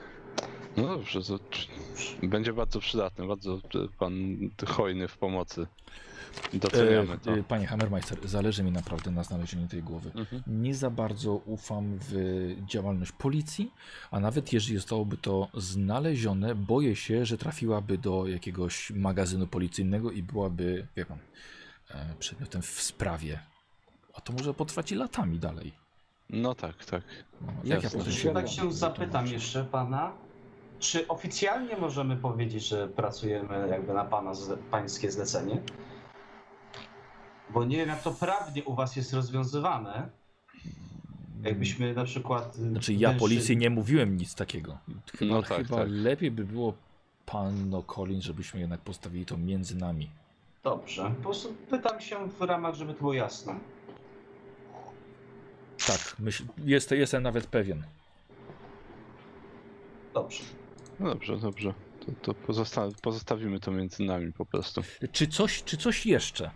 Speaker 3: No dobrze, to czy- będzie bardzo przydatny, bardzo e, pan hojny w pomocy. Doceniamy to.
Speaker 1: E, e, Panie Hammermeister, zależy mi naprawdę na znalezieniu tej głowy.
Speaker 3: Mhm.
Speaker 1: Nie za bardzo ufam w działalność policji, a nawet jeżeli zostałoby to znalezione, boję się, że trafiłaby do jakiegoś magazynu policyjnego i byłaby, wie pan, e, przedmiotem w sprawie. A to może potrwać i latami dalej.
Speaker 3: No tak, tak.
Speaker 1: No,
Speaker 3: Jasne.
Speaker 1: potem
Speaker 2: Ja
Speaker 4: Ja tak się
Speaker 1: wytłumaczę?
Speaker 4: zapytam jeszcze pana, czy oficjalnie możemy powiedzieć, że pracujemy jakby na pana zle, pańskie zlecenie? Bo nie wiem, jak to prawnie u was jest rozwiązywane. Jakbyśmy na przykład. y,
Speaker 1: Znaczy ja
Speaker 4: mężczyzn-
Speaker 1: policji nie mówiłem nic takiego. Chyba,
Speaker 3: No tak,
Speaker 1: chyba
Speaker 3: tak.
Speaker 1: lepiej by było panno Colin, żebyśmy jednak postawili to między nami.
Speaker 4: Dobrze. Po prostu pytam się w ramach, żeby to było jasne.
Speaker 1: Tak, myśl, jest, jestem nawet pewien.
Speaker 4: Dobrze.
Speaker 3: No dobrze, dobrze. To, to pozosta pozostawimy to między nami po prostu.
Speaker 1: Czy coś, czy coś jeszcze?
Speaker 3: E,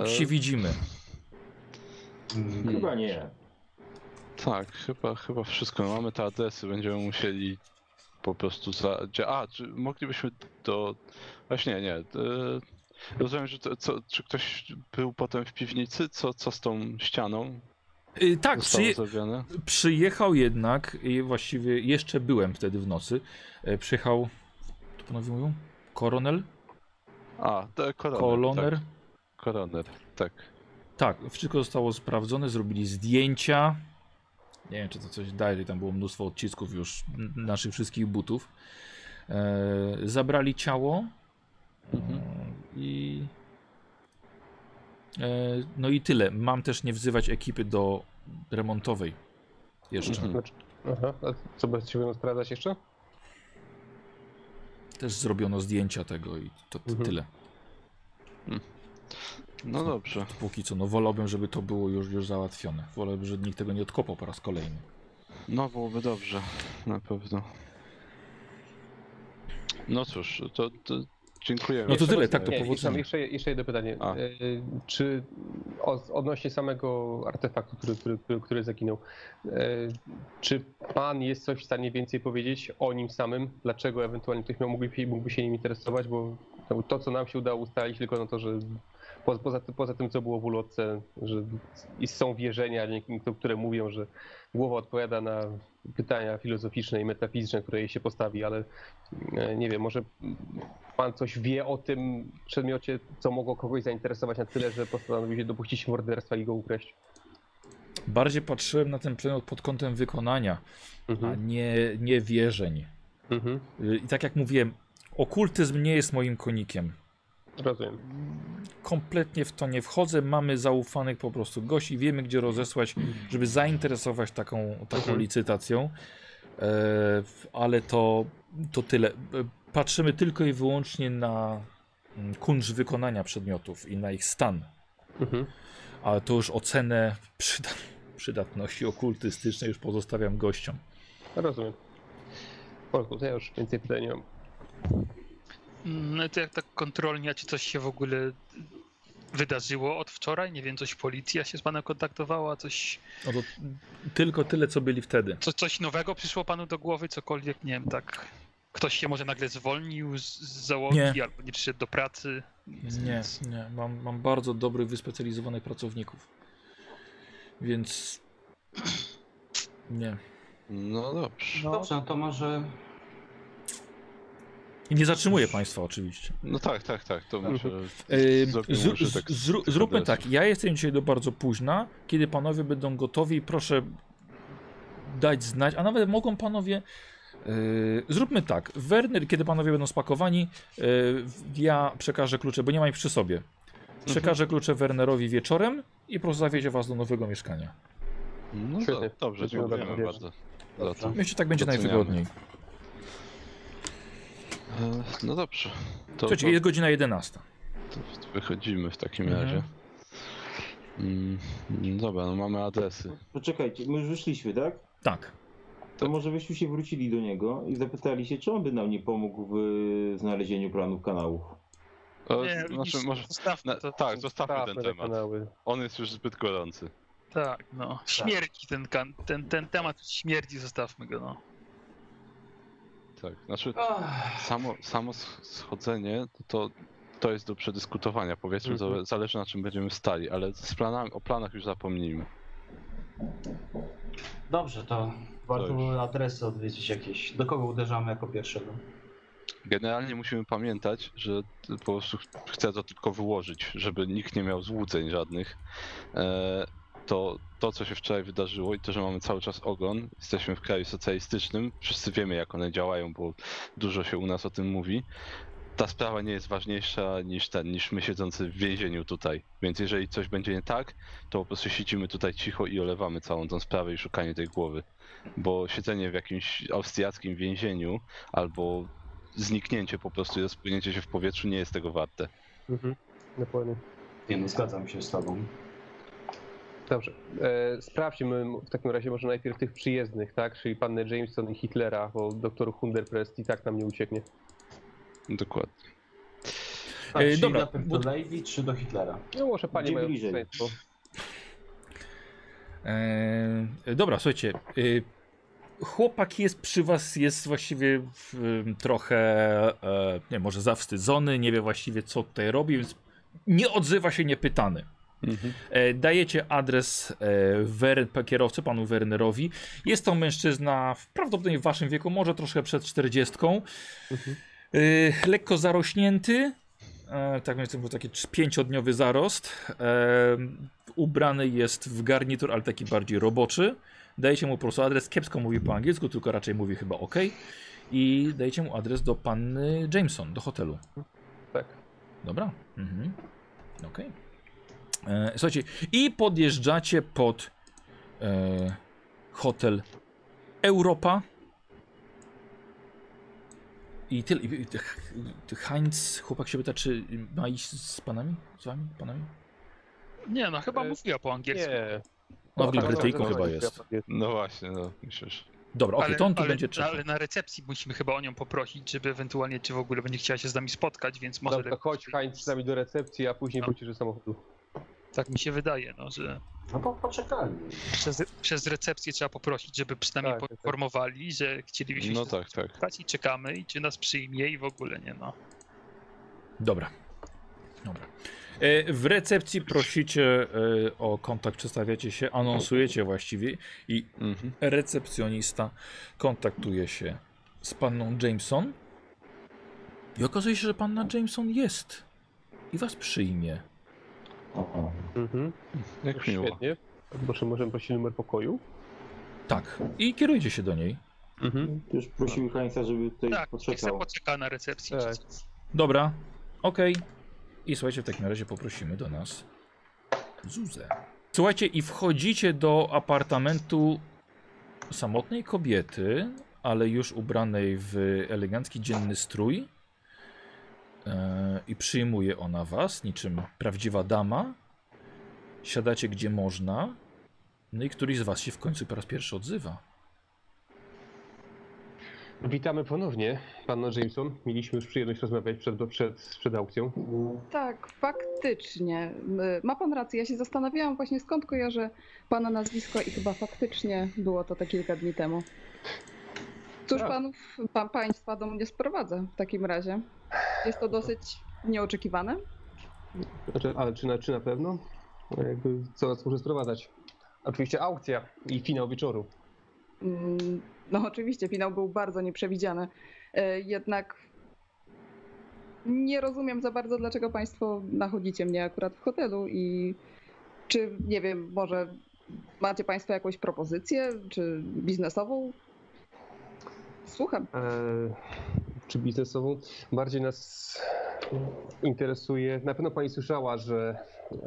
Speaker 1: Póki się widzimy.
Speaker 4: Mm,
Speaker 5: Chyba nie.
Speaker 3: Tak, chyba, chyba wszystko. No, Mamy te adresy, będziemy musieli po prostu za... gdzie- A, czy moglibyśmy do... Właśnie, nie. e, Rozumiem, że to, co, czy ktoś był potem w piwnicy? Co, co z tą ścianą
Speaker 1: Y, tak,
Speaker 3: zostało
Speaker 1: przyje,
Speaker 3: zrobione?
Speaker 1: przyjechał jednak, i właściwie jeszcze byłem wtedy w nocy. e, Przyjechał, to panowie mówią? Koronel?
Speaker 3: A, te koroner.
Speaker 1: Koloner?
Speaker 3: Tak, koroner, tak.
Speaker 1: Tak, wszystko zostało sprawdzone, zrobili zdjęcia. Nie wiem, czy to coś daje, tam było mnóstwo odcisków już n- naszych wszystkich butów. E, zabrali ciało
Speaker 3: Mhm.
Speaker 1: e, i. E, no i tyle. Mam też nie wzywać ekipy do remontowej. Jeszcze.
Speaker 3: Mhm.
Speaker 2: Aha, a co będziecie będą sprawdzać jeszcze?
Speaker 1: Też zrobiono zdjęcia tego i to, to
Speaker 2: Mhm.
Speaker 1: tyle.
Speaker 3: No dobrze.
Speaker 1: Póki co, no wolałbym, żeby to było już, już załatwione. Wolałbym, żeby nikt tego nie odkopał po raz kolejny.
Speaker 3: No byłoby dobrze, na pewno. No cóż, to, to dziękuję.
Speaker 1: No to
Speaker 2: Jeszcze
Speaker 1: tyle,
Speaker 2: raz-
Speaker 1: tak, to
Speaker 2: nie, i sam-
Speaker 1: powodzenia.
Speaker 2: Jeszcze, jeszcze jedno pytanie.
Speaker 3: A.
Speaker 2: E, Czy od- odnośnie samego artefaktu, który, który, który, który zaginął, e, czy pan jest coś w stanie więcej powiedzieć o nim samym? Dlaczego ewentualnie ktoś miał, mógłby, się- mógłby się nim interesować? Bo to- to, co nam się udało ustalić, tylko no to, że po, poza, tym- poza tym, co było w ulotce, że i są wierzenia, nie- które mówią, że głowa odpowiada na pytania filozoficzne i metafizyczne, które jej się postawi, ale e, nie wiem, może pan coś wie o tym przedmiocie, co mogło kogoś zainteresować na tyle, że postanowił się dopuścić morderstwa i go ukraść.
Speaker 1: Bardziej patrzyłem na ten przedmiot pod kątem wykonania. a
Speaker 2: Mhm.
Speaker 1: nie, nie wierzeń.
Speaker 2: Mhm.
Speaker 1: Y, I tak jak mówiłem, okultyzm nie jest moim konikiem.
Speaker 2: Rozumiem.
Speaker 1: Kompletnie w to nie wchodzę. Mamy zaufanych po prostu gości, wiemy gdzie rozesłać, żeby zainteresować taką, taką
Speaker 2: Mhm.
Speaker 1: licytacją. E, w- ale to, to tyle. E, Patrzymy tylko i wyłącznie na mm, kunsz wykonania przedmiotów i na ich stan.
Speaker 2: Mhm.
Speaker 1: Ale to już ocenę przyda przydatności okultystycznej już pozostawiam gościom.
Speaker 2: Rozumiem. W porządku, to ja już więcej pytań nie mam.
Speaker 6: No to jak tak kontrolnie, a czy coś się w ogóle wydarzyło od wczoraj? Nie wiem, coś policja się z panem kontaktowała, coś,
Speaker 1: No to tylko tyle, co byli wtedy.
Speaker 6: co, coś nowego przyszło panu do głowy, cokolwiek, nie wiem, tak. Ktoś się może nagle zwolnił z, z załogi
Speaker 1: Nie.
Speaker 6: albo nie przyszedł do pracy.
Speaker 1: Nie, nie. Mam, mam bardzo dobrych, wyspecjalizowanych pracowników. Więc. Nie.
Speaker 3: No dobrze.
Speaker 6: No,
Speaker 4: Dobrze, no to może.
Speaker 1: I nie zatrzymuję Państwa, oczywiście.
Speaker 3: No tak, tak, tak, to muszę...
Speaker 1: Mhm. Ym,
Speaker 3: zrobimy
Speaker 1: E, zró-
Speaker 3: użytek
Speaker 1: z- zró-
Speaker 3: tych
Speaker 1: zróbmy
Speaker 3: adresów.
Speaker 1: tak. Ja jestem dzisiaj do bardzo późna. Kiedy panowie będą gotowi, proszę dać znać, a nawet mogą panowie. Yy, zróbmy tak. Werner, kiedy panowie będą spakowani, yy, ja przekażę klucze, bo nie mam ich przy sobie. Przekażę klucze Wernerowi wieczorem i po prostu zawiezie was do nowego mieszkania.
Speaker 3: No
Speaker 2: Świetnie.
Speaker 3: do, dobrze,
Speaker 2: Będziemy
Speaker 3: dziękujemy
Speaker 2: bardzo
Speaker 3: bardzo za to.
Speaker 1: Myślę, że tak będzie
Speaker 3: Doceniamy.
Speaker 1: najwygodniej.
Speaker 3: E, No dobrze, to,
Speaker 1: Słuchajcie, jest godzina 11.
Speaker 3: to, to wychodzimy w takim
Speaker 1: Mhm.
Speaker 3: razie. Mm, Dobra, no mamy adresy.
Speaker 5: Poczekajcie, my już wyszliśmy, tak?
Speaker 1: Tak.
Speaker 5: To może byśmy się wrócili do niego i zapytali się, czy on by nam nie pomógł w y, znalezieniu planów kanałów.
Speaker 3: O,
Speaker 6: Nie,
Speaker 3: znaczy,
Speaker 6: nic,
Speaker 3: może,
Speaker 6: zostawmy
Speaker 3: na,
Speaker 6: to.
Speaker 3: tak, zostawmy
Speaker 2: Trafne
Speaker 3: ten
Speaker 2: te
Speaker 3: temat.
Speaker 2: kanały.
Speaker 3: On jest już zbyt gorący.
Speaker 6: Tak, no. Śmierci ten, kan- ten, ten temat śmierci, zostawmy go, no.
Speaker 3: Tak, znaczy
Speaker 4: Ach,
Speaker 3: samo, samo sch- schodzenie to, to jest do przedyskutowania, powiedzmy,
Speaker 2: Mhm.
Speaker 3: zale- zależy na czym będziemy stali, ale z planami, o planach już zapomnijmy.
Speaker 4: Dobrze, to warto
Speaker 3: już.
Speaker 4: by adresy odwiedzić jakieś. Do kogo uderzamy jako pierwszego?
Speaker 3: Generalnie musimy pamiętać, że po prostu ch- chcę to tylko wyłożyć, żeby nikt nie miał złudzeń żadnych. E, to, to, co się wczoraj wydarzyło i to, że mamy cały czas ogon, jesteśmy w kraju socjalistycznym, wszyscy wiemy jak one działają, bo dużo się u nas o tym mówi. Ta sprawa nie jest ważniejsza niż ten, niż my siedzący w więzieniu tutaj. Więc jeżeli coś będzie nie tak, to po prostu siedzimy tutaj cicho i olewamy całą tą sprawę i szukanie tej głowy. Bo siedzenie w jakimś austriackim więzieniu albo zniknięcie po prostu i rozpłynięcie się w powietrzu nie jest tego warte.
Speaker 2: Mhm. Dokładnie.
Speaker 4: Nie no, zgadzam się z tobą.
Speaker 2: Dobrze. E, sprawdźmy w takim razie może najpierw tych przyjezdnych, tak? Czyli pannę Jameson i Hitlera, bo doktor Hunderprest i tak nam nie ucieknie.
Speaker 3: Dokładnie.
Speaker 4: Tak,
Speaker 1: Ej,
Speaker 4: czyli
Speaker 1: E, dobra,
Speaker 4: najpierw
Speaker 1: bo-
Speaker 4: do Lady czy do Hitlera?
Speaker 2: No może panie
Speaker 5: Gdzie
Speaker 2: mają
Speaker 5: bliżej?
Speaker 2: przekleństwo.
Speaker 1: E, dobra, słuchajcie. e, chłopak jest przy was, jest właściwie w, trochę, e, nie wiem, może zawstydzony, nie wie właściwie co tutaj robi, więc nie odzywa się niepytany. E, Dajecie adres e, Wer, kierowcy, panu Wernerowi. Jest to mężczyzna w, prawdopodobnie w waszym wieku, może troszkę przed 40. E, lekko zarośnięty. E, tak więc to był taki trz- pięciodniowy zarost. E, ubrany jest w garnitur, ale taki bardziej roboczy. Dajecie mu po prostu adres. Kiepsko mówi po angielsku, tylko raczej mówi chyba OK. I dajecie mu adres do panny Jameson, do hotelu.
Speaker 2: Tak.
Speaker 1: Dobra. Mhm. Okej. E, Słuchajcie, i podjeżdżacie pod e, hotel Europa. I tyle. I- i- Ch- Heinz, chłopak się pyta, czy ma iść z panami? Z wami? Panami?
Speaker 2: No,
Speaker 6: Nie, no chyba
Speaker 2: E,
Speaker 6: mówiła po angielsku.
Speaker 2: Nie.
Speaker 1: No, w
Speaker 2: Tak,
Speaker 1: Brytyjku
Speaker 2: tak,
Speaker 1: chyba
Speaker 2: tak,
Speaker 1: jest.
Speaker 2: tak, jest.
Speaker 3: No właśnie, no myślisz.
Speaker 1: Dobra, okej,
Speaker 6: ale,
Speaker 1: to on tu
Speaker 6: ale,
Speaker 1: będzie trzeci.
Speaker 6: ale na recepcji musimy chyba o nią poprosić, żeby ewentualnie, czy w ogóle będzie chciała się z nami spotkać, więc może... tak
Speaker 2: Dobra, to chodź Heinz z nami do recepcji, a później
Speaker 6: No.
Speaker 2: wrócisz do samochodu.
Speaker 6: Tak mi się wydaje, no, że
Speaker 4: No to poczekali.
Speaker 6: przez, przez recepcję trzeba poprosić, żeby przynajmniej
Speaker 2: Tak, tak.
Speaker 6: poinformowali, że chcielibyśmy
Speaker 3: No
Speaker 6: się
Speaker 3: tak, tak.
Speaker 6: spotkać i czekamy, i czy nas przyjmie i w ogóle nie, no.
Speaker 1: Dobra. Dobra. E, W recepcji prosicie e, o kontakt, przedstawiacie się, anonsujecie właściwie i
Speaker 3: Mhm.
Speaker 1: recepcjonista kontaktuje się z panną Jameson i okazuje się, że panna Jameson jest i was przyjmie.
Speaker 4: Oho.
Speaker 2: Mhm.
Speaker 3: Jak miło.
Speaker 2: Świetnie. Proszę, możemy prosić numer pokoju?
Speaker 1: Tak, i kierujcie się do niej.
Speaker 2: Mhm.
Speaker 5: Już prosiły Heinza, żeby tutaj
Speaker 6: Tak, niech sobie
Speaker 5: poczekał.
Speaker 6: poczeka na recepcji.
Speaker 2: Tak.
Speaker 6: czy-
Speaker 1: Dobra, okej. I słuchajcie, w takim razie poprosimy do nas Zuzę. Słuchajcie, i wchodzicie do apartamentu samotnej kobiety, ale już ubranej w elegancki dzienny strój. E, I przyjmuje ona was, niczym prawdziwa dama. Siadacie gdzie można. No i któryś z was się w końcu po raz pierwszy odzywa.
Speaker 2: Witamy ponownie, panno Jameson. Mieliśmy już przyjemność rozmawiać przed, przed, przed aukcją.
Speaker 8: Tak, faktycznie. Y, Ma pan rację. Ja się zastanawiałam właśnie skąd kojarzę pana nazwisko i chyba faktycznie było to te kilka dni temu. Cóż
Speaker 2: Tak.
Speaker 8: panów, pan państwa do mnie sprowadza w takim razie? Jest to dosyć nieoczekiwane.
Speaker 2: Znaczy, ale czy na, czy na pewno? No Jakby co nas może sprowadzać? Oczywiście aukcja i finał wieczoru.
Speaker 8: Mm, No oczywiście, finał był bardzo nieprzewidziany. E, Jednak nie rozumiem za bardzo, dlaczego Państwo nachodzicie mnie akurat w hotelu i czy, nie wiem, może macie Państwo jakąś propozycję, czy biznesową? Słucham.
Speaker 2: Eee, czy biznesową. Bardziej nas interesuje. Na pewno pani słyszała, że eee,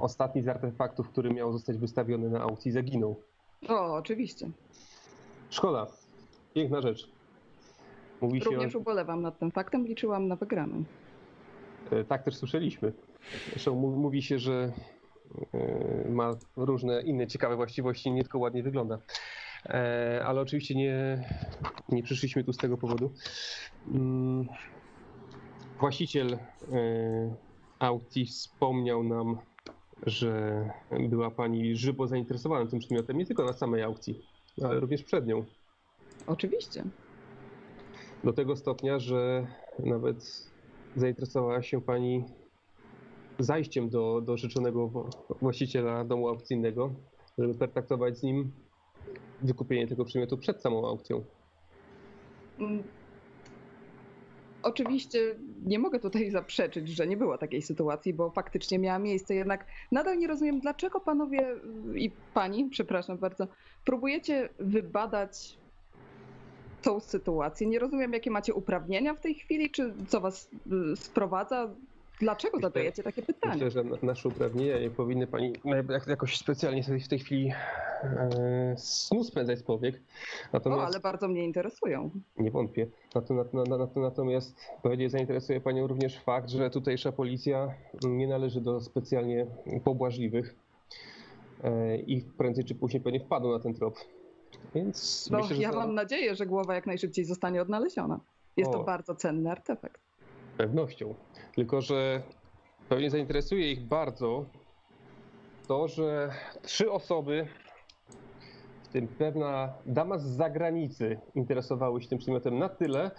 Speaker 2: ostatni z artefaktów, który miał zostać wystawiony na aukcji, zaginął.
Speaker 8: O, oczywiście.
Speaker 2: Szkoda. Piękna rzecz. Mówi się.
Speaker 8: Również ubolewam nad tym faktem, liczyłam na wygraną.
Speaker 2: E, Tak też słyszeliśmy. Zresztą mu- mówi się, że e, ma różne inne ciekawe właściwości, nie tylko ładnie wygląda. E, Ale oczywiście nie, nie przyszliśmy tu z tego powodu. Mm, właściciel e, Auti wspomniał nam, że była pani żywo zainteresowana tym przedmiotem, nie tylko na samej aukcji, ale również przed nią.
Speaker 8: Oczywiście.
Speaker 2: Do tego stopnia, że nawet zainteresowała się pani zajściem do, do życzonego wo- właściciela domu aukcyjnego, żeby pertraktować z nim wykupienie tego przedmiotu przed samą aukcją.
Speaker 8: Mm. Oczywiście nie mogę tutaj zaprzeczyć, że nie było takiej sytuacji, bo faktycznie miała miejsce, jednak nadal nie rozumiem, dlaczego panowie y, i pani, przepraszam bardzo, próbujecie wybadać tą sytuację. Nie rozumiem, jakie macie uprawnienia w tej chwili, czy co was y, sprowadza. Dlaczego
Speaker 2: Myślę-
Speaker 8: zadajecie takie pytania?
Speaker 2: Myślę, że na- nasze uprawnienia nie powinny pani jak- jakoś specjalnie sobie w tej chwili e, snu spędzać z powiek.
Speaker 8: O,
Speaker 2: Natomiast
Speaker 8: ale bardzo mnie interesują.
Speaker 2: nie wątpię. Nato- nat- na- na- Natomiast bardziej zainteresuje panią również fakt, że tutejsza policja nie należy do specjalnie pobłażliwych e, i prędzej czy później pewnie wpadną na ten trop. Więc
Speaker 8: No,
Speaker 2: myślę, że
Speaker 8: ja
Speaker 2: za-
Speaker 8: mam nadzieję, że głowa jak najszybciej zostanie odnaleziona. Jest to
Speaker 2: O.
Speaker 8: bardzo cenny artefakt.
Speaker 2: pewnością. Tylko, że pewnie zainteresuje ich bardzo to, że trzy osoby, w tym pewna dama z zagranicy, interesowały się tym przedmiotem na tyle,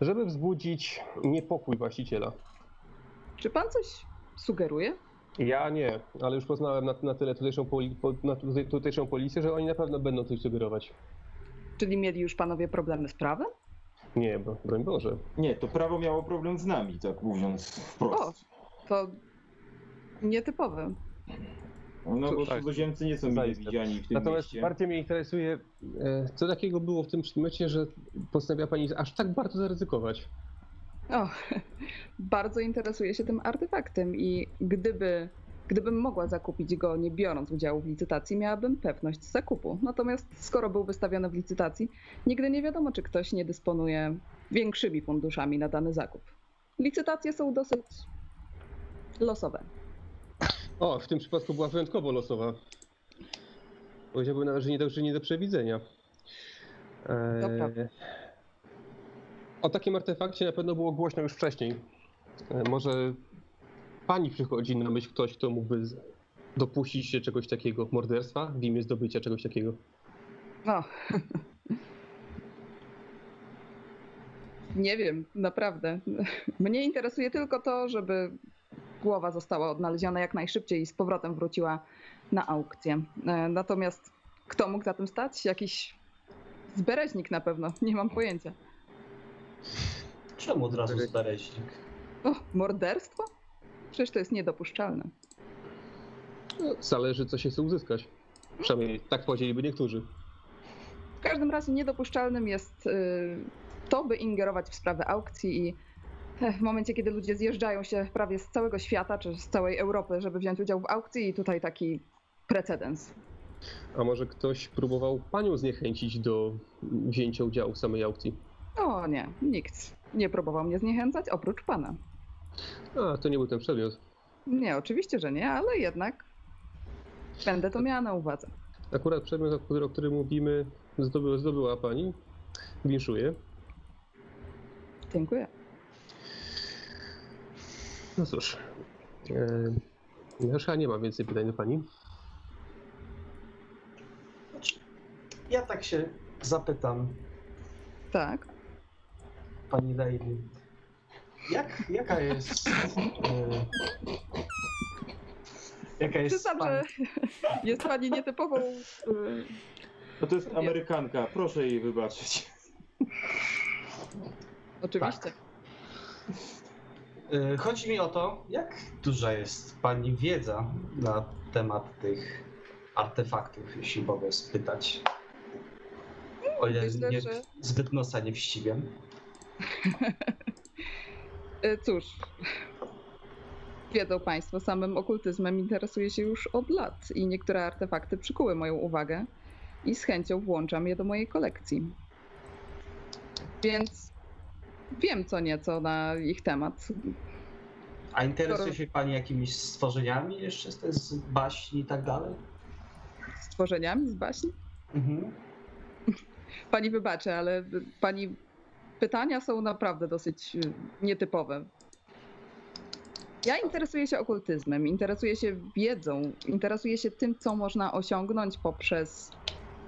Speaker 2: żeby wzbudzić niepokój właściciela.
Speaker 8: Czy pan coś sugeruje?
Speaker 2: Ja nie, ale już poznałem na, na tyle tutejszą, poli, po, na tutaj, tutejszą policję, że oni na pewno będą coś sugerować.
Speaker 8: Czyli mieli już panowie problemy z prawem?
Speaker 2: Nie, bo, broń Boże.
Speaker 5: Nie, to prawo miało problem z nami, tak mówiąc wprost.
Speaker 8: To nietypowe.
Speaker 5: No bo
Speaker 3: tak.
Speaker 5: cudzoziemcy nie są mile
Speaker 2: Zaiste.
Speaker 5: widziani w tym
Speaker 2: Natomiast
Speaker 5: mieście.
Speaker 2: bardziej mnie interesuje, e, co takiego było w tym przedmiocie, że postanawia pani aż tak bardzo zaryzykować.
Speaker 8: O, bardzo interesuję się tym artefaktem i gdyby, gdybym mogła zakupić go nie biorąc udziału w licytacji, miałabym pewność zakupu. Natomiast skoro był wystawiony w licytacji, nigdy nie wiadomo, czy ktoś nie dysponuje większymi funduszami na dany zakup. Licytacje są dosyć losowe.
Speaker 2: O, w tym przypadku była wyjątkowo losowa. Powiedziałbym nawet, że nie do, że nie do przewidzenia. E,
Speaker 8: To prawda.
Speaker 2: O takim artefakcie na pewno było głośno już wcześniej. E, Może pani przychodzi na myśl ktoś, kto mógłby z- dopuścić się czegoś takiego, morderstwa w imię zdobycia czegoś takiego.
Speaker 8: No. Nie wiem, naprawdę. Mnie interesuje tylko to, żeby głowa została odnaleziona jak najszybciej i z powrotem wróciła na aukcję. E, Natomiast kto mógł za tym stać? Jakiś zbereźnik na pewno, nie mam pojęcia.
Speaker 4: Czemu od razu zbereźnik?
Speaker 8: O, morderstwo? Przecież to jest niedopuszczalne.
Speaker 2: No, Zależy, co się chce uzyskać. Przynajmniej tak powiedzieliby niektórzy.
Speaker 8: W każdym razie niedopuszczalnym jest y, to, by ingerować w sprawy aukcji i e, w momencie, kiedy ludzie zjeżdżają się prawie z całego świata czy z całej Europy, żeby wziąć udział w aukcji i tutaj taki precedens.
Speaker 2: A może ktoś próbował panią zniechęcić do wzięcia udziału w samej aukcji?
Speaker 8: O nie, nikt nie próbował mnie zniechęcać oprócz pana.
Speaker 2: A, to nie był ten przedmiot.
Speaker 8: Nie, oczywiście, że nie, ale jednak będę to miała na uwadze.
Speaker 2: Akurat przedmiot, o którym, o którym mówimy, zdobyła, zdobyła pani. Winszuję.
Speaker 8: Dziękuję.
Speaker 2: No cóż. E, ja już chyba nie mam więcej pytań do pani.
Speaker 4: Znaczy, Ja tak się zapytam,
Speaker 8: Tak.
Speaker 4: pani Lady, jak, jaka jest. e, jaka jest.
Speaker 8: Przyznam,
Speaker 4: pani-
Speaker 8: że jest pani nietypową. y,
Speaker 5: No to jest Amerykanka, proszę jej wybaczyć.
Speaker 8: Oczywiście.
Speaker 4: E, Chodzi mi o to, jak duża jest Pani wiedza na temat tych artefaktów, jeśli mogę spytać. O ile
Speaker 8: myślę,
Speaker 4: nie,
Speaker 8: że-
Speaker 4: zbyt nosa nie wściwiam.
Speaker 8: E, Cóż, wiedzą Państwo, samym okultyzmem interesuję się już od lat i niektóre artefakty przykuły moją uwagę i z chęcią włączam je do mojej kolekcji. Więc wiem co nieco na ich temat.
Speaker 4: A interesuje
Speaker 8: Skoro-
Speaker 4: się Pani jakimiś stworzeniami jeszcze z, z baśni i tak dalej?
Speaker 8: Z tworzeniami z baśni?
Speaker 4: Mhm.
Speaker 8: Pani wybaczy, ale Pani pytania są naprawdę dosyć y, nietypowe. Ja interesuję się okultyzmem, interesuję się wiedzą, interesuję się tym, co można osiągnąć poprzez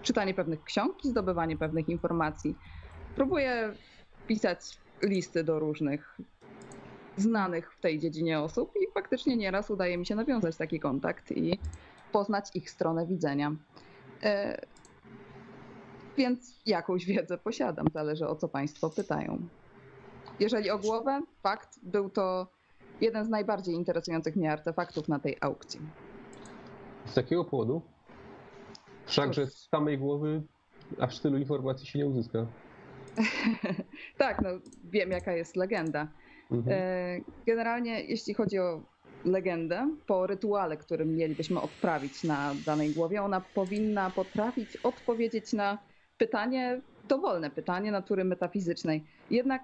Speaker 8: czytanie pewnych ksiąg i zdobywanie pewnych informacji. Próbuję pisać listy do różnych znanych w tej dziedzinie osób i faktycznie nieraz udaje mi się nawiązać taki kontakt i poznać ich stronę widzenia. E, Więc jakąś wiedzę posiadam, zależy o co Państwo pytają. Jeżeli o głowę, fakt, był to jeden z najbardziej interesujących mnie artefaktów na tej aukcji.
Speaker 2: Z takiego powodu? Wszakże z samej głowy aż tylu informacji się nie uzyska.
Speaker 8: tak, no wiem jaka jest legenda.
Speaker 2: Mhm.
Speaker 8: E, Generalnie, jeśli chodzi o legendę, po rytuale, który mielibyśmy odprawić na danej głowie, ona powinna potrafić odpowiedzieć na pytanie, dowolne pytanie natury metafizycznej. Jednak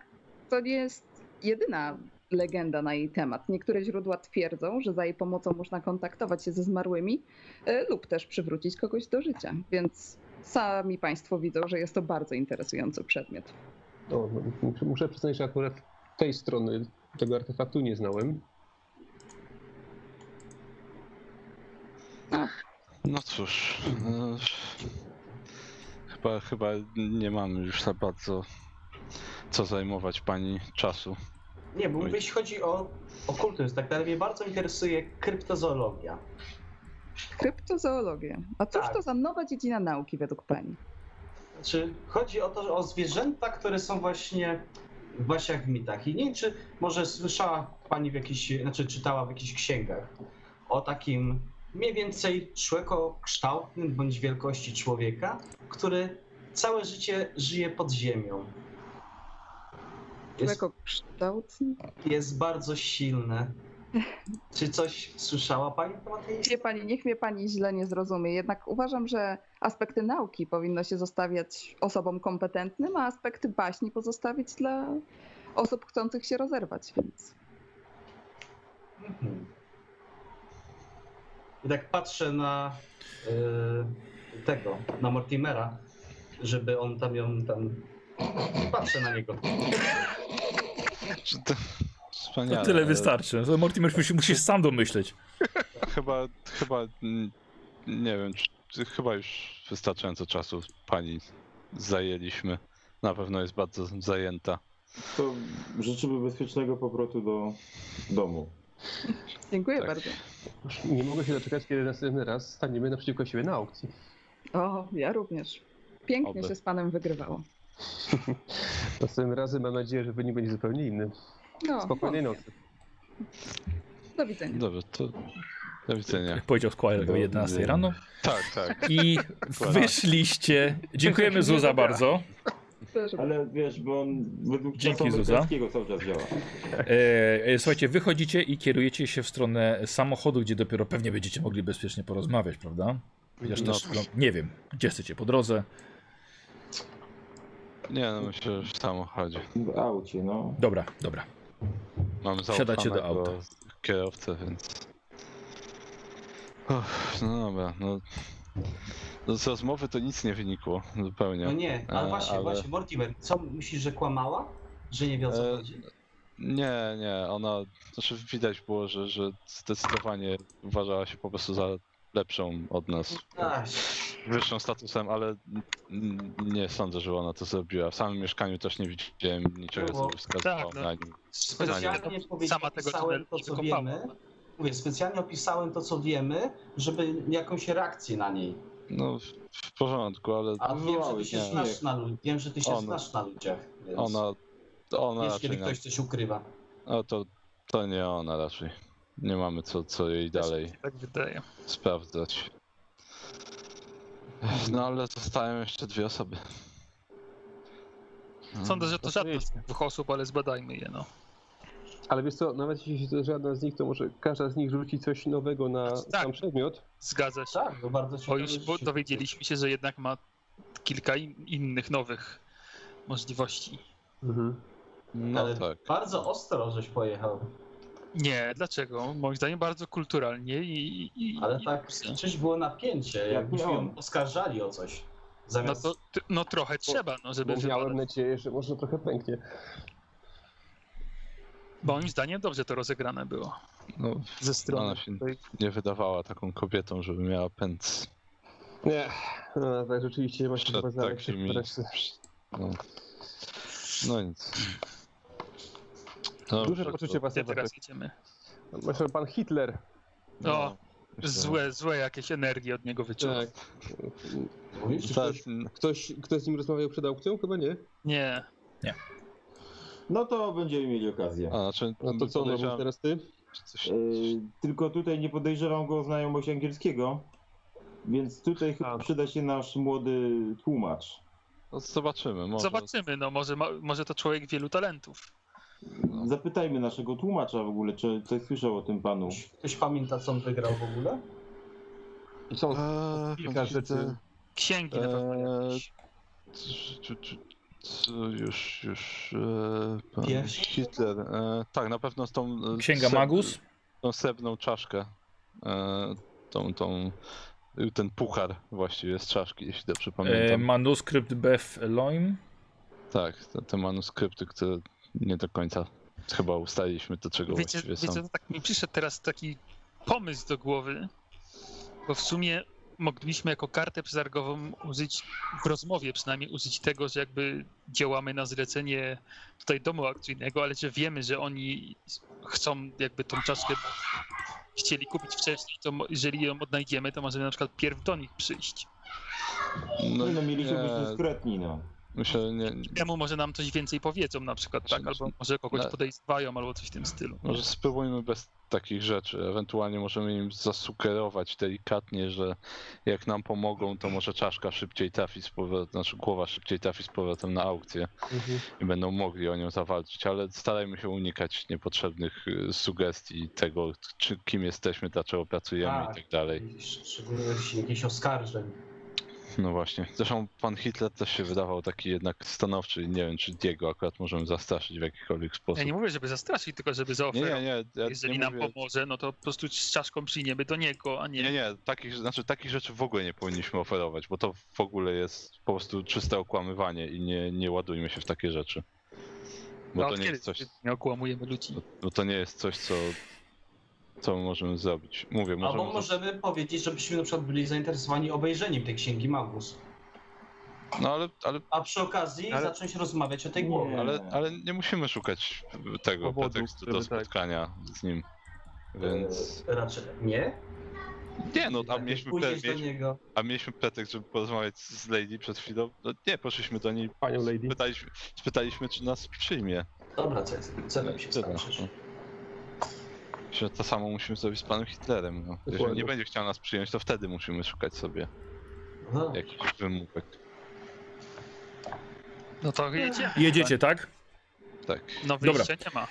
Speaker 8: to nie jest jedyna legenda na jej temat. Niektóre źródła twierdzą, że za jej pomocą można kontaktować się ze zmarłymi e, lub też przywrócić kogoś do życia, więc sami Państwo widzą, że jest to bardzo interesujący przedmiot.
Speaker 2: No, no, muszę- muszę przyznać, że akurat tej strony tego artefaktu nie znałem.
Speaker 3: No cóż. e, Chyba, chyba nie mamy już za bardzo co zajmować pani czasu.
Speaker 4: Nie, bo jeśli chodzi o okultyzm, tak dalej, mnie bardzo interesuje kryptozoologia.
Speaker 8: Kryptozoologia. A cóż
Speaker 4: Tak.
Speaker 8: to za nowa dziedzina nauki według Pani?
Speaker 4: Znaczy, chodzi o to, że- o zwierzęta, które są właśnie, właśnie jak w mitach. I nie wiem, czy może słyszała pani w jakichś, znaczy czytała w jakichś księgach o takim mniej więcej człekokształtnym bądź wielkości człowieka, który całe życie żyje pod ziemią. Jest,
Speaker 8: Człeko kształt?
Speaker 4: jest bardzo silny. Czy coś słyszała pani na temat tej
Speaker 8: Wie Pani, niech mnie Pani źle nie zrozumie, jednak uważam, że aspekty nauki powinno się zostawiać osobom kompetentnym, a aspekty baśni pozostawić dla osób chcących się rozerwać, więc
Speaker 4: Mhm. I tak patrzę na y, tego, na Mortimera, żeby on tam ją tam. Patrzę na niego.
Speaker 3: Czy to-
Speaker 1: To
Speaker 3: Wspaniale.
Speaker 1: tyle
Speaker 3: ale
Speaker 1: wystarczy. To Mortimer musi, musisz sam domyśleć.
Speaker 3: Chyba, chyba, mm, nie wiem, czy- czy, chyba już wystarczająco czasu pani zajęliśmy. Na pewno jest bardzo zajęta.
Speaker 5: To życzymy bezpiecznego powrotu do domu.
Speaker 8: dziękuję
Speaker 3: Tak.
Speaker 8: bardzo.
Speaker 2: Nie mogę się doczekać, kiedy następny raz staniemy naprzeciwko siebie na aukcji.
Speaker 8: O, ja również. Pięknie
Speaker 3: Oby.
Speaker 8: się z Panem wygrywało.
Speaker 2: Następnym razem mam nadzieję, że wynik będzie zupełnie inny.
Speaker 8: No,
Speaker 2: Spokojnej
Speaker 8: wątpię.
Speaker 2: nocy.
Speaker 8: Do widzenia.
Speaker 3: Dobrze, to do widzenia.
Speaker 1: Jak powiedział Squire o
Speaker 3: Do
Speaker 1: 11
Speaker 3: widzenia.
Speaker 1: rano.
Speaker 3: Tak, tak.
Speaker 1: I wyszliście. Dziękujemy Zuza bardzo.
Speaker 8: Proszę
Speaker 5: Ale wiesz, bo on według
Speaker 1: Dzięki,
Speaker 5: czasu
Speaker 1: Zuza.
Speaker 5: amerykańskiego cały czas działa.
Speaker 3: Tak.
Speaker 1: E, e, słuchajcie, wychodzicie i kierujecie się w stronę samochodu, gdzie dopiero pewnie będziecie mogli bezpiecznie porozmawiać, prawda? Chociaż
Speaker 3: No.
Speaker 1: też, no, nie wiem, gdzie chcecie po drodze.
Speaker 3: Nie, no myślę, że w samochodzie.
Speaker 5: W aucie, no.
Speaker 1: Dobra, dobra.
Speaker 3: Mam
Speaker 1: Wsiadacie do
Speaker 3: zaufanego
Speaker 1: auta.
Speaker 3: kierowcę, więc... Uff, no dobra, no... no z rozmowy to nic nie wynikło, zupełnie.
Speaker 4: No nie, ale
Speaker 3: E,
Speaker 4: właśnie,
Speaker 3: ale-
Speaker 4: właśnie, Mortimer, co myślisz, że kłamała? Że nie wie o co
Speaker 3: E,
Speaker 4: chodzi?
Speaker 3: Nie, nie, ona, znaczy widać było, że, że zdecydowanie uważała się po prostu za lepszą od nas,
Speaker 4: Ach,
Speaker 3: wyższą statusem, ale n- nie sądzę, że ona to zrobiła. W samym mieszkaniu też nie widziałem niczego, co
Speaker 4: No,
Speaker 3: by wskazywało
Speaker 6: tak, no.
Speaker 3: na nim.
Speaker 4: specjalnie
Speaker 6: Sama tego
Speaker 4: powiedziałem to,
Speaker 6: tunelu
Speaker 4: co
Speaker 6: wykopała.
Speaker 4: wiemy. Mówię, specjalnie opisałem to, co wiemy, żeby jakąś reakcję na niej.
Speaker 3: No, w, w porządku, ale
Speaker 4: A wiem, że ty
Speaker 5: Wywołałeś,
Speaker 4: się
Speaker 3: No nie.
Speaker 4: znasz na, lu- wiem, że ty się
Speaker 3: Ona-
Speaker 4: znasz na ludziach. Więc
Speaker 3: ona, ona
Speaker 4: wiesz,
Speaker 3: raczej
Speaker 4: kiedy
Speaker 3: na
Speaker 4: ktoś coś ukrywa.
Speaker 3: No to, to nie ona raczej. Nie mamy co, co jej dalej
Speaker 6: Tak wydaje.
Speaker 3: sprawdzać. Ech, No ale zostają jeszcze dwie osoby. No,
Speaker 6: Sądzę, że to żadna z
Speaker 2: oczywiście.
Speaker 6: tych dwóch osób, ale zbadajmy je, no.
Speaker 2: Ale wiesz co, nawet jeśli to żadna z nich, to może każda z nich rzuci coś nowego na
Speaker 6: Tak.
Speaker 2: sam przedmiot.
Speaker 6: Zgadza się.
Speaker 4: Tak, to bardzo
Speaker 6: Bo
Speaker 4: ciekawe
Speaker 6: już bo
Speaker 4: rzeczy.
Speaker 6: dowiedzieliśmy się, że jednak ma kilka in- innych nowych możliwości.
Speaker 3: No
Speaker 4: Ale
Speaker 3: tak.
Speaker 4: bardzo ostro żeś pojechał,
Speaker 6: Nie, dlaczego? Moim zdaniem bardzo kulturalnie i... i no
Speaker 4: ale
Speaker 6: i-
Speaker 4: tak
Speaker 6: i-
Speaker 4: czyś było napięcie, jakbyśmy
Speaker 5: miałem.
Speaker 4: ją oskarżali o coś.
Speaker 6: No,
Speaker 4: Zamiast...
Speaker 6: to, ty- no trochę trzeba, no żeby
Speaker 2: Bo miałem
Speaker 6: wybadać.
Speaker 2: nadzieję, że może trochę pęknie.
Speaker 6: Moim zdaniem dobrze to rozegrane było.
Speaker 3: No,
Speaker 6: ze strony.
Speaker 3: Ona się- nie wydawała taką kobietą, żeby miała pęd.
Speaker 2: Nie, no, tak rzeczywiście masz
Speaker 3: Przed
Speaker 2: chyba znaleźć
Speaker 3: takimi-
Speaker 2: presy.
Speaker 3: No, no nic. No,
Speaker 2: Duże
Speaker 3: dobrze,
Speaker 2: poczucie
Speaker 3: to-
Speaker 6: Gdzie
Speaker 2: pasji.
Speaker 6: teraz idziemy?
Speaker 2: Masz pan Hitler.
Speaker 6: O,
Speaker 3: myślę,
Speaker 6: złe, złe jakieś energie od niego wyczułem.
Speaker 2: Tak.
Speaker 4: Mówisz?
Speaker 3: że
Speaker 2: Czy
Speaker 3: Zaraz,
Speaker 2: ktoś, ktoś, ktoś z nim rozmawiał przed aukcją? Chyba nie.
Speaker 6: Nie,
Speaker 5: No to będziemy mieli okazję.
Speaker 3: a, znaczy,
Speaker 2: No to co, no mów
Speaker 3: podejrzewam,
Speaker 2: teraz ty?
Speaker 3: że coś,
Speaker 5: Yy, tylko tutaj nie podejrzewam go o znajomość angielskiego, więc tutaj chyba
Speaker 2: A.
Speaker 5: przyda się nasz młody tłumacz.
Speaker 3: no, zobaczymy, może.
Speaker 6: zobaczymy, no może, ma, może to człowiek wielu talentów.
Speaker 3: No.
Speaker 5: Zapytajmy naszego tłumacza w ogóle, czy coś słyszał o tym panu.
Speaker 4: Ktoś pamięta, co on wygrał w ogóle?
Speaker 2: Są
Speaker 3: Eee,
Speaker 2: kilka rzeczy.
Speaker 6: Księgi na pewno
Speaker 3: Eee,
Speaker 6: jakieś.
Speaker 3: c- c- c- c- Już, już. e, Pan
Speaker 4: Wiesz?
Speaker 3: Hitler. e, Tak, na pewno z tą. e,
Speaker 1: Księga
Speaker 3: seb-
Speaker 1: Magus?
Speaker 3: Tą srebrną czaszkę. e, Tą, tą. Ten puchar właściwie z czaszki, jeśli dobrze
Speaker 1: E,
Speaker 3: pamiętam.
Speaker 1: manuskrypt Beth Elohim?
Speaker 3: Tak, te, te manuskrypty, które nie do końca chyba ustaliliśmy do czego
Speaker 6: Wiecie,
Speaker 3: właściwie
Speaker 6: wiecie,
Speaker 3: są.
Speaker 6: no tak mi przyszedł teraz taki pomysł do głowy, bo w sumie mogliśmy jako kartę przetargową użyć, w rozmowie przynajmniej użyć tego, że jakby działamy na zlecenie tutaj domu akcyjnego, ale że wiemy, że oni chcą jakby tą czaszkę chcieli kupić wcześniej, to mo- jeżeli ją odnajdziemy, to możemy na przykład pierw do nich przyjść.
Speaker 5: No, no mieliśmy być
Speaker 3: nie,
Speaker 5: dyskretni, no.
Speaker 3: myślę, że nie,
Speaker 6: Temu może nam coś więcej powiedzą na przykład, tak, albo może kogoś
Speaker 3: Na- No,
Speaker 6: podejrzewają, albo coś w tym stylu.
Speaker 3: Może spróbujmy bez takich rzeczy. Ewentualnie możemy im zasugerować delikatnie, że jak nam pomogą, to może czaszka szybciej trafi z powrotem, znaczy głowa szybciej trafi z powrotem na aukcję
Speaker 2: Mhm.
Speaker 3: i będą mogli o nią zawalczyć, ale starajmy się unikać niepotrzebnych y, sugestii tego, czy, kim jesteśmy, dlaczego pracujemy i
Speaker 4: Tak.
Speaker 3: tak dalej.
Speaker 4: Widzisz, Szczególnie jeśli jakichś oskarżeń.
Speaker 3: No właśnie. Zresztą pan Hitler też się wydawał taki jednak stanowczy i nie wiem, czy Diego akurat możemy zastraszyć w jakikolwiek sposób.
Speaker 6: Ja nie mówię, żeby zastraszyć, tylko żeby
Speaker 3: nie,
Speaker 6: zaoferować.
Speaker 3: nie, nie. Ja
Speaker 6: Jeżeli
Speaker 3: nie
Speaker 6: nam
Speaker 3: mówię...
Speaker 6: pomoże, no to po prostu z czaszką przyjmiemy do niego, a nie.
Speaker 3: Nie, nie, takich, znaczy, takich rzeczy w ogóle nie powinniśmy oferować, bo to w ogóle jest po prostu czyste okłamywanie i nie, nie ładujmy się w takie rzeczy. Bo
Speaker 6: A
Speaker 3: to nie
Speaker 6: od No, kiedy
Speaker 3: jest coś,
Speaker 6: nie okłamujemy ludzi.
Speaker 3: bo- bo to nie jest coś, co, co możemy zrobić. Mówię, możemy...
Speaker 4: Albo możemy powiedzieć, żebyśmy na przykład byli zainteresowani obejrzeniem tej księgi Magus.
Speaker 3: No ale, ale,
Speaker 4: A przy okazji
Speaker 2: Ale-
Speaker 4: zacząć rozmawiać o tej
Speaker 5: Nie.
Speaker 4: głowie.
Speaker 3: ale, ale nie musimy szukać tego
Speaker 2: Powodu,
Speaker 3: pretekstu do
Speaker 2: żeby tak.
Speaker 3: spotkania z nim. Więc
Speaker 4: E, Raczej nie.
Speaker 3: nie, no a
Speaker 4: Jak
Speaker 3: mieliśmy, pre,
Speaker 4: Pójdziesz do
Speaker 3: mieliśmy,
Speaker 4: niego.
Speaker 3: a mieliśmy pretekst, żeby porozmawiać z Lady przed chwilą. No, nie, poszliśmy do niej,
Speaker 2: Panią Lady.
Speaker 3: spytaliśmy, spytaliśmy czy nas przyjmie.
Speaker 4: Dobra, co jest? Celem się
Speaker 3: Tyle,
Speaker 4: skończysz.
Speaker 3: no. Myślę, że to samo musimy zrobić z panem Hitlerem. No. Jeżeli
Speaker 2: Dokładnie.
Speaker 3: nie będzie chciał nas przyjąć, to wtedy musimy szukać sobie
Speaker 4: No.
Speaker 3: jakichś wymówek.
Speaker 6: No to jedziemy.
Speaker 1: Jedziecie, tak?
Speaker 3: Tak.
Speaker 6: No
Speaker 1: Dobra.
Speaker 6: wyjścia nie ma.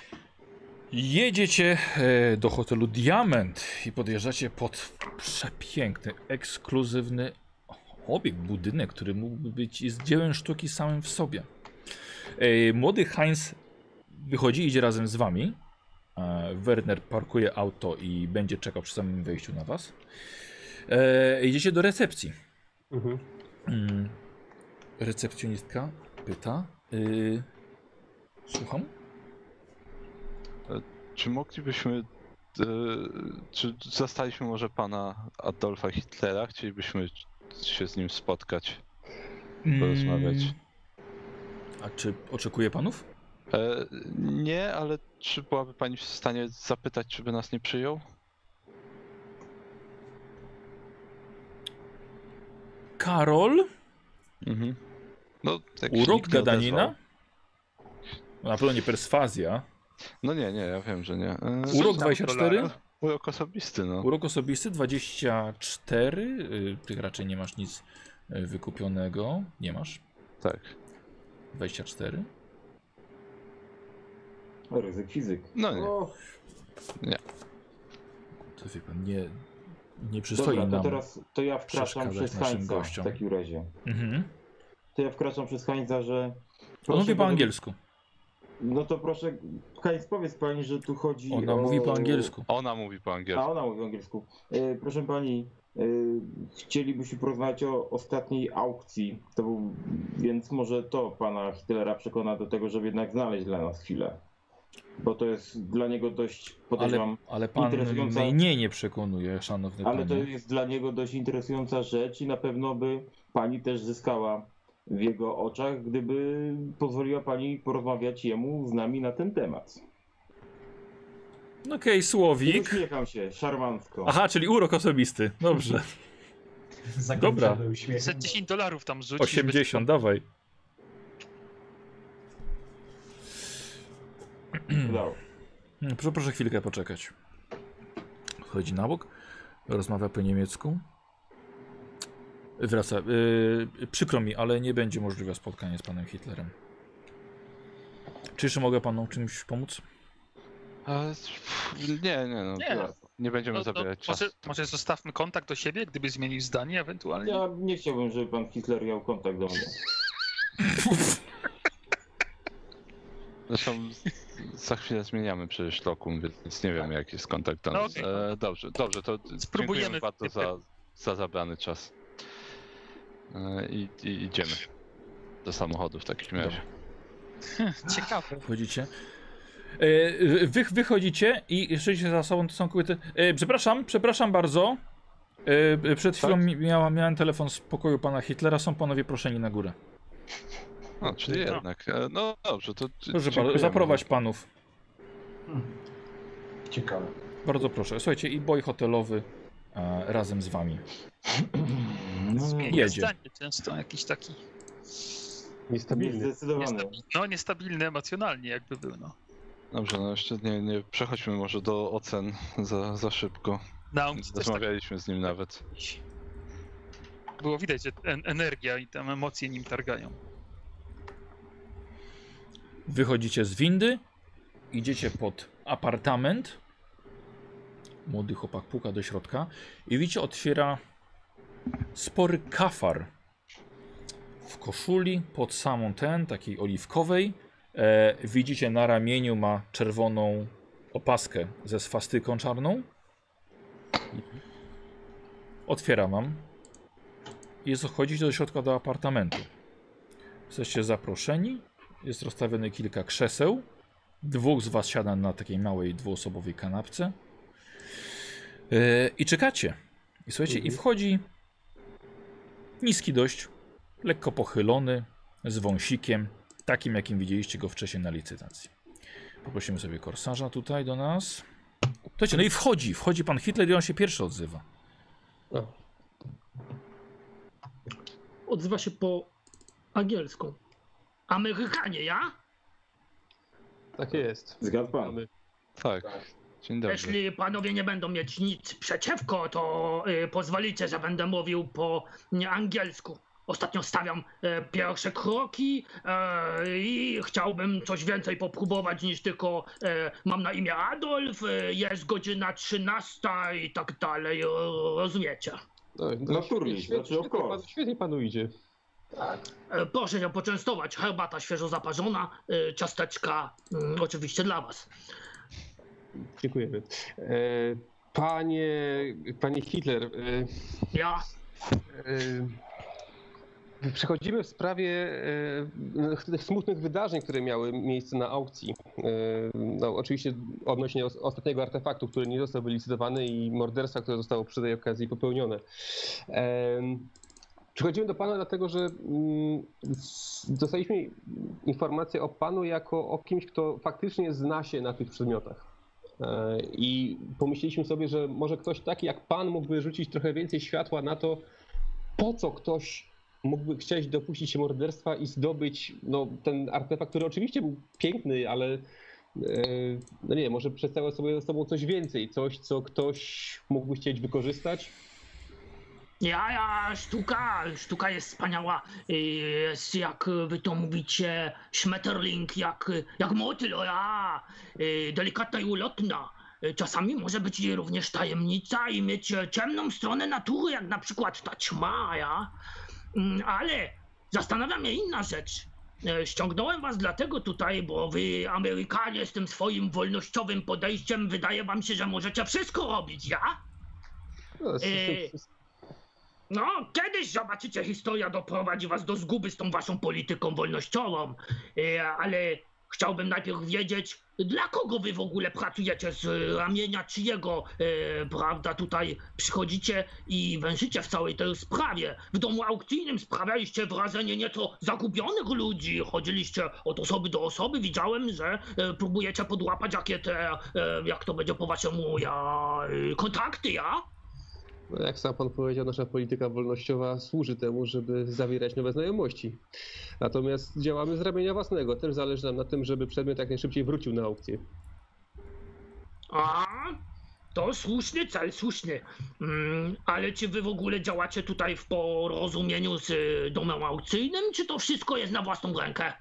Speaker 1: Jedziecie e, do hotelu Diament i podjeżdżacie pod przepiękny, ekskluzywny obiekt, budynek, który mógłby być jest dziełem sztuki samym w sobie. E, Młody Heinz wychodzi i idzie razem z wami. E, Werner parkuje auto i będzie czekał przy samym wejściu na was. E, Idziecie do recepcji.
Speaker 2: Mhm.
Speaker 1: Mm. Recepcjonistka pyta. y, Słucham?
Speaker 3: Czy moglibyśmy. e, czy zastaliśmy może pana Adolfa Hitlera? Chcielibyśmy się z nim spotkać. porozmawiać.
Speaker 1: Mm. A czy oczekuje panów?
Speaker 3: E, nie, ale czy byłaby pani w stanie zapytać, czy by nas nie przyjął?
Speaker 1: Karol?
Speaker 3: Mhm. No, tak się
Speaker 1: Urok
Speaker 3: nikt nie
Speaker 1: gadanina?
Speaker 3: odezwał.
Speaker 1: Na pewno nie perswazja.
Speaker 3: No nie, nie, ja wiem, że nie. E,
Speaker 1: Urok
Speaker 6: tam
Speaker 1: 24?
Speaker 6: dolara?
Speaker 3: urok osobisty, no.
Speaker 1: Urok osobisty 24. y, Ty raczej nie masz nic y, wykupionego. Nie masz.
Speaker 3: Tak.
Speaker 1: 24.
Speaker 5: Ryzyk fizyk.
Speaker 3: No nie.
Speaker 5: O,
Speaker 1: To wie pan, nie, nie przystoi
Speaker 5: dobra, to
Speaker 1: nam.
Speaker 5: teraz to ja wkraczam
Speaker 1: przeszkadzać
Speaker 5: przez
Speaker 1: naszym
Speaker 5: Hańca w
Speaker 1: gościom.
Speaker 5: takim razie.
Speaker 1: Mhm.
Speaker 5: To ja wkraczam przez Hańca, że...
Speaker 1: On
Speaker 5: Proszę
Speaker 1: mówi po
Speaker 5: go-
Speaker 1: angielsku.
Speaker 5: No to proszę, Heinz, powiedz pani, że tu chodzi
Speaker 1: Ona
Speaker 5: o...
Speaker 1: mówi po angielsku.
Speaker 3: Ona mówi po
Speaker 5: A
Speaker 3: angielsku.
Speaker 5: ona mówi po angielsku. E, Proszę pani, e, chcielibyśmy porozmawiać o ostatniej aukcji, to był, więc może to pana Hitlera przekona do tego, żeby jednak znaleźć dla nas chwilę. bo to jest dla niego dość,
Speaker 1: Ale,
Speaker 5: podejrzewam,
Speaker 1: ale pan
Speaker 5: interesująca-
Speaker 1: mnie nie przekonuje, szanowny
Speaker 5: ale,
Speaker 1: panie.
Speaker 5: to jest dla niego dość interesująca rzecz i na pewno by pani też zyskała w jego oczach, gdyby pozwoliła pani porozmawiać jemu z nami na ten temat.
Speaker 1: No Okej,
Speaker 5: I
Speaker 1: słowik.
Speaker 5: uśmiecham się, szarmancko.
Speaker 1: Aha, czyli urok osobisty. Dobrze.
Speaker 4: Zakończony uśmiechem.
Speaker 6: Za 10 dolarów tam rzucić.
Speaker 1: 80, dawaj.
Speaker 5: Udało.
Speaker 1: Mm, Proszę, proszę chwilkę poczekać. Chodzi na bok, rozmawia po niemiecku. Wraca. Yy, przykro mi, ale nie będzie możliwe spotkanie z panem Hitlerem. Czy jeszcze mogę panu czymś pomóc?
Speaker 3: Ale pff, nie, nie, no,
Speaker 6: No. Nie.
Speaker 3: nie. będziemy
Speaker 6: No, no,
Speaker 3: zabierać czasu.
Speaker 6: może, może zostawmy kontakt do siebie, gdyby zmienił zdanie ewentualnie.
Speaker 5: Ja nie chciałbym, żeby pan Hitler miał kontakt do mnie.
Speaker 3: Zresztą za chwilę zmieniamy przecież lokum, więc nie wiem jaki jest kontakt tam.
Speaker 6: No, okej.
Speaker 3: E, dobrze, dobrze, to
Speaker 6: Spróbujemy.
Speaker 3: dziękujemy bardzo za, za zabrany czas. E, i, I idziemy do samochodu w takim razie.
Speaker 6: Ciekawe.
Speaker 1: Wchodzicie. E, Wy, wychodzicie i jeszcze za sobą to są kobiety. E, Przepraszam, przepraszam bardzo. E, Przed chwilą mi- miałam, miałem telefon z pokoju pana Hitlera. Są panowie proszeni na górę.
Speaker 3: No, czyli
Speaker 6: No.
Speaker 3: jednak. E, No dobrze, to. d-
Speaker 1: Proszę bardzo,
Speaker 3: dziękujemy.
Speaker 1: zaprowadź panów.
Speaker 4: Hmm. Ciekawe.
Speaker 1: Bardzo proszę. Słuchajcie, i boj hotelowy e, razem z wami.
Speaker 3: No,
Speaker 6: Zmienia
Speaker 1: jedzie.
Speaker 6: zdanie często, jakiś taki
Speaker 5: Jest
Speaker 2: Niestabilny.
Speaker 5: zdecydowany.
Speaker 6: niestabilny, no, niestabilny emocjonalnie jakby był. No.
Speaker 3: Dobrze, no jeszcze nie, nie przechodźmy może do ocen za, za szybko.
Speaker 6: Naum też tak
Speaker 3: Rozmawialiśmy z nim nawet.
Speaker 6: było widać, że en- energia i tam emocje nim targają.
Speaker 1: Wychodzicie z windy, idziecie pod apartament. Młody chłopak puka do środka i widzicie, otwiera spory kafar w koszuli pod samą ten, takiej oliwkowej. E, widzicie, na ramieniu ma czerwoną opaskę ze swastyką czarną. Otwiera wam. Jest wchodzicie do środka do apartamentu. Jesteście zaproszeni jest rozstawione kilka krzeseł. Dwóch z was siada na takiej małej dwuosobowej kanapce. E, I czekacie. I słuchajcie, i wchodzi niski dość, lekko pochylony, z wąsikiem, takim jakim widzieliście go wcześniej na licytacji. Poprosimy sobie korsarza tutaj do nas. Słuchajcie, no i wchodzi, wchodzi pan Hitler i on się pierwszy odzywa.
Speaker 9: Odzywa się po angielsku. Amerykanie, ja?
Speaker 2: Tak jest.
Speaker 5: Zgadł pan.
Speaker 2: Mamy.
Speaker 3: Tak. Dzień dobry.
Speaker 9: Jeśli panowie nie będą mieć nic przeciwko, to y, pozwolicie, że będę mówił po nie, angielsku. Ostatnio stawiam e, pierwsze kroki e, i chciałbym coś więcej popróbować niż tylko e, mam na imię Adolf, e, jest godzina 13 i tak dalej, e, rozumiecie?
Speaker 2: No,
Speaker 5: Naturalnie,
Speaker 2: świetnie,
Speaker 5: znaczy, of
Speaker 2: świetnie
Speaker 5: course.
Speaker 2: panu- świetnie panu idzie.
Speaker 9: E, Proszę się poczęstować. Herbata świeżo zaparzona, e, ciasteczka mm, oczywiście dla was.
Speaker 2: Dziękujemy. E, Panie, panie Hitler, e,
Speaker 9: Ja
Speaker 2: e, przechodzimy w sprawie e, tych smutnych wydarzeń, które miały miejsce na aukcji. E, No, oczywiście odnośnie os- ostatniego artefaktu, który nie został wylicytowany i morderstwa, które zostało przy tej okazji popełnione. Em, Przychodzimy do Pana dlatego, że mm, s- dostaliśmy informację o Panu jako o kimś, kto faktycznie zna się na tych przedmiotach. E, I pomyśleliśmy sobie, że może ktoś taki jak Pan mógłby rzucić trochę więcej światła na to, po co ktoś mógłby chcieć dopuścić się morderstwa i zdobyć no, ten artefakt, który oczywiście był piękny, ale e, no nie wiem, może przedstawia sobie ze sobą coś więcej, coś, co ktoś mógłby chcieć wykorzystać.
Speaker 9: Ja, ja, sztuka, sztuka jest wspaniała. Y, Jest, jak wy to mówicie, szmeterling, jak, jak motyl, o ja, y, delikatna i ulotna. Y, Czasami może być jej również tajemnica i mieć e, ciemną stronę natury, jak na przykład ta ćma, ja. Mm, Ale zastanawia mnie inna rzecz. E, Ściągnąłem was dlatego tutaj, bo wy, Amerykanie, z tym swoim wolnościowym podejściem, wydaje wam się, że możecie wszystko robić, ja?
Speaker 2: No, s-
Speaker 9: Eee,
Speaker 2: s-
Speaker 9: No, kiedyś zobaczycie, historia doprowadzi was do zguby z tą waszą polityką wolnościową, E, ale Chciałbym najpierw wiedzieć, dla kogo wy w ogóle pracujecie z e, ramienia czyjego, e, prawda, tutaj przychodzicie i wężycie w całej tej sprawie. W domu aukcyjnym sprawialiście wrażenie nieco zagubionych ludzi, chodziliście od osoby do osoby, widziałem, że e, próbujecie podłapać jakie te, e, jak to będzie po waszemu, ja, e, kontakty, ja?
Speaker 2: No, jak sam pan powiedział, nasza polityka wolnościowa służy temu, żeby zawierać nowe znajomości. Natomiast działamy z ramienia własnego. Też zależy nam na tym, żeby przedmiot jak najszybciej wrócił na aukcję.
Speaker 9: A, to słuszny cel, słuszny. Mm, ale czy wy w ogóle działacie tutaj w porozumieniu z y, domem aukcyjnym, czy to wszystko jest na własną rękę?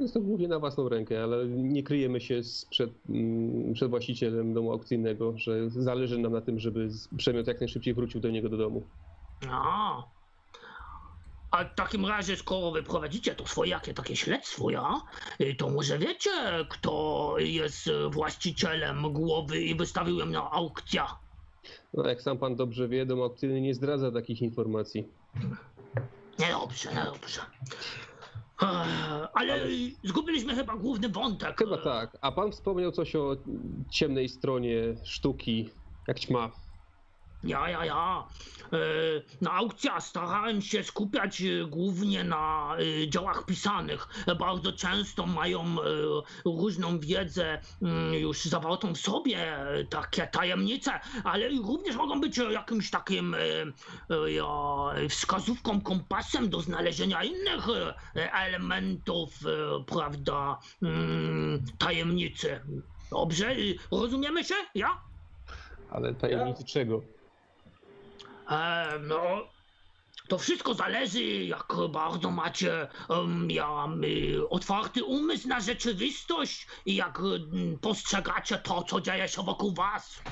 Speaker 2: Jest to głównie na własną rękę, ale nie kryjemy się z przed, mm, przed właścicielem domu aukcyjnego, że zależy nam na tym, żeby z- przedmiot jak najszybciej wrócił do niego do domu.
Speaker 9: A. A w takim razie, skoro wy prowadzicie to swoje jakie takie śledztwo, ja, y, to może wiecie, kto jest y, właścicielem głowy i wystawił ją na aukcja?
Speaker 2: No, jak sam pan dobrze wie, dom aukcyjny nie zdradza takich informacji.
Speaker 9: Niedobrze, niedobrze. Ech, Ale zgubiliśmy chyba główny wątek.
Speaker 2: Chyba tak. A pan wspomniał coś o ciemnej stronie sztuki, jak ćma.
Speaker 9: Ja, ja, ja. E, Na aukcjach starałem się skupiać e, głównie na e, dziełach pisanych. E, Bardzo często mają e, różną wiedzę mm, już zawartą w sobie, e, takie tajemnice, ale i również mogą być e, jakimś takim e, e, ja, wskazówką, kompasem do znalezienia innych e, elementów, e, prawda, mm, tajemnicy. Dobrze, E, rozumiemy się? Ja?
Speaker 2: Ale tajemnicy czego?
Speaker 9: E, no, to wszystko zależy, jak bardzo macie em, ja, y, otwarty umysł na rzeczywistość i jak y, postrzegacie to, co dzieje się wokół was.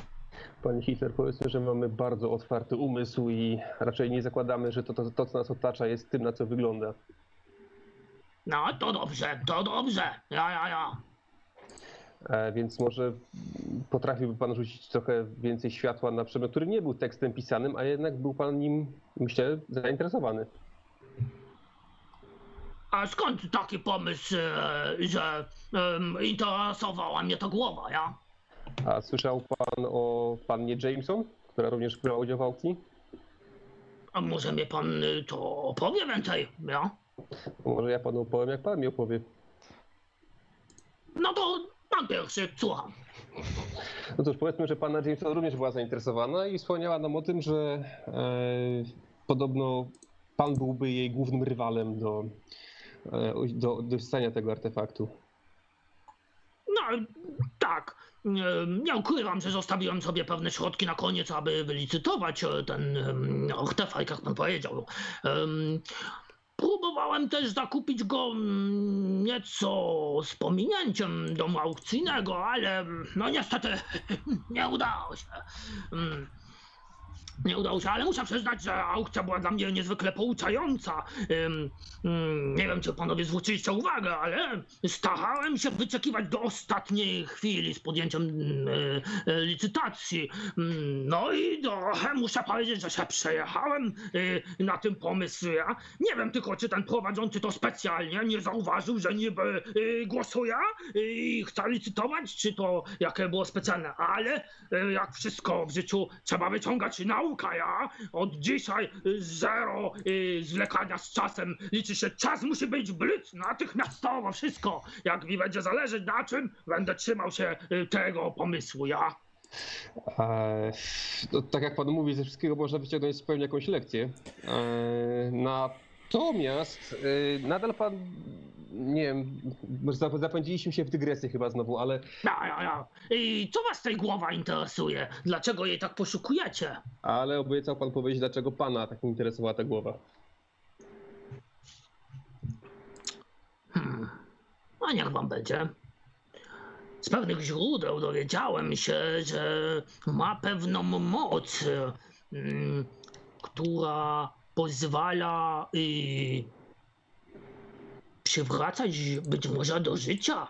Speaker 2: Panie Hitler, powiedzmy, że mamy bardzo otwarty umysł i raczej nie zakładamy, że to, to, to co nas otacza, jest tym, na co wygląda.
Speaker 9: No, to dobrze, to dobrze. Ja, ja, ja.
Speaker 2: E, więc może potrafiłby pan rzucić trochę więcej światła na przedmiot, który nie był tekstem pisanym, a jednak był pan nim, myślę, zainteresowany.
Speaker 9: A skąd taki pomysł, e, że em, interesowała mnie ta głowa, ja?
Speaker 2: A słyszał pan o pannie Jameson, która również brała udział w aukcji?
Speaker 9: A może mi pan y, to opowie więcej, ja?
Speaker 2: Może ja panu opowiem, jak pan mi opowie.
Speaker 9: No to pan pierwszy, słucham.
Speaker 2: No cóż, powiedzmy, że panna Jameson również była zainteresowana i wspomniała nam o tym, że e, podobno pan byłby jej głównym rywalem do, e, do, do ssania tego artefaktu.
Speaker 9: No tak. Em, Nie ukrywam, że zostawiłem sobie pewne środki na koniec, aby wylicytować e, ten em, artefakt, jak pan powiedział. Em, Próbowałem też zakupić go mm, nieco z pominięciem domu aukcyjnego, ale mm, no niestety nie udało się. Mm, Nie udało się, ale muszę przyznać, że aukcja była dla mnie niezwykle pouczająca. Em, Mm, Nie wiem, czy panowie zwróciliście uwagę, ale starałem się wyczekiwać do ostatniej chwili z podjęciem mm, e, e, licytacji. Mm, No i trochę muszę powiedzieć, że się przejechałem e, na tym pomysł. Ja nie wiem tylko, czy ten prowadzący to specjalnie nie zauważył, że niby e, głosuję i chce licytować, czy to jakie było specjalne, ale e, jak wszystko w życiu trzeba wyciągać nauka, ja od dzisiaj y, zero y, zwlekania z czasem. Liczy się czas, musi być blyc, natychmiastowo wszystko. Jak mi będzie zależeć na czym, będę trzymał się y, tego pomysłu, ja.
Speaker 2: E, no, tak jak pan mówi, ze wszystkiego można wyciągnąć zupełnie jakąś lekcję. E, natomiast e, nadal pan, nie wiem, może zap- zapędziliśmy się w dygresję chyba znowu, ale
Speaker 9: Ja, ja, ja. I co was tej głowa interesuje? Dlaczego jej tak poszukujecie?
Speaker 2: Ale obiecał pan powiedzieć, dlaczego pana tak interesowała ta głowa.
Speaker 9: Hmm. A niech wam będzie. Z pewnych źródeł dowiedziałem się, że ma pewną moc, e, mm, która pozwala y, przywracać być może do życia.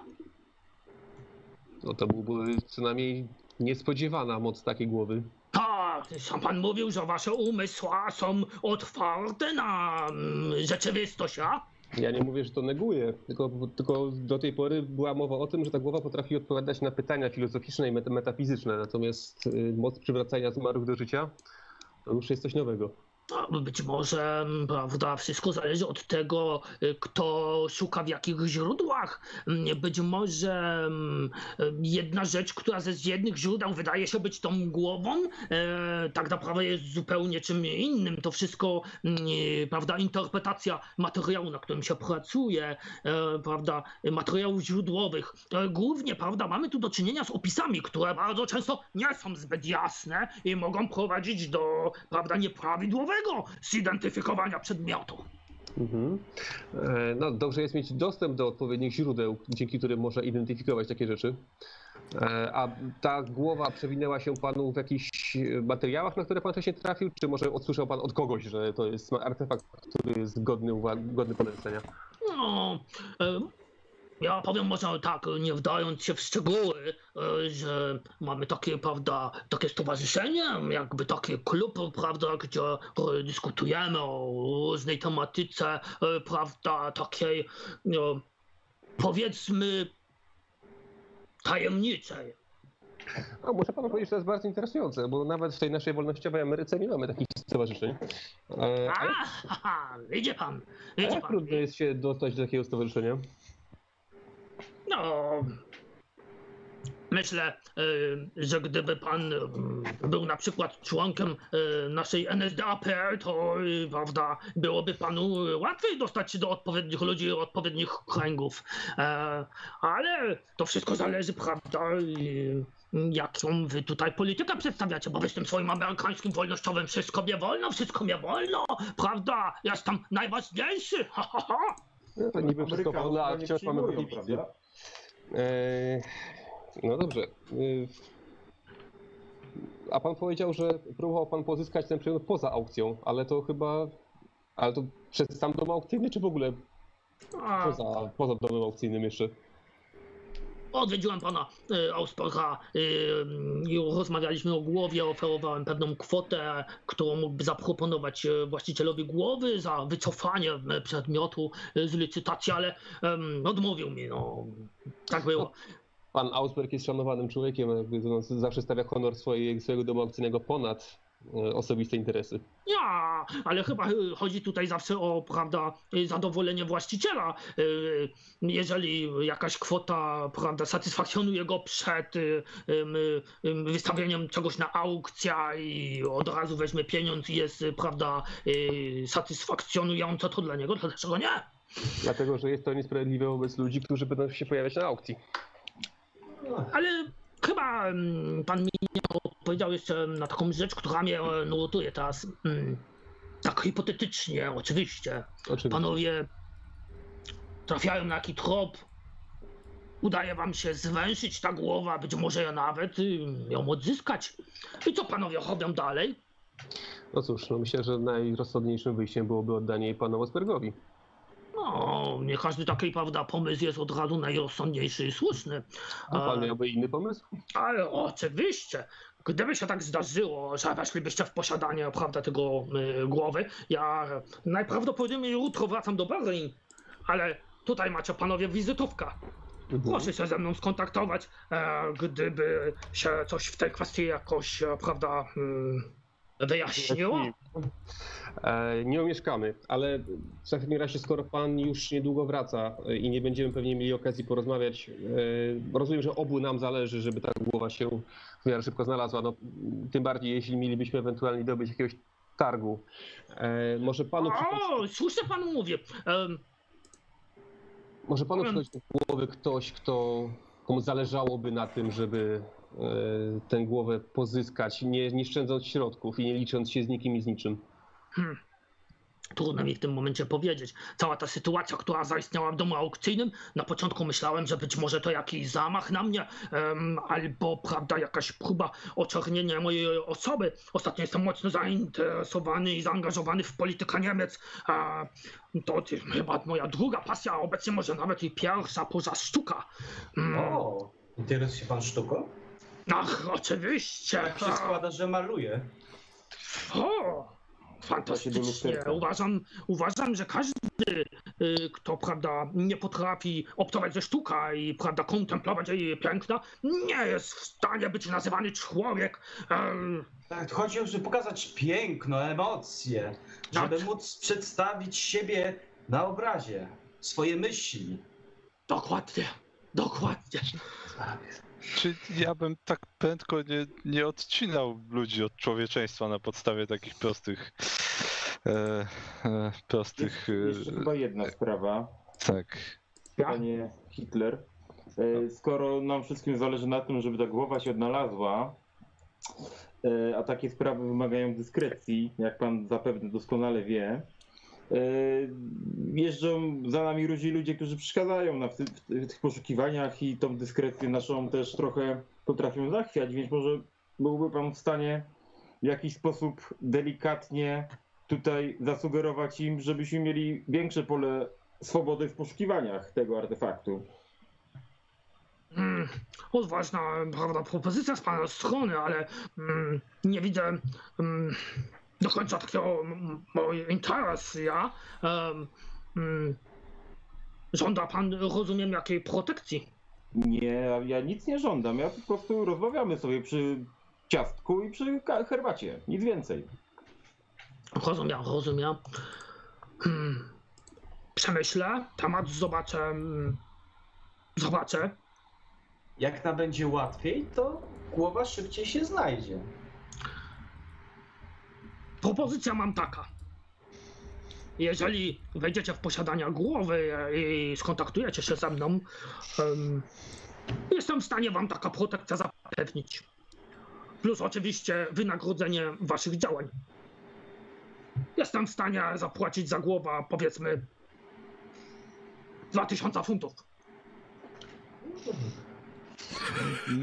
Speaker 2: No to byłby co najmniej niespodziewana moc takiej głowy.
Speaker 9: Tak, sam pan mówił, że wasze umysła są otwarte na mm, rzeczywistość, a?
Speaker 2: Ja nie mówię, że to neguję, tylko, tylko do tej pory była mowa o tym, że ta głowa potrafi odpowiadać na pytania filozoficzne i meta- metafizyczne, natomiast y, moc przywracania zmarłych do życia to już jest coś nowego.
Speaker 9: No, Być może, m, prawda, wszystko zależy od tego, y, kto szuka w jakich źródłach. M, Być może m, y, jedna rzecz, która ze z jednych źródeł wydaje się być tą głową, e, tak naprawdę jest zupełnie czym innym. To wszystko, m, y, prawda, interpretacja materiału, na którym się pracuje, e, prawda, materiałów źródłowych. E, Głównie, prawda, mamy tu do czynienia z opisami, które bardzo często nie są zbyt jasne i mogą prowadzić do, prawda, nieprawidłowego zidentyfikowania przedmiotu.
Speaker 2: Mhm. E, No, dobrze jest mieć dostęp do odpowiednich źródeł, dzięki którym można identyfikować takie rzeczy. E, A ta głowa przewinęła się panu w jakichś materiałach, na które pan wcześniej trafił, czy może odsłyszał pan od kogoś, że to jest artefakt, który jest godny, uwa- godny polecenia?
Speaker 9: No, em, ja powiem może tak, nie wdając się w szczegóły, e, że mamy takie, prawda, takie stowarzyszenie, jakby taki klub, prawda, gdzie e, dyskutujemy o różnej tematyce, e, prawda, takiej, no, powiedzmy, tajemniczej.
Speaker 2: A muszę panu powiedzieć, że to jest bardzo interesujące, bo nawet w tej naszej wolnościowej Ameryce nie mamy takich stowarzyszeń. E,
Speaker 9: A,
Speaker 2: Ale,
Speaker 9: haha, idzie pan,
Speaker 2: ale
Speaker 9: idzie
Speaker 2: jak
Speaker 9: pan.
Speaker 2: trudno jest się dostać do takiego stowarzyszenia?
Speaker 9: No. Myślę, y, że gdyby pan y, był na przykład członkiem y, naszej NSDAPR, to y, prawda, byłoby panu y, łatwiej dostać się do odpowiednich ludzi, odpowiednich kręgów. E, Ale to wszystko zależy, prawda, y, jaką wy tutaj politykę przedstawiacie, bo wy z tym swoim amerykańskim wolnościowym wszystko mnie wolno, wszystko mnie wolno, prawda, ja jestem najważniejszy, ha, ha, ha.
Speaker 2: No to niby wszystko
Speaker 5: Amerykanów
Speaker 2: wolno, a
Speaker 5: chyba nie
Speaker 2: wciąż mamy
Speaker 5: przyjmują,
Speaker 2: prohibicję.
Speaker 5: prawda?
Speaker 2: E, No dobrze. E, A pan powiedział, że próbował pan pozyskać ten przedmiot poza aukcją, ale to chyba... Ale to przez sam dom aukcyjny, czy w ogóle
Speaker 9: A-
Speaker 2: poza, poza domem aukcyjnym jeszcze?
Speaker 9: Odwiedziłem pana y, Auspacha y, i rozmawialiśmy o głowie, oferowałem pewną kwotę, którą mógłby zaproponować y, właścicielowi głowy za wycofanie y, przedmiotu y, z licytacji, ale em, odmówił mi, no tak było.
Speaker 2: Pan Ausberg jest szanowanym człowiekiem, jakby to on zawsze stawia honor swojej, swojego domu aukcyjnego ponad e, osobiste interesy.
Speaker 9: Ja, ale chyba y, chodzi tutaj zawsze o, prawda, y, zadowolenie właściciela. Y, Jeżeli jakaś kwota, prawda, satysfakcjonuje go przed y, ym, y, ym, wystawieniem czegoś na aukcja i od razu weźmie pieniądz i jest, y, prawda, y, satysfakcjonująca, to dla niego, to dlaczego nie?
Speaker 2: Dlatego, że jest to niesprawiedliwe wobec ludzi, którzy będą się pojawiać na aukcji.
Speaker 9: Ale chyba mm, pan mi nie odpowiedział jeszcze na taką rzecz, która mnie e, nurtuje teraz. Mm, Tak hipotetycznie, oczywiście.
Speaker 2: Oczywiście.
Speaker 9: Panowie trafiają na taki trop. Udaje wam się zwęszyć ta głowa, być może nawet y, ją odzyskać. I co panowie robią dalej?
Speaker 2: No cóż, no myślę, że najrozsądniejszym wyjściem byłoby oddanie jej panu Osbergowi.
Speaker 9: No, nie każdy taki, prawda, pomysł jest od razu najrozsądniejszy i słuszny.
Speaker 2: A pan
Speaker 9: E,
Speaker 2: miałby inny pomysł?
Speaker 9: Ale oczywiście, gdyby się tak zdarzyło, że weszlibyście w posiadanie, prawda, tego y, głowy, ja najprawdopodobniej jutro wracam do Berlin, ale tutaj macie panowie wizytówkę. Proszę się ze mną skontaktować, e, gdyby się coś w tej kwestii jakoś, e, prawda, y, wyjaśniło.
Speaker 2: E, nie omieszkamy, ale w takim razie, skoro pan już niedługo wraca e, i nie będziemy pewnie mieli okazji porozmawiać, e, rozumiem, że obu nam zależy, żeby ta głowa się w miarę szybko znalazła. No, tym bardziej, jeśli mielibyśmy ewentualnie dobyć jakiegoś targu. E, może panu przychodzi,
Speaker 9: O, słusznie pan mówi. Em,
Speaker 2: może panu przychodzi do głowy ktoś, kto, komu zależałoby na tym, żeby e, tę głowę pozyskać, nie, nie szczędząc środków i nie licząc się z nikim i z niczym.
Speaker 9: Trudno mi w tym momencie powiedzieć. Cała ta sytuacja, która zaistniała w domu aukcyjnym, na początku myślałem, że być może to jakiś zamach na mnie, em, albo prawda, jakaś próba oczernienia mojej osoby. Ostatnio jestem mocno zainteresowany i zaangażowany w politykę Niemiec. A to ty- chyba moja druga pasja, a obecnie może nawet i pierwsza poza sztuka. Mm,
Speaker 4: O, interesuje się pan sztuką?
Speaker 9: ach, oczywiście.
Speaker 4: Tak się składa, że maluje.
Speaker 9: O,
Speaker 5: lusterka.
Speaker 9: Fantastycznie. Uważam, uważam, że każdy, y, kto prawda, nie potrafi obcować ze sztuka i prawda, kontemplować jej piękna, nie jest w stanie być nazywany człowiek. Em,
Speaker 4: Tak, chodzi o to, żeby pokazać piękno, emocje, żeby móc przedstawić siebie na obrazie, swoje myśli.
Speaker 9: Dokładnie, dokładnie.
Speaker 3: Czy ja bym tak prędko nie, nie odcinał ludzi od człowieczeństwa na podstawie takich prostych. E, e, prostych.
Speaker 5: Jeszcze
Speaker 3: E,
Speaker 5: chyba jedna sprawa.
Speaker 3: tak.
Speaker 5: panie Hitler. E, Skoro nam wszystkim zależy na tym, żeby ta głowa się odnalazła, e, a takie sprawy wymagają dyskrecji, jak pan zapewne doskonale wie, e, jeżdżą za nami różni ludzie, którzy przeszkadzają nam w, ty- w tych poszukiwaniach i tą dyskrecję naszą też trochę potrafią zachwiać, więc może byłby pan w stanie w jakiś sposób delikatnie tutaj zasugerować im, żebyśmy mieli większe pole swobody w poszukiwaniach tego artefaktu.
Speaker 9: Mm, odważna prawda, propozycja z pana strony, ale mm, nie widzę mm, do końca takiego mm, mojego interesu. Ja, em, mm, żąda pan, rozumiem, jakiej protekcji.
Speaker 5: Nie, ja nic nie żądam. Ja po prostu rozmawiamy sobie przy ciastku i przy ka- herbacie. Nic więcej.
Speaker 9: Rozumiem, rozumiem. Hmm. Przemyślę temat, zobaczę. mm, Zobaczę.
Speaker 4: Jak nam będzie łatwiej, to głowa szybciej się znajdzie.
Speaker 9: Propozycja mam taka. Jeżeli wejdziecie w posiadanie głowy i skontaktujecie się ze mną, em, jestem w stanie wam taka protekcja zapewnić. Plus oczywiście wynagrodzenie waszych działań. Jestem w stanie zapłacić za głowę powiedzmy 2000 funtów.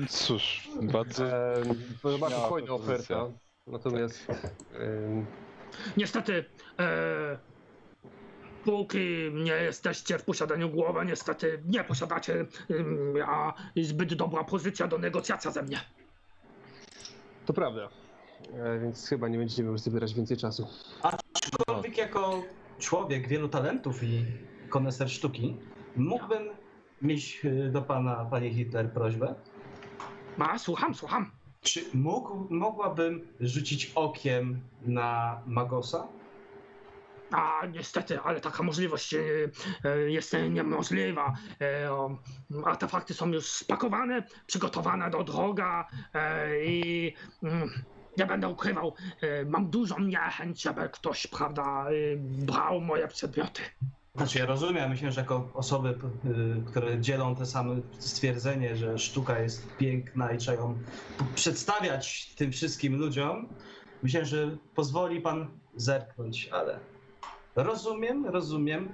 Speaker 3: Cóż, bardzo.
Speaker 2: Ehm, To chyba
Speaker 3: Śmiała
Speaker 2: spokojna
Speaker 3: propozycja.
Speaker 2: oferta. Natomiast
Speaker 3: Tak.
Speaker 2: ehm,
Speaker 9: Niestety, e, póki nie jesteście w posiadaniu głowy, niestety nie posiadacie em, a zbyt dobra pozycja do negocjacja ze mnie.
Speaker 2: to prawda. E, Więc chyba nie będziemy już zabierać więcej czasu.
Speaker 4: Aczkolwiek jako człowiek wielu talentów i koneser sztuki, mógłbym mieć y, do pana, panie Hitler, prośbę.
Speaker 9: A, słucham, słucham.
Speaker 4: Czy mógł, mogłabym rzucić okiem na Magosa?
Speaker 9: A niestety, ale taka możliwość e, e, jest niemożliwa. E, o, Artefakty są już spakowane, przygotowane do droga e, i mm, nie będę ukrywał, e, mam dużą niechęć, żeby ktoś, prawda, e, brał moje przedmioty.
Speaker 4: Znaczy ja rozumiem, myślę, że jako osoby, y, które dzielą te same stwierdzenie, że sztuka jest piękna i trzeba ją p- przedstawiać tym wszystkim ludziom, myślę, że pozwoli pan zerknąć, ale rozumiem, rozumiem.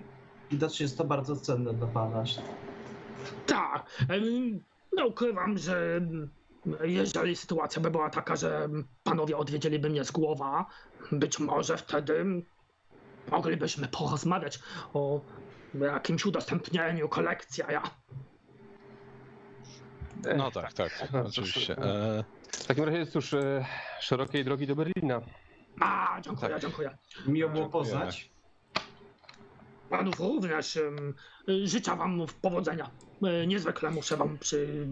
Speaker 4: Widocznie jest to bardzo cenne dla pana.
Speaker 9: Tak, em, nie ukrywam, że em, jeżeli sytuacja by była taka, że em, panowie odwiedzieliby mnie z głowa, być może wtedy em, moglibyśmy porozmawiać o jakimś udostępnieniu kolekcji, a ja...
Speaker 3: No tak, tak,
Speaker 2: Aha,
Speaker 3: oczywiście.
Speaker 2: to-
Speaker 3: E,
Speaker 2: W takim razie cóż, e, szerokiej drogi do Berlina.
Speaker 9: A, dziękuję,
Speaker 3: Tak.
Speaker 9: dziękuję.
Speaker 4: Miło było
Speaker 3: Dziękujemy.
Speaker 4: poznać.
Speaker 9: Panów również em, życzę wam powodzenia. E, Niezwykle muszę wam przy...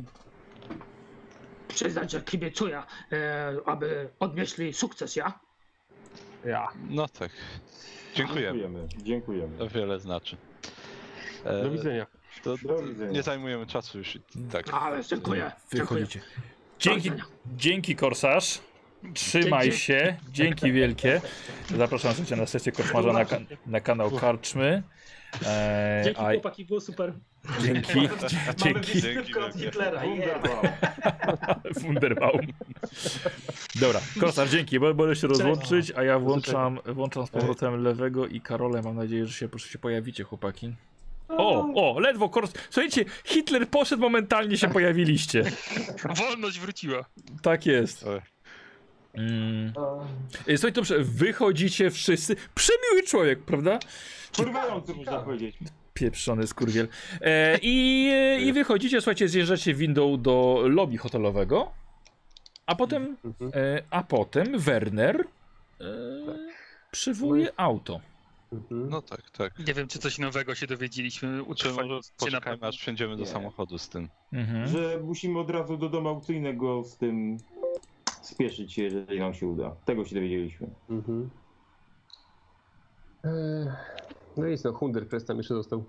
Speaker 9: przyznać, że kibicuję, e, aby odnieśli sukces, ja.
Speaker 2: Ja.
Speaker 3: no tak. Dziękujemy.
Speaker 5: Dziękujemy. Dziękujemy.
Speaker 3: To wiele znaczy. E,
Speaker 2: Do widzenia.
Speaker 3: to,
Speaker 5: Do widzenia.
Speaker 3: nie zajmujemy czasu już i tak.
Speaker 9: Ale dziękuję. dziękuję.
Speaker 7: Wychodzicie. Dzięki,
Speaker 9: Do widzenia.
Speaker 7: dzięki korsarz. Trzymaj
Speaker 6: Dzięki.
Speaker 7: się. Dzięki wielkie. Zapraszam cię na sesję koszmarza na, ka- na kanał Karczmy. Eee,
Speaker 6: Dzięki
Speaker 7: a
Speaker 6: chłopaki, było super.
Speaker 7: dzięki.
Speaker 4: Mamy
Speaker 7: Dzięki.
Speaker 4: wizytówkę od
Speaker 3: Dzięki.
Speaker 4: Hitlera. Yeah.
Speaker 5: Wunderbaum.
Speaker 7: Wunderbaum. Dobra, korsarz, dzięki, bo będę się rozłączyć, a ja włączam, włączam z powrotem lewego i Karole. Mam nadzieję, że się proszę się pojawicie, chłopaki. O, o, ledwo kors. Słuchajcie, Hitler poszedł, momentalnie się pojawiliście.
Speaker 6: Wolność wróciła.
Speaker 7: Tak jest.
Speaker 3: Oj.
Speaker 7: Mm.
Speaker 4: E,
Speaker 7: Ej, Słuchajcie, dobrze, wychodzicie wszyscy. Przemiły człowiek, prawda?
Speaker 5: Porywający można powiedzieć.
Speaker 7: Pieprzony skurwiel. E, i, e, I wychodzicie, słuchajcie, zjeżdżacie windą do lobby hotelowego. A potem, e, a potem Werner e,
Speaker 1: Przywołuje auto.
Speaker 2: Mhm.
Speaker 3: No tak, tak.
Speaker 6: Nie wiem, czy coś nowego się dowiedzieliśmy.
Speaker 3: Czy może
Speaker 6: Utrwalić się na
Speaker 3: poczekajmy aż wsiądziemy do
Speaker 5: Nie.
Speaker 3: samochodu z tym.
Speaker 1: Mhm.
Speaker 5: Że musimy od razu do domu aukcyjnego z tym spieszyć się, jeżeli nam się uda. Tego się dowiedzieliśmy.
Speaker 2: Mhm. Eee, No i co, Hunder przez tam jeszcze został.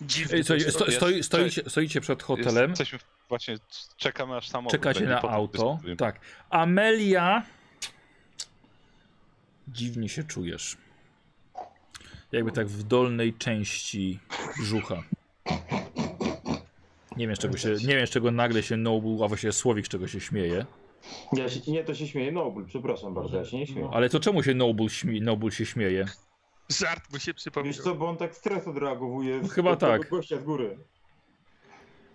Speaker 6: dziwny
Speaker 1: Ej, co,
Speaker 6: tekst.
Speaker 1: sto, stoi, stoicie, stoicie przed hotelem,
Speaker 3: Jesteśmy właśnie, czekamy aż samochód
Speaker 1: czekacie
Speaker 3: będzie,
Speaker 1: na
Speaker 3: potem
Speaker 1: auto.
Speaker 3: dyskutujemy.
Speaker 1: Tak. Amelia. Dziwnie się czujesz. Jakby tak w dolnej części brzucha. Nie wiem, z czego, się, nie wiem, z czego nagle się Nobu, a właściwie Słowik, z czego się śmieje.
Speaker 5: Ja się, nie, to się śmieje Nobul, przepraszam bardzo, ja się nie śmieję.
Speaker 1: Ale to czemu się Nobu, śmie, Nobu się śmieje?
Speaker 6: Żart mu się
Speaker 5: Wiesz
Speaker 6: przypomniał.
Speaker 5: co, bo on tak stres odreagowuje. z-
Speaker 1: Chyba
Speaker 5: od tego
Speaker 1: tak.
Speaker 5: gościa z góry.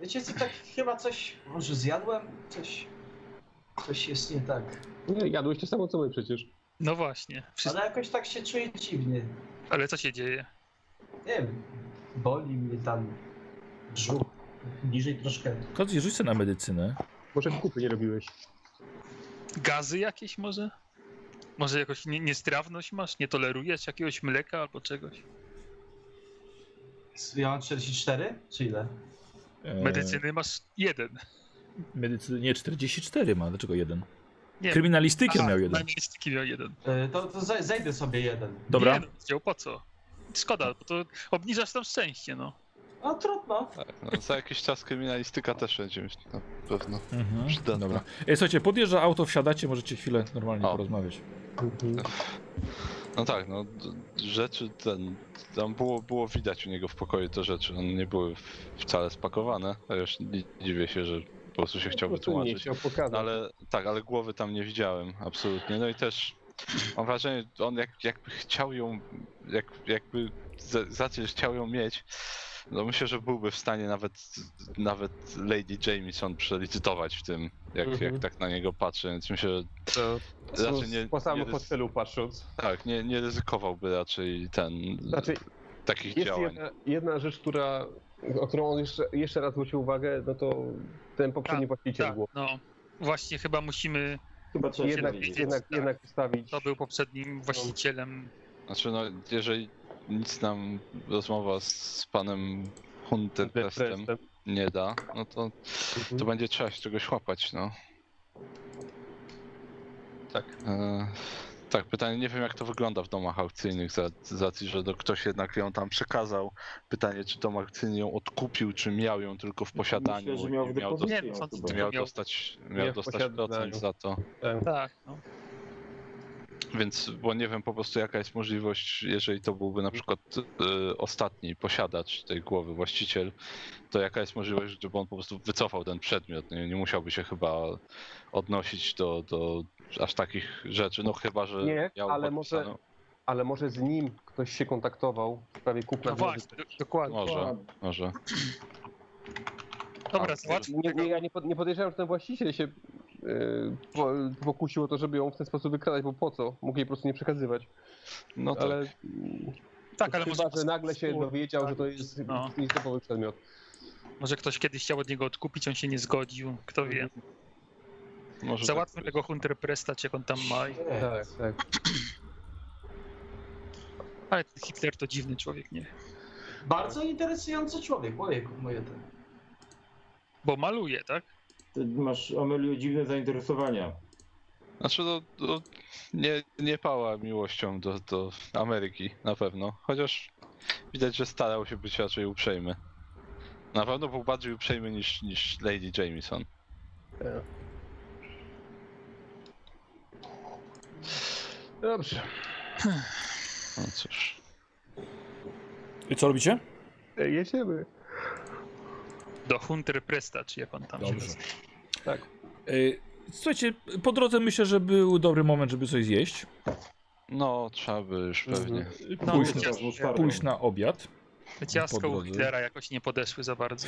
Speaker 4: Wiecie co, tak chyba coś, może zjadłem? Coś, coś jest nie tak.
Speaker 2: Nie, jadłeś to samo co my przecież.
Speaker 6: No właśnie. Wszystko...
Speaker 4: Ale jakoś tak się czuję dziwnie.
Speaker 6: Ale co się dzieje?
Speaker 4: Nie wiem, boli mnie tam brzuch. Bliżej troszkę.
Speaker 1: Kot, rzuć sobie na medycynę.
Speaker 2: Może kupy nie robiłeś.
Speaker 6: Gazy jakieś może? Może jakąś nie, niestrawność masz? Nie tolerujesz jakiegoś mleka albo czegoś?
Speaker 4: Ja mam 44? Czy ile?
Speaker 1: Eee,
Speaker 6: Medycyny masz jeden.
Speaker 1: Medycyny, nie, 44 ma, dlaczego jeden?
Speaker 6: Nie,
Speaker 1: Kryminalistykę
Speaker 6: a,
Speaker 1: miał jeden.
Speaker 6: Kryminalistyki miał jeden.
Speaker 4: E, To, to zaj- zejdę sobie jeden.
Speaker 1: Dobra.
Speaker 6: Nie, no, wziął, po co? Szkoda, bo to obniżasz tam szczęście, no.
Speaker 4: No trudno.
Speaker 3: Tak, no, za jakiś czas kryminalistyka też będzie na pewno
Speaker 1: Mhm.
Speaker 3: przydatna.
Speaker 1: Dobra. Ej, słuchajcie, podjeżdża auto, wsiadacie, możecie chwilę normalnie
Speaker 3: O.
Speaker 1: porozmawiać.
Speaker 3: No tak, no d- rzeczy ten. Tam było, było widać u niego w pokoju te rzeczy. One nie były w- wcale spakowane. Ja Już nie dziwię się, że po prostu się chciał
Speaker 2: Po prostu Nie
Speaker 3: wytłumaczyć.
Speaker 2: chciał pokazać.
Speaker 3: No ale tak, ale głowy tam nie widziałem, absolutnie. No i też mam wrażenie, on jak, jakby chciał ją, jak, jakby za, za coś chciał ją mieć, no myślę, że byłby w stanie nawet, nawet Lady Jameson przelicytować w tym, jak,
Speaker 2: Mhm.
Speaker 3: jak tak na niego patrzę, więc myślę,
Speaker 6: To
Speaker 3: że raczej Znaczy nie,
Speaker 2: po
Speaker 3: nie,
Speaker 2: samym
Speaker 3: ryzy-
Speaker 2: hotelu patrząc.
Speaker 3: tak, nie, nie ryzykowałby raczej ten,
Speaker 2: Znaczy,
Speaker 3: takich
Speaker 2: jest
Speaker 3: działań.
Speaker 2: jedna, jedna rzecz, która, o którą on jeszcze, jeszcze raz zwrócił uwagę, no to ten poprzedni właściciel
Speaker 6: tak,
Speaker 2: był.
Speaker 6: no. Właśnie chyba musimy,
Speaker 5: Chyba trzeba się
Speaker 2: Jednak,
Speaker 5: dowiedzieć.
Speaker 2: jednak,
Speaker 6: tak.
Speaker 2: jednak ustawić.
Speaker 6: to był poprzednim właścicielem.
Speaker 3: Znaczy no, jeżeli nic nam rozmowa z, z panem Hunterprestem nie da, no to
Speaker 5: Mhm.
Speaker 3: To będzie trzeba się czegoś łapać, no. Tak. E, tak, pytanie, nie wiem jak to wygląda w domach aukcyjnych, za, z racji, że do, ktoś jednak ją tam przekazał. Pytanie, czy dom aukcyjny ją odkupił, czy miał ją tylko w posiadaniu
Speaker 5: Myślę, że miał
Speaker 3: i
Speaker 5: w
Speaker 3: miał,
Speaker 6: Nie,
Speaker 5: depozycie
Speaker 6: no,
Speaker 5: ją
Speaker 6: sądzę,
Speaker 5: chyba.
Speaker 3: miał
Speaker 6: miał-
Speaker 3: dostać, miał
Speaker 2: miał w
Speaker 3: dostać
Speaker 2: posiadaniu.
Speaker 3: procent za to.
Speaker 6: Tak, no.
Speaker 3: Więc, bo nie wiem po prostu jaka jest możliwość, jeżeli to byłby na przykład y, ostatni posiadacz tej głowy, właściciel, to jaka jest możliwość, żeby on po prostu wycofał ten przedmiot. Nie, nie musiałby się chyba odnosić do, do aż takich rzeczy, no chyba, że
Speaker 2: Nie,
Speaker 3: miał
Speaker 2: ale może-
Speaker 3: podpisaną-
Speaker 2: Ale może z nim ktoś się kontaktował w sprawie kupna.
Speaker 6: No właśnie, do, dokładnie.
Speaker 3: Może, może.
Speaker 6: Dobra,
Speaker 3: A,
Speaker 6: załatwmy
Speaker 2: Nie, nie, ja nie, pod, nie podejrzewam, że ten właściciel się yy, po, pokusił o to, żeby ją w ten sposób wykradać, bo po co? Mógł jej po prostu nie przekazywać.
Speaker 3: No tak.
Speaker 2: Ale,
Speaker 6: Tak, ale
Speaker 2: chyba,
Speaker 6: może,
Speaker 2: że nagle się dowiedział, że to jest
Speaker 6: No.
Speaker 2: nietypowy przedmiot.
Speaker 6: może ktoś kiedyś chciał od niego odkupić, on się nie zgodził, kto wie.
Speaker 3: może
Speaker 6: Załatwmy
Speaker 3: tak
Speaker 6: tego Hunter Presta, czy jak on tam ma.
Speaker 2: Tak, tak.
Speaker 6: Ale ten Hitler to dziwny człowiek, nie?
Speaker 4: Bardzo interesujący człowiek, ojejku, moje ten.
Speaker 6: Bo maluje, tak?
Speaker 5: Ty Masz, Amelio, dziwne zainteresowania.
Speaker 3: Znaczy, no, no, nie, nie pała miłością do, do Ameryki, na pewno. Chociaż widać, że starał się być raczej uprzejmy. Na pewno był bardziej uprzejmy niż, niż Lady Jameson.
Speaker 2: Dobrze.
Speaker 3: No cóż.
Speaker 1: I co robicie?
Speaker 2: Jedziemy.
Speaker 6: Do Hunter Presta, czy jak on tam się
Speaker 1: Dobrze.
Speaker 6: nazywa.
Speaker 1: Ej, E, Słuchajcie, po drodze myślę, że był dobry moment, żeby coś zjeść.
Speaker 3: No, trzeba by już
Speaker 2: Mhm.
Speaker 3: pewnie.
Speaker 6: No,
Speaker 1: Pójść,
Speaker 6: wiecie,
Speaker 1: na,
Speaker 5: Teraz mu czwartą.
Speaker 1: pójść na obiad.
Speaker 6: Te ciastka u
Speaker 1: Podłoży.
Speaker 6: Hitlera jakoś nie podeszły za bardzo.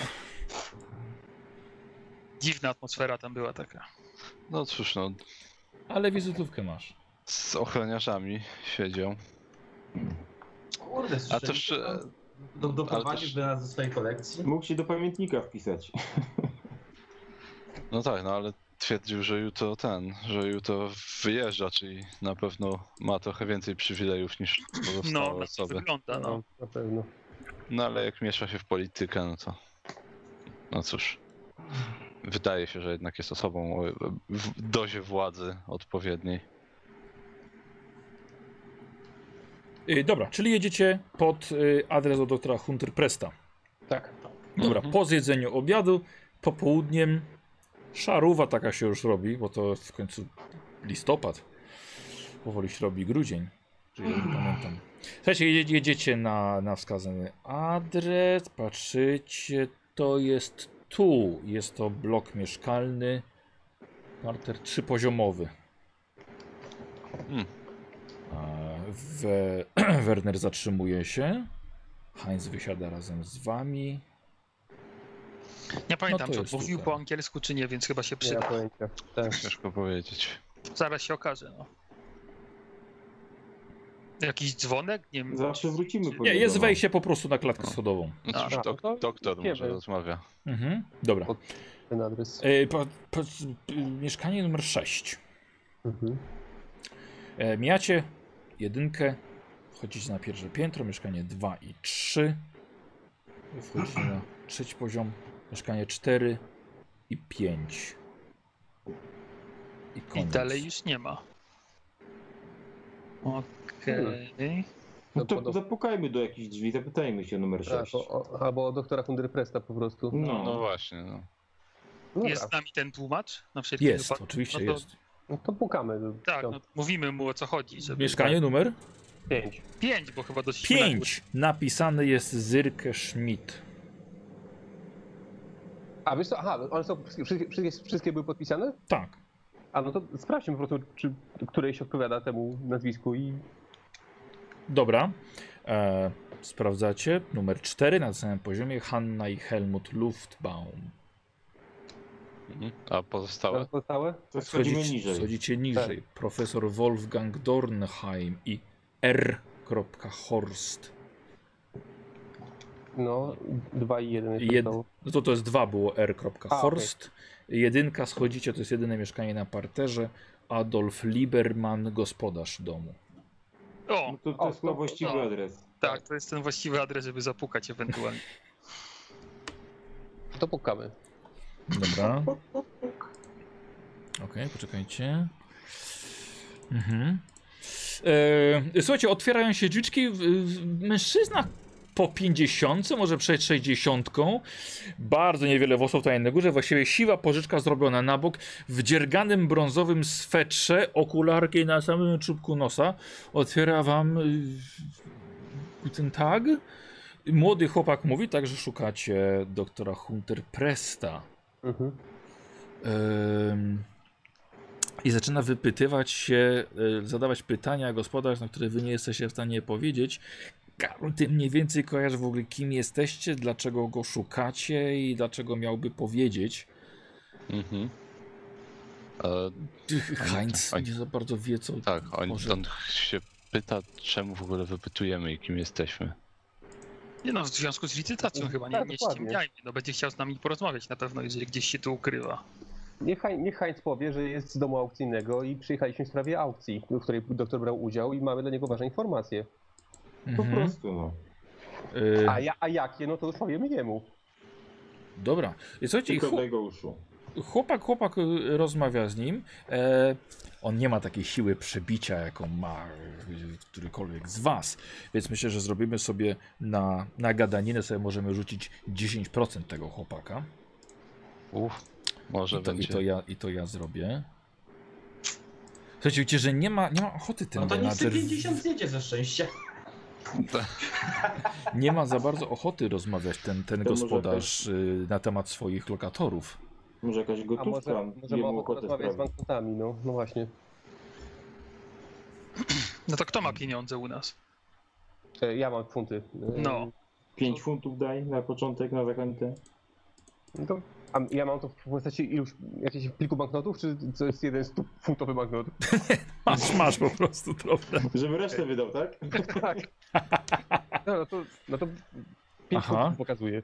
Speaker 6: Dziwna atmosfera tam była taka.
Speaker 3: No cóż, no,
Speaker 1: Ale wizytówkę masz.
Speaker 3: z ochroniarzami siedział.
Speaker 4: Kurde,
Speaker 3: A
Speaker 4: słyszeliście
Speaker 3: to jeszcze.
Speaker 4: to? Do, doprowadziłby nas do swojej kolekcji.
Speaker 5: Mógł się do pamiętnika wpisać.
Speaker 3: No tak, no ale twierdził, że jutro ten, że jutro wyjeżdża, czyli na pewno ma trochę więcej przywilejów niż pozostałe
Speaker 6: No, na to
Speaker 3: osoby.
Speaker 6: wygląda, no.
Speaker 2: No, na pewno.
Speaker 3: No ale jak miesza się w politykę, no to. No cóż. Wydaje się, że jednak jest osobą o w dozie władzy odpowiedniej.
Speaker 1: Y, dobra, czyli jedziecie pod y, adres do doktora Hunter Presta.
Speaker 2: Tak.
Speaker 1: Dobra, po zjedzeniu obiadu, popołudniem szaruwa taka się już robi, bo to w końcu listopad. Powoli się robi grudzień. Czyli ja nie pamiętam. Słuchajcie, jedzie- jedziecie na, na wskazany adres, patrzycie, to jest tu. Jest to blok mieszkalny, parter trzypoziomowy.
Speaker 3: Hmm.
Speaker 1: E, We, Werner zatrzymuje się. Heinz wysiada razem z wami.
Speaker 6: Nie
Speaker 1: No
Speaker 6: pamiętam,
Speaker 1: to
Speaker 6: czy
Speaker 1: jest
Speaker 6: mówił
Speaker 1: super.
Speaker 6: po angielsku, czy nie, więc chyba
Speaker 2: Nie
Speaker 6: się
Speaker 2: ma
Speaker 6: przyda.
Speaker 2: pojęcia. Tak.
Speaker 3: Ciężko powiedzieć.
Speaker 6: Zaraz się okaże, no. Jakiś dzwonek? Nie wiem.
Speaker 5: Zawsze
Speaker 6: czy-
Speaker 5: wrócimy
Speaker 6: czy-
Speaker 5: po
Speaker 1: Nie,
Speaker 5: niego,
Speaker 1: jest
Speaker 5: no.
Speaker 1: wejście po prostu na klatkę schodową.
Speaker 3: No cóż,
Speaker 2: A,
Speaker 3: dok-
Speaker 2: no to
Speaker 3: doktor
Speaker 2: idziemy.
Speaker 3: może rozmawia.
Speaker 1: Mhm. Dobra.
Speaker 2: Od- Ten adres.
Speaker 1: E, po, po, y, mieszkanie numer 6.
Speaker 2: Mhm.
Speaker 1: E, mijacie jedynkę, wchodzicie na pierwsze piętro, mieszkanie 2 i 3. Wchodzicie na trzeci poziom, mieszkanie 4 i 5. I
Speaker 6: I
Speaker 1: koniec.
Speaker 6: dalej już nie ma. Okej.
Speaker 5: No to
Speaker 2: Podob-
Speaker 5: zapukajmy do jakichś drzwi, zapytajmy się o numer
Speaker 2: Tak,
Speaker 5: 6.
Speaker 2: o, o, albo doktora Hunter Presta po prostu.
Speaker 5: No,
Speaker 3: No właśnie, no.
Speaker 2: No,
Speaker 6: Jest z
Speaker 2: tak.
Speaker 6: nami ten tłumacz? Na wszelki
Speaker 1: Jest,
Speaker 6: wypadek.
Speaker 1: oczywiście
Speaker 6: No to-
Speaker 1: jest.
Speaker 2: no to pukamy.
Speaker 6: Tak, no, mówimy mu o co chodzi. Żeby...
Speaker 1: Mieszkanie numer
Speaker 2: Pięć.
Speaker 6: 5, bo chyba dość
Speaker 1: 5. Napisane jest Zyrke Schmidt.
Speaker 2: A wiesz co, aha, one są, wszystkie, wszystkie, wszystkie były podpisane?
Speaker 1: Tak.
Speaker 2: A no to sprawdźmy po prostu, czy której się odpowiada temu nazwisku i
Speaker 1: Dobra. E, sprawdzacie. Numer 4 na samym poziomie Hanna i Helmut Luftbaum.
Speaker 3: Mhm. A pozostałe?
Speaker 2: pozostałe.
Speaker 5: to schodzimy
Speaker 1: Schodzicie-
Speaker 5: niżej. Tak.
Speaker 1: Schodzicie niżej. Profesor Wolfgang Dornheim i R. Horst.
Speaker 2: No, dwa i jeden jeszcze
Speaker 1: Jed...
Speaker 2: zostało.
Speaker 1: No to to jest dwa było R.
Speaker 2: A,
Speaker 1: Horst. Jedynka schodzicie, to jest jedyne mieszkanie na parterze. Adolf Lieberman, gospodarz domu.
Speaker 6: O,
Speaker 5: No to,
Speaker 2: O,
Speaker 5: to jest chyba
Speaker 2: to-
Speaker 5: właściwy
Speaker 6: to-
Speaker 5: adres.
Speaker 6: tak, to jest ten właściwy adres, żeby zapukać ewentualnie.
Speaker 2: To pukamy.
Speaker 1: Dobra. Okej, poczekajcie. Mhm. E, słuchajcie, otwierają się drzwiczki. w- w- Mężczyzna po 50, może przed 60. Bardzo niewiele włosów tutaj na górze. Właściwie siwa pożyczka zrobiona na bok. W dzierganym brązowym swetrze, okularki na samym czubku nosa. Otwiera wam y, ten tag. Młody chłopak mówi tak, że szukacie doktora Hunter Presta.
Speaker 2: Mhm.
Speaker 1: Ym, I zaczyna wypytywać się, y, zadawać pytania gospodarz, na które wy nie jesteście w stanie powiedzieć. Karol, ty mniej więcej kojarz w ogóle kim jesteście, dlaczego go szukacie i dlaczego miałby powiedzieć.
Speaker 3: Mhm. E,
Speaker 1: Ty, Heinz
Speaker 3: oni-
Speaker 1: nie za bardzo wie co...
Speaker 3: tak, on,
Speaker 1: Może-
Speaker 3: on się pyta, czemu w ogóle wypytujemy i kim jesteśmy.
Speaker 6: Nie no, w związku z licytacją chyba nie,
Speaker 2: Tak,
Speaker 6: nie
Speaker 2: dokładnie.
Speaker 6: ściemniajmy. No będzie chciał z nami porozmawiać na pewno, jeżeli gdzieś się tu ukrywa.
Speaker 2: Niech, Heinz- niech Heinz powie, że jest z domu aukcyjnego i przyjechaliśmy w sprawie aukcji, w której doktor brał udział i mamy dla niego ważne informacje.
Speaker 5: Po
Speaker 1: Mhm.
Speaker 5: prostu, no.
Speaker 1: Y,
Speaker 2: A, ja, a jakie, no to już powiemy jemu.
Speaker 1: Dobra. I Słuchajcie, i
Speaker 5: Tylko
Speaker 1: chłop,
Speaker 5: tego uszu.
Speaker 1: chłopak, chłopak y, rozmawia z nim. E, on nie ma takiej siły przebicia, jaką ma y, którykolwiek z was, więc myślę, że zrobimy sobie na, na gadaninę, sobie możemy rzucić 10% tego chłopaka.
Speaker 3: Uff, może
Speaker 1: I to, i
Speaker 3: będzie.
Speaker 1: to, ja, I to ja zrobię. Słuchajcie, widzicie, że nie ma, nie ma ochoty ten
Speaker 4: No to niech
Speaker 1: menadżer,
Speaker 4: sobie
Speaker 1: w-
Speaker 4: 50 zjedzie ze szczęścia.
Speaker 1: nie ma za bardzo ochoty rozmawiać ten, ten
Speaker 5: To może
Speaker 1: gospodarz y, na temat swoich lokatorów.
Speaker 5: Może jakaś
Speaker 2: A
Speaker 5: gotówka,
Speaker 2: może, może ma
Speaker 5: jemu
Speaker 2: ochotę
Speaker 5: ochotę
Speaker 2: rozmawiać z
Speaker 5: sprawi.
Speaker 2: banknotami, no, no właśnie.
Speaker 6: No to kto ma pieniądze u nas?
Speaker 2: E, Ja mam funty. E,
Speaker 6: No.
Speaker 5: 5 funtów daj na początek, na zachętę.
Speaker 2: no to, a ja mam to w postaci już jakichś pliku banknotów, czy to jest jeden stu- funtowy banknot?
Speaker 1: Masz, masz po prostu drobne.
Speaker 5: Żeby resztę wydał, tak?
Speaker 2: tak. No, no to, no to pięć
Speaker 1: Aha.
Speaker 2: funtów pokazuje.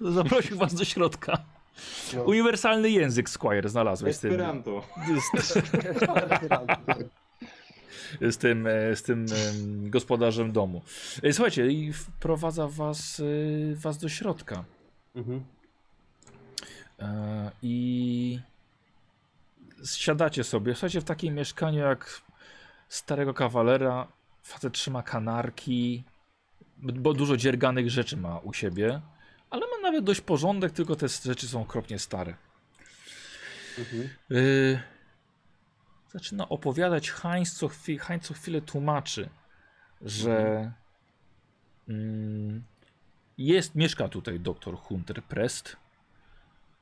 Speaker 1: Zaprosił was do środka.
Speaker 5: No.
Speaker 1: Uniwersalny język Squire znalazłeś z tym,
Speaker 5: Esperanto.
Speaker 1: z, z tym, e, z tym em, gospodarzem domu. E, Słuchajcie, i wprowadza was, e, was do środka.
Speaker 2: Mhm.
Speaker 1: E, I siadacie sobie. Słuchajcie, w takim mieszkaniu jak starego kawalera. Facet trzyma kanarki, bo dużo dzierganych rzeczy ma u siebie. Ale ma nawet dość porządek, tylko te rzeczy są okropnie stare. Y, zaczyna opowiadać Heinz co, chwil, Heinz co chwilę tłumaczy, że mm, jest, mieszka tutaj doktor Hunter Prest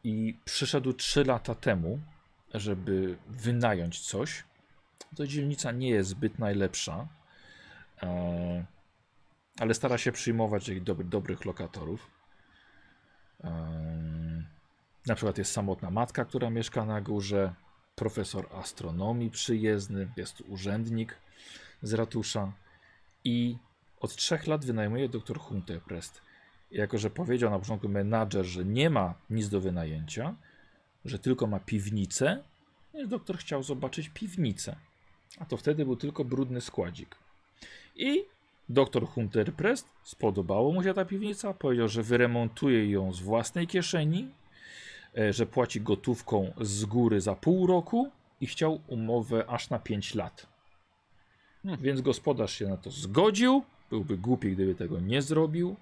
Speaker 1: i przyszedł 3 lata temu, żeby wynająć coś. To dzielnica nie jest zbyt najlepsza, e, ale stara się przyjmować ich dobry, dobrych lokatorów. E, na przykład jest samotna matka, która mieszka na górze, profesor astronomii przyjezdny, jest urzędnik z ratusza i od trzech lat wynajmuje doktor Hunteprest. Jako, że powiedział na początku menadżer, że nie ma nic do wynajęcia, że tylko ma piwnicę, więc doktor chciał zobaczyć piwnicę. A to wtedy był tylko brudny składzik. I doktor Hunterprest spodobało mu się ta piwnica, powiedział, że wyremontuje ją z własnej kieszeni, e, że płaci gotówką z góry za pół roku i chciał umowę aż na 5 lat. Więc gospodarz się na to zgodził. Byłby głupi, gdyby tego nie zrobił.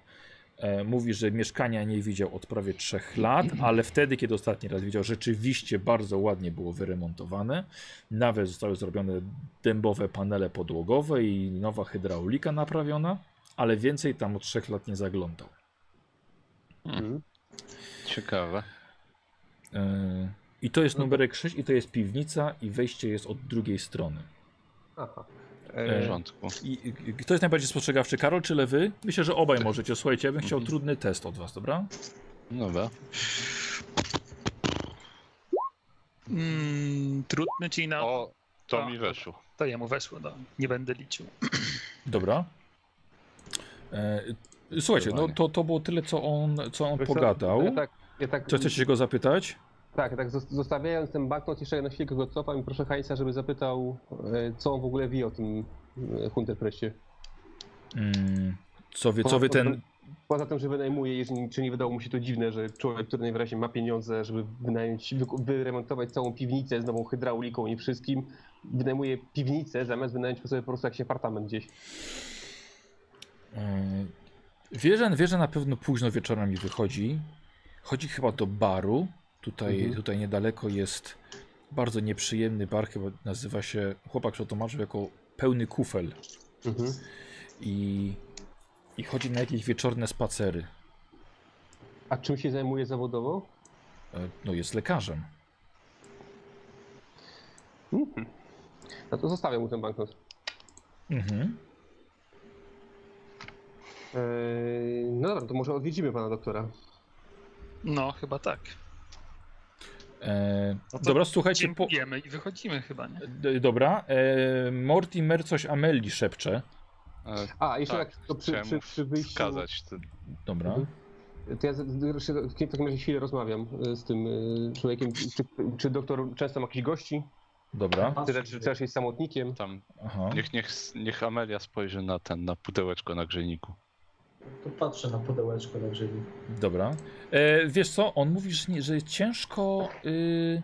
Speaker 1: E, mówi, że mieszkania nie widział od prawie 3 lat, ale wtedy, kiedy ostatni raz widział, rzeczywiście bardzo ładnie było wyremontowane. Nawet zostały zrobione dębowe panele podłogowe i nowa hydraulika naprawiona, ale więcej tam od 3 lat nie zaglądał.
Speaker 3: Ciekawe.
Speaker 1: E, I to jest numerek 6 i to jest piwnica i wejście jest od drugiej strony.
Speaker 2: Aha.
Speaker 3: W
Speaker 1: E,
Speaker 3: porządku.
Speaker 1: I, i- kto jest najbardziej spostrzegawczy, Karol czy Lewy? Myślę, że obaj możecie. Słuchajcie, ja bym chciał trudny test od was, dobra?
Speaker 3: Dobra.
Speaker 6: Mm, trudny, czyli na.
Speaker 3: O, to
Speaker 6: A.
Speaker 3: mi weszło.
Speaker 6: To jemu weszło, no. Nie będę liczył.
Speaker 1: Dobra. E, słuchajcie, no to, to było tyle, co on, co on
Speaker 2: Wiesz co,
Speaker 1: pogadał.
Speaker 2: Ja tak, ja tak,
Speaker 1: Co chcecie go zapytać?
Speaker 2: tak, tak, zos- zostawiając ten banknot, jeszcze na chwilkę go cofam i proszę Heinza, żeby zapytał, e, co on w ogóle wie o tym e, Hunterpreście.
Speaker 1: Mm, co, wie, co wy ten.
Speaker 2: Poza tym, że wynajmuje, jeżeli, czy nie wydało mu się to dziwne, że człowiek, który najwyraźniej ma pieniądze, żeby wynająć, wyku- wyremontować całą piwnicę z nową hydrauliką i wszystkim, wynajmuje piwnicę zamiast wynająć sobie po prostu jakiś apartament gdzieś.
Speaker 1: Mm, Wie, że, wie, że na pewno późno wieczorami wychodzi. Chodzi chyba do baru. Tutaj,
Speaker 2: Mhm.
Speaker 1: tutaj niedaleko jest bardzo nieprzyjemny bar, chyba nazywa się. Chłopak przetłumaczył jako pełny kufel.
Speaker 2: Mhm.
Speaker 1: I, I chodzi na jakieś wieczorne spacery.
Speaker 2: A czym się zajmuje zawodowo?
Speaker 1: E, No jest lekarzem.
Speaker 2: Mhm. No to zostawiam mu ten banknot.
Speaker 1: Mhm.
Speaker 2: Eee, no dobra, to może odwiedzimy pana doktora.
Speaker 6: No, chyba tak.
Speaker 1: E,
Speaker 6: No to
Speaker 1: dobra, słuchajcie. Po,
Speaker 6: Dziękujemy i wychodzimy chyba, nie?
Speaker 1: D- Dobra. E, Mortimer coś Ameli szepcze.
Speaker 3: E,
Speaker 2: A, jeszcze
Speaker 3: Tak,
Speaker 2: tak, to przy,
Speaker 3: chciałem
Speaker 2: przy, przy wyjściu.
Speaker 3: wskazać ten
Speaker 1: Dobra.
Speaker 2: Mhm. To ja z- z- z- w takim razie chwilę rozmawiam e, z tym e, człowiekiem. Czy, czy doktor często ma jakichś gości?
Speaker 1: Dobra.
Speaker 2: Czy też, czy też jest samotnikiem?
Speaker 3: tam.
Speaker 1: Aha.
Speaker 3: Niech, niech, niech Amelia spojrzy na ten, na pudełeczko na grzejniku.
Speaker 4: To patrzę na pudełeczko na grzybi.
Speaker 1: Dobra. E, wiesz co, on mówi, że, nie, że ciężko. Y,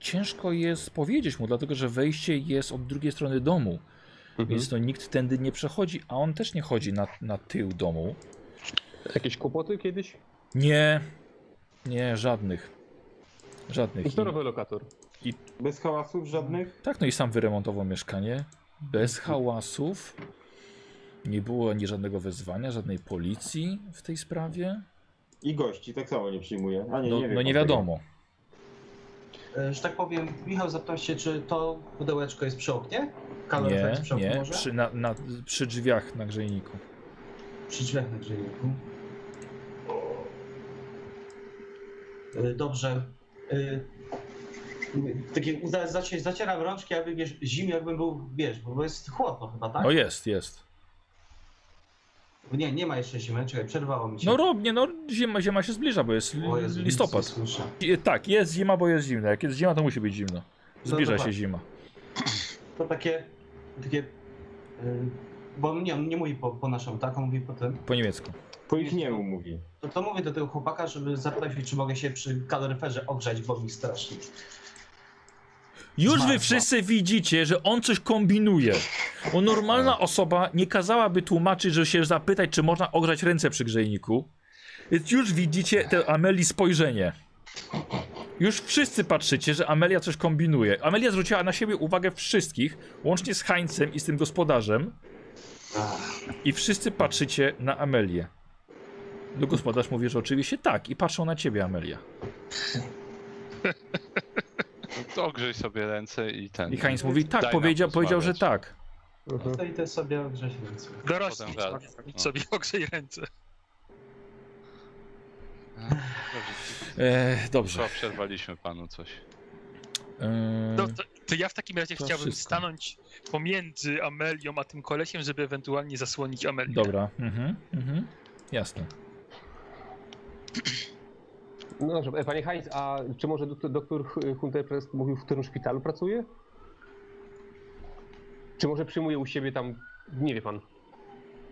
Speaker 1: ciężko jest powiedzieć mu, dlatego że wejście jest od drugiej strony domu. Więc to nikt tędy nie przechodzi, a on też nie chodzi na, na tył domu.
Speaker 2: Jakieś kłopoty kiedyś?
Speaker 1: Nie. Nie, żadnych. Żadnych. I,
Speaker 2: Zdrowy lokator.
Speaker 5: Bez hałasów żadnych?
Speaker 1: tak, no i sam wyremontował mieszkanie. Bez hałasów. Nie było ani żadnego wezwania, żadnej policji w tej sprawie.
Speaker 5: I gości tak samo nie przyjmuje. A nie,
Speaker 1: No
Speaker 5: nie,
Speaker 1: nie,
Speaker 5: wie
Speaker 1: no
Speaker 5: pan
Speaker 1: nie
Speaker 5: tego.
Speaker 1: wiadomo.
Speaker 4: E, Że tak powiem, Michał zapytał się, czy to pudełeczko jest przy oknie? Karol
Speaker 1: Nie,
Speaker 4: jest przy oknie
Speaker 1: nie.
Speaker 4: może?
Speaker 1: Przy, na, na, przy drzwiach na grzejniku.
Speaker 4: Przy drzwiach na grzejniku. E, Dobrze. E, Takie, za- zacie- zacieram rączki, jakby wiesz, zimno, jakbym był, wiesz, bo jest chłodno chyba, tak?
Speaker 1: No jest, jest.
Speaker 4: Nie, nie ma jeszcze zimy, czekaj, przerwało mi się.
Speaker 1: No rob, nie, no zima, zima się zbliża, bo jest li-
Speaker 4: O Jezu, nic nie
Speaker 1: listopad.
Speaker 4: słyszę.
Speaker 1: I- Tak, jest zima, bo jest zimno. Jak jest zima, to musi być zimno. Zbliża się
Speaker 4: dobra.
Speaker 1: zima.
Speaker 4: To takie, takie, y, bo on nie, on nie mówi po, po naszą, tak? On mówi po tym.
Speaker 1: Po niemiecku.
Speaker 5: Po ich niemu mówi.
Speaker 4: To, to mówię do tego chłopaka, żeby zaprosił, czy mogę się przy kaloryferze ogrzać, bo mi strasznie.
Speaker 1: Już wy
Speaker 4: Zmarzła.
Speaker 1: wszyscy widzicie, że on coś kombinuje. Bo
Speaker 3: Tak.
Speaker 1: normalna osoba nie kazałaby tłumaczyć, że się zapytać, czy można ogrzać ręce przy grzejniku. Więc już widzicie te Ameli spojrzenie. Już wszyscy patrzycie, że Amelia coś kombinuje. Amelia zwróciła na siebie uwagę wszystkich, łącznie z Hańcem i z tym gospodarzem. I wszyscy patrzycie na Amelię. No gospodarz mówi, że oczywiście tak. I patrzą na ciebie, Amelia.
Speaker 3: To Ogrzej sobie ręce i ten.
Speaker 1: I Heinz mówi, tak,
Speaker 3: Daj nam
Speaker 1: powiedział, powiedział, że
Speaker 3: porozmawiać.
Speaker 1: tak.
Speaker 4: No To idę sobie ogrzać ręce.
Speaker 6: Dorośli
Speaker 3: Potem
Speaker 6: sobie,
Speaker 3: wraca.
Speaker 6: idź tak sobie ogrzej ręce.
Speaker 1: E, dobrze.
Speaker 3: Dobrze. Przerwaliśmy panu coś.
Speaker 1: E,
Speaker 6: No, to, to ja w takim razie
Speaker 1: To
Speaker 6: chciałbym
Speaker 1: wszystko.
Speaker 6: stanąć pomiędzy Amelią a tym kolesiem, żeby ewentualnie zasłonić Amelię.
Speaker 1: Dobra, mhm, mhm. Jasne.
Speaker 2: No dobrze, e, panie Heinz, a czy może doktor, doktor Hu- Hunter Press mówił, w którym szpitalu pracuje? Czy może przyjmuje u siebie tam, nie wie pan,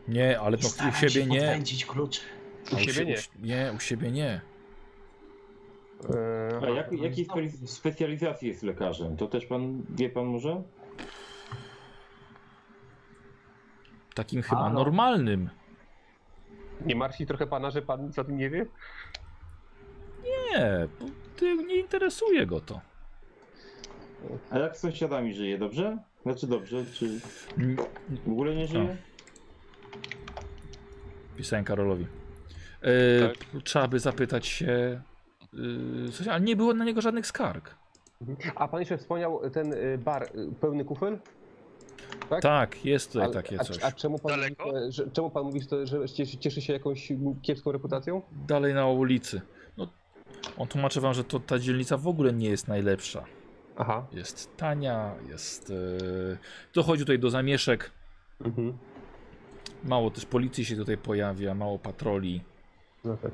Speaker 1: Nie, ale to u
Speaker 4: Starałem
Speaker 1: No, siebie
Speaker 4: się
Speaker 1: nie.
Speaker 4: podwędzić klucze.
Speaker 2: u
Speaker 1: A
Speaker 2: siebie nie.
Speaker 1: u- nie, u siebie nie.
Speaker 2: e,
Speaker 5: A jak, jakiej spe- specjalizacji jest lekarzem? To też pan wie pan może?
Speaker 1: Takim chyba
Speaker 4: Halo?
Speaker 1: normalnym.
Speaker 2: E, Nie martwi trochę pana, że pan za tym nie wie?
Speaker 1: Nie, bo ty, nie interesuje go to.
Speaker 5: A jak z sąsiadami żyje, dobrze? Znaczy dobrze, czy
Speaker 1: Mm,
Speaker 5: w ogóle nie żyje?
Speaker 3: No.
Speaker 1: Pisałem Karolowi. E,
Speaker 3: Tak.
Speaker 1: p- Trzeba by zapytać się. e, Coś, ale nie było na niego żadnych skarg.
Speaker 2: A pan jeszcze wspomniał ten y, bar y, pełny kufel? Tak?
Speaker 1: Tak, jest tutaj
Speaker 2: Ale-
Speaker 1: takie
Speaker 2: a,
Speaker 1: coś.
Speaker 2: A czemu pan, mówi,
Speaker 6: Daleko?
Speaker 2: e, że, czemu pan mówi, że- że cieszy, cieszy się jakąś kiepską reputacją?
Speaker 1: Dalej na ulicy. No, on tłumaczy wam, że to ta dzielnica w ogóle nie jest najlepsza.
Speaker 2: Aha.
Speaker 1: Jest tania, jest. E, dochodzi tutaj do zamieszek.
Speaker 2: Mhm.
Speaker 1: Mało też policji się tutaj pojawia, mało patroli.
Speaker 2: No tak.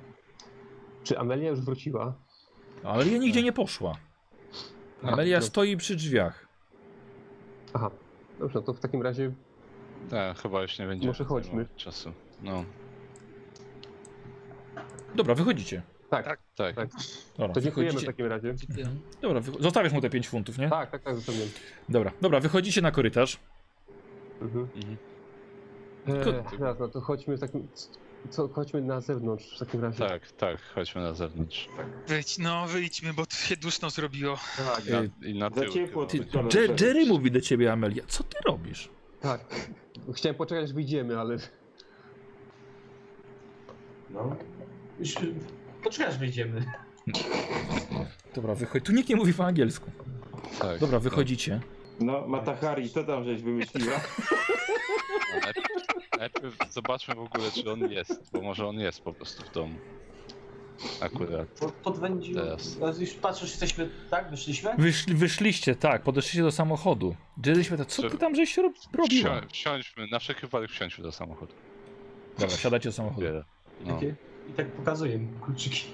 Speaker 2: Czy Amelia już wróciła?
Speaker 1: Amelia nigdzie nie poszła. Amelia
Speaker 2: Aha, no-
Speaker 1: stoi przy drzwiach.
Speaker 2: Aha. Dobrze, no to w takim razie
Speaker 3: Tak, chyba już nie będzie.
Speaker 2: Może chodźmy.
Speaker 3: zajmować Czasu. No,
Speaker 1: Dobra, wychodzicie.
Speaker 2: tak.
Speaker 6: Tak.
Speaker 3: tak.
Speaker 2: Tak.
Speaker 1: Dobra,
Speaker 2: To dziękujemy w
Speaker 1: wychodzicie.
Speaker 2: takim razie.
Speaker 1: Dobra, wycho- zostawiasz mu te 5 funtów, nie?
Speaker 2: Tak, tak, tak, zostawiam.
Speaker 1: Dobra, dobra, wychodzicie na korytarz.
Speaker 2: Mhm.
Speaker 3: Mhm.
Speaker 2: E, raz, no to chodźmy w takim. Co, chodźmy na zewnątrz w takim razie.
Speaker 3: Tak, tak, chodźmy na zewnątrz.
Speaker 6: Wyjdź, no wyjdźmy, bo tu się duszno zrobiło.
Speaker 3: Tak, na,
Speaker 1: y,
Speaker 3: I na
Speaker 5: Za
Speaker 3: tył.
Speaker 5: ciepło
Speaker 3: chyba
Speaker 5: ty
Speaker 3: będzie.
Speaker 5: panu
Speaker 1: Je-
Speaker 5: wszedłeś.
Speaker 1: Jerry mówi do ciebie, Amelia. Co ty robisz?
Speaker 2: tak. Chciałem poczekać, aż wyjdziemy, ale.
Speaker 4: No. Już, poczekaj, aż wyjdziemy.
Speaker 1: Dobra, wychodź. Tu nikt nie mówi po angielsku.
Speaker 3: Tak,
Speaker 1: Dobra, wychodzicie.
Speaker 5: No, Matahari, co tam żeś wymyśliła?
Speaker 3: tak. Najpierw- Najpierw zobaczmy w ogóle, czy on jest, bo może on jest po prostu w domu. Akurat.
Speaker 4: Po- Podwędził.
Speaker 3: Teraz.
Speaker 4: A Już patrzysz, jesteśmy, tak? Wyszliśmy?
Speaker 1: Wyszli, wyszliście, tak, podeszliście do samochodu. Jerry śmieta, co ty tam żeś rob- robiła?
Speaker 3: Wsi- Wsiądźmy, na wszelki wypadek wsiądźmy do samochodu.
Speaker 1: Dobra, siadacie do samochodu.
Speaker 3: Wiele. No.
Speaker 4: Takie. I tak pokazuję mu kluczyki.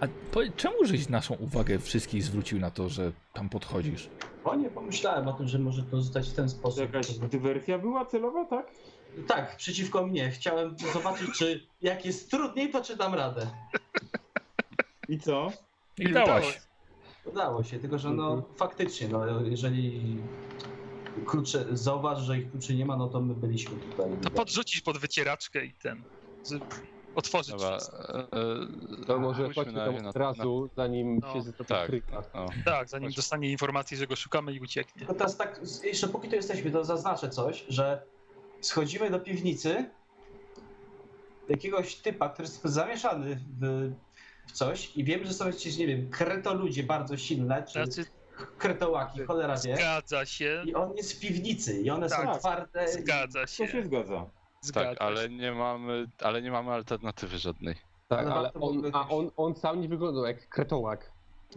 Speaker 1: A po, czemu żeś naszą uwagę wszystkich zwrócił na to, że tam podchodzisz?
Speaker 4: O nie, pomyślałem o tym, że może to zostać w ten
Speaker 5: To
Speaker 4: sposób.
Speaker 5: jakaś dywersja była celowa, tak?
Speaker 4: Tak, przeciwko mnie. Chciałem zobaczyć, czy jak jest trudniej, to czy dam radę.
Speaker 5: I co?
Speaker 1: I dałaś.
Speaker 6: udało.
Speaker 4: Udało się, tylko że no faktycznie, no, jeżeli klucze, zauważy, że ich kluczy nie ma, no to my byliśmy tutaj.
Speaker 6: To podrzucisz pod wycieraczkę i ten. z- Otworzyć.
Speaker 3: Dobra.
Speaker 6: wszystko.
Speaker 3: e, e,
Speaker 2: To może
Speaker 3: chodźmy
Speaker 2: chodźmy tam
Speaker 3: najpierw
Speaker 2: od
Speaker 3: na- na-
Speaker 2: razu, zanim
Speaker 6: No.
Speaker 2: się zatrapi
Speaker 3: Tak.
Speaker 2: kryka.
Speaker 3: No.
Speaker 6: Tak, zanim
Speaker 3: Chodźmy.
Speaker 6: dostanie informację, że go szukamy i ucieknie.
Speaker 4: Tylko teraz tak, z- jeszcze póki tu jesteśmy, to zaznaczę coś, że schodzimy do piwnicy jakiegoś typa, który jest zamieszany w, w coś i wiem, że są jakieś, nie wiem, kreto ludzie bardzo silne, czy
Speaker 6: Znaczy,
Speaker 4: kretołaki, cholera wie.
Speaker 6: zgadza się,
Speaker 4: I on jest z piwnicy i one
Speaker 6: Tak.
Speaker 4: są twarde. i-
Speaker 6: zgadza
Speaker 5: To się
Speaker 6: się,
Speaker 5: zgadza.
Speaker 6: zgadza
Speaker 3: Tak,
Speaker 6: się.
Speaker 3: ale nie mamy, ale nie mamy alternatywy żadnej.
Speaker 2: Tak,
Speaker 4: No,
Speaker 2: ale
Speaker 4: to
Speaker 2: on,
Speaker 4: byłby
Speaker 2: a
Speaker 4: jakiś-
Speaker 2: on, on sam nie wyglądał jak kretołak.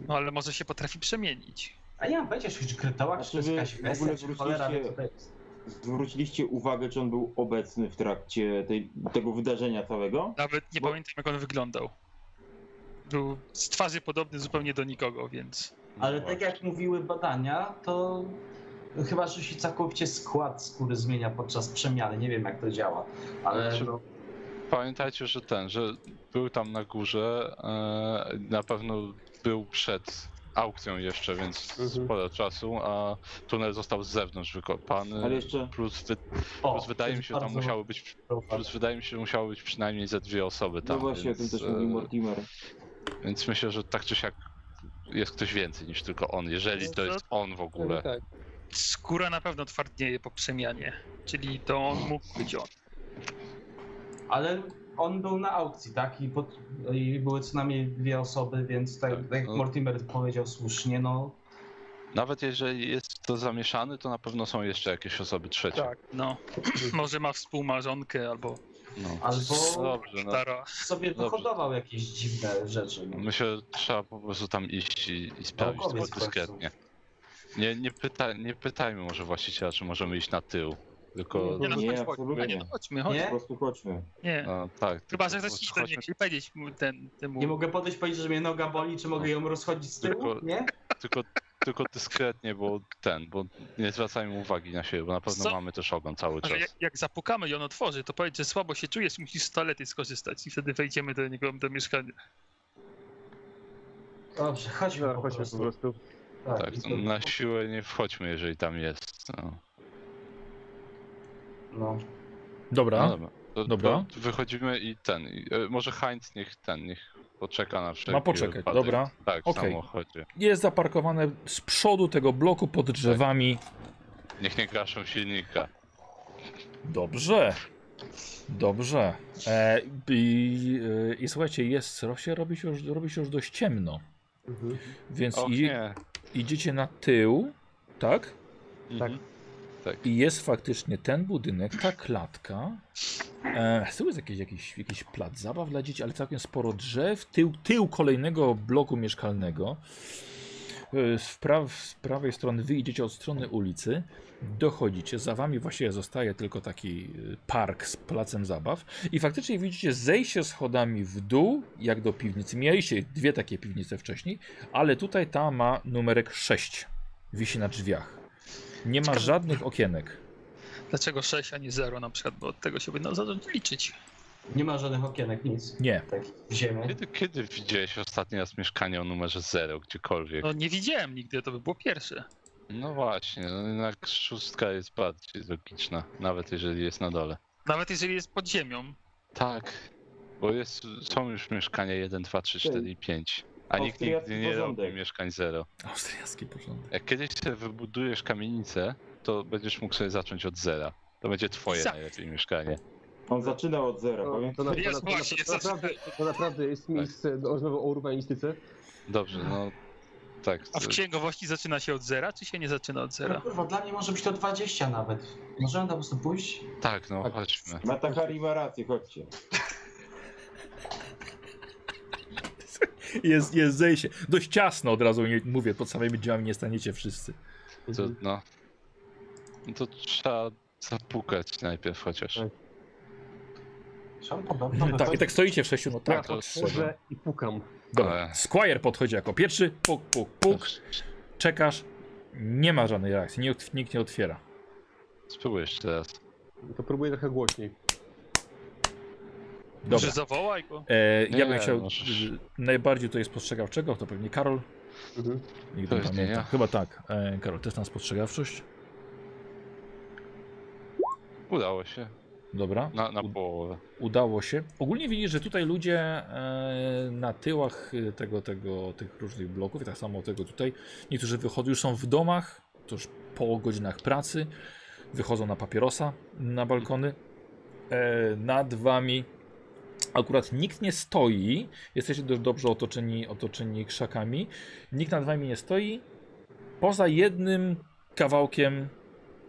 Speaker 6: No ale może się potrafi przemienić.
Speaker 4: A ja mam pojęcia, czy kretołak,
Speaker 5: A
Speaker 4: czy
Speaker 5: czy
Speaker 4: to jest
Speaker 5: wy
Speaker 4: jakaś
Speaker 5: Znaczy, w ogóle
Speaker 4: bestia, czy cholera wie, co
Speaker 5: zwróciliście-
Speaker 4: to jest.
Speaker 5: zwróciliście uwagę, czy on był obecny w trakcie tej, tego wydarzenia całego?
Speaker 6: Nawet nie
Speaker 5: Bo-
Speaker 6: pamiętam, jak on wyglądał. Był z twarzy podobny zupełnie do nikogo, więc.
Speaker 4: Ale tak jak mówiły badania, to chyba, że się całkowicie skład skóry zmienia podczas przemiany. Nie wiem, jak to działa, ale
Speaker 3: Znaczy,
Speaker 4: no,
Speaker 3: Pamiętajcie, że ten, że był tam na górze, e, na pewno był przed aukcją jeszcze, więc
Speaker 2: Mhm.
Speaker 3: sporo czasu, a tunel został z zewnątrz wykopany.
Speaker 5: Ale jeszcze
Speaker 3: Plus, wy,
Speaker 4: o,
Speaker 3: plus wydaje
Speaker 4: to
Speaker 3: mi
Speaker 4: jest
Speaker 3: się, że tam
Speaker 4: bardzo
Speaker 3: musiały być,
Speaker 4: zaufane.
Speaker 3: plus wydaje mi się, że musiało być przynajmniej ze dwie osoby tam.
Speaker 5: no właśnie, o tym
Speaker 3: więc,
Speaker 5: też mówił
Speaker 3: e,
Speaker 5: Mortimer.
Speaker 3: Więc myślę, że tak czy siak jest ktoś więcej niż tylko on, jeżeli
Speaker 6: No
Speaker 3: to
Speaker 6: to-
Speaker 3: jest on w ogóle.
Speaker 2: Tak.
Speaker 6: Skóra na pewno twardnieje po przemianie. Czyli to on mógł być on.
Speaker 4: Ale on był na aukcji, tak? I, pod, I były co najmniej dwie osoby, więc tak,
Speaker 3: Tak,
Speaker 4: tak jak
Speaker 3: no.
Speaker 4: Mortimer powiedział słusznie, no
Speaker 3: Nawet jeżeli jest to zamieszany, to na pewno są jeszcze jakieś osoby trzecie.
Speaker 6: No. Może ma współmarzonkę albo
Speaker 3: No.
Speaker 4: Albo-
Speaker 3: Dobrze, no.
Speaker 6: stara.
Speaker 4: sobie
Speaker 3: Dobrze.
Speaker 4: pohodował jakieś dziwne rzeczy. No.
Speaker 3: Myślę, że trzeba po prostu tam iść i, i sprawdzić
Speaker 4: Naukowiec
Speaker 3: to
Speaker 4: w końcu.
Speaker 3: dyskretnie. Nie, nie, pyta, nie pytajmy może właściciela, czy możemy iść na tył. Tylko.
Speaker 6: Nie, no,
Speaker 5: Nie,
Speaker 6: chodź, chodź. A nie,
Speaker 5: absolutnie.
Speaker 6: no chodźmy, chodź.
Speaker 5: Po
Speaker 4: Nie?
Speaker 5: prostu chodźmy.
Speaker 6: Nie.
Speaker 3: No, tak.
Speaker 6: Chyba, że
Speaker 3: tylko
Speaker 6: ktoś iść do
Speaker 3: chodźmy,
Speaker 6: niego i powiedzieć mu ten, temu.
Speaker 4: Nie mogę podejść powiedzieć, że mnie noga boli, czy mogę ją rozchodzić z tyłu,
Speaker 3: Tylko-
Speaker 4: nie?
Speaker 3: tylko, tylko dyskretnie, bo ten, bo nie zwracajmy uwagi na siebie, bo na pewno
Speaker 6: Co?
Speaker 3: mamy też ogon cały czas.
Speaker 6: Ale jak, jak zapukamy i on otworzy, to powiedz, że słabo się czujesz, musisz z toalety skorzystać i wtedy wejdziemy do niego do mieszkania.
Speaker 4: Dobrze, chodźmy
Speaker 2: Dobra, No,
Speaker 4: po
Speaker 2: chodźmy po
Speaker 4: prostu.
Speaker 2: prostu.
Speaker 3: Tak,
Speaker 4: i
Speaker 3: to
Speaker 4: to-
Speaker 3: na siłę nie wchodźmy, jeżeli tam jest. No,
Speaker 4: no.
Speaker 1: Dobra.
Speaker 3: no dobra. To,
Speaker 1: Dobra.
Speaker 3: To wychodzimy i ten. I, e, może Heinz niech ten, niech poczeka na wszelki
Speaker 1: Ma poczekać,
Speaker 3: wypadek.
Speaker 1: dobra.
Speaker 3: Tak, w
Speaker 1: Okej.
Speaker 3: samochodzie.
Speaker 1: Jest zaparkowane z przodu tego bloku pod drzewami.
Speaker 3: Niech nie gaszą silnika.
Speaker 1: Dobrze. Dobrze. E, i, e, I słuchajcie, jest rośnie, robi się już, robi się już dość ciemno.
Speaker 2: Mhm.
Speaker 1: Więc
Speaker 3: O,
Speaker 1: i,
Speaker 3: nie.
Speaker 1: idziecie na tył, tak?
Speaker 3: Tak.
Speaker 1: I jest faktycznie ten budynek, ta klatka. E, tu jest jakiś, jakiś, jakiś plac zabaw dla dzieci, ale całkiem sporo drzew. Tył, tył kolejnego bloku mieszkalnego. E, Z, pra z prawej strony wyjdziecie od strony ulicy, dochodzicie, za wami właściwie zostaje tylko taki e, park z placem zabaw i faktycznie widzicie zejście schodami w dół, jak do piwnicy. Mieliście dwie takie piwnice wcześniej, ale tutaj ta ma numerek 6, wisi na drzwiach. Nie ma
Speaker 6: Ciekawe.
Speaker 1: żadnych okienek.
Speaker 6: Dlaczego 6, a nie 0 na przykład, bo od tego się będą zacząć liczyć.
Speaker 4: Nie ma żadnych okienek, nic.
Speaker 1: Nie.
Speaker 4: Tak, w ziemię.
Speaker 3: Kiedy, kiedy widziałeś ostatni raz mieszkanie o numerze 0 gdziekolwiek?
Speaker 6: No nie widziałem nigdy, to by było pierwsze.
Speaker 3: No właśnie, no jednak szóstka jest bardziej logiczna, nawet jeżeli jest na dole.
Speaker 6: Nawet jeżeli jest pod ziemią.
Speaker 3: Tak, bo jest, są już mieszkania 1, 2, 3, 4 i 5. A nikt
Speaker 5: Austriacki
Speaker 3: nigdy nie robi
Speaker 5: porządek.
Speaker 3: mieszkań 0.
Speaker 1: Austriacki porządek.
Speaker 3: Jak kiedyś sobie wybudujesz kamienicę, to będziesz mógł sobie zacząć od zera. To będzie twoje
Speaker 6: Za-
Speaker 3: najlepiej mieszkanie.
Speaker 5: On zaczynał od
Speaker 2: No,
Speaker 5: zera,
Speaker 2: To,
Speaker 5: pamiętam.
Speaker 2: to, na, to, na,
Speaker 6: Jest
Speaker 2: to, na,
Speaker 6: właśnie, jest
Speaker 2: to, naprawdę, to naprawdę jest
Speaker 3: Tak.
Speaker 2: miejsce do rozmowy o urbanistyce.
Speaker 3: Dobrze, no tak.
Speaker 6: A w
Speaker 3: to-
Speaker 6: księgowości zaczyna się od zera, czy się nie zaczyna od
Speaker 4: No
Speaker 6: zera?
Speaker 4: kurwa, dla mnie może być to 20 nawet. Możemy tam po prostu pójść?
Speaker 3: Tak, no
Speaker 2: Tak.
Speaker 3: chodźmy.
Speaker 5: Mhm. Matahari ma rację, chodźcie.
Speaker 1: Jest, jest zejście. Dość ciasno od razu nie, mówię, pod samymi drzwiami nie staniecie wszyscy.
Speaker 3: To, no. No to trzeba zapukać najpierw chociaż.
Speaker 2: Tak.
Speaker 4: Trzeba podobno
Speaker 1: Tak, i tak stoicie w sześciu, no tak.
Speaker 3: to
Speaker 1: trzeba.
Speaker 2: Chodzę i pukam.
Speaker 1: Dobra. Squire podchodzi jako pierwszy, puk, puk, puk, czekasz. Nie ma żadnej reakcji, nie, otw- nikt nie otwiera.
Speaker 3: Spróbuj jeszcze raz.
Speaker 2: To próbuję trochę głośniej.
Speaker 1: Dobra.
Speaker 6: Może zawołaj go.
Speaker 1: E, ja
Speaker 3: Nie,
Speaker 1: bym chciał
Speaker 3: możesz.
Speaker 1: y, najbardziej tutaj spostrzegawczego, to pewnie Karol.
Speaker 2: Mhm.
Speaker 1: Nikt nie
Speaker 3: Pewnie
Speaker 1: pamięta.
Speaker 3: ja.
Speaker 1: Chyba tak. E, Karol, test na spostrzegawczość.
Speaker 3: Udało się.
Speaker 1: Dobra.
Speaker 3: Na, na
Speaker 1: U-
Speaker 3: połowę.
Speaker 1: udało się. Ogólnie widzisz, że tutaj ludzie e, na tyłach e, tego, tego, tych różnych bloków, i tak samo tego tutaj, niektórzy wychodzą, już są w domach, to już po godzinach pracy, wychodzą na papierosa, na balkony. E, nad wami akurat nikt nie stoi, jesteście dość dobrze otoczeni, otoczeni krzakami, nikt nad wami nie stoi, poza jednym kawałkiem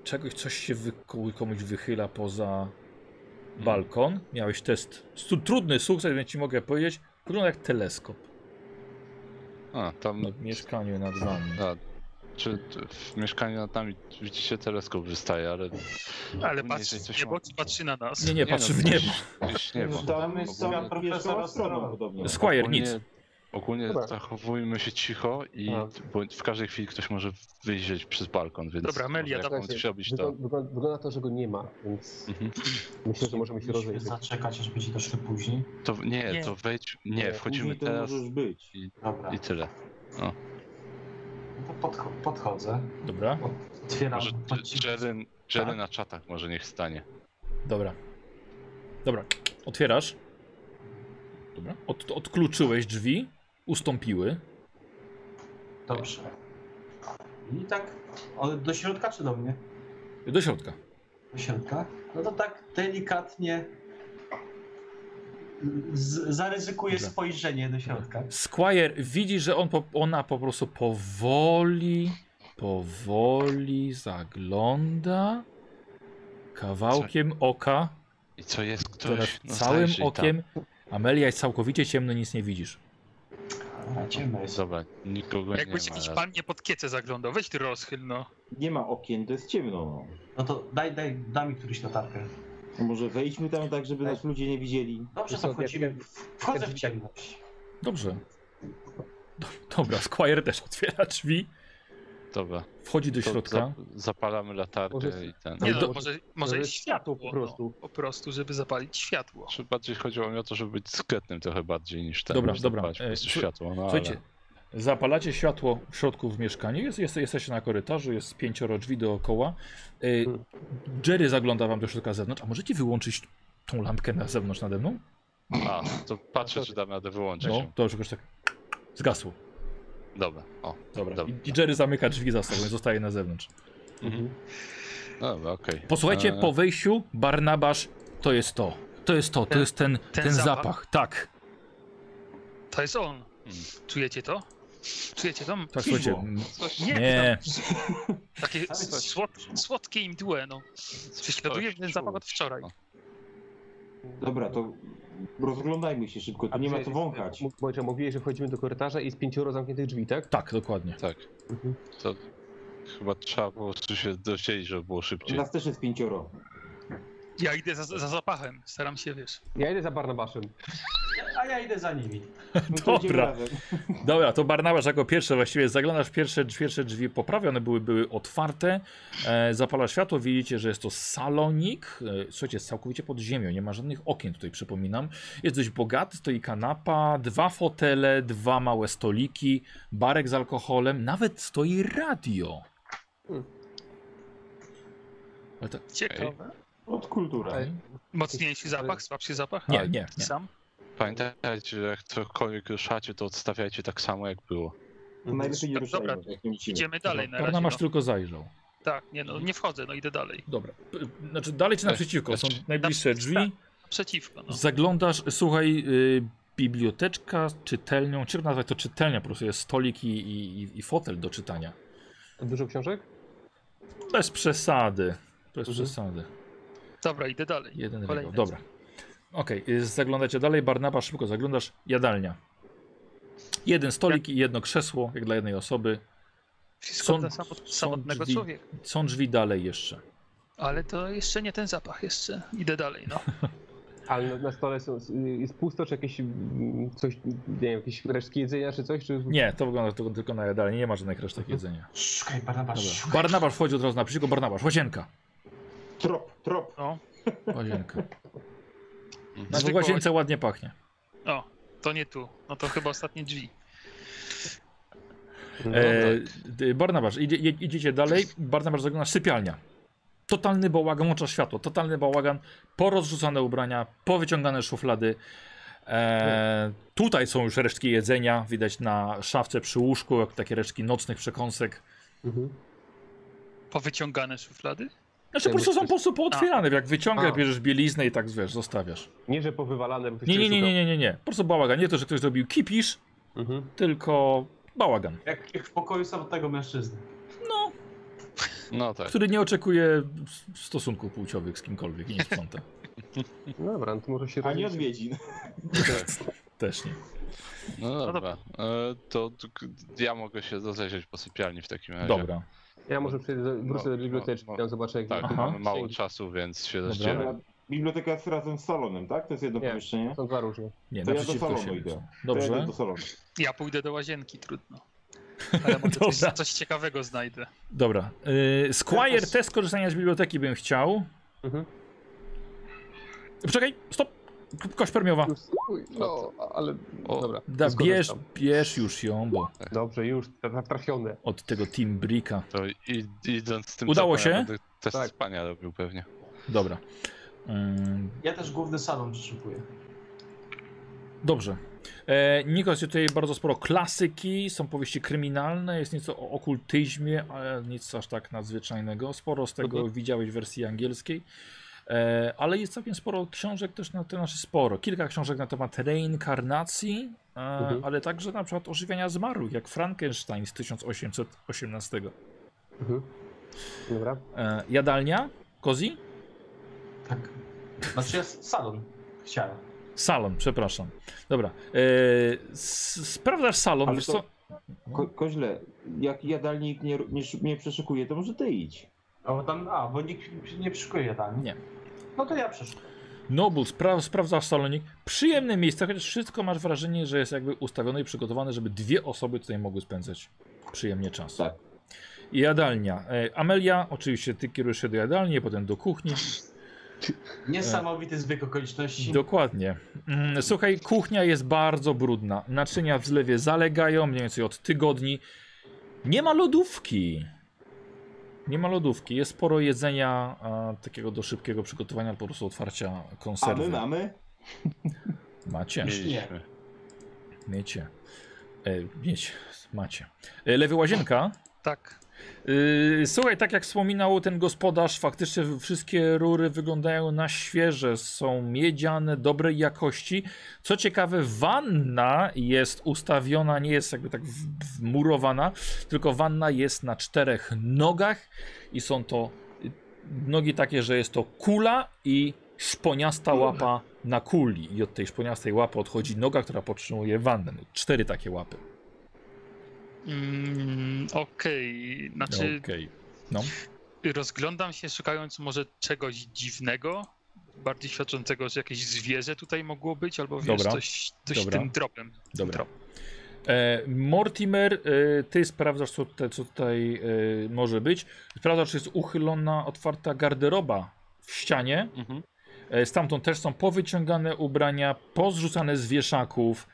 Speaker 1: czegoś, coś się wy, komuś wychyla poza Mhm. balkon. Miałeś test. stu- Trudny sukces, więc ci mogę powiedzieć. Wygląda jak teleskop
Speaker 3: A, tam.
Speaker 1: Tak, na mieszkaniu nad wami.
Speaker 3: A, czy t- w mieszkaniu nad nami widzicie teleskop wystaje, ale...
Speaker 6: Ale
Speaker 3: ogólnie,
Speaker 6: patrzy
Speaker 3: jeżeli
Speaker 6: w niebo czy patrzy na nas?
Speaker 1: Nie, nie, patrzy w niebo.
Speaker 3: no, Gdzieś niebo.
Speaker 5: Tam jest
Speaker 3: Ogólnie-
Speaker 5: cała mieszkała astronom podobno.
Speaker 1: Squire, nic.
Speaker 3: Ogólnie- Ogólnie
Speaker 2: Dobra.
Speaker 3: zachowujmy się cicho i
Speaker 2: No.
Speaker 3: bo w każdej chwili ktoś może wyjrzeć przez balkon, więc
Speaker 6: Dobra, Melia,
Speaker 3: jak
Speaker 6: dawaj.
Speaker 3: on zrobić
Speaker 2: Wygl-
Speaker 3: to.
Speaker 2: wygl- wygląda No to, że go nie ma, więc
Speaker 3: Mhm.
Speaker 2: myślę, że możemy się
Speaker 4: Musimy
Speaker 2: rozejrzeć.
Speaker 4: zaczekać, aż będzie troszkę później.
Speaker 3: to nie,
Speaker 6: Nie.
Speaker 3: to wejdź. Nie, wchodzimy
Speaker 5: Później to
Speaker 3: teraz
Speaker 5: możesz być.
Speaker 4: Dobra,
Speaker 3: i tyle.
Speaker 4: no to podcho- podchodzę.
Speaker 1: Dobra,
Speaker 4: Otwieram.
Speaker 3: Może
Speaker 4: po cichu.
Speaker 3: Jerry,
Speaker 1: Tak.
Speaker 3: Jerry na czatach może niech stanie.
Speaker 1: dobra. Dobra, otwierasz. Dobra, Od, odkluczyłeś drzwi, ustąpiły.
Speaker 4: Dobrze. I tak, ale do środka czy do mnie?
Speaker 1: Do środka.
Speaker 4: Do środka. No to tak delikatnie z- zaryzykuję
Speaker 1: Dobra.
Speaker 4: spojrzenie do środka.
Speaker 1: Squire widzi, że on po, ona po prostu powoli, powoli zagląda kawałkiem oka,
Speaker 3: I co jest
Speaker 1: które
Speaker 3: ktoś? No,
Speaker 1: całym
Speaker 3: zajrzyj tam.
Speaker 1: okiem. Amelia jest całkowicie ciemno, nic nie widzisz.
Speaker 4: Dobra, ciemno jest.
Speaker 3: Dobra, nikogo nie
Speaker 6: Jakbyś
Speaker 3: ma.
Speaker 6: jakiś
Speaker 3: ale-
Speaker 6: pan mnie pod kiece zaglądał, weź ty rozchyl, no.
Speaker 5: Nie ma okien, to jest ciemno.
Speaker 4: No to daj, daj, daj mi któryś latarkę.
Speaker 5: No. Może wejdźmy tam tak, żeby nas ludzie nie widzieli.
Speaker 4: Dobrze,
Speaker 2: No Co,
Speaker 4: to wchodzimy.
Speaker 2: jak-
Speaker 4: Wchodzę
Speaker 2: jak-
Speaker 4: w ciemność.
Speaker 1: Dobrze. Do, dobra, Squire też otwiera drzwi,
Speaker 3: Dobra.
Speaker 1: wchodzi do
Speaker 3: to
Speaker 1: środka.
Speaker 3: za- Zapalamy
Speaker 2: Może-
Speaker 3: latarkę i ten.
Speaker 6: Nie
Speaker 2: to
Speaker 6: no,
Speaker 2: może-
Speaker 6: może, może
Speaker 2: może
Speaker 6: jest światło.
Speaker 2: po prostu.
Speaker 6: No, po prostu, żeby zapalić światło.
Speaker 3: Czy bardziej chodziło mi o to, żeby być dyskretnym trochę bardziej niż ten.
Speaker 1: Dobra,
Speaker 3: żeby
Speaker 1: dobra,
Speaker 3: zapalać Po
Speaker 1: e,
Speaker 3: prostu
Speaker 1: słu-
Speaker 3: światło, no
Speaker 1: Słuchajcie, zapalacie światło w środku w mieszkaniu, jest, jest, jesteście na korytarzu, jest pięcioro drzwi dookoła. Y, Jerry zagląda wam do środka z zewnątrz, a możecie wyłączyć tą lampkę na zewnątrz nade mną?
Speaker 3: ale... A, no to patrzę, czy dam radę wyłączyć
Speaker 1: No,
Speaker 3: ją.
Speaker 1: to już tak zgasło.
Speaker 3: Dobra, o.
Speaker 1: Dobra.
Speaker 3: Dobra.
Speaker 1: I Jerry zamyka drzwi za sobą, zostaje na zewnątrz.
Speaker 3: No Dobra, okej.
Speaker 1: Posłuchajcie,
Speaker 3: E,
Speaker 1: po wejściu Barnabasz to jest to. To jest to, to
Speaker 6: Ten-
Speaker 1: jest ten, ten, zapach.
Speaker 6: zapach?
Speaker 1: Tak.
Speaker 6: To jest on.
Speaker 3: Hmm.
Speaker 6: Czujecie to? Czujecie to?
Speaker 1: Tak, słuchajcie.
Speaker 6: Piwo.
Speaker 1: m-
Speaker 3: Coś,
Speaker 6: Nie,
Speaker 1: Nie,
Speaker 6: Takie
Speaker 4: Coś-
Speaker 6: słod, słodkie im dłe, no. Prześladuje mnie zapach od wczoraj.
Speaker 5: Dobra, to rozglądajmy się szybko, tu nie ma co wąchać.
Speaker 2: M- Wojciech, mówiłeś, że wchodzimy do korytarza i z pięcioro zamkniętych drzwi, tak?
Speaker 1: tak, dokładnie.
Speaker 3: Tak.
Speaker 2: Mhm.
Speaker 3: To chyba trzeba po prostu się dowiedzieć, żeby było szybciej.
Speaker 1: No.
Speaker 5: Nas też jest pięcioro.
Speaker 6: Ja idę za, za zapachem, staram się, wiesz.
Speaker 2: Ja idę za Barnabaszem.
Speaker 4: A ja idę za nimi.
Speaker 5: No to idziemy
Speaker 1: Dobra.
Speaker 5: razem.
Speaker 1: Dobra, to Barnabasz jako pierwszy właściwie zaglądasz, pierwsze, pierwsze drzwi poprawia, one były, były otwarte. E, zapala światło, widzicie, że jest to salonik. E, słuchajcie, jest całkowicie pod ziemią, nie ma żadnych okien tutaj, przypominam. Jest dość bogaty, stoi kanapa, dwa fotele, dwa małe stoliki, barek z alkoholem, nawet stoi radio.
Speaker 2: Hmm.
Speaker 1: Ale to,
Speaker 6: Ciekawe.
Speaker 5: Od kultura.
Speaker 2: Ale-
Speaker 6: Mocniejszy zapach, słabszy zapach? Tak.
Speaker 1: nie, nie, nie.
Speaker 6: Sam?
Speaker 3: Pamiętajcie, że jak cokolwiek ruszacie, to odstawiajcie tak samo, jak było.
Speaker 1: Mhm.
Speaker 5: Najlepiej nie
Speaker 3: Tak,
Speaker 6: Dobra,
Speaker 5: ruszajmy,
Speaker 6: dobra,
Speaker 5: jak nie musimy.
Speaker 6: Idziemy dalej na razie.
Speaker 1: Barnabasz
Speaker 6: No.
Speaker 1: tylko zajrzał.
Speaker 6: Tak, nie no, nie wchodzę, no idę dalej.
Speaker 1: Dobra, P- znaczy dalej czy naprzeciwko,
Speaker 6: Znaczy,
Speaker 1: są najbliższe drzwi.
Speaker 6: Przeciwko, no.
Speaker 1: Zaglądasz, słuchaj, y, biblioteczka, czytelnią, czy nazwać to czytelnia, po prostu jest stolik i, i, i- i fotel do czytania.
Speaker 2: Dużo książek?
Speaker 1: Bez przesady, bez
Speaker 2: Mhm.
Speaker 1: przesady.
Speaker 6: Dobra, idę dalej.
Speaker 1: Jeden
Speaker 6: Kolejne.
Speaker 1: regał, dobra. Okej, y, zaglądacie dalej, Barnaba, szybko zaglądasz, jadalnia. Jeden stolik i jedno krzesło, jak dla jednej osoby.
Speaker 6: Wszystko
Speaker 1: Są-
Speaker 6: dla samot,
Speaker 1: są
Speaker 6: samotnego
Speaker 1: drzwi.
Speaker 6: człowieka.
Speaker 1: Są drzwi dalej jeszcze.
Speaker 6: Ale to jeszcze nie ten zapach, jeszcze idę dalej, no.
Speaker 2: Ale na, na stole są, jest pusto, czy jakieś mm, coś, nie wiem, jakieś resztki jedzenia, czy coś? Czy...
Speaker 1: Nie, to wygląda tylko, tylko na jadalnię, nie ma żadnych
Speaker 2: Mhm.
Speaker 1: resztek jedzenia.
Speaker 4: Szukaj, Barnabasz,
Speaker 1: Dobra.
Speaker 4: szukaj.
Speaker 1: Barnabasz wchodzi od razu na przeciwko, Barnabasz, łazienka.
Speaker 5: Trop, trop.
Speaker 1: No. Łazienka.
Speaker 2: Mhm.
Speaker 1: No, w
Speaker 6: Zwykła
Speaker 1: łazience ładnie pachnie.
Speaker 6: O, to nie tu. No to chyba ostatnie drzwi.
Speaker 2: No
Speaker 1: E,
Speaker 2: tak.
Speaker 1: d- Barnabasz, idzie, idzie- idziecie dalej. Barnabasz zagląda sypialnia. Totalny bałagan, łącza światło, totalny bałagan, porozrzucane ubrania, powyciągane szuflady. E, tutaj są już resztki jedzenia, widać na szafce przy łóżku, jak takie resztki nocnych przekąsek.
Speaker 2: Mhm.
Speaker 6: Powyciągane szuflady?
Speaker 1: Znaczy po prostu są po prostu pootwierane, jak
Speaker 2: A.
Speaker 1: wyciągasz, bierzesz bieliznę i tak wiesz, zostawiasz.
Speaker 2: Nie, że powywalane, bo ktoś
Speaker 1: Nie, nie,
Speaker 2: czegoś
Speaker 1: nie,
Speaker 2: szukał.
Speaker 1: nie, nie, nie, nie. Po prostu bałagan. Nie to, że ktoś zrobił kipisz,
Speaker 2: Mhm.
Speaker 1: tylko bałagan,
Speaker 4: Jak, jak w pokoju samotnego mężczyzny.
Speaker 3: No tak.
Speaker 1: który nie oczekuje s- stosunków płciowych z kimkolwiek i nie sprząta.
Speaker 2: Dobra, no to może się
Speaker 5: A nie
Speaker 2: rozejrzeć.
Speaker 5: odwiedzin.
Speaker 1: Też nie.
Speaker 3: No dobra, e, to, to k- ja mogę się zajrzeć po sypialni w takim razie.
Speaker 1: Dobra.
Speaker 2: Ja może przyjdę, do- wrócę do biblioteczki,
Speaker 3: no.
Speaker 2: tam zobaczę jak...
Speaker 3: Tak,
Speaker 1: Aha.
Speaker 3: mamy mało czasu, więc się rozdzielę.
Speaker 5: Ale Biblioteka jest razem z salonem, tak? To jest jedno
Speaker 2: Nie.
Speaker 5: pomieszczenie?
Speaker 2: Są dwa różne.
Speaker 1: Nie,
Speaker 5: To ja do
Speaker 1: naprzeciwko
Speaker 5: salonu
Speaker 1: siebie
Speaker 5: idę.
Speaker 1: są.
Speaker 5: To ja
Speaker 1: Dobrze.
Speaker 5: idę do salonu.
Speaker 6: Ja pójdę do łazienki, trudno. Ale może coś,
Speaker 1: Dobra.
Speaker 6: coś ciekawego znajdę.
Speaker 1: Dobra. Y, Squire test korzystania z biblioteki bym chciał.
Speaker 2: Mhm.
Speaker 1: Poczekaj, stop. Ko- Kość permiowa.
Speaker 2: Już, uj, no, ale
Speaker 3: O.
Speaker 2: dobra.
Speaker 1: Da, bierz,
Speaker 2: skorzystam.
Speaker 1: bierz już ją, bo
Speaker 2: Dobrze, już, tra- trafione.
Speaker 1: od tego Team Bricka.
Speaker 3: To i, idąc z tym
Speaker 1: Udało
Speaker 3: tropem, ja
Speaker 1: się?
Speaker 3: będę Test
Speaker 2: Tak.
Speaker 3: spania robił pewnie.
Speaker 1: Dobra. Mm, Ym,
Speaker 4: Ja też główny salon przyszykuję.
Speaker 1: Dobrze. E, Nikos, tutaj bardzo sporo klasyki, są powieści kryminalne, jest nieco o okultyzmie, ale nic aż tak nadzwyczajnego. Sporo z tego
Speaker 2: Mhm.
Speaker 1: widziałeś w wersji angielskiej. E, ale jest całkiem sporo książek też na te nasze sporo. Kilka książek na temat reinkarnacji, e,
Speaker 2: Mhm.
Speaker 1: ale także na przykład ożywiania zmarłych, jak Frankenstein z 1818.
Speaker 2: Mhm. Dobra.
Speaker 1: E, jadalnia? Kozi?
Speaker 4: Tak. Znaczy ja s- salon chciałem.
Speaker 1: Salon, przepraszam. Dobra. E, s- sprawdzasz salon.
Speaker 5: Ale
Speaker 1: wiesz
Speaker 5: to-
Speaker 1: co?
Speaker 5: Ko koźle, jak jadalnik nie, nie, nie przeszukuje, to może ty idź.
Speaker 4: A bo tam, a, bo nikt nie przykuje tam.
Speaker 1: Nie.
Speaker 4: No to ja przeszukuję.
Speaker 1: Nobul, spra sprawdzasz salonik. Przyjemne miejsce, chociaż wszystko masz wrażenie, że jest jakby ustawione i przygotowane, żeby dwie osoby tutaj mogły spędzać przyjemnie czas.
Speaker 5: Tak.
Speaker 1: I jadalnia. E, Amelia, oczywiście ty kierujesz się do jadalni, potem do kuchni.
Speaker 4: Niesamowity zbieg okoliczności.
Speaker 1: Dokładnie. Mm, Słuchaj, kuchnia jest bardzo brudna. Naczynia w zlewie zalegają mniej więcej od tygodni. Nie ma lodówki. Nie ma lodówki. Jest sporo jedzenia a, takiego do szybkiego przygotowania, po prostu otwarcia
Speaker 5: A my
Speaker 1: konserwy.
Speaker 5: mamy?
Speaker 1: Macie.
Speaker 3: Mieliśmy.
Speaker 1: Miecie. E, mieć, macie. E, lewy łazienka.
Speaker 6: Tak.
Speaker 1: E, słuchaj, tak jak wspominał ten gospodarz, faktycznie wszystkie rury wyglądają na świeże, są miedziane, dobrej jakości. Co ciekawe, wanna jest ustawiona, nie jest jakby tak w- wmurowana, tylko wanna jest na czterech nogach i są to y, nogi takie, że jest to kula i szponiasta łapa na kuli. I od tej szponiastej łapy odchodzi noga, która podtrzymuje wannę. No, cztery takie łapy.
Speaker 6: Mm, Okej, znaczy
Speaker 1: Okej.
Speaker 6: rozglądam się szukając może czegoś dziwnego, bardziej świadczącego, że jakieś zwierzę tutaj mogło być, albo wiesz,
Speaker 1: Dobra,
Speaker 6: coś, coś
Speaker 1: dobra.
Speaker 6: tym dropem.
Speaker 1: Dobra.
Speaker 6: Drop.
Speaker 1: E, Mortimer, e, ty sprawdzasz, co tutaj, co tutaj e, może być. Sprawdzasz, czy jest uchylona, otwarta garderoba w ścianie.
Speaker 3: Mhm.
Speaker 1: E, stamtąd też są powyciągane ubrania, pozrzucane z wieszaków.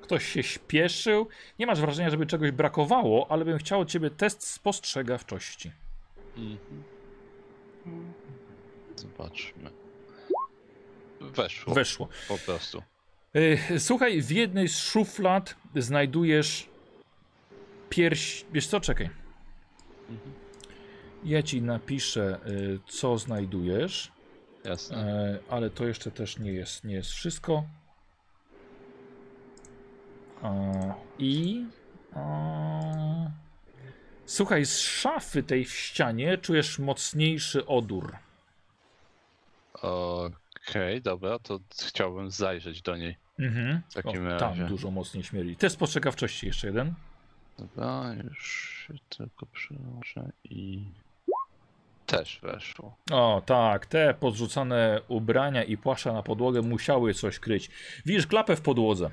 Speaker 1: Ktoś się śpieszył. Nie masz wrażenia, żeby czegoś brakowało, ale bym chciał od ciebie test spostrzegawczości.
Speaker 3: Mhm. Zobaczmy. Weszło
Speaker 1: Weszło.
Speaker 3: po prostu.
Speaker 1: E, Słuchaj, w jednej z szuflad znajdujesz pierś. Wiesz co, czekaj. Ja ci napiszę, y, co znajdujesz,
Speaker 3: Jasne.
Speaker 1: e, ale to jeszcze też nie jest, nie jest wszystko. E, I. e, Słuchaj, z szafy tej w ścianie czujesz mocniejszy odór.
Speaker 3: Okej, dobra, to chciałbym zajrzeć do niej.
Speaker 1: Mhm.
Speaker 3: W takim
Speaker 1: o,
Speaker 3: razie.
Speaker 1: tam dużo mocniej śmierdzi. Test postrzegawczości, jeszcze jeden.
Speaker 3: Dobra, już się tylko przyłączę i... Też weszło.
Speaker 1: O, tak, te podrzucane ubrania i płaszcza na podłogę musiały coś kryć. Widzisz klapę w podłodze.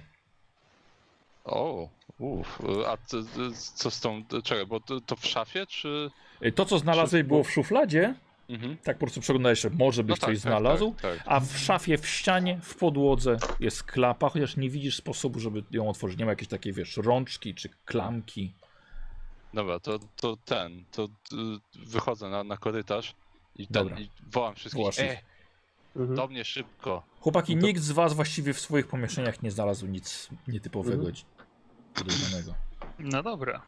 Speaker 3: O, uff, a ty, ty, co z tą... Czekaj, bo to, to w szafie, czy...
Speaker 1: Y, To, co znalazłeś,
Speaker 3: Wszystko.
Speaker 1: było w szufladzie.
Speaker 3: Mhm.
Speaker 1: Tak po prostu przeglądałeś, że może byś
Speaker 3: tak,
Speaker 1: coś
Speaker 3: tak,
Speaker 1: znalazł.
Speaker 3: Tak, tak.
Speaker 1: A w szafie, w ścianie, w podłodze jest klapa, chociaż nie widzisz sposobu, żeby ją otworzyć. Nie ma jakiejś takiej, wiesz, rączki czy klamki.
Speaker 3: Dobra, to, to ten, to y, wychodzę na, na korytarz i, ten,
Speaker 1: Dobra.
Speaker 3: i wołam wszystkich,
Speaker 1: Wołasz
Speaker 3: e,
Speaker 2: Mhm.
Speaker 4: No,
Speaker 3: do mnie szybko.
Speaker 1: Chłopaki,
Speaker 3: No
Speaker 1: nikt z was właściwie w swoich pomieszczeniach nie znalazł nic nietypowego,
Speaker 2: Mhm.
Speaker 1: mhm. podejrzanego.
Speaker 6: No dobra.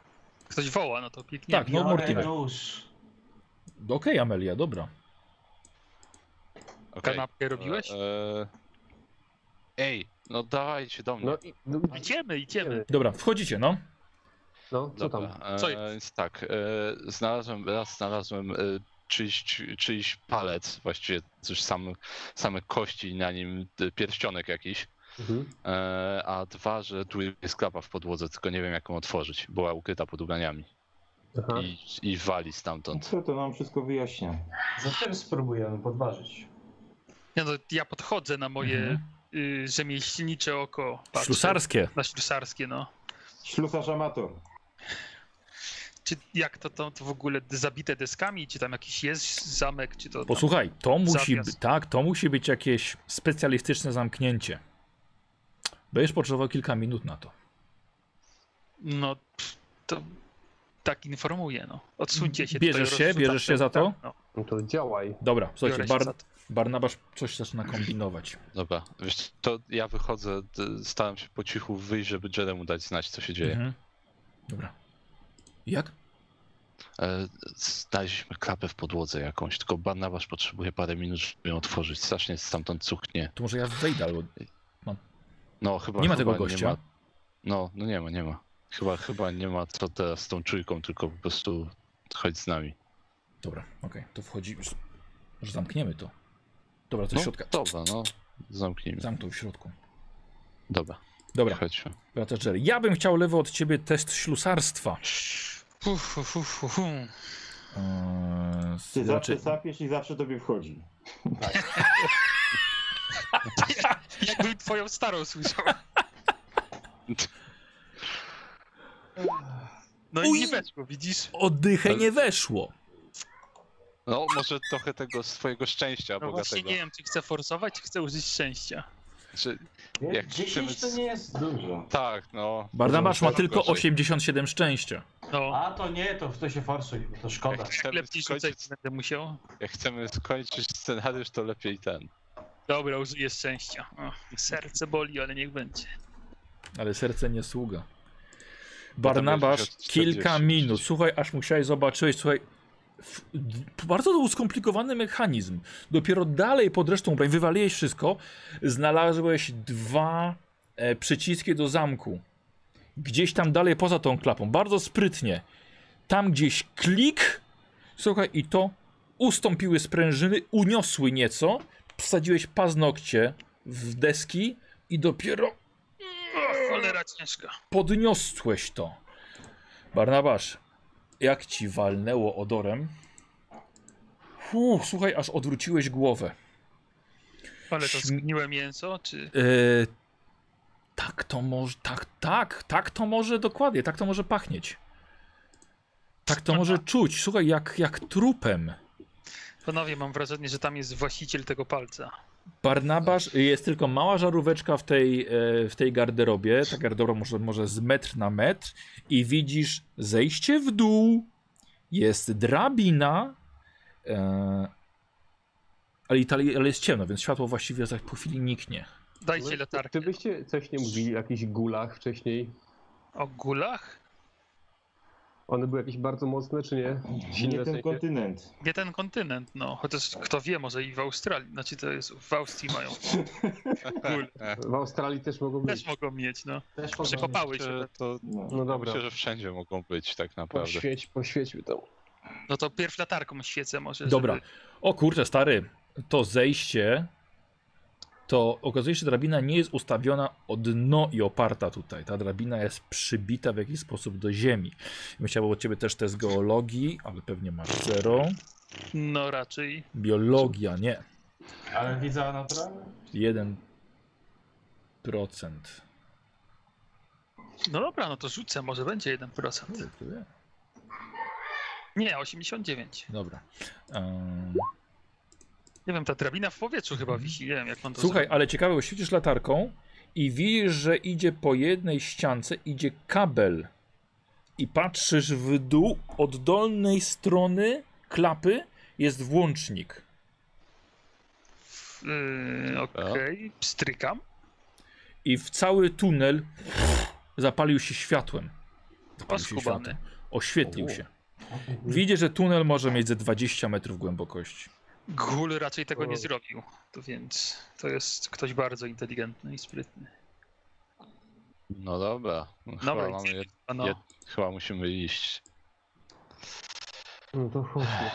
Speaker 6: Ktoś woła, no to kliknie.
Speaker 1: Tak, no Mortimer. Okej,
Speaker 4: nóż.
Speaker 1: Amelia, dobra.
Speaker 3: Okej.
Speaker 6: Kanapkę robiłeś?
Speaker 3: E, Ej, no dawajcie do mnie.
Speaker 2: No i... No,
Speaker 6: Idziemy, idziemy.
Speaker 1: Dobra, wchodzicie, no.
Speaker 2: no co tam?
Speaker 3: Dobra, e,
Speaker 6: Co jest?
Speaker 3: Więc tak, e, znalazłem, raz znalazłem e, czyjś, czy- czyjś palec, właściwie coś sam, same kości i na nim e, pierścionek jakiś.
Speaker 2: Mhm.
Speaker 3: E, a dwa, że tu jest klapa w podłodze, tylko nie wiem jak ją otworzyć. Była ukryta pod ubraniami.
Speaker 2: Aha.
Speaker 3: I, I wali stamtąd.
Speaker 5: Co to nam wszystko wyjaśnia?
Speaker 4: Zatem spróbujemy podważyć.
Speaker 6: Ja, no, ja podchodzę na moje y, rzemieślnicze oko.
Speaker 3: Tak,
Speaker 6: patrzę.
Speaker 1: Mhm. Ślusarskie.
Speaker 6: Na ślusarskie, no.
Speaker 5: Ślusarz amator.
Speaker 6: Czy jak to tam to w ogóle zabite deskami, czy tam jakiś jest zamek, czy to tam...
Speaker 1: Posłuchaj, to musi,
Speaker 6: Zawias.
Speaker 1: by- tak, to musi być jakieś specjalistyczne zamknięcie. Będziesz potrzebował kilka minut na to.
Speaker 6: No, pff, to tak informuję, no. Odsuńcie się.
Speaker 1: Bierzesz
Speaker 6: tutaj,
Speaker 1: się?
Speaker 6: rozrzucam
Speaker 1: Bierzesz się za to?
Speaker 6: Tak, no.
Speaker 2: No to działaj.
Speaker 1: Dobra, słuchajcie,
Speaker 6: Biorę się
Speaker 1: Bar-
Speaker 6: za to.
Speaker 1: Barnabasz coś zaczyna kombinować.
Speaker 3: Dobra, wiesz, to ja wychodzę, d- staram się po cichu wyjść, żeby Jeremu dać znać, co się dzieje.
Speaker 1: Mhm. Dobra. Jak?
Speaker 3: E, Znaleźliśmy klapę w podłodze jakąś, tylko Barnabasz potrzebuje parę minut, żeby ją otworzyć. Strasznie stamtąd cuchnie.
Speaker 1: To może ja wejdę albo...
Speaker 3: No chyba
Speaker 1: Nie ma
Speaker 3: chyba
Speaker 1: tego gościa.
Speaker 3: ma- No, no nie ma, nie ma. Chyba, chyba nie ma co teraz z tą czujką, tylko po prostu chodź z nami.
Speaker 1: Dobra, okej, to wchodzi... Już... Może zamkniemy to. Dobra, to
Speaker 3: No,
Speaker 1: no, środka.
Speaker 3: dobra, no, zamknijmy.
Speaker 1: Zamknął w środku.
Speaker 3: Dobra,
Speaker 1: Dobra,
Speaker 3: chodźmy.
Speaker 1: wraca Jerry. Ja bym chciał lewo od ciebie test ślusarstwa.
Speaker 6: Uf, uf, uf, uf.
Speaker 1: Eee, znaczy-
Speaker 5: Ty zawsze sapiesz i zawsze tobie wchodzi.
Speaker 6: Jakbym twoją starą słyszał. No i
Speaker 1: Uj.
Speaker 6: nie weszło, widzisz?
Speaker 1: No Oddychę nie weszło.
Speaker 3: No, może trochę tego swojego szczęścia
Speaker 6: No właśnie
Speaker 3: bogatego.
Speaker 6: nie wiem, czy chcę forsować, czy chcę użyć szczęścia.
Speaker 3: Czy,
Speaker 4: Nie?
Speaker 3: Jak
Speaker 4: 10 to
Speaker 3: chcemy-
Speaker 4: nie jest dużo.
Speaker 3: tak, no.
Speaker 1: Barnabasz ma
Speaker 3: Gorzej.
Speaker 1: tylko 87 szczęścia.
Speaker 6: No,
Speaker 4: A to nie, to w to się forsuj, bo to szkoda.
Speaker 3: Jak chcemy,
Speaker 6: lepiej
Speaker 3: skończyć,
Speaker 6: rzucać będę musiał.
Speaker 3: jak chcemy skończyć scenariusz, to lepiej ten.
Speaker 6: Dobra, użyję szczęścia. O, serce boli, ale niech będzie.
Speaker 1: Ale serce nie sługa.
Speaker 3: Potem
Speaker 1: Barnabasz,
Speaker 3: będziesz miał 40.
Speaker 1: kilka minut. Słuchaj, aż musiałeś zobaczyć, słuchaj. w- d- Bardzo to był skomplikowany mechanizm. Dopiero dalej pod resztą ubrań wywaliłeś wszystko. Znalazłeś dwa e, przyciski do zamku. Gdzieś tam dalej poza tą klapą. Bardzo sprytnie. Tam gdzieś klik. Słuchaj, i to ustąpiły sprężyny, uniosły nieco. Wsadziłeś paznokcie w deski i dopiero
Speaker 6: O, cholera ciężka.
Speaker 1: podniosłeś to. Barnabasz, jak ci walnęło odorem? Fuh, słuchaj, aż odwróciłeś głowę.
Speaker 6: Ale to
Speaker 1: Śm-
Speaker 6: zgniłe mięso, czy...
Speaker 1: Yy, tak to może, tak, tak, tak to może dokładnie, tak to może pachnieć. Tak to może czuć, słuchaj, jak, jak trupem.
Speaker 6: Panowie, mam wrażenie, że tam jest właściciel tego palca.
Speaker 1: Barnabasz, jest tylko mała żaróweczka w tej, e, w tej garderobie, ta garderoba może, może z metr na metr i widzisz zejście w dół, jest drabina, e, ale, i tali- ale jest ciemno, więc światło właściwie za po chwili niknie.
Speaker 6: Dajcie latarkę.
Speaker 2: Czy byście coś nie mówili o jakichś gulach wcześniej?
Speaker 6: O gulach?
Speaker 2: One były jakieś bardzo mocne, czy nie? Silne
Speaker 5: Nie
Speaker 2: w sensie?
Speaker 5: ten kontynent.
Speaker 6: Nie ten kontynent, no. Chociaż kto wie, może i w Australii. Znaczy to jest, w Austrii mają. Gul.
Speaker 2: W Australii też mogą
Speaker 6: Też
Speaker 2: być.
Speaker 6: mogą mieć, no.
Speaker 4: Też
Speaker 6: Przykopały się.
Speaker 3: Czy to,
Speaker 5: No.
Speaker 2: No dobra,
Speaker 3: myślę, że wszędzie mogą być tak naprawdę.
Speaker 2: poświeć, poświećmy to.
Speaker 6: No to pierw latarką świecę może.
Speaker 1: Dobra,
Speaker 6: Żeby...
Speaker 1: o kurczę stary, to zejście, to okazuje się, że drabina nie jest ustawiona o dno i oparta tutaj. Ta drabina jest przybita w jakiś sposób do ziemi. Bym chciał od ciebie też test geologii, ale pewnie masz zero.
Speaker 6: No raczej.
Speaker 1: Biologia, nie.
Speaker 4: Ale widzę naturalnie.
Speaker 1: 1%.
Speaker 6: No dobra, no to rzucę, może będzie 1%.
Speaker 1: Kto wie?
Speaker 6: Nie, 89.
Speaker 1: Dobra. Ehm,
Speaker 6: Nie wiem, ta drabina w powietrzu
Speaker 3: Mhm.
Speaker 6: chyba wisi, nie wiem jak on to
Speaker 1: Słuchaj,
Speaker 6: zrobił.
Speaker 1: ale ciekawe, bo świecisz latarką i widzisz, że idzie po jednej ściance, idzie kabel. I patrzysz w dół, od dolnej strony klapy jest włącznik.
Speaker 6: Yy, Okej, pstrykam.
Speaker 1: I w cały tunel zapalił się światłem. Zapalił się
Speaker 6: Oskubany.
Speaker 1: światłem. Oświetlił się. Widzisz, że tunel może mieć ze 20 metrów głębokości.
Speaker 6: Gul raczej tego
Speaker 2: O.
Speaker 6: nie zrobił, to więc to jest ktoś bardzo inteligentny i sprytny.
Speaker 3: No dobra, no,
Speaker 6: Dobra,
Speaker 3: chyba, mamy,
Speaker 6: idziemy,
Speaker 3: jed-
Speaker 6: pano.
Speaker 3: jed- chyba musimy iść.
Speaker 2: No to chodźmy.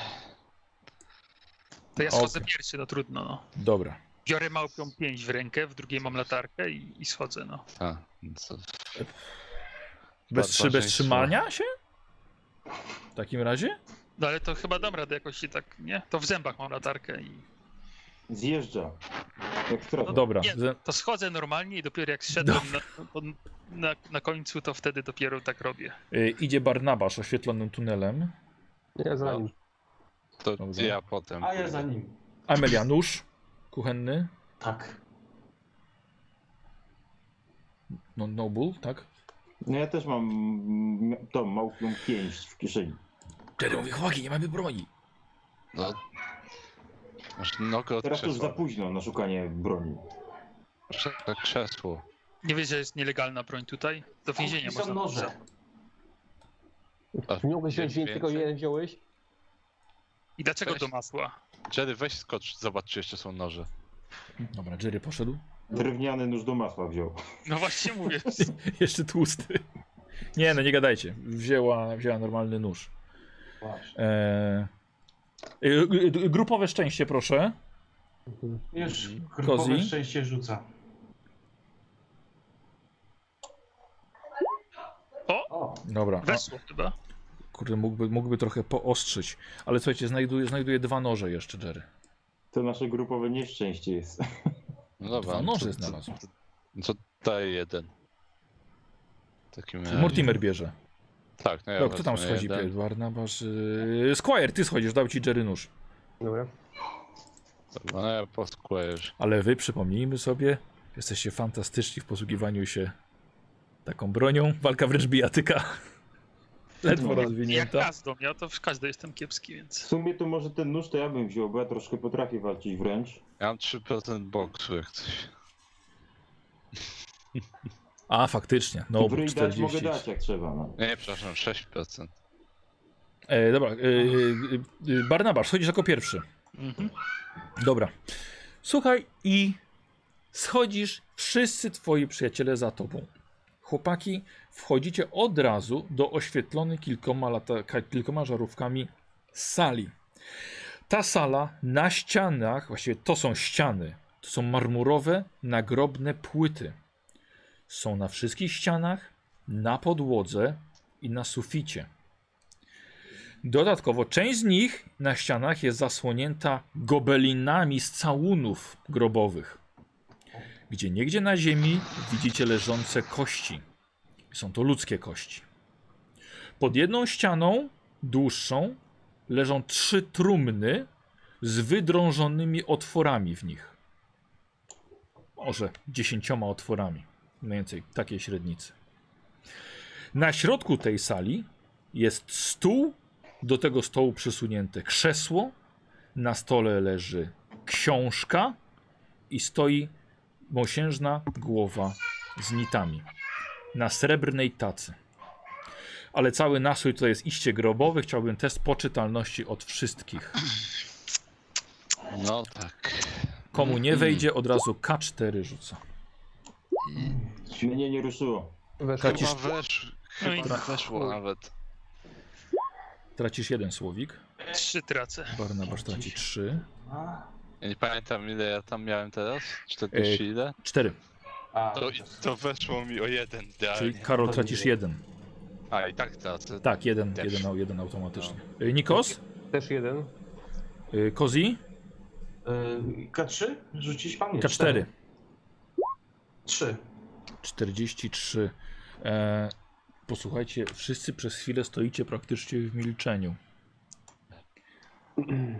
Speaker 6: To ja schodzę
Speaker 1: Okej.
Speaker 6: pierwszy, no trudno no.
Speaker 1: Dobra.
Speaker 6: Biorę małpią pięść w rękę, w drugiej mam latarkę i, i schodzę, no.
Speaker 3: A, no co?
Speaker 1: Bez, trzy, bez
Speaker 3: Barbarzyństwo.
Speaker 1: trzymania się? W takim razie?
Speaker 6: No ale to chyba dam radę jakoś i tak, nie? To w zębach mam latarkę i
Speaker 5: Zjeżdża. Jak strata.
Speaker 1: Dobra.
Speaker 6: nie.
Speaker 1: ze-
Speaker 6: to schodzę normalnie i dopiero jak zszedłem na, to na, na końcu, to wtedy dopiero tak robię.
Speaker 1: Y, idzie Barnabasz oświetlonym tunelem.
Speaker 2: Ja za nim.
Speaker 3: To
Speaker 1: Dobrze.
Speaker 3: ja potem.
Speaker 4: A ja
Speaker 3: pójdę.
Speaker 4: za nim.
Speaker 1: Amelianusz kuchenny.
Speaker 4: Tak.
Speaker 1: No, Nobul, tak?
Speaker 5: No ja też mam mm, tą małpią pięść w kieszeni.
Speaker 1: Wtedy mówi, chłopaki, nie mamy broni.
Speaker 3: No. Masz nogę od
Speaker 5: Teraz to już za
Speaker 3: krzesła.
Speaker 5: późno na szukanie broni.
Speaker 3: Masz za krzesło.
Speaker 6: Nie wiesz, że jest nielegalna broń tutaj? Do więzienia
Speaker 4: I
Speaker 6: można.
Speaker 4: są noże.
Speaker 3: A,
Speaker 2: Nie mogę wziąć
Speaker 3: więcej?
Speaker 2: więcej, tylko jeden wziąłeś.
Speaker 6: I dlaczego
Speaker 3: Weź.
Speaker 6: do masła?
Speaker 3: Jerry, weź skocz, zobacz czy jeszcze są noże.
Speaker 1: Dobra, Jerry poszedł.
Speaker 5: Drewniany nóż do masła wziął.
Speaker 6: No właśnie mówię.
Speaker 1: Jeszcze tłusty. Nie no, nie gadajcie. Wzięła, wzięła normalny nóż. Eee, y, y, y, grupowe szczęście, proszę.
Speaker 4: Już
Speaker 1: Mhm. Kozi?
Speaker 4: grupowe szczęście rzuca.
Speaker 2: O,
Speaker 1: Dobra.
Speaker 6: Weszło chyba.
Speaker 1: Kurde, mógłby, mógłby trochę poostrzyć. Ale słuchajcie, znajduję, znajduję dwa noże jeszcze, Jerry.
Speaker 5: To nasze grupowe nieszczęście jest.
Speaker 3: No dobra.
Speaker 1: Dwa
Speaker 3: no
Speaker 1: noże
Speaker 3: to-
Speaker 1: znalazł.
Speaker 3: to- No to daję jeden. W Takim razie.
Speaker 1: Mortimer bierze.
Speaker 3: Tak, no ja
Speaker 1: No, kto tam
Speaker 3: wezmę
Speaker 1: schodzi?
Speaker 3: jeden.
Speaker 1: Barnabasz. Yy... Squire, ty schodzisz, dał ci Jerry nóż.
Speaker 2: dobra.
Speaker 3: No ja poskłejesz.
Speaker 1: Ale wy przypomnijmy sobie, jesteście fantastyczni w posługiwaniu się taką bronią. Walka wręcz bijatyka.
Speaker 5: No.
Speaker 1: Ledwo
Speaker 6: Jak
Speaker 1: rozwinięta.
Speaker 6: każdą, ja to w każdej jestem kiepski,
Speaker 5: W
Speaker 6: więc.
Speaker 5: sumie to może ten nóż to ja bym wziął, bo ja troszkę potrafię walczyć wręcz.
Speaker 3: Ja mam 3% boksu jak coś.
Speaker 1: A, faktycznie. No,
Speaker 5: w ryj dać
Speaker 1: 40.
Speaker 5: mogę dać jak trzeba. No.
Speaker 3: Nie, przepraszam, 6%.
Speaker 1: E, dobra, e, e, e, Barnabasz, schodzisz jako pierwszy.
Speaker 6: Mhm.
Speaker 1: Dobra. Słuchaj i schodzisz, wszyscy twoi przyjaciele za tobą. Chłopaki, wchodzicie od razu do oświetlonej kilkoma, lata, ka- kilkoma żarówkami sali. Ta sala na ścianach, właściwie to są ściany, to są marmurowe, nagrobne płyty. Są na wszystkich ścianach, na podłodze i na suficie. Dodatkowo część z nich na ścianach jest zasłonięta gobelinami z całunów grobowych, gdzie niegdzie na ziemi widzicie leżące kości. Są to ludzkie kości. Pod jedną ścianą, dłuższą, leżą trzy trumny z wydrążonymi otworami w nich. Może dziesięcioma otworami, mniej więcej takiej średnicy. Na środku tej sali jest stół do tego stołu przysunięte krzesło, na stole leży książka i stoi mosiężna głowa z nitami na srebrnej tacy. Ale cały nastrój to jest iście grobowy. Chciałbym test poczytalności od wszystkich.
Speaker 3: No tak.
Speaker 1: Komu nie wejdzie, od razu K4 rzuca.
Speaker 5: Mnie nie ruszyło.
Speaker 2: Weszło.
Speaker 1: Kacisz,
Speaker 3: Chyba, wesz...
Speaker 6: No i
Speaker 3: Chyba weszło nawet.
Speaker 1: tracisz jeden słowik.
Speaker 6: trzy tracę.
Speaker 1: Barnabasz traci trzy.
Speaker 4: A,
Speaker 3: Ja nie pamiętam ile ja tam miałem teraz. 40 ile?
Speaker 1: Cztery.
Speaker 4: a,
Speaker 3: To, to weszło mi o jeden
Speaker 1: Czyli
Speaker 3: idealnie.
Speaker 1: Karol tracisz jeden.
Speaker 3: A i tak tracę.
Speaker 1: Tak, jeden,
Speaker 3: Też.
Speaker 1: jeden, jeden automatycznie. Y, Nikos?
Speaker 2: Też jeden.
Speaker 1: Y, Kozi?
Speaker 4: y, K3? Rzucić pan? Nie,
Speaker 1: K4.
Speaker 4: 3.
Speaker 1: 43. E, posłuchajcie, wszyscy przez chwilę stoicie praktycznie w milczeniu.
Speaker 2: Em,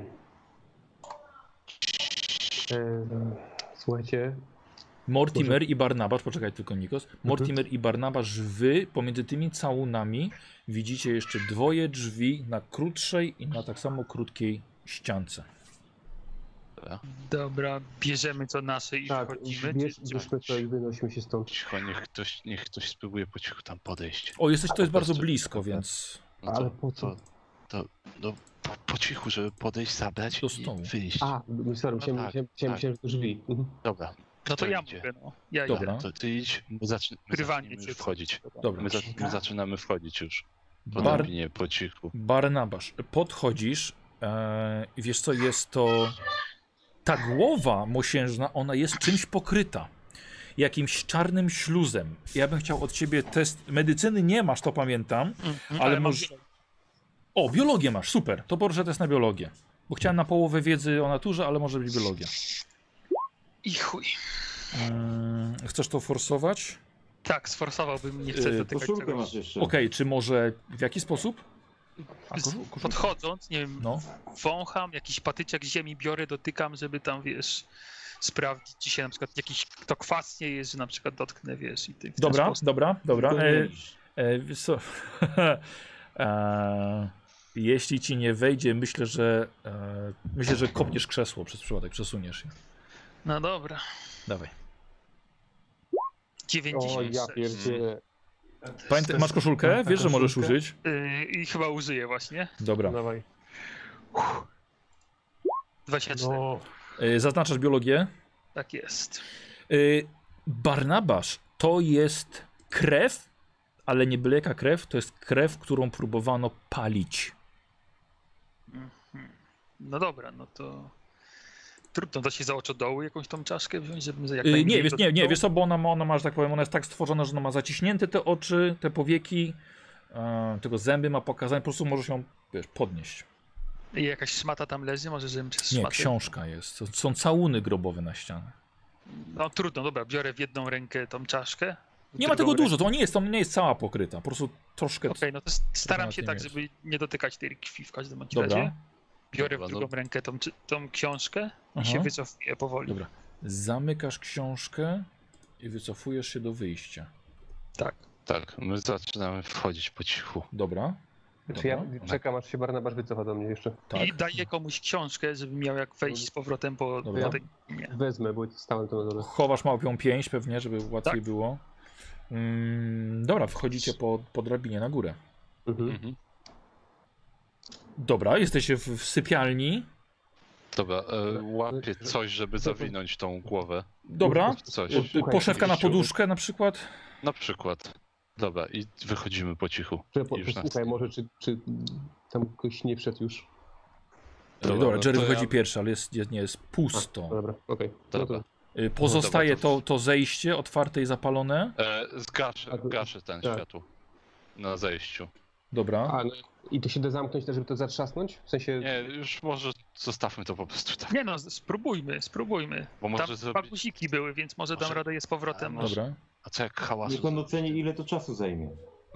Speaker 2: E, Słuchajcie.
Speaker 1: Mortimer i Barnabasz, poczekaj tylko Nikos. Mortimer i Barnabasz, wy pomiędzy tymi całunami widzicie jeszcze dwoje drzwi na krótszej i na tak samo krótkiej ściance.
Speaker 6: Dobra, bierzemy co nasze i
Speaker 2: Tak,
Speaker 6: wchodzimy.
Speaker 2: bierz,
Speaker 6: Czy- czy-
Speaker 2: bierzmy to i wynosimy się stąd.
Speaker 3: Cicho, niech ktoś, niech ktoś spróbuje po cichu tam podejść.
Speaker 1: O, jesteś, to jest bardzo blisko, więc
Speaker 3: No
Speaker 2: Ale po co?
Speaker 3: To, to, no, po, po cichu, żeby podejść, zabrać
Speaker 1: Do
Speaker 3: i
Speaker 1: stołu.
Speaker 3: wyjść.
Speaker 2: A, sorry,
Speaker 3: No
Speaker 2: myślałem,
Speaker 3: tak,
Speaker 2: myślałem, myślałem,
Speaker 3: tak.
Speaker 2: myślałem, że to drzwi. Mhm.
Speaker 3: Dobra.
Speaker 6: No
Speaker 3: Kto
Speaker 6: to ja
Speaker 3: idzie?
Speaker 6: mówię, no. Ja idę.
Speaker 1: dobra,
Speaker 3: To ty idź, my, zaczy... my
Speaker 6: Wrywanie
Speaker 3: zaczniemy
Speaker 6: cię.
Speaker 3: już wchodzić.
Speaker 1: dobra.
Speaker 3: My, za... my zaczynamy wchodzić już. Po
Speaker 1: Bar-
Speaker 3: drabinie, po cichu.
Speaker 1: Barnabasz, podchodzisz e, i wiesz co, jest to Ta głowa mosiężna, ona jest czymś pokryta. Jakimś czarnym śluzem. Ja bym chciał od ciebie test. Medycyny nie masz, to pamiętam.
Speaker 6: Mhm,
Speaker 1: Ale może-
Speaker 6: mam-
Speaker 1: O, biologię masz, super. To proszę test na biologię. Bo chciałem na połowę wiedzy o naturze, ale może być biologia.
Speaker 6: I chuj.
Speaker 1: Mm, chcesz to forsować?
Speaker 6: Tak, sforsowałbym,
Speaker 1: Yy,
Speaker 6: nie chcę dotykać
Speaker 5: Y, Koszulkę
Speaker 6: tego.
Speaker 5: masz jeszcze.
Speaker 1: Okej, czy może w jaki sposób? A,
Speaker 6: Z-
Speaker 1: koszu- koszulka.
Speaker 6: Podchodząc, nie wiem,
Speaker 1: No.
Speaker 6: wącham, jakiś patyczek z ziemi biorę, dotykam, żeby tam, wiesz, sprawdzić, czy się na przykład jakiś, to kwas nie jest, że na przykład dotknę, wiesz, i ty w ten
Speaker 1: Dobra,
Speaker 6: sposób.
Speaker 1: dobra, dobra.
Speaker 5: Tylko
Speaker 1: E,
Speaker 5: mylisz.
Speaker 1: e, wiesz co? e, jeśli ci nie wejdzie, myślę, że e, myślę, że kopniesz krzesło przez przypadek, przesuniesz je.
Speaker 6: No dobra,
Speaker 1: Dawaj.
Speaker 6: 96.
Speaker 2: O, ja pierdzielę.
Speaker 1: Pamiętaj, masz koszulkę? Wiesz, że możesz
Speaker 2: koszulkę.
Speaker 1: użyć?
Speaker 6: Yy, I chyba użyję właśnie.
Speaker 1: Dobra.
Speaker 2: Dawaj.
Speaker 6: 24,
Speaker 2: No.
Speaker 1: E, zaznaczasz biologię?
Speaker 6: tak jest.
Speaker 1: Y, Barnabasz to jest krew, ale nie byle jaka krew, to jest krew, którą próbowano palić.
Speaker 6: No dobra, no to... Trudno, da się za oczodoły jakąś tą czaszkę wziąć, żebym jak
Speaker 1: Y,
Speaker 6: najmniej
Speaker 1: nie, wiesz, nie, nie,
Speaker 6: dotykał?
Speaker 1: wiesz co, bo ona ma, ona ma, że tak powiem, ona jest tak stworzona, że ona ma zaciśnięte te oczy, te powieki, e, tylko zęby ma pokazane, po prostu możesz ją, wiesz, podnieść.
Speaker 6: I jakaś szmata tam leży, może żebym przez
Speaker 1: Nie,
Speaker 6: szmatę...
Speaker 1: książka jest, to są całuny grobowe na ścianach.
Speaker 6: No trudno, dobra, biorę w jedną rękę tą czaszkę. w
Speaker 1: Nie ma tego
Speaker 6: drugą
Speaker 1: dużo, to nie jest, to nie jest cała pokryta, po prostu troszkę...
Speaker 6: Okej, no to s- staram
Speaker 1: na
Speaker 6: się
Speaker 1: tym
Speaker 6: tak,
Speaker 1: jest.
Speaker 6: żeby nie dotykać tej krwi w każdym bądź razie.
Speaker 1: Dobra,
Speaker 6: Biorę
Speaker 3: Dobra,
Speaker 6: w drugą rękę tą, czy- tą książkę i
Speaker 1: Aha.
Speaker 6: się wycofuję powoli.
Speaker 1: Dobra. zamykasz książkę i wycofujesz się do wyjścia.
Speaker 6: Tak.
Speaker 3: Tak, my zaczynamy wchodzić po cichu.
Speaker 1: Dobra,
Speaker 3: No
Speaker 2: Znaczy ja
Speaker 1: Dobra.
Speaker 2: czekam,
Speaker 3: tak.
Speaker 2: aż się Barnabasz wycofa do mnie jeszcze.
Speaker 1: tak.
Speaker 6: I daję komuś książkę, żeby miał jak wejść z powrotem po,
Speaker 1: Dobra.
Speaker 6: po tej... Nie.
Speaker 2: Wezmę, bo stałem tu na dole.
Speaker 1: Chowasz małpią pięść pewnie, żeby łatwiej
Speaker 6: Tak.
Speaker 1: było. Mm, dobra, wchodzicie po, po drabinie na górę.
Speaker 2: Mhm.
Speaker 3: Mhm.
Speaker 1: Dobra, jesteście w, w sypialni.
Speaker 3: Dobra, e, łapię coś, żeby zawinąć tą głowę.
Speaker 1: Dobra.
Speaker 3: Coś.
Speaker 1: Y, y, Poszewka na
Speaker 3: Jakiś ciuch.
Speaker 1: poduszkę na przykład.
Speaker 3: Na przykład. Dobra, i wychodzimy po cichu.
Speaker 2: Że po-
Speaker 3: Już na-
Speaker 2: Słuchaj, może czy, czy tam ktoś nie wszedł już?
Speaker 1: Dobra,
Speaker 3: no
Speaker 1: Jerry
Speaker 3: to
Speaker 1: wychodzi
Speaker 3: ja-
Speaker 1: pierwszy, ale jest, jest, nie jest
Speaker 2: No
Speaker 1: pusto.
Speaker 2: Dobra, okej. No
Speaker 3: Dobra.
Speaker 2: to
Speaker 1: Y, Pozostaje
Speaker 3: No dobra,
Speaker 1: to,
Speaker 3: to-
Speaker 1: to zejście otwarte i zapalone.
Speaker 3: E, zgaszę,
Speaker 2: A to-
Speaker 3: gaszę ten
Speaker 2: tak.
Speaker 3: światło. Na zejściu.
Speaker 1: Dobra.
Speaker 2: A, no, i to się da zamknąć, żeby to zatrzasnąć? W sensie...
Speaker 3: Nie, już może zostawmy to po prostu tak.
Speaker 6: nie no, z- spróbujmy, spróbujmy.
Speaker 3: Bo
Speaker 6: Tam
Speaker 3: może
Speaker 6: dwa
Speaker 3: zrobić.
Speaker 6: guziki były, więc może dam
Speaker 3: Może-
Speaker 6: radę je z powrotem.
Speaker 3: A, może-
Speaker 1: Dobra.
Speaker 3: A co jak
Speaker 5: Niech
Speaker 3: hałasu?
Speaker 5: on oceni ile to czasu zajmie.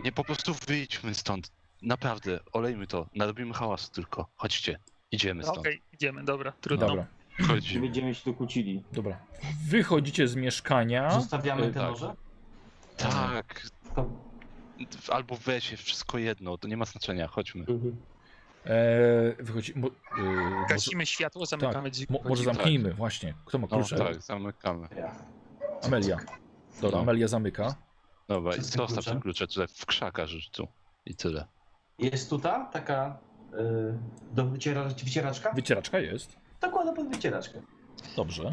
Speaker 3: Nie, po prostu wyjdźmy stąd. Naprawdę, olejmy to. Narobimy hałasu tylko. Chodźcie. Idziemy
Speaker 6: No
Speaker 3: stąd.
Speaker 6: Okej, idziemy, dobra, trudno.
Speaker 1: Dobra.
Speaker 5: Czy
Speaker 3: Chodzimy.
Speaker 5: będziemy się tu kłócili?
Speaker 1: Dobra. Wychodzicie z mieszkania.
Speaker 4: Zostawiamy
Speaker 1: Yy,
Speaker 3: y,
Speaker 4: te
Speaker 3: tak.
Speaker 4: noże?
Speaker 3: Tak.
Speaker 4: To
Speaker 3: Albo weź, wszystko jedno. To nie ma znaczenia. Chodźmy.
Speaker 2: Mhm.
Speaker 1: E, wychodzi. Mo, y, może, tak.
Speaker 6: Gasimy światło, zamykamy drzwi.
Speaker 1: mo, może
Speaker 6: wchodzimy.
Speaker 1: zamknijmy, właśnie. Kto ma
Speaker 3: No,
Speaker 1: klucze?
Speaker 3: tak, zamykamy.
Speaker 4: ja.
Speaker 1: Amelia. Dobra,
Speaker 3: No.
Speaker 1: Amelia zamyka.
Speaker 3: Dobra, i
Speaker 4: Wszystkie
Speaker 3: zostaw
Speaker 4: klucze?
Speaker 3: te klucze tutaj w krzakach tu. I tyle.
Speaker 4: Jest tutaj taka y, do wyciera... wycieraczka?
Speaker 1: Wycieraczka jest.
Speaker 4: To kładę pod wycieraczkę.
Speaker 1: Dobrze.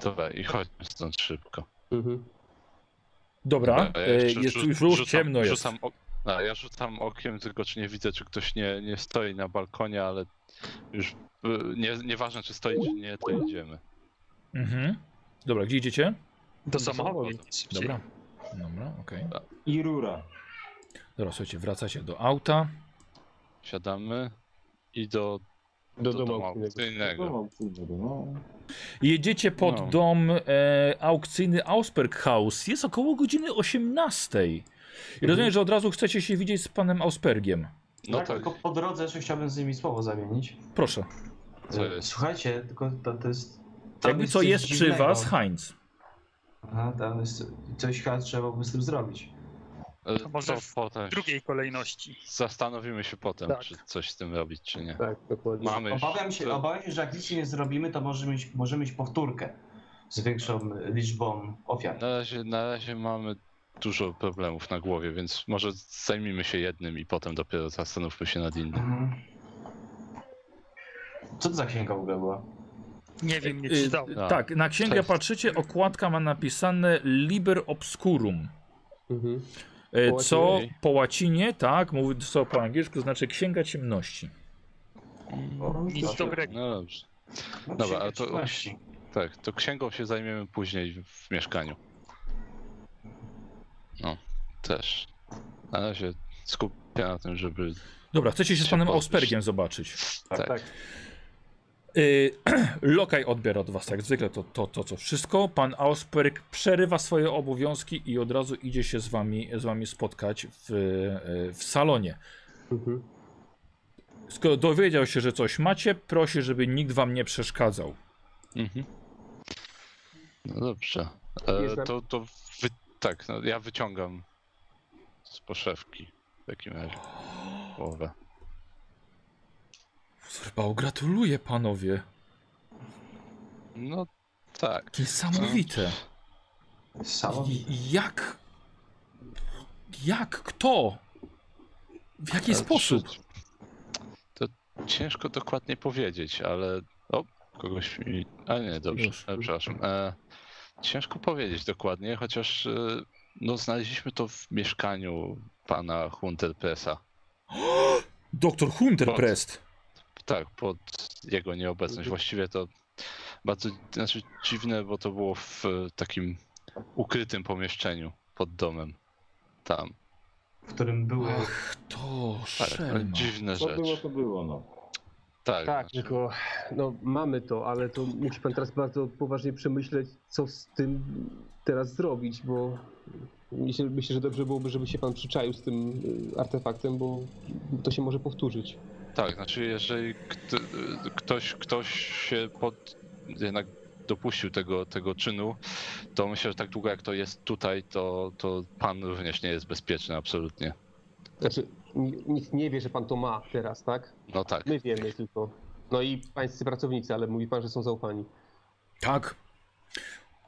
Speaker 3: Dobra, i chodźmy stąd szybko.
Speaker 2: Mhm.
Speaker 1: Dobra,
Speaker 3: Dobra, ja
Speaker 1: e,
Speaker 3: jeszcze
Speaker 1: jest,
Speaker 3: rzu-
Speaker 1: już, już
Speaker 3: rzucam-
Speaker 1: ciemno jest.
Speaker 3: Rzucam ok- no, ja rzucam okiem, tylko czy nie widzę, czy ktoś nie, nie stoi na balkonie, ale już y, nie, nieważne, czy stoi, czy nie, to idziemy.
Speaker 1: Mhm. Dobra, gdzie idziecie?
Speaker 6: Do samochodu. szybciej.
Speaker 1: Dobra. Dobra, okej.
Speaker 5: I rura.
Speaker 1: Dobra, słuchajcie, wracacie do auta.
Speaker 3: Siadamy i do,
Speaker 2: Do,
Speaker 3: do
Speaker 2: domu
Speaker 3: domu
Speaker 2: aukcyjnego.
Speaker 3: aukcyjnego.
Speaker 5: No, kurde, no.
Speaker 1: Jedziecie pod
Speaker 3: No.
Speaker 1: dom e, aukcyjny Ausberghaus. Jest około godziny 18. I rozumiem, że od razu chcecie się widzieć z panem Auspergiem.
Speaker 3: No
Speaker 4: tak,
Speaker 3: tak,
Speaker 4: tylko po drodze jeszcze chciałbym z nimi słowo zamienić.
Speaker 1: Proszę.
Speaker 3: Co
Speaker 4: Y,
Speaker 3: jest?
Speaker 4: Słuchajcie, tylko to, to jest... tam
Speaker 1: Jakby co
Speaker 4: coś
Speaker 1: jest przy
Speaker 4: dziwnego.
Speaker 1: was, Heinz.
Speaker 4: Aha, tam jest coś chyba trzeba by z tym zrobić.
Speaker 3: y,
Speaker 6: to
Speaker 3: to
Speaker 6: może
Speaker 3: może
Speaker 6: w
Speaker 3: potem
Speaker 6: W drugiej kolejności.
Speaker 3: zastanowimy się potem,
Speaker 6: Tak.
Speaker 3: czy coś z tym robić, czy nie.
Speaker 2: Tak, dokładnie.
Speaker 3: Mamy już
Speaker 4: Obawiam się,
Speaker 3: to-
Speaker 4: obawiam się, że jak nic nie zrobimy, to możemy mieć, możemy mieć powtórkę z większą liczbą ofiar.
Speaker 3: Na razie, na razie mamy dużo problemów na głowie, więc może zajmijmy się jednym i potem dopiero zastanówmy się nad innym.
Speaker 4: Mhm. Co to za księga w ogóle była?
Speaker 6: Nie wiem, nie
Speaker 1: Y, y,
Speaker 6: czytałem.
Speaker 3: No.
Speaker 1: Tak, na księgę
Speaker 3: Cześć.
Speaker 1: patrzycie, okładka ma napisane Liber Obscurum.
Speaker 2: Mhm.
Speaker 1: E,
Speaker 2: Po
Speaker 1: Co
Speaker 3: łacinie.
Speaker 1: po łacinie, tak, mówi co po angielsku, znaczy Księga Ciemności.
Speaker 6: Nic dobrego.
Speaker 3: No dobrze. Dobra, ale to. Tak, to księgą się zajmiemy później w mieszkaniu. No, też. Na razie skupię na tym, żeby.
Speaker 1: Dobra, chcecie się z
Speaker 3: Się
Speaker 1: panem
Speaker 3: pozbyć.
Speaker 1: Auspergiem zobaczyć.
Speaker 3: Tak.
Speaker 1: Y, Lokaj odbiera od was jak zwykle to, to, to co wszystko. Pan Ausperg przerywa swoje obowiązki i od razu idzie się z wami, z wami spotkać w, y, w salonie. Skoro dowiedział się, że coś macie, prosi, żeby nikt wam nie przeszkadzał.
Speaker 3: Mhm. No dobrze. E,
Speaker 2: Jestem.
Speaker 3: to to wy... tak, no, ja wyciągam z poszewki w takim razie. Połowę.
Speaker 1: Bał, gratuluję panowie.
Speaker 3: No tak.
Speaker 1: Niesamowite.
Speaker 4: Samo.
Speaker 1: I- Jak? Jak? Kto? W jaki
Speaker 3: Ale
Speaker 1: sposób?
Speaker 3: To, to ciężko dokładnie powiedzieć, ale. O, kogoś mi. A nie, dobrze.
Speaker 1: Już.
Speaker 3: E, przepraszam. E, ciężko powiedzieć dokładnie, chociaż e, no, znaleźliśmy to w mieszkaniu pana Hunterpressa.
Speaker 1: Doktor Hunter
Speaker 3: Bot.
Speaker 1: Prest.
Speaker 3: Tak, pod jego nieobecność. Właściwie to bardzo znaczy, dziwne, bo to było w e, takim ukrytym pomieszczeniu pod domem. Tam.
Speaker 4: w którym były.
Speaker 1: Ach, to
Speaker 3: Tak, no,
Speaker 1: szelma.
Speaker 3: dziwne
Speaker 5: Co
Speaker 3: rzeczy.
Speaker 5: było, to było, no.
Speaker 3: Tak,
Speaker 2: Tak,
Speaker 3: znaczy,
Speaker 2: tylko no, mamy to, ale to musi pan teraz bardzo poważnie przemyśleć, co z tym teraz zrobić, bo myślę, myślę że dobrze byłoby, żeby się pan przyczaił z tym y, artefaktem, bo to się może powtórzyć.
Speaker 3: tak, znaczy jeżeli kto, ktoś, ktoś się pod, jednak dopuścił tego, tego czynu, to myślę, że tak długo jak to jest tutaj, to, to pan również nie jest bezpieczny absolutnie.
Speaker 2: Znaczy, n- nikt nie wie, że pan to ma teraz, tak?
Speaker 3: No tak.
Speaker 2: My wiemy tylko. No i pańscy pracownicy, ale mówi pan, że są zaufani.
Speaker 1: Tak.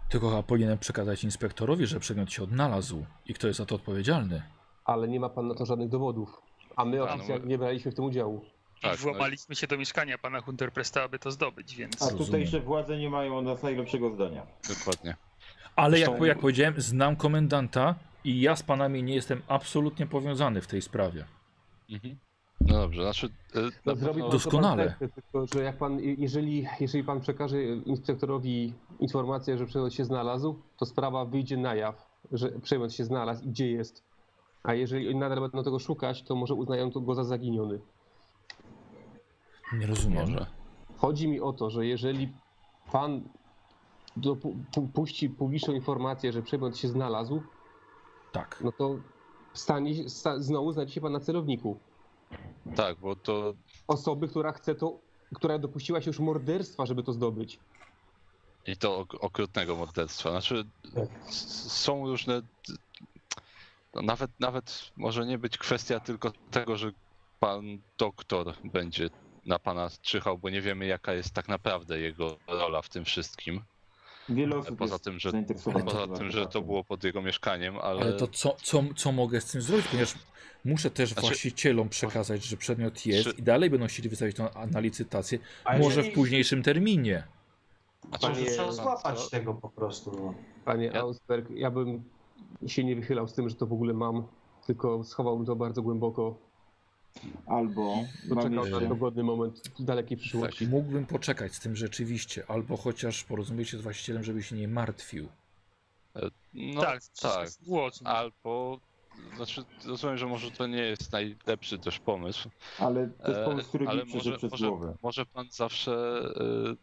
Speaker 1: Tylko chyba powinienem przekazać inspektorowi, że przedmiot się odnalazł i kto jest za to odpowiedzialny.
Speaker 2: Ale nie ma pan na to żadnych dowodów. A my
Speaker 3: no
Speaker 2: oficjalnie
Speaker 3: mówię.
Speaker 2: nie braliśmy w tym udziału.
Speaker 3: tak
Speaker 6: I
Speaker 3: no,
Speaker 6: włamaliśmy się do mieszkania pana Hunterpresta, aby to zdobyć, więc...
Speaker 5: A
Speaker 1: Rozumiem.
Speaker 5: tutejsze władze nie mają o nas najlepszego zdania.
Speaker 3: dokładnie.
Speaker 1: Ale jak,
Speaker 3: Zresztą-
Speaker 1: jak powiedziałem, znam komendanta i ja z panami nie jestem absolutnie powiązany w tej sprawie.
Speaker 3: Mhm. No dobrze, znaczy... e, na
Speaker 2: No,
Speaker 3: pewno-
Speaker 2: zrobi pan, co
Speaker 1: Doskonale.
Speaker 2: Pan chce, tylko, że jak pan, jeżeli, jeżeli pan przekaże inspektorowi informację, że przegląd się znalazł, to sprawa wyjdzie na jaw, że przegląd się znalazł i gdzie jest. A jeżeli oni nadal będą tego szukać, to może uznają to go za zaginiony.
Speaker 1: Nie rozumiem.
Speaker 3: Może.
Speaker 2: Chodzi mi o to, że jeżeli pan dopu- pu- puści publiczną informację, że przegląd się znalazł,
Speaker 1: Tak.
Speaker 2: no to stanie, sta, znowu znajdzie się pan na celowniku.
Speaker 3: Tak, bo to
Speaker 2: Osoby, która chce to, która dopuściła się już morderstwa, żeby to zdobyć.
Speaker 3: I to ok- okrutnego morderstwa. Znaczy, s- są różne. no Nawet, nawet może nie być kwestia tylko tego, że pan doktor będzie na pana czyhał, bo nie wiemy, jaka jest tak naprawdę jego rola w tym wszystkim.
Speaker 5: Wiele osób
Speaker 3: Poza
Speaker 5: jest
Speaker 3: tym, że,
Speaker 5: zainteresowanych
Speaker 3: poza
Speaker 5: tym
Speaker 3: tym, że to
Speaker 5: artefaktem.
Speaker 3: było pod jego mieszkaniem, ale.
Speaker 1: Ale to co, co, co mogę z tym zrobić? Ponieważ muszę też
Speaker 3: Znaczy-
Speaker 1: właścicielom przekazać, że przedmiot jest
Speaker 3: Czy-
Speaker 1: i dalej będą chcieli wystawić to na licytację.
Speaker 4: A
Speaker 1: Może w
Speaker 4: jeżeli-
Speaker 1: późniejszym terminie.
Speaker 3: Znaczy,
Speaker 4: Może
Speaker 2: Panie-
Speaker 4: trzeba
Speaker 3: pan
Speaker 4: złapać
Speaker 3: co?
Speaker 4: tego po prostu. No.
Speaker 2: Panie
Speaker 3: Ja-
Speaker 2: Ausberg, ja bym się nie wychylał z tym, że to w ogóle mam, tylko schowałbym to bardzo głęboko.
Speaker 5: Albo mam
Speaker 2: Poczekał na
Speaker 5: jeszcze...
Speaker 2: dogodny moment w dalekiej
Speaker 3: Tak.
Speaker 2: przyszłości.
Speaker 1: I mógłbym poczekać z tym rzeczywiście, albo chociaż porozumieć się z właścicielem, żeby się nie martwił.
Speaker 3: No,
Speaker 6: tak,
Speaker 3: tak,
Speaker 6: wszystko jest złożne.
Speaker 3: Albo. Znaczy, rozumiem, że może to nie jest najlepszy też pomysł,
Speaker 5: Ale to jest
Speaker 3: E,
Speaker 5: pomysł, który
Speaker 3: ale
Speaker 5: mi przyszedł
Speaker 3: może-
Speaker 5: przez
Speaker 3: może-
Speaker 5: głowę.
Speaker 3: Może pan zawsze. y,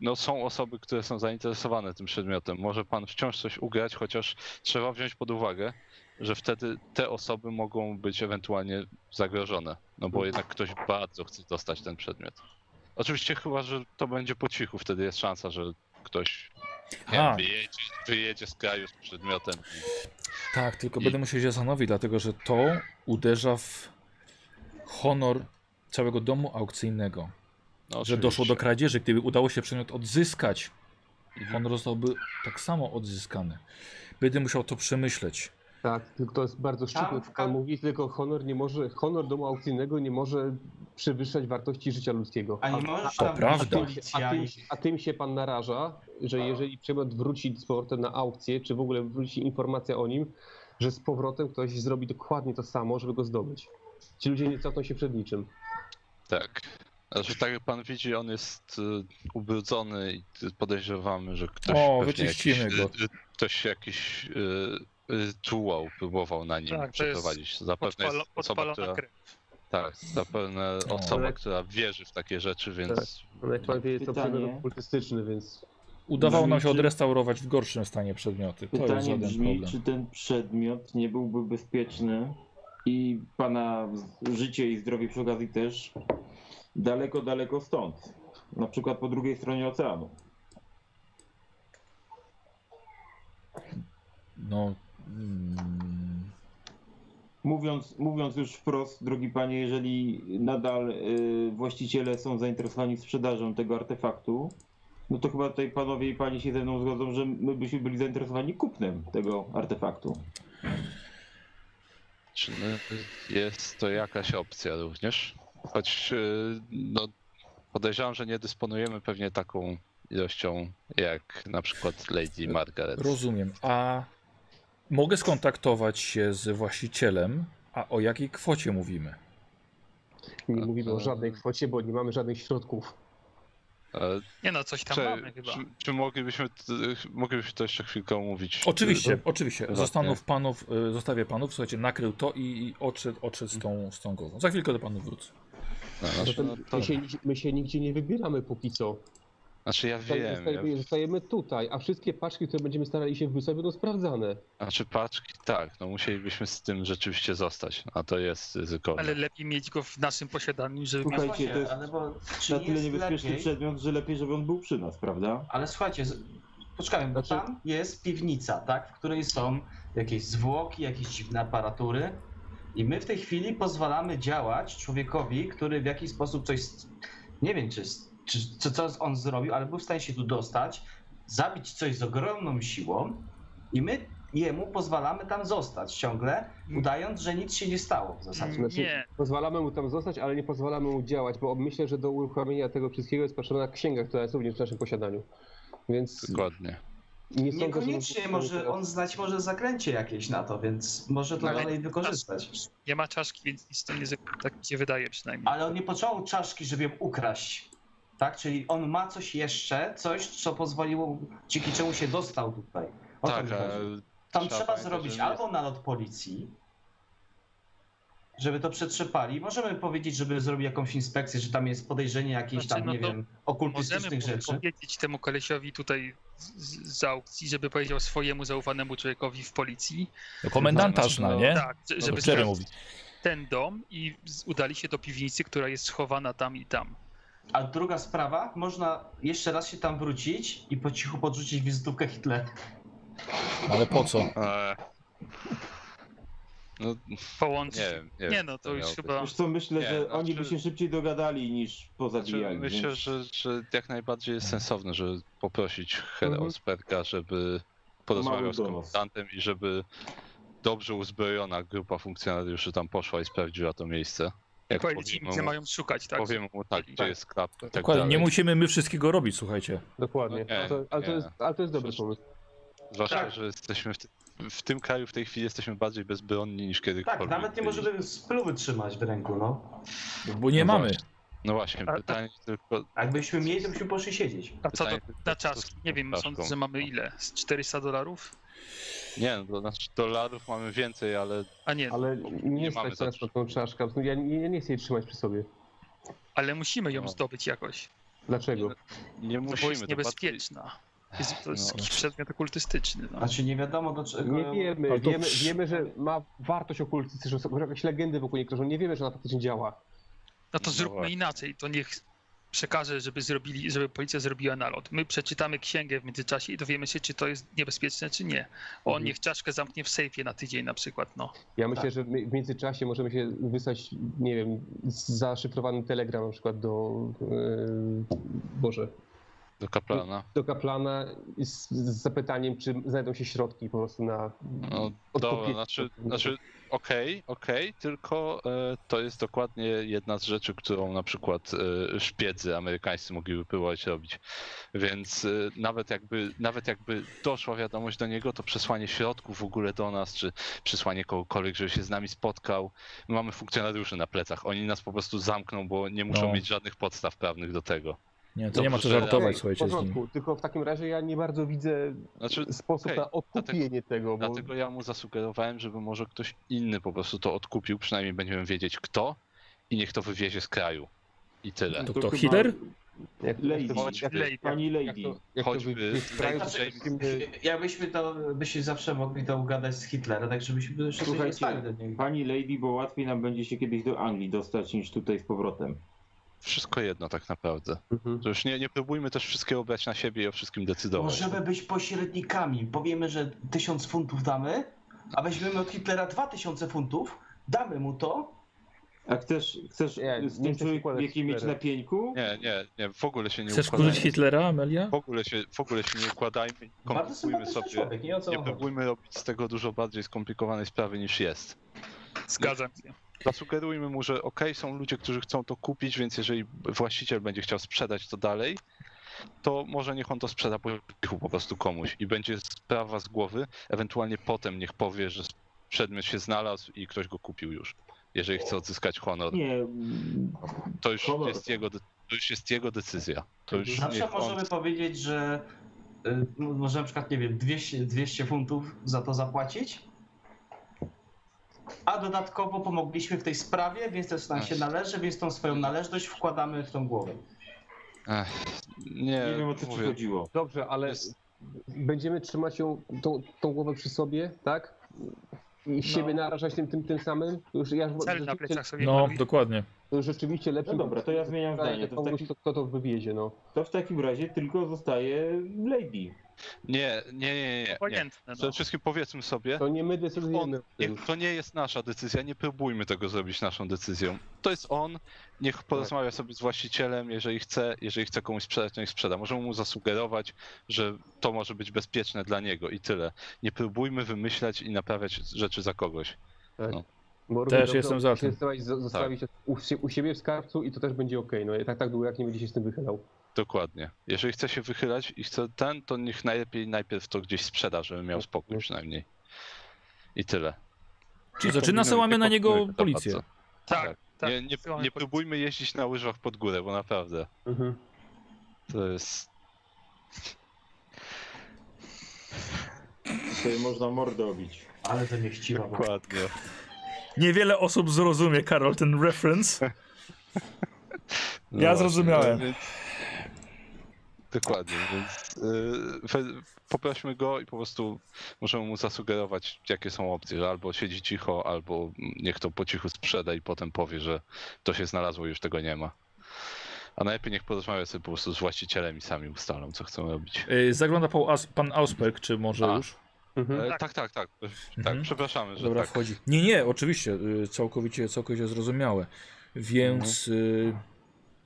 Speaker 3: No, są osoby, które są zainteresowane tym przedmiotem. Może pan wciąż coś ugrać, chociaż trzeba wziąć pod uwagę, że wtedy te osoby mogą być ewentualnie zagrożone. No bo jednak ktoś bardzo chce dostać ten przedmiot. Oczywiście, chyba że to będzie po cichu, wtedy jest szansa, że ktoś nie,
Speaker 1: A.
Speaker 3: wiem, wyjedzie, wyjedzie z kraju z przedmiotem.
Speaker 1: Tak, tylko
Speaker 3: I-
Speaker 1: będę musiał się zastanowić, dlatego że to uderza w honor całego domu aukcyjnego.
Speaker 3: No,
Speaker 1: Że doszło do
Speaker 3: oczywiście.
Speaker 1: kradzieży, gdyby udało się przedmiot odzyskać,
Speaker 3: Mhm.
Speaker 1: on zostałby tak samo odzyskany. Będę musiał to przemyśleć.
Speaker 2: Tak, tylko to jest bardzo szczytne,
Speaker 4: Tam w
Speaker 2: co pan
Speaker 4: kam-
Speaker 2: mówi, tylko honor nie może, honor domu aukcyjnego nie może przewyższać wartości życia ludzkiego.
Speaker 4: A nie możesz
Speaker 1: to
Speaker 4: tam być
Speaker 1: prawda.
Speaker 2: A
Speaker 4: policja
Speaker 2: tym,
Speaker 4: i...
Speaker 2: a tym się pan naraża, że jeżeli przedmiot wróci z powrotem na aukcję, czy w ogóle wróci informacja o nim, że z powrotem ktoś zrobi dokładnie to samo, żeby go zdobyć. Ci ludzie nie cofną się przed niczym.
Speaker 3: Tak. Znaczy, tak jak pan widzi, on jest y, ubrudzony i podejrzewamy, że ktoś.
Speaker 7: O,
Speaker 3: pewnie
Speaker 7: wyczyścimy
Speaker 3: jakiś,
Speaker 7: go.
Speaker 3: y, y, Ktoś jakiś y, rytuał próbował na nim
Speaker 6: Tak, to jest
Speaker 3: przeprowadzić. Zapewne
Speaker 6: Podpala,
Speaker 3: jest osoba,
Speaker 6: podpalona
Speaker 3: która,
Speaker 6: krew.
Speaker 3: tak, zapewne
Speaker 7: O. Tak.
Speaker 3: osoba, która wierzy w takie rzeczy, więc
Speaker 2: No jak pan wie, to
Speaker 5: Pytanie.
Speaker 2: przedmiot okultystyczny, więc
Speaker 7: Udawało nam się
Speaker 5: Brzmi, czy-
Speaker 7: odrestaurować w gorszym stanie przedmioty. To jest
Speaker 5: Pytanie
Speaker 7: żaden
Speaker 5: brzmi,
Speaker 7: problem.
Speaker 5: czy ten przedmiot nie byłby bezpieczny i pana życie i zdrowie przy okazji też daleko, daleko stąd. Na przykład po drugiej stronie oceanu.
Speaker 7: No. mm,
Speaker 5: Mówiąc, mówiąc już wprost, drogi panie, jeżeli nadal y, właściciele są zainteresowani sprzedażą tego artefaktu, no to chyba tutaj panowie i pani się ze mną zgodzą, że my byśmy byli zainteresowani kupnem tego artefaktu.
Speaker 3: czy y, jest to jakaś opcja również. Choć y, no, podejrzewam, że nie dysponujemy pewnie taką ilością jak na przykład Lady Margaret.
Speaker 7: Rozumiem. A mogę skontaktować się z właścicielem, a o jakiej kwocie mówimy?
Speaker 2: nie mówimy o żadnej kwocie, bo nie mamy żadnych środków.
Speaker 3: E,
Speaker 6: Nie no, coś tam
Speaker 3: Czy,
Speaker 6: mamy chyba.
Speaker 3: czy, czy moglibyśmy, t- moglibyśmy to jeszcze chwilkę omówić?
Speaker 7: Oczywiście,
Speaker 3: Do-
Speaker 7: oczywiście.
Speaker 3: Prywatnie.
Speaker 7: Zastanów panów, y, zostawię panów, słuchajcie, nakrył to i, i odszedł, odszedł z, tą, z tą głową. Za chwilkę do panów wrócę.
Speaker 3: no, znaczy, no,
Speaker 2: Zatem
Speaker 3: to,
Speaker 2: my się, my się nigdzie nie wybieramy póki co.
Speaker 3: znaczy ja
Speaker 2: Zostajemy,
Speaker 3: wiem, ja,
Speaker 2: zostajemy, zostajemy tutaj, a wszystkie paczki, które będziemy starali się wrzucać, będą sprawdzane.
Speaker 3: znaczy paczki tak, no musielibyśmy z tym rzeczywiście zostać, a to jest ryzykowne.
Speaker 6: Ale lepiej mieć go w naszym posiadaniu, żeby
Speaker 5: Słuchaj,
Speaker 6: mieć...
Speaker 5: Słuchajcie,
Speaker 4: No właśnie,
Speaker 5: to jest
Speaker 4: ale bo, czy
Speaker 5: Na
Speaker 4: nie
Speaker 5: tyle
Speaker 4: jest
Speaker 5: niebezpieczny
Speaker 4: lepiej?
Speaker 5: przedmiot, że lepiej, żeby on był przy nas, prawda?
Speaker 4: Ale słuchajcie, z- poczekajmy, bo
Speaker 2: Znaczy-
Speaker 4: tam jest piwnica, tak, w której są jakieś zwłoki, jakieś dziwne aparatury. I my w tej chwili pozwalamy działać człowiekowi, który w jakiś sposób coś. s- Nie wiem, czy, s- czy co, co on zrobił, ale był w stanie się tu dostać, zabić coś z ogromną siłą, i my jemu pozwalamy tam zostać ciągle, udając, że nic się nie stało w zasadzie.
Speaker 2: Znaczy,
Speaker 6: Nie.
Speaker 2: Pozwalamy mu tam zostać, ale nie pozwalamy mu działać, bo myślę, że do uruchomienia tego wszystkiego jest potrzebna księga, która jest również w naszym posiadaniu. Więc
Speaker 3: Dokładnie.
Speaker 2: nie sądzę,
Speaker 4: Niekoniecznie,
Speaker 2: żeby-
Speaker 4: może on znać może zakręcie jakieś na to, więc może to
Speaker 6: Ale-
Speaker 4: dalej wykorzystać.
Speaker 6: Nie ma czaszki, więc nic tam nie zrobi. Tak mi się wydaje przynajmniej.
Speaker 4: Ale on nie począł czaszki, żeby ją ukraść. Tak? Czyli on ma coś jeszcze, coś, co pozwoliło, dzięki czemu się dostał tutaj. O to
Speaker 3: tak,
Speaker 4: mi
Speaker 3: a,
Speaker 4: chodzi. Tam
Speaker 3: trzeba
Speaker 4: trzeba
Speaker 3: pamiętać,
Speaker 4: zrobić
Speaker 3: że nie-
Speaker 4: albo nalot policji, żeby to przetrzepali. Możemy powiedzieć, żeby zrobił jakąś inspekcję, że tam jest podejrzenie jakichś
Speaker 6: Znaczy,
Speaker 4: tam,
Speaker 6: no
Speaker 4: nie
Speaker 6: to
Speaker 4: wiem,
Speaker 6: Możemy
Speaker 4: okultystycznych
Speaker 6: po-
Speaker 4: rzeczy.
Speaker 6: powiedzieć temu kolesiowi tutaj z, z z aukcji, żeby powiedział swojemu zaufanemu człowiekowi w policji.
Speaker 7: No, komendanta zna, nie?
Speaker 6: Tak, że-
Speaker 7: No,
Speaker 6: żeby
Speaker 7: to Jerry
Speaker 6: sprawdzić
Speaker 7: mówi.
Speaker 6: ten dom i z- udali się do piwnicy, która jest schowana tam i tam.
Speaker 4: A druga sprawa, można jeszcze raz się tam wrócić i po cichu podrzucić wizytówkę Hitlera. Tak,
Speaker 7: No, Ale po co?
Speaker 3: E, no
Speaker 6: Połączyć.
Speaker 3: nie wiem, nie,
Speaker 6: Nie
Speaker 3: wiem,
Speaker 6: no,
Speaker 3: co
Speaker 6: to już
Speaker 3: miało
Speaker 6: chyba...
Speaker 5: Wiesz co, myślę,
Speaker 3: Nie,
Speaker 5: że
Speaker 3: znaczy-
Speaker 5: oni by się szybciej dogadali niż
Speaker 3: Znaczy,
Speaker 5: pozabijali.
Speaker 3: myślę,
Speaker 5: więc-
Speaker 3: że, że jak najbardziej jest sensowne, żeby poprosić
Speaker 4: Mhm.
Speaker 3: Herosberga, żeby
Speaker 5: Mały
Speaker 3: porozmawiał z
Speaker 5: donos.
Speaker 3: komendantem i żeby dobrze uzbrojona grupa funkcjonariuszy tam poszła i sprawdziła to miejsce. Jak
Speaker 6: Powiedzieć im, gdzie
Speaker 3: mu,
Speaker 6: mają szukać, tak?
Speaker 3: powiem mu tak, gdzie
Speaker 6: Tak.
Speaker 3: jest klap i tak
Speaker 7: Dokładnie,
Speaker 3: dalej.
Speaker 7: nie musimy my wszystkiego robić, słuchajcie.
Speaker 2: Dokładnie.
Speaker 3: No nie,
Speaker 2: to, ale, to
Speaker 3: nie.
Speaker 2: jest, ale to jest dobry
Speaker 3: Przecież-
Speaker 2: pomysł.
Speaker 3: Zwłaszcza,
Speaker 4: Tak.
Speaker 3: że jesteśmy w, ty- w tym kraju w tej chwili jesteśmy bardziej bezbronni niż kiedykolwiek.
Speaker 4: Tak, nawet nie
Speaker 3: byli.
Speaker 4: możemy spluwy trzymać w ręku, no.
Speaker 7: Bo nie
Speaker 3: No
Speaker 7: mamy.
Speaker 3: właśnie. No właśnie,
Speaker 6: A- a-
Speaker 3: pytanie tylko...
Speaker 4: A Jakbyśmy mieli, to byśmy poszli siedzieć.
Speaker 6: A co do,
Speaker 3: pytanie tylko,
Speaker 6: na
Speaker 3: co z
Speaker 6: czaszki? Nie wiem,
Speaker 3: czaszką.
Speaker 6: sądzę, że mamy ile? Z 400 dolarów?
Speaker 3: Nie, no, to znaczy dolarów mamy więcej, ale
Speaker 6: A nie,
Speaker 2: Ale nie
Speaker 3: mamy
Speaker 2: stać teraz
Speaker 3: dobrze.
Speaker 2: pod tą czaszkę. Ja nie, nie, nie chcę jej trzymać przy sobie.
Speaker 6: ale musimy ją
Speaker 3: No.
Speaker 6: zdobyć jakoś.
Speaker 2: Dlaczego?
Speaker 3: nie musimy.
Speaker 6: No bo jest
Speaker 3: to bardziej-
Speaker 6: niebezpieczna. Jest, to jest
Speaker 3: No.
Speaker 6: jakiś przedmiot okultystyczny. No.
Speaker 4: Znaczy nie wiadomo do czego.
Speaker 2: Nie wiemy.
Speaker 7: Ale to
Speaker 2: Wiemy,
Speaker 7: przy-
Speaker 2: wiemy, że ma wartość okultystyczną, są jakieś legendy wokół niej krążą. Nie wiemy, że ona faktycznie działa.
Speaker 6: no to
Speaker 3: No
Speaker 6: zróbmy
Speaker 3: właśnie.
Speaker 6: inaczej. To niech przekaże, żeby zrobili, żeby policja zrobiła nalot. My przeczytamy księgę w międzyczasie i dowiemy się, czy to jest niebezpieczne, czy nie. On
Speaker 2: Mhm.
Speaker 6: niech czaszkę zamknie w sejfie na tydzień na przykład, no.
Speaker 2: Ja
Speaker 3: Tak.
Speaker 2: myślę, że my- w międzyczasie możemy się wysłać, nie wiem, zaszyfrowany telegram na przykład do... e, Boże.
Speaker 3: Do kaplana.
Speaker 2: do kaplana i z, z zapytaniem, czy znajdą się środki po prostu na
Speaker 3: No
Speaker 2: odkupienie.
Speaker 3: dobra, znaczy, znaczy okej, okej, tylko e, to jest dokładnie jedna z rzeczy, którą na przykład e, szpiedzy amerykańscy mogliby próbować robić. Więc e, nawet jakby nawet jakby doszła wiadomość do niego, to przesłanie środków w ogóle do nas, czy przesłanie kogokolwiek, żeby się z nami spotkał. My mamy funkcjonariuszy na plecach, oni nas po prostu zamkną, bo nie muszą
Speaker 7: No.
Speaker 3: mieć żadnych podstaw prawnych do tego.
Speaker 7: Nie, to nie ma co
Speaker 3: Dobrze.
Speaker 7: żartować,
Speaker 2: Okej, w
Speaker 7: słuchajcie, z nim.
Speaker 2: porządku, tylko w takim razie ja nie bardzo widzę
Speaker 3: Znaczy,
Speaker 2: sposób
Speaker 3: okej,
Speaker 2: na odkupienie tego, bo
Speaker 3: Dlatego ja mu zasugerowałem, żeby może ktoś inny po prostu to odkupił, przynajmniej będziemy wiedzieć kto i niech to wywiezie z kraju. I tyle.
Speaker 7: To kto, Hitler?
Speaker 2: jak,
Speaker 5: Lady.
Speaker 2: jak, jak,
Speaker 6: Lady.
Speaker 5: Pani
Speaker 2: jak
Speaker 5: Lady.
Speaker 2: to, jak to
Speaker 3: Choćby
Speaker 2: wy- sprawiają,
Speaker 3: Lady
Speaker 2: że
Speaker 3: James.
Speaker 2: takim, y,
Speaker 4: Jakbyśmy to, byśmy zawsze mogli to ugadać z Hitlerem, tak żebyśmy szybciej
Speaker 5: Słuchajcie,
Speaker 4: dostali do niego.
Speaker 5: Pani Lady, bo łatwiej nam będzie się kiedyś do Anglii dostać niż tutaj z powrotem.
Speaker 3: Wszystko jedno tak naprawdę.
Speaker 2: Mhm.
Speaker 3: To już nie, nie próbujmy też wszystkiego brać na siebie i o wszystkim decydować.
Speaker 4: Możemy być pośrednikami. Powiemy, że 1000 funtów damy, a weźmiemy od Hitlera 2000 funtów, damy mu to.
Speaker 5: A chcesz, chcesz
Speaker 2: Nie, nie
Speaker 5: z
Speaker 2: chcę
Speaker 5: tym
Speaker 2: się układać
Speaker 5: człowiekiem mieć
Speaker 2: cztery.
Speaker 5: na pieńku?
Speaker 3: Nie, nie, nie, w ogóle się nie
Speaker 7: Chcesz
Speaker 3: układajmy.
Speaker 7: kurzyć Hitlera, Amelia?
Speaker 3: W ogóle się, w ogóle się nie układajmy,
Speaker 4: Bardzo
Speaker 3: komplikujmy
Speaker 4: sympatyczny
Speaker 3: sobie.
Speaker 4: człowiek, nie o co
Speaker 3: Nie
Speaker 4: on chodzi.
Speaker 3: próbujmy robić z tego dużo bardziej skomplikowanej sprawy niż jest.
Speaker 6: Zgadzam się.
Speaker 3: Zasugerujmy mu, że ok, są ludzie, którzy chcą to kupić, więc jeżeli właściciel będzie chciał sprzedać to dalej, to może niech on to sprzeda po cichu po prostu komuś i będzie sprawa z głowy, ewentualnie potem niech powie, że przedmiot się znalazł i ktoś go kupił już. Jeżeli chce odzyskać honor,
Speaker 5: Nie, mm,
Speaker 3: to już
Speaker 5: honor.
Speaker 3: jest jego, de- to już jest jego decyzja. To już
Speaker 4: Zawsze
Speaker 3: niech on...
Speaker 4: możemy powiedzieć, że y, no, może na przykład, nie wiem, 200, 200 funtów za to zapłacić. A dodatkowo pomogliśmy w tej sprawie, więc też nam się
Speaker 3: Właśnie.
Speaker 4: należy, więc tą swoją należność wkładamy w tą głowę.
Speaker 3: Ech,
Speaker 5: nie
Speaker 3: nie,
Speaker 5: wiem o co ci
Speaker 3: mówię,
Speaker 5: chodziło.
Speaker 2: Dobrze, ale
Speaker 3: Jest-
Speaker 2: będziemy trzymać ją, tą, tą głowę przy sobie, tak? I
Speaker 3: No.
Speaker 2: siebie narażać tym, tym, tym samym? To Już ja
Speaker 6: Cel na
Speaker 2: rzeczywiście-
Speaker 6: plecach
Speaker 3: Tak
Speaker 6: sobie
Speaker 7: No,
Speaker 6: mamy.
Speaker 7: dokładnie.
Speaker 2: to już rzeczywiście lepszym...
Speaker 5: No dobra, to ja zmieniam zdanie. To w
Speaker 2: Komuś,
Speaker 5: takim-
Speaker 2: kto, kto to wywiezie, no.
Speaker 5: To w takim razie tylko zostaje Lady.
Speaker 3: nie, nie, nie, nie, nie, nie.
Speaker 6: Obojętne, no.
Speaker 3: Przede wszystkim powiedzmy sobie,
Speaker 2: To nie my
Speaker 3: On-
Speaker 2: decydujemy. o
Speaker 3: Nie,
Speaker 2: tym.
Speaker 3: to nie jest nasza decyzja, nie próbujmy tego zrobić naszą decyzją. To jest on, niech porozmawia sobie z właścicielem, jeżeli chce, jeżeli chce komuś sprzedać, to niech sprzeda. Możemy mu zasugerować, że to może być bezpieczne dla niego i tyle. Nie próbujmy wymyślać i naprawiać rzeczy za kogoś.
Speaker 2: Bo równie
Speaker 7: Też
Speaker 2: dobrze
Speaker 7: jestem za
Speaker 2: możesz
Speaker 7: tym.
Speaker 2: się Zostawić, zostawić
Speaker 3: Tak.
Speaker 2: u, sie- u siebie w skarbcu i to też będzie okej. No i tak, tak długo, jak nie będzie się z tym wychylał.
Speaker 3: Dokładnie. Jeżeli chce się wychylać i chce ten, to niech najlepiej najpierw to gdzieś sprzeda, żeby miał spokój przynajmniej. I tyle.
Speaker 7: Czyli zaczyna se łamie na niego
Speaker 3: Kombinujmy to
Speaker 7: policję.
Speaker 3: bardzo.
Speaker 6: Tak, tak.
Speaker 3: Nie, nie,
Speaker 6: wysyłamy
Speaker 3: nie
Speaker 6: policję.
Speaker 3: próbujmy jeździć na łyżwach pod górę, bo naprawdę to jest
Speaker 5: Tutaj można mordobić.
Speaker 4: Ale to nie chciwa. bo-
Speaker 3: Dokładnie.
Speaker 7: Niewiele osób zrozumie, Karol, ten reference.
Speaker 3: No
Speaker 7: Ja
Speaker 3: właśnie,
Speaker 7: zrozumiałem.
Speaker 3: więc- Dokładnie, więc yy, we- poprośmy go i po prostu możemy mu zasugerować, jakie są opcje, że albo siedzi cicho, albo niech to po cichu sprzeda i potem powie, że to się znalazło i już tego nie ma. A najlepiej niech porozmawia sobie po prostu z właścicielem i sami ustalą, co chcą robić.
Speaker 7: Y, Zagląda pan, Aus pan Ausberg, czy może
Speaker 3: A.
Speaker 7: już?
Speaker 2: Mhm.
Speaker 3: E,
Speaker 6: Tak.
Speaker 3: tak, tak, tak. Tak,
Speaker 7: Mhm.
Speaker 3: przepraszamy, że
Speaker 7: Dobra,
Speaker 3: tak.
Speaker 7: wchodzi. Nie, nie, oczywiście, y, całkowicie, całkowicie zrozumiałe. Więc y,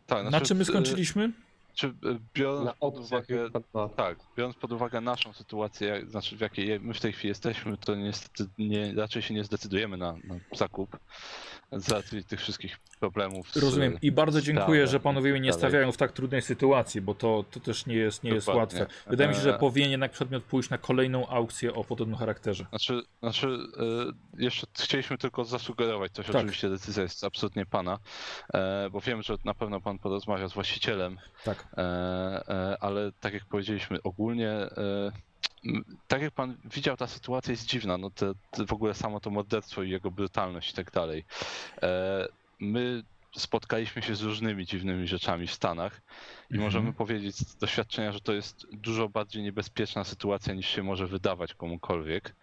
Speaker 3: tak
Speaker 7: na
Speaker 3: Mhm. znaczy,
Speaker 7: czym my
Speaker 3: e,
Speaker 7: skończyliśmy?
Speaker 3: Czy e, biorąc
Speaker 7: No.
Speaker 2: Na
Speaker 3: pod
Speaker 2: opcjach
Speaker 3: uwagę
Speaker 2: jest pan dwa.
Speaker 3: Tak, biorąc pod uwagę naszą sytuację, jak, znaczy w jakiej je- my w tej chwili jesteśmy, to niestety nie, raczej się nie zdecydujemy na, na zakup, załatwić tych wszystkich problemów. Z,
Speaker 7: Rozumiem. I bardzo dziękuję,
Speaker 3: Dobra,
Speaker 7: że panowie mnie nie
Speaker 3: dalej.
Speaker 7: stawiają w tak trudnej sytuacji, bo to, to też nie jest, nie jest
Speaker 3: Dokładnie.
Speaker 7: łatwe. Wydaje mi się, że
Speaker 3: E,
Speaker 7: powinien jednak przedmiot pójść na kolejną aukcję o podobnym charakterze.
Speaker 3: Znaczy, znaczy e, jeszcze chcieliśmy tylko zasugerować coś,
Speaker 7: Tak.
Speaker 3: oczywiście decyzja jest absolutnie pana, e, bo wiem, że na pewno pan porozmawia z właścicielem,
Speaker 7: Tak.
Speaker 3: E, e, ale tak jak powiedzieliśmy, ogólnie, e, m, tak jak pan widział, ta sytuacja jest dziwna. No te, te w ogóle samo to morderstwo i jego brutalność i tak dalej. E, My spotkaliśmy się z różnymi dziwnymi rzeczami w Stanach i
Speaker 7: Mhm.
Speaker 3: możemy powiedzieć z doświadczenia, że to jest dużo bardziej niebezpieczna sytuacja niż się może wydawać komukolwiek.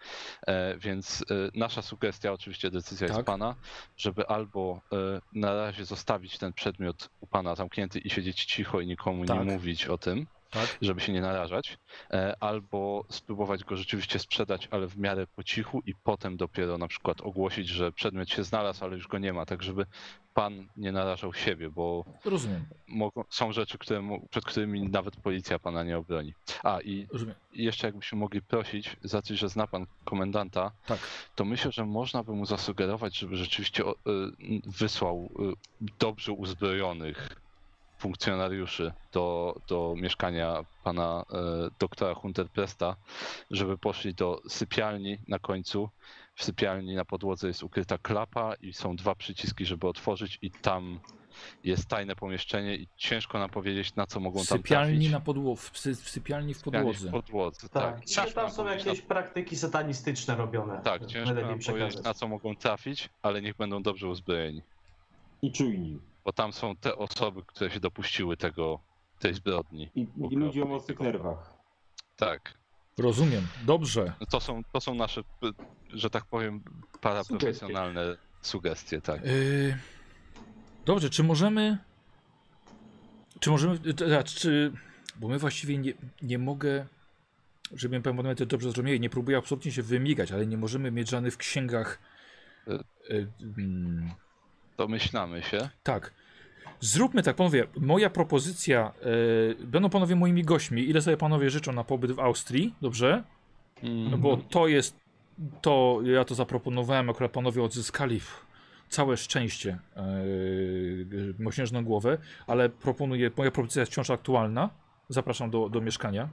Speaker 3: E, Więc e, nasza sugestia, oczywiście decyzja
Speaker 7: Tak.
Speaker 3: jest pana, żeby albo e, na razie zostawić ten przedmiot u pana zamknięty i siedzieć cicho i nikomu
Speaker 7: Tak.
Speaker 3: nie mówić o tym,
Speaker 1: Tak.
Speaker 3: żeby się nie narażać, e, albo spróbować go rzeczywiście sprzedać, ale w miarę po cichu i potem dopiero na przykład ogłosić, że przedmiot się znalazł, ale już go nie ma, tak żeby pan nie narażał siebie, bo
Speaker 1: Rozumiem,
Speaker 3: mogą, są rzeczy, które, mo- przed którymi nawet policja pana nie obroni. A i
Speaker 1: rozumiem.
Speaker 3: i jeszcze jakbyśmy mogli prosić, za coś, że zna pan komendanta,
Speaker 1: Tak.
Speaker 3: to myślę, że można by mu zasugerować, żeby rzeczywiście o- y, n- wysłał y, dobrze uzbrojonych funkcjonariuszy do, do mieszkania pana y, doktora Hunterpresta, żeby poszli do sypialni na końcu. W sypialni na podłodze jest ukryta klapa i są dwa przyciski, żeby otworzyć i tam jest tajne pomieszczenie i ciężko nam powiedzieć, na co mogą
Speaker 1: W
Speaker 3: tam
Speaker 1: sypialni
Speaker 3: trafić.
Speaker 1: na podłodze, w, sy- w sypialni w podłodze.
Speaker 3: W podłodze, tak.
Speaker 4: Tak. I że tam są jakieś praktyki satanistyczne robione.
Speaker 3: Tak, ciężko
Speaker 4: Będę
Speaker 3: nam
Speaker 4: nie
Speaker 3: powiedzieć na
Speaker 4: przekazać.
Speaker 3: co mogą trafić, ale niech będą dobrze uzbrojeni.
Speaker 5: I czujni.
Speaker 3: Bo tam są te osoby, które się dopuściły tego, tej zbrodni.
Speaker 5: I, i ludzie o mocnych nerwach.
Speaker 3: Tak.
Speaker 1: Rozumiem, dobrze.
Speaker 3: No To są, to są nasze, p- że tak powiem, paraprofesjonalne sugestie, tak.
Speaker 1: Yy, dobrze, czy możemy. Czy możemy. t- a, Czy, bo my właściwie nie, nie mogę. Żebym pan Bonnet dobrze zrozumieli, nie próbuję absolutnie się wymigać, ale nie możemy mieć żadnych w księgach.
Speaker 3: Y,
Speaker 1: Yy, mm,
Speaker 3: Domyślamy się.
Speaker 1: tak. Zróbmy tak, panowie. Moja propozycja. Yy, będą panowie moimi gośćmi. Ile sobie panowie życzą na pobyt w Austrii? Dobrze? No bo
Speaker 3: Mhm.
Speaker 1: to jest to, ja to zaproponowałem, akurat panowie odzyskali pff, całe szczęście yy, mosiężną głowę, ale proponuję, moja propozycja jest wciąż aktualna. Zapraszam do, do mieszkania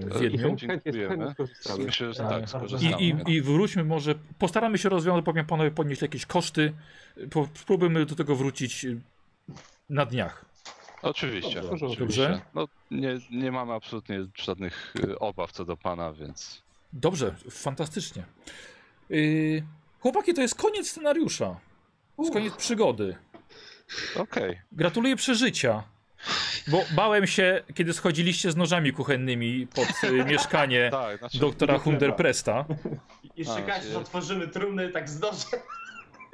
Speaker 1: yy, w
Speaker 3: E,
Speaker 1: Wiedniu.
Speaker 2: Chętnie, chętnie
Speaker 3: Dziękujemy.
Speaker 2: skorzystamy.
Speaker 3: Myślę, że
Speaker 1: Tak.
Speaker 3: tak,
Speaker 1: I,
Speaker 3: skorzystamy.
Speaker 1: i, I wróćmy może, postaramy się rozwiązać, powiem panowie podnieść jakieś koszty, E, po, spróbujmy do tego wrócić yy, na dniach.
Speaker 3: Oczywiście.
Speaker 2: Dobrze.
Speaker 3: oczywiście. No, nie, nie mamy absolutnie żadnych y, obaw co do pana, więc
Speaker 1: Dobrze, fantastycznie. Yy, chłopaki, to jest koniec scenariusza, to jest koniec przygody.
Speaker 3: okej.
Speaker 1: Gratuluję przeżycia. Bo bałem się, kiedy schodziliście z nożami kuchennymi pod y, mieszkanie
Speaker 3: Tak, znaczy,
Speaker 1: doktora Hunderpresta.
Speaker 4: I
Speaker 3: A,
Speaker 4: czekajcie,
Speaker 3: jest.
Speaker 4: że otworzymy trumny, tak zdążę.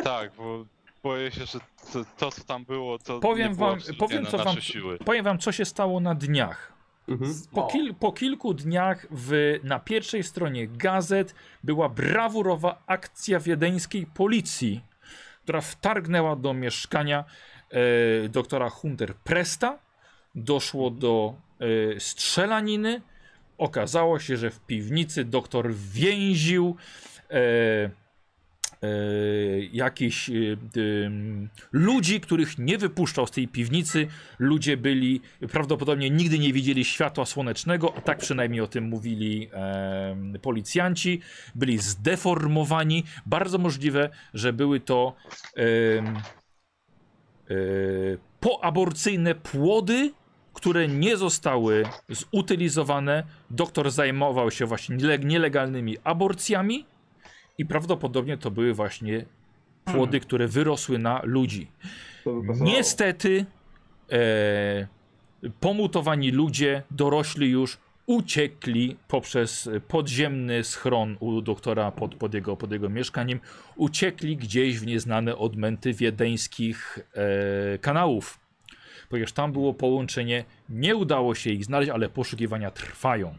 Speaker 3: Tak, bo boję się, że to, to co tam było, to
Speaker 1: Powiem
Speaker 3: nie było
Speaker 1: wam-
Speaker 3: absolutnie
Speaker 1: powiem,
Speaker 3: na
Speaker 1: co
Speaker 3: nasze
Speaker 1: wam-
Speaker 3: siły.
Speaker 1: Powiem wam, co się stało na dniach.
Speaker 2: Mhm.
Speaker 1: Po,
Speaker 4: O.
Speaker 1: kil, po kilku dniach w, na pierwszej stronie gazet była brawurowa akcja wiedeńskiej policji, która wtargnęła do mieszkania e, doktora Hunter Presta. Doszło do e, strzelaniny. Okazało się, że w piwnicy doktor więził e, e, jakichś e, dym, ludzi, których nie wypuszczał z tej piwnicy. Ludzie byli, prawdopodobnie nigdy nie widzieli światła słonecznego, a tak przynajmniej o tym mówili em, policjanci. Byli zdeformowani. Bardzo możliwe, że były to em, e, poaborcyjne płody, które nie zostały zutylizowane. Doktor zajmował się właśnie niele- nielegalnymi aborcjami i prawdopodobnie to były właśnie płody, które wyrosły na ludzi.
Speaker 5: To by pasowało.
Speaker 1: Niestety e, pomutowani ludzie, dorośli już, uciekli poprzez podziemny schron u doktora pod, pod, jego, pod jego mieszkaniem. Uciekli gdzieś w nieznane odmęty wiedeńskich e, kanałów. Ponieważ tam było połączenie, nie udało się ich znaleźć, ale poszukiwania trwają.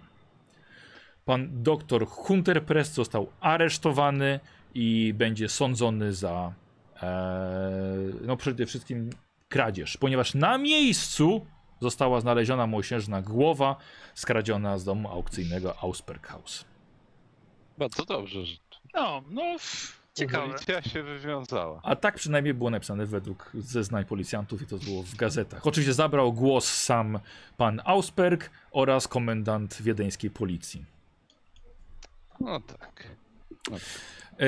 Speaker 1: Pan doktor Hunter Press został aresztowany i będzie sądzony za Eee, no przede wszystkim kradzież, ponieważ na miejscu została znaleziona mosiężna głowa skradziona z domu aukcyjnego Ausperkhaus.
Speaker 3: Bardzo dobrze, że
Speaker 6: No, no, pff, ciekawe.
Speaker 3: policja się wywiązała.
Speaker 1: A tak przynajmniej było napisane według zeznań policjantów i to było w gazetach. Oczywiście zabrał głos sam pan Ausperk oraz komendant wiedeńskiej policji.
Speaker 3: No tak.
Speaker 1: E,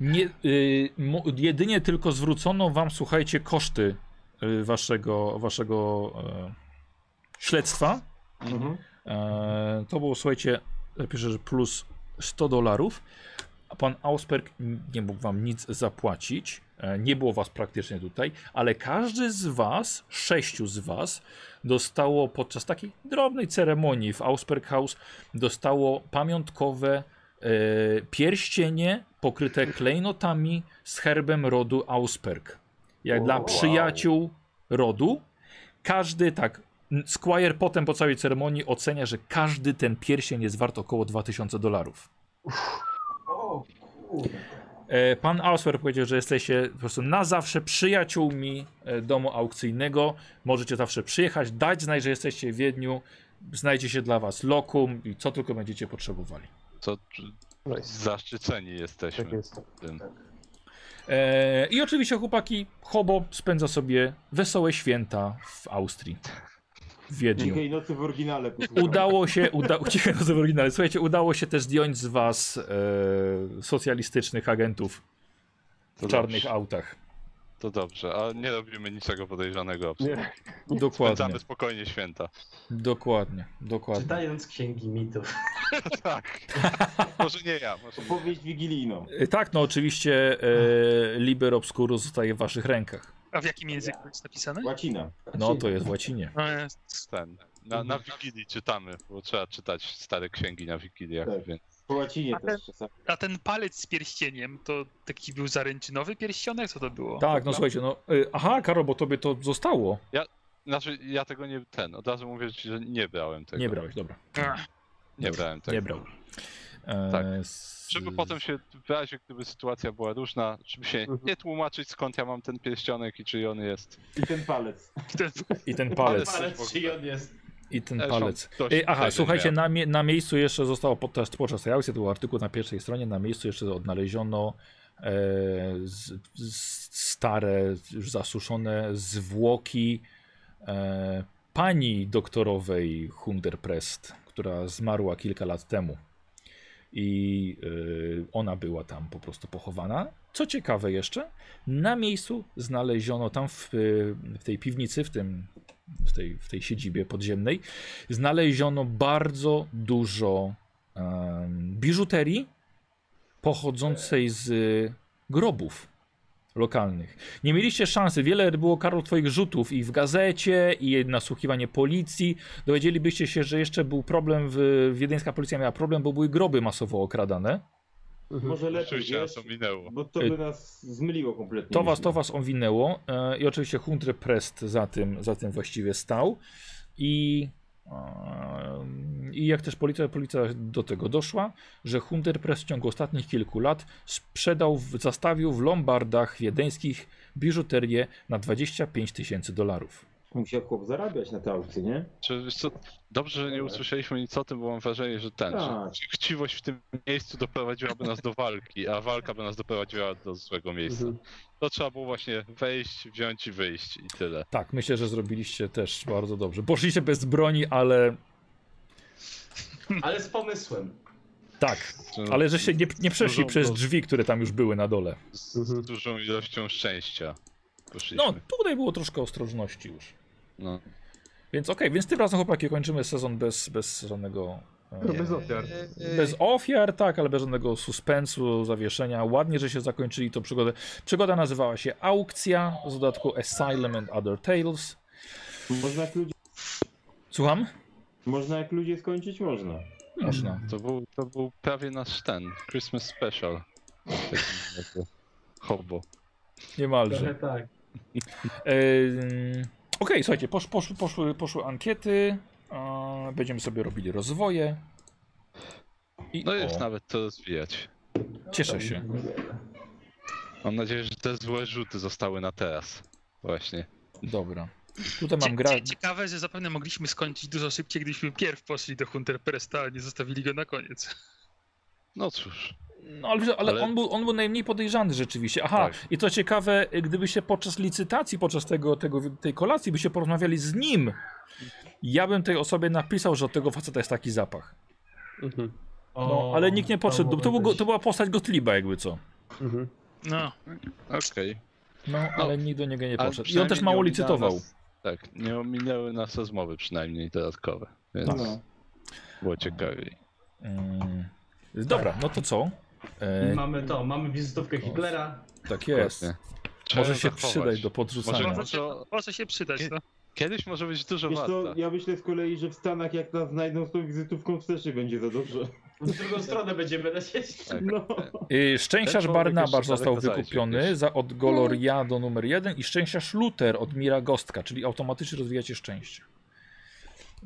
Speaker 1: nie, y, mo, jedynie tylko zwrócono wam, słuchajcie, koszty y, waszego, waszego e, śledztwa.
Speaker 2: Mhm.
Speaker 1: E, to było, słuchajcie, piszę, że plus 100 dolarów. A Pan Ausperk n- nie mógł wam nic zapłacić. E, Nie było was praktycznie tutaj, ale każdy z was, sześciu z was, dostało podczas takiej drobnej ceremonii w Ausperkhaus, dostało pamiątkowe e, pierścienie pokryte klejnotami z herbem rodu Ausperk. Jak
Speaker 2: O,
Speaker 1: dla
Speaker 2: wow.
Speaker 1: przyjaciół rodu. Każdy tak Squire potem po całej ceremonii ocenia, że każdy ten pierścień jest wart około 2000 dolarów.
Speaker 4: O, kurde.
Speaker 1: E, Pan Auswer powiedział, że jesteście po prostu na zawsze przyjaciółmi e, domu aukcyjnego. Możecie zawsze przyjechać, dać znać, że jesteście w Wiedniu. Znajdzie się dla was lokum i co tylko będziecie potrzebowali.
Speaker 3: Co czy-
Speaker 2: Nice.
Speaker 3: zaszczyceni jesteśmy.
Speaker 2: No Tak jest.
Speaker 3: tym.
Speaker 1: E, I oczywiście chłopaki, Hobo spędza sobie wesołe święta w Austrii. W Wiedniu.
Speaker 5: Dzisiaj nocy no w oryginale posłuchałem.
Speaker 1: Udało się, uda... Ciekawe, co w oryginale. Słuchajcie, udało się też zdjąć z was e, socjalistycznych agentów
Speaker 3: To
Speaker 1: w czarnych
Speaker 3: dobrze,
Speaker 1: autach.
Speaker 3: To dobrze, a nie robimy niczego podejrzanego. absolutnie.
Speaker 2: Nie.
Speaker 1: Dokładnie,
Speaker 3: Spędzamy spokojnie święta.
Speaker 1: dokładnie, dokładnie.
Speaker 4: Czytając księgi mitów.
Speaker 3: tak. może nie ja, może nie.
Speaker 5: Powieść wigilijną.
Speaker 1: E, Tak, no oczywiście e, Liber Obscurus zostaje w waszych rękach.
Speaker 6: A w jakim języku jest napisane?
Speaker 5: Łacina.
Speaker 3: Znaczy-
Speaker 1: No to jest w łacinie.
Speaker 6: No, jest-
Speaker 3: ten. Na,
Speaker 2: Mhm.
Speaker 3: na Wigilii czytamy, bo trzeba czytać stare księgi na Wigiliach,
Speaker 5: Tak.
Speaker 3: więc
Speaker 5: Po łacinie
Speaker 6: A ten-
Speaker 5: też czasami.
Speaker 6: A ten palec z pierścieniem, to taki był zaręczynowy pierścionek? Co to było?
Speaker 1: Tak, no słuchajcie, no. e, Aha, Karol, bo tobie to zostało.
Speaker 3: Znaczy, ja tego nie, ten, od razu mówię ci, że nie brałem tego.
Speaker 1: Nie brałeś, dobra.
Speaker 6: Ach,
Speaker 3: Nie brałem tego.
Speaker 1: Nie brał. E,
Speaker 3: Tak.
Speaker 1: s-
Speaker 3: Żeby potem się, w razie gdyby sytuacja była różna, żeby się
Speaker 2: Mhm.
Speaker 3: nie tłumaczyć skąd ja mam ten pierścionek i czy on jest.
Speaker 5: I ten palec.
Speaker 6: to-
Speaker 1: I ten palec.
Speaker 3: Ale
Speaker 4: Ale
Speaker 3: coś w
Speaker 4: czy
Speaker 3: ogóle.
Speaker 4: on jest?
Speaker 1: I ten
Speaker 3: Też mam
Speaker 1: palec.
Speaker 3: dość
Speaker 1: Ej, aha,
Speaker 3: tego
Speaker 1: słuchajcie,
Speaker 3: miałem.
Speaker 1: na, mie- na miejscu jeszcze zostało podczas, podczas tej aukcji, to był artykuł na pierwszej stronie, na miejscu jeszcze odnaleziono e, z, z, stare, już zasuszone zwłoki e, pani doktorowej Hunderprest, która zmarła kilka lat temu. I e, ona była tam po prostu pochowana. Co ciekawe jeszcze, na miejscu znaleziono tam w, e, w tej piwnicy, w tym w tej, w tej siedzibie podziemnej, znaleziono bardzo dużo em, biżuterii pochodzącej z grobów lokalnych. Nie mieliście szansy, wiele było Karol twoich rzutów i w gazecie, i nasłuchiwanie policji. Dowiedzielibyście się, że jeszcze był problem, w, wiedeńska policja miała problem, bo były groby masowo okradane.
Speaker 5: Może lepiej,
Speaker 3: Oczywiście
Speaker 5: wiesz?
Speaker 3: nas ominęło.
Speaker 5: Bo to by nas zmyliło kompletnie.
Speaker 1: To was, to was owinęło e, i oczywiście Hunter Prest za tym, za tym właściwie stał i, em, i jak też policja, policja do tego doszła, że Hunter Prest w ciągu ostatnich kilku lat sprzedał, w, zastawił w lombardach wiedeńskich biżuterię na 25 tysięcy dolarów.
Speaker 5: Musiał chłop zarabiać na tej aukcji, nie?
Speaker 3: Czy wiesz co, dobrze, że nie usłyszeliśmy nic o tym, bo mam wrażenie, że ten, że
Speaker 5: Tak.
Speaker 3: chciwość w tym miejscu doprowadziłaby nas do walki, a walka by nas doprowadziła do złego miejsca.
Speaker 2: Mhm.
Speaker 3: To trzeba było właśnie wejść, wziąć i wyjść i tyle.
Speaker 1: Tak, myślę, że zrobiliście też bardzo dobrze. Poszliście bez broni, ale
Speaker 4: Ale z pomysłem.
Speaker 1: tak,
Speaker 3: Czy-
Speaker 1: ale że się nie, nie przeszli
Speaker 3: Dużą-
Speaker 1: przez drzwi, które tam już były na dole.
Speaker 3: Z, z dużą ilością szczęścia poszliśmy.
Speaker 1: No, tutaj było troszkę ostrożności już.
Speaker 3: No.
Speaker 1: Więc okej, więc tym razem chłopaki kończymy sezon bez, bez żadnego. e,
Speaker 2: No, bez ofiar.
Speaker 1: Bez ofiar, tak, ale bez żadnego suspensu, zawieszenia. Ładnie, że się zakończyli tą przygodę. Przygoda nazywała się Aukcja, z dodatku Asylum and Other Tales.
Speaker 5: Można jak ludzie,
Speaker 1: Słucham?
Speaker 5: można jak ludzie skończyć? Można.
Speaker 1: Można.
Speaker 3: To był, to był prawie nasz ten, Christmas special. W takim razie. Hobo.
Speaker 1: Niemalże.
Speaker 4: Trochę tak.
Speaker 1: Ym, Okej, słuchajcie, posz, poszły, poszły, poszły ankiety. e, Będziemy sobie robili rozwoje. I
Speaker 3: No jest
Speaker 1: o,
Speaker 3: nawet co rozwijać.
Speaker 1: Cieszę się.
Speaker 3: Mam nadzieję, że te złe rzuty zostały na teraz. Właśnie.
Speaker 1: Dobra. Tutaj
Speaker 6: Cie-
Speaker 1: mam gra.
Speaker 6: cie- Ciekawe, że zapewne mogliśmy skończyć dużo szybciej, gdybyśmy pierw poszli do Hunter Presta, a nie zostawili go na koniec.
Speaker 3: No cóż.
Speaker 1: No, ale, wiesz, ale,
Speaker 3: Ale-
Speaker 1: On, był, on był najmniej podejrzany rzeczywiście. Aha,
Speaker 3: Tak.
Speaker 1: i co ciekawe, gdyby się podczas licytacji, podczas tego, tego, tej kolacji, by się porozmawiali z nim, ja bym tej osobie napisał, że od tego faceta jest taki zapach.
Speaker 2: Mhm.
Speaker 1: No,
Speaker 4: O,
Speaker 1: ale nikt nie podszedł. To,
Speaker 4: mogę
Speaker 1: to, był, go-
Speaker 4: też.
Speaker 1: to była postać Gottlieba, jakby co.
Speaker 2: Mhm.
Speaker 6: No,
Speaker 3: Okej.
Speaker 1: No, ale nikt do niego nie
Speaker 3: Ale
Speaker 1: podszedł. I on
Speaker 3: przynajmniej
Speaker 1: też
Speaker 3: nie
Speaker 1: mało
Speaker 3: ominęło
Speaker 1: licytował.
Speaker 3: nas- tak, nie ominęły nas rozmowy przynajmniej dodatkowe, więc
Speaker 5: No.
Speaker 3: było ciekawiej.
Speaker 1: Mm. Dobra, no to co? E,
Speaker 4: Mamy to, mamy wizytówkę Hitlera.
Speaker 1: tak jest.
Speaker 3: Dokładnie. Trzeba
Speaker 1: Może
Speaker 3: ją
Speaker 1: się
Speaker 3: zachować.
Speaker 1: przydać do podrzucania.
Speaker 6: może
Speaker 3: Może-
Speaker 6: się, może się przydać, no.
Speaker 3: Kiedyś może być dużo
Speaker 5: Wiesz co,
Speaker 3: warta.
Speaker 5: Tak. ja myślę z kolei, że w Stanach jak nas znajdą z tą wizytówką w Seszy będzie za dobrze.
Speaker 4: W drugą stronę będziemy lecieć.
Speaker 3: Tak.
Speaker 5: No.
Speaker 1: Y,
Speaker 3: Ten
Speaker 1: Szczęściarz
Speaker 3: człowiek
Speaker 1: Barnabasz
Speaker 3: jeszcze
Speaker 1: został
Speaker 3: daleko zajdzie,
Speaker 1: wykupiony
Speaker 3: wiesz.
Speaker 1: za od Goloriado numer 1 i szczęściarz Luther od Mira Gostka, czyli automatycznie rozwijacie szczęście.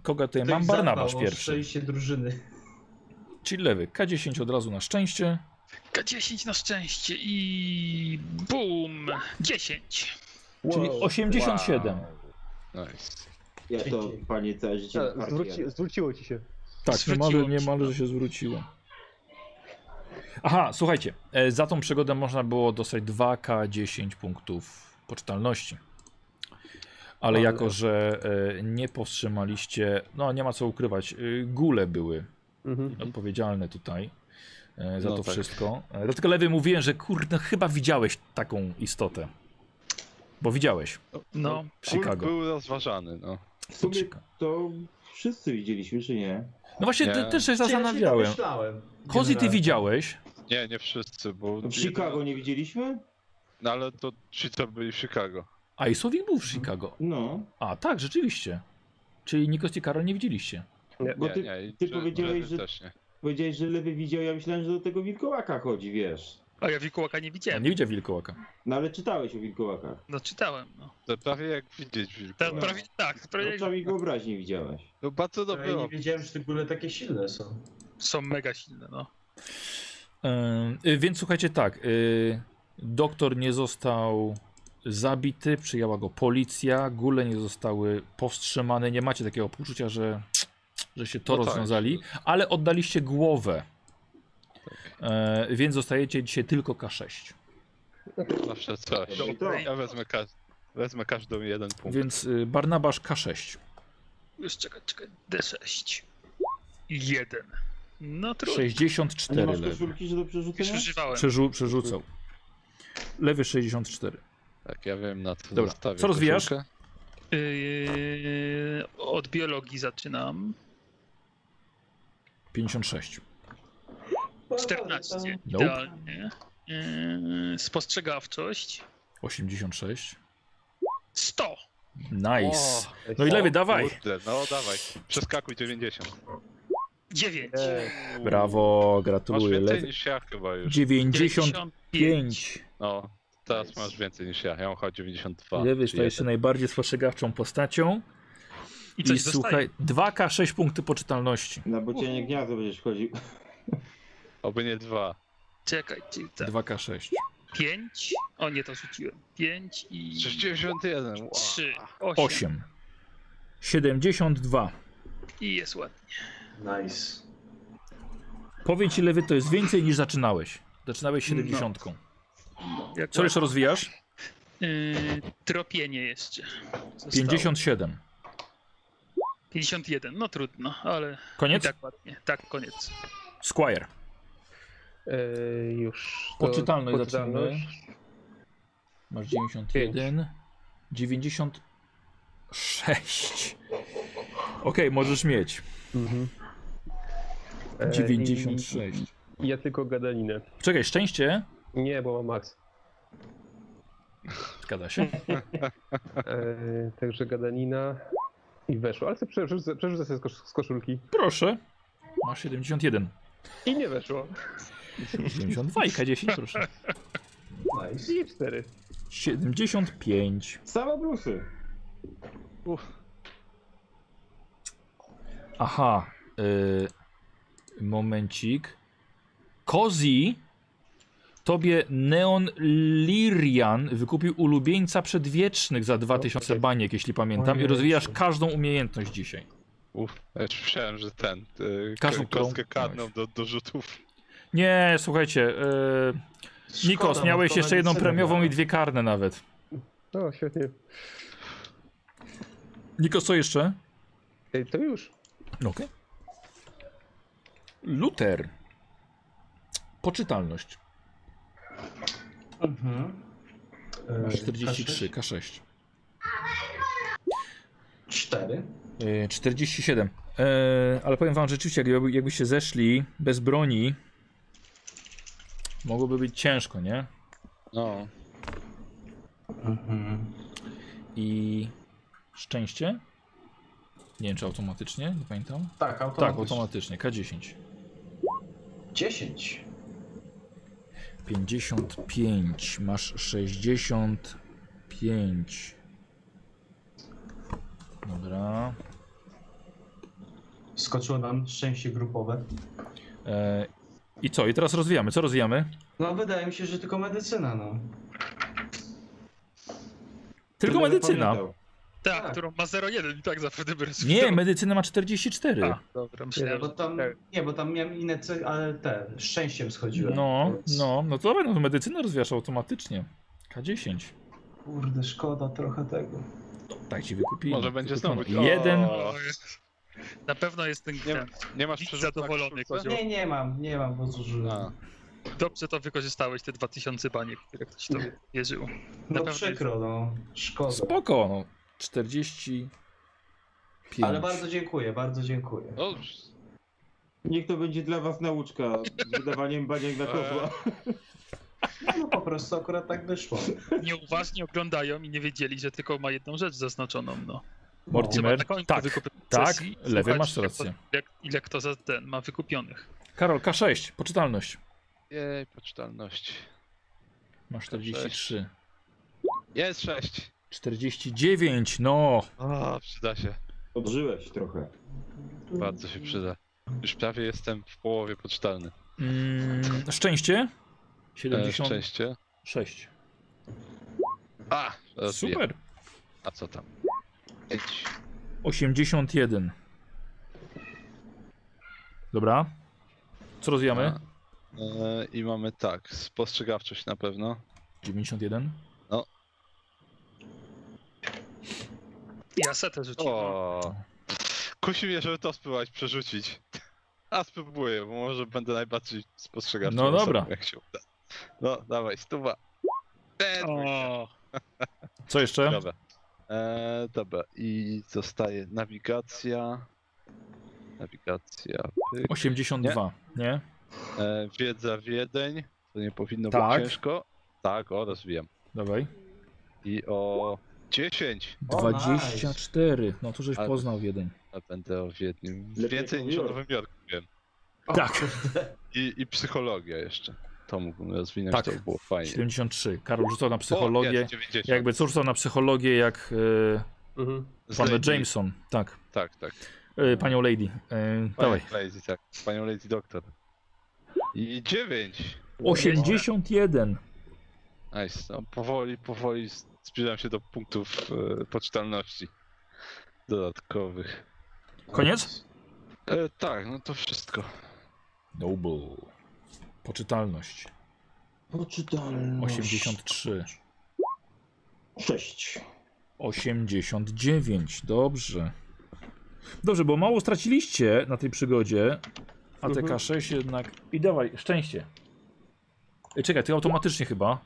Speaker 1: Kogo tutaj
Speaker 4: Tak
Speaker 1: mam? Barnabasz pierwszy.
Speaker 4: się drużyny.
Speaker 1: Czyli lewy. K10 od razu na szczęście.
Speaker 6: K10 na szczęście i bum! 10.
Speaker 1: Czyli 87.
Speaker 3: Nice.
Speaker 5: Ja to, panie, całe życie w parku jadę.
Speaker 2: Zwróci, zwróciło ci się.
Speaker 1: Tak,
Speaker 6: Zwróciło
Speaker 1: niemalże,
Speaker 6: mi się.
Speaker 1: niemalże się zwróciło. Aha, słuchajcie, e, za tą przygodę można było dostać 2K10 punktów poczytalności. Ale
Speaker 2: Ale-
Speaker 1: jako, że e, nie powstrzymaliście, no nie ma co ukrywać, y, gule były
Speaker 2: Mhm.
Speaker 1: odpowiedzialne tutaj e, za
Speaker 3: No
Speaker 1: to
Speaker 3: tak.
Speaker 1: wszystko. E, Dlatego lewy mówiłem, że kurde, no, chyba widziałeś taką istotę. Bo widziałeś.
Speaker 6: No,
Speaker 1: Chicago.
Speaker 3: Był rozważany, no.
Speaker 5: W sumie to wszyscy widzieliśmy, czy nie?
Speaker 1: No właśnie,
Speaker 3: Nie.
Speaker 1: te- też się
Speaker 4: Ja tak się
Speaker 1: zastanawiałem.
Speaker 4: domyślałem.
Speaker 1: Kozi, ty
Speaker 4: Generalnie.
Speaker 1: widziałeś?
Speaker 3: Nie, nie wszyscy, bo...
Speaker 5: W Chicago nie widzieliśmy?
Speaker 3: No ale to ci, co byli w Chicago.
Speaker 1: A Isowik był w Chicago.
Speaker 5: No.
Speaker 1: A, tak, rzeczywiście. Czyli Nikos i Karol nie widzieliście.
Speaker 5: Bo
Speaker 3: nie,
Speaker 5: ty,
Speaker 3: nie, i
Speaker 5: ty
Speaker 3: że-
Speaker 5: powiedziałeś,
Speaker 3: lewy
Speaker 5: że-
Speaker 3: Też nie.
Speaker 5: powiedziałeś, że lewy widział, ja myślałem, że do tego wilkołaka chodzi, wiesz.
Speaker 6: a ja Wikołaka nie
Speaker 1: Ja
Speaker 6: widziałem.
Speaker 1: nie widział wilkołaka.
Speaker 5: No ale czytałeś o wilkołakach.
Speaker 6: No czytałem, no.
Speaker 3: To prawie jak widzieć
Speaker 6: Ta,
Speaker 3: wilkołaka.
Speaker 5: No.
Speaker 6: prawie, tak, prawie
Speaker 5: Oczami wyobraźni widziałeś.
Speaker 3: No bardzo
Speaker 4: To
Speaker 3: dobre
Speaker 4: ja nie wiedziałem, że te góle takie silne są.
Speaker 6: są mega silne, no.
Speaker 1: Yy, więc słuchajcie, tak. Yy, doktor nie został zabity, przyjęła go policja, góle nie zostały powstrzymane. Nie macie takiego poczucia, że, że się to
Speaker 3: No tak.
Speaker 1: rozwiązali, ale oddaliście głowę. Yy, więc dostajecie dzisiaj tylko K6.
Speaker 3: Zawsze coś.
Speaker 5: Dobra.
Speaker 3: Ja wezmę, ka wezmę każdą jeden punkt.
Speaker 1: Więc yy, Barnabasz K6.
Speaker 6: Już czekaj, czekaj. D6. Jeden. No trudno.
Speaker 5: A nie
Speaker 4: No,
Speaker 1: 64
Speaker 5: masz
Speaker 1: lewy.
Speaker 5: koszulki, że do
Speaker 6: Już
Speaker 5: przerzucenia?
Speaker 6: używałem.
Speaker 1: Przerzu przerzucał. Lewy 64.
Speaker 3: Tak, ja wiem na co
Speaker 1: Dobra,
Speaker 3: zostawię
Speaker 1: co rozwijasz?
Speaker 3: koszulkę.
Speaker 6: Yy, od biologii zaczynam.
Speaker 1: 56.
Speaker 4: tak,
Speaker 6: 14.
Speaker 1: Nope.
Speaker 6: Idealnie. Yy, spostrzegawczość.
Speaker 1: 86.
Speaker 6: 100.
Speaker 1: Nice.
Speaker 3: O,
Speaker 1: No i lewy, dawaj.
Speaker 3: Kurde, no dawaj. Przeskakuj 90.
Speaker 6: 9.
Speaker 1: Brawo,
Speaker 3: Masz
Speaker 1: gratuluję.
Speaker 3: więcej
Speaker 1: Lewy.
Speaker 3: niż ja chyba już.
Speaker 1: 95.
Speaker 3: No, teraz masz więcej niż ja. Ja mam chyba 92.
Speaker 1: Lewy
Speaker 3: czy
Speaker 1: staje się
Speaker 3: jeden.
Speaker 1: najbardziej spostrzegawczą postacią.
Speaker 6: I
Speaker 1: I
Speaker 6: coś dostaje.
Speaker 1: słuchaj, 2K6 punkty poczytalności.
Speaker 5: Na bocianie gniazdo będziesz chodził.
Speaker 3: Oby nie dwa.
Speaker 6: Czekaj, czyli tak.
Speaker 1: 2K6.
Speaker 6: 5. O nie, to rzuciłem. 5 i
Speaker 3: 91. Wow.
Speaker 6: 3. 8.
Speaker 1: 8. 72.
Speaker 6: I jest ładnie.
Speaker 4: Nice.
Speaker 1: Powiedz ci lewy, to jest więcej niż zaczynałeś. Zaczynałeś 70. Co
Speaker 6: Jak ładnie.
Speaker 1: jeszcze rozwijasz?
Speaker 6: Yy, tropienie jeszcze. Zostało.
Speaker 1: 57.
Speaker 6: 51, no trudno, ale i
Speaker 1: Koniec?
Speaker 6: tak ładnie. Tak, koniec.
Speaker 1: Squire.
Speaker 2: Eee, już. to-
Speaker 1: Poczytalność zaczynamy.
Speaker 2: poczytalność.
Speaker 1: Masz 91. 96. Okej, możesz mieć.
Speaker 2: Mhm. Eee,
Speaker 1: 96.
Speaker 2: i Ja tylko gadaninę.
Speaker 1: Czekaj, szczęście.
Speaker 2: Nie, bo mam max.
Speaker 1: Zgadza się.
Speaker 2: Eee, także gadanina i weszło. Ale sobie przerzucę, przerzucę sobie z kosz- z koszulki.
Speaker 1: Proszę. Masz 71.
Speaker 2: I nie weszło.
Speaker 1: 72 i K10, proszę.
Speaker 4: Nice.
Speaker 2: I cztery.
Speaker 1: 75.
Speaker 5: Same plusy.
Speaker 1: Aha. Y, momencik. Kozi. Tobie Neon Lirian wykupił ulubieńca przedwiecznych za 2000
Speaker 2: Okej.
Speaker 1: baniek, jeśli pamiętam, i
Speaker 2: Ojej.
Speaker 1: rozwijasz każdą umiejętność dzisiaj.
Speaker 3: Uf, ja już myślałem, że ten. Yy,
Speaker 1: Każdą, którą
Speaker 3: kostkę karną
Speaker 1: miałeś.
Speaker 3: do, do rzutów.
Speaker 1: Nie, słuchajcie. Yy,
Speaker 4: Szkoda,
Speaker 1: Nikos,
Speaker 4: bo
Speaker 1: miałeś
Speaker 4: to
Speaker 1: jeszcze jedną
Speaker 4: medycyna
Speaker 1: premiową
Speaker 4: miała.
Speaker 1: i dwie karne nawet.
Speaker 2: O, No, świetnie.
Speaker 1: Nikos, co jeszcze?
Speaker 2: Ej, to już.
Speaker 1: Okej. Luther. Poczytalność.
Speaker 4: Mhm. Eee,
Speaker 1: 43, K6.
Speaker 4: 4.
Speaker 1: Yy, 47. Yy, ale powiem wam rzeczywiście, jakby, jakbyście zeszli bez broni, mogłoby być ciężko, nie?
Speaker 3: No.
Speaker 4: Mhm.
Speaker 1: I szczęście? Nie wiem, czy automatycznie, nie pamiętam.
Speaker 4: Tak, automatycznie.
Speaker 1: Tak, automatycznie, K10.
Speaker 4: 10.
Speaker 1: 55, masz 65. Dobra.
Speaker 4: Skoczyło nam szczęście grupowe.
Speaker 1: E, I co? I teraz rozwijamy. Co rozwijamy?
Speaker 4: No wydaje mi się, że tylko medycyna, no.
Speaker 1: Tylko
Speaker 5: Będę
Speaker 1: medycyna.
Speaker 5: pamiętał.
Speaker 6: Tak,
Speaker 4: Tak.
Speaker 6: którą ma 0,1 i tak zapewne by
Speaker 1: Nie,
Speaker 6: rezultował.
Speaker 1: medycyna ma 44.
Speaker 6: A, dobra,
Speaker 4: Nie,
Speaker 6: myślałem,
Speaker 4: bo
Speaker 6: że...
Speaker 4: tam, nie, bo tam miałem inne cechy, ale te, szczęściem schodziłem.
Speaker 1: No,
Speaker 4: Więc,
Speaker 1: no, no to dobra, no to medycynę rozwijasz automatycznie. K10.
Speaker 4: Kurde, szkoda trochę tego.
Speaker 1: Tak ci wykupili.
Speaker 3: Może będzie znowu.
Speaker 1: Wykupiono. Jeden.
Speaker 3: O,
Speaker 6: O, jest. Na pewno jest ten,
Speaker 3: Nie
Speaker 6: ten.
Speaker 3: nie masz
Speaker 6: Widz
Speaker 3: przerzutu na
Speaker 6: zadowolony,
Speaker 3: koszulce?
Speaker 6: kozioł.
Speaker 4: Nie, nie mam, nie mam, bo
Speaker 3: A.
Speaker 4: zużyłem.
Speaker 6: Dobrze to wykorzystałeś, te 2000 baniek, które ktoś tam wierzył.
Speaker 4: No
Speaker 6: pewno
Speaker 4: przykro, no. Szkoda.
Speaker 1: Spoko, no. 40.
Speaker 4: Ale bardzo dziękuję, bardzo dziękuję.
Speaker 3: No,
Speaker 5: Niech to będzie dla was nauczka z wydawaniem baniek na kozła.
Speaker 4: No po prostu akurat tak wyszło.
Speaker 6: Nieuważnie oglądają i nie wiedzieli, że tylko ma jedną rzecz zaznaczoną, no.
Speaker 1: Mortimer.
Speaker 6: na końcu
Speaker 1: Tak,
Speaker 6: wykupionych
Speaker 1: tak,
Speaker 6: sesji i
Speaker 1: lewy
Speaker 6: słuchać,
Speaker 1: masz
Speaker 6: ile-
Speaker 1: rację.
Speaker 6: Ile, ile kto za ten ma wykupionych.
Speaker 1: Karol, K6, poczytalność.
Speaker 3: jej, poczytalności.
Speaker 1: Masz 43.
Speaker 3: Jest sześć.
Speaker 1: 49, no.
Speaker 3: O, przyda się.
Speaker 5: Odżyłeś trochę.
Speaker 3: Bardzo się przyda. Już prawie jestem w połowie poczytalny.
Speaker 1: Mm, szczęście?
Speaker 3: E,
Speaker 1: 76.
Speaker 3: szczęście. A! rozbiję.
Speaker 1: Super.
Speaker 3: A co tam? Pięć.
Speaker 1: 81. Dobra. Co rozwijamy?
Speaker 3: A. E, I mamy tak, spostrzegawczość na pewno.
Speaker 1: 91.
Speaker 6: Ja setę
Speaker 1: no.
Speaker 6: rzuciłem.
Speaker 3: O. Kusi mnie, żeby to spróbować przerzucić. A spróbuję, bo może będę najbardziej spostrzegawczy.
Speaker 1: No
Speaker 3: osobą,
Speaker 1: dobra.
Speaker 3: Jak się uda. No, dawaj, stuwa. E, dwójka.
Speaker 6: O,
Speaker 1: Co jeszcze?
Speaker 3: Dobra. E, dobra, i zostaje nawigacja. Nawigacja. pyk.
Speaker 1: 82, nie?
Speaker 3: E, wiedza Wiedeń. To nie powinno
Speaker 1: Tak.
Speaker 3: być ciężko. Tak, o, rozwijam.
Speaker 1: Dawaj.
Speaker 3: I o 10.
Speaker 4: O,
Speaker 1: 24. No to żeś
Speaker 3: Ale-
Speaker 1: poznał jeden.
Speaker 3: A będę o Wiedniu.
Speaker 5: Lepiej
Speaker 3: Więcej
Speaker 5: jak
Speaker 3: niż o
Speaker 5: New York.
Speaker 3: Nowym Jorku wiem.
Speaker 1: Tak.
Speaker 3: I, I psychologia jeszcze. To mógłbym rozwinąć,
Speaker 1: Tak.
Speaker 3: to by było fajnie.
Speaker 1: 73. Karol rzucał na
Speaker 3: O,
Speaker 1: psychologię.
Speaker 3: jest, 90.
Speaker 1: Jakby co rzucał na psychologię jak e,
Speaker 2: Mhm.
Speaker 3: Z
Speaker 1: pan
Speaker 3: Lady.
Speaker 1: Jameson. Tak.
Speaker 3: Tak, tak.
Speaker 1: E, panią Lady. E, dawaj.
Speaker 3: Panią Lady, tak. Panią Lady Doktor. I 9.
Speaker 1: 81.
Speaker 3: Nice. No, powoli, powoli zbliżam się do punktów e, poczytalności dodatkowych.
Speaker 1: Koniec?
Speaker 3: E, tak, no to wszystko.
Speaker 1: Noble. Poczytalność.
Speaker 5: Poczytalność.
Speaker 1: 83.
Speaker 5: Sześć.
Speaker 1: 89, dobrze. Dobrze, bo mało straciliście na tej przygodzie. A te
Speaker 2: Mhm.
Speaker 1: K6 jednak. I dawaj, szczęście. Ej, czekaj, ty automatycznie chyba.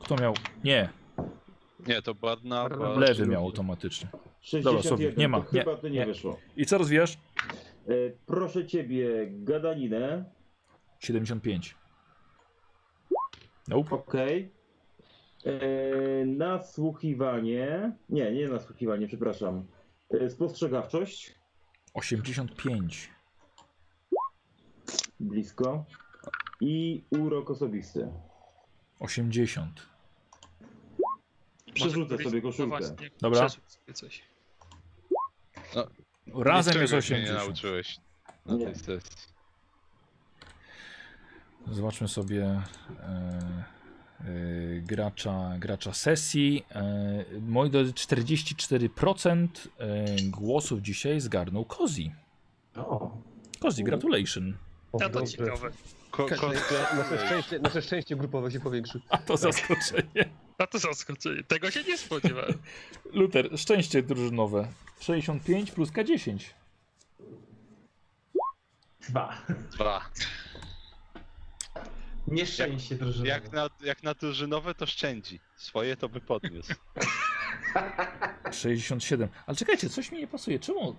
Speaker 1: Kto miał? Nie,
Speaker 3: Nie, to Barna.
Speaker 1: lewy miał automatycznie. Dobra, Słowik,
Speaker 5: 61.
Speaker 1: nie ma,
Speaker 5: to Chyba to nie,
Speaker 1: nie.
Speaker 5: wyszło.
Speaker 1: I co rozwijasz?
Speaker 5: E, proszę ciebie, gadaninę.
Speaker 1: 75. Nope.
Speaker 5: Okej. E, Nasłuchiwanie. Nie, nie nasłuchiwanie, przepraszam. E, Spostrzegawczość.
Speaker 1: 85.
Speaker 5: Blisko. I urok osobisty.
Speaker 1: 80.
Speaker 5: Przerzucę
Speaker 6: może
Speaker 5: sobie
Speaker 6: któryś- No
Speaker 5: koszulkę.
Speaker 6: właśnie,
Speaker 1: Dobra.
Speaker 6: przerzuć sobie coś.
Speaker 1: Razem jest
Speaker 3: Niczego się Nie
Speaker 1: 80.
Speaker 3: nauczyłeś No, na
Speaker 5: Nie.
Speaker 3: tej sesji.
Speaker 1: Zobaczmy sobie e, e, gracza, gracza sesji. E, moi drodzy, 44% e, głosów dzisiaj zgarnął Kozi.
Speaker 4: O,
Speaker 1: Kozi, gratulation.
Speaker 2: O,
Speaker 6: A to
Speaker 2: dobrze.
Speaker 6: ciekawe.
Speaker 3: Ko, ko,
Speaker 2: Nasze szczęście, nasze szczęście grupowe się powiększy.
Speaker 1: A to zaskoczenie.
Speaker 6: A to zaskoczenie. Tego się nie spodziewałem.
Speaker 1: Luther, szczęście drużynowe. 65 plus K10.
Speaker 4: dwa.
Speaker 3: dwa.
Speaker 4: Nieszczęście drużyny.
Speaker 3: Jak na, jak na drużynowe to szczędzi. Swoje to by podniósł.
Speaker 1: 67. Ale czekajcie, coś mi nie pasuje. Czemu?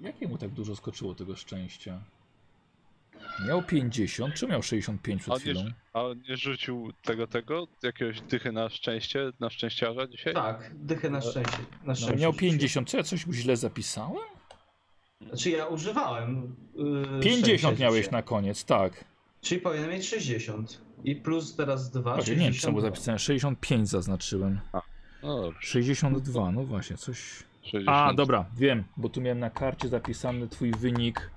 Speaker 1: Jakie mu tak dużo skoczyło tego szczęścia? Miał 50, czy miał 65 przed
Speaker 3: On nie,
Speaker 1: chwilą?
Speaker 3: rzu- a on nie rzucił tego, tego? Jakiegoś dychy na szczęście, na szczęściarza dzisiaj?
Speaker 4: Tak, dychę na szczęście. Na
Speaker 1: No,
Speaker 4: szczęście
Speaker 1: miał
Speaker 4: rzuciłem.
Speaker 1: 50. Co ja coś mu źle zapisałem?
Speaker 4: Znaczy ja używałem. Yy,
Speaker 1: 50
Speaker 4: szczęścia
Speaker 1: miałeś
Speaker 4: dzisiaj.
Speaker 1: na koniec, tak.
Speaker 4: Czyli powinienem mieć 60. I plus teraz 2.
Speaker 1: Patrz, Znaczy, nie wiem, czy tam było zapisane. 65 zaznaczyłem.
Speaker 3: No dobrze.
Speaker 1: 62, no właśnie, coś.
Speaker 3: 60.
Speaker 1: A, dobra, wiem, bo tu miałem na karcie zapisany twój wynik,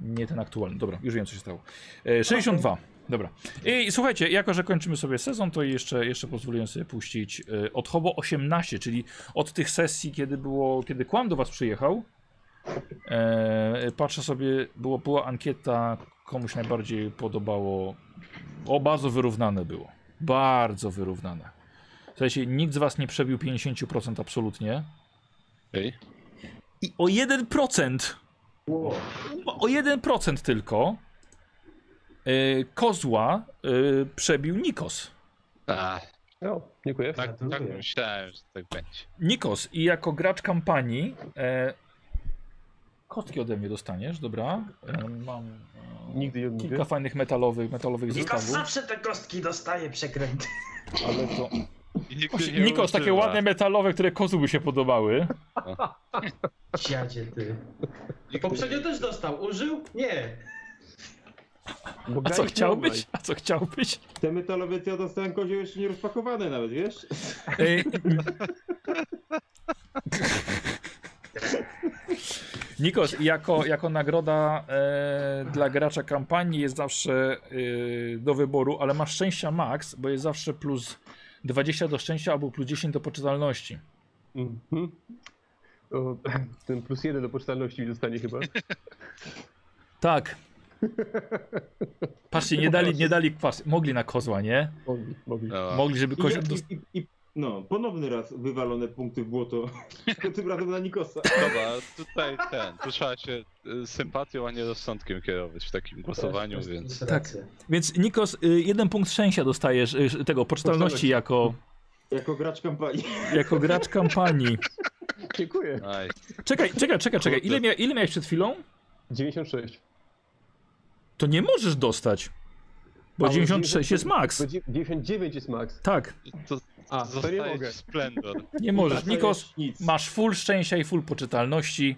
Speaker 1: nie ten aktualny. Dobra, już wiem co się stało. E, 62. Dobra. I słuchajcie, jako że kończymy sobie sezon, to jeszcze, jeszcze pozwoliłem sobie puścić e, od Hobo 18, czyli od tych sesji, kiedy było, kiedy Kłam do was przyjechał. E, patrzę sobie, było, była ankieta, komuś najbardziej podobało. O, bardzo wyrównane było. Bardzo wyrównane. W sensie nikt z was nie przebił 50% absolutnie.
Speaker 3: Okej.
Speaker 1: I o 1%. O 1% tylko. y, Kozła y, przebił Nikos.
Speaker 3: A,
Speaker 2: No, dziękuję.
Speaker 3: tak, tak
Speaker 4: Gratuluję.
Speaker 3: myślałem, że tak będzie.
Speaker 1: Nikos i jako gracz kampanii e, kostki ode mnie dostaniesz, dobra. E, mam e,
Speaker 2: Nigdy nie
Speaker 1: kilka
Speaker 2: odmówię.
Speaker 1: fajnych metalowych, metalowych
Speaker 4: Nikos
Speaker 1: zestawów.
Speaker 4: zawsze te kostki dostaje przekręty.
Speaker 1: Ale to...
Speaker 3: I nigdy
Speaker 1: Właśnie,
Speaker 3: nie
Speaker 1: Nikos, takie
Speaker 3: używa.
Speaker 1: ładne metalowe, które kozu by się podobały.
Speaker 4: Siadzie ty. Poprzednio też dostał. Użył? Nie.
Speaker 2: Bo
Speaker 1: A co
Speaker 2: graliśmy online.
Speaker 1: chciałbyś? A co chciałbyś?
Speaker 5: Te metalowe to ja dostałem kozioł jeszcze nie rozpakowane nawet, wiesz?
Speaker 1: E, Nikos, jako, jako nagroda e, dla gracza kampanii jest zawsze e, do wyboru, ale masz szczęścia max, bo jest zawsze plus 20 do szczęścia albo plus 10 do poczytalności.
Speaker 2: Mhm. O, ten plus jeden do poczytalności mi dostanie chyba.
Speaker 1: Tak. Patrzcie, nie dali, nie dali kwas. Mogli na kozła, nie?
Speaker 2: Mogli, mogli.
Speaker 3: No,
Speaker 1: Mogli, żeby
Speaker 5: I,
Speaker 1: kozioł.
Speaker 5: ja-
Speaker 1: Dost...
Speaker 5: i, i, i, no, ponowny raz wywalone punkty w błoto. Tylko tym razem na Nikosa.
Speaker 3: Dobra, tutaj ten, tu trzeba się y, sympatią, a nie rozsądkiem kierować w takim głosowaniu, więc...
Speaker 4: Masz
Speaker 1: tak.
Speaker 4: rację.
Speaker 1: Więc Nikos, y, jeden punkt szczęścia dostajesz, y, tego poczytalności
Speaker 2: Poczytalności.
Speaker 1: jako,
Speaker 5: Jako gracz kampanii.
Speaker 1: jako gracz kampanii.
Speaker 2: Dziękuję.
Speaker 3: Aj,
Speaker 1: Czekaj, czekaj, czekaj, czekaj. Ile, mia, ile miałeś przed chwilą?
Speaker 2: 96.
Speaker 1: To nie możesz dostać. Bo
Speaker 2: A,
Speaker 1: 96 jest
Speaker 2: Bo
Speaker 1: max.
Speaker 2: dzie- 99 jest max.
Speaker 1: Tak,
Speaker 3: to
Speaker 2: A, to nie
Speaker 3: zostaje
Speaker 2: mogę.
Speaker 3: ci splendor.
Speaker 1: nie możesz.
Speaker 5: Dostajesz
Speaker 1: Nikos,
Speaker 5: nic.
Speaker 1: masz full szczęścia i full poczytalności.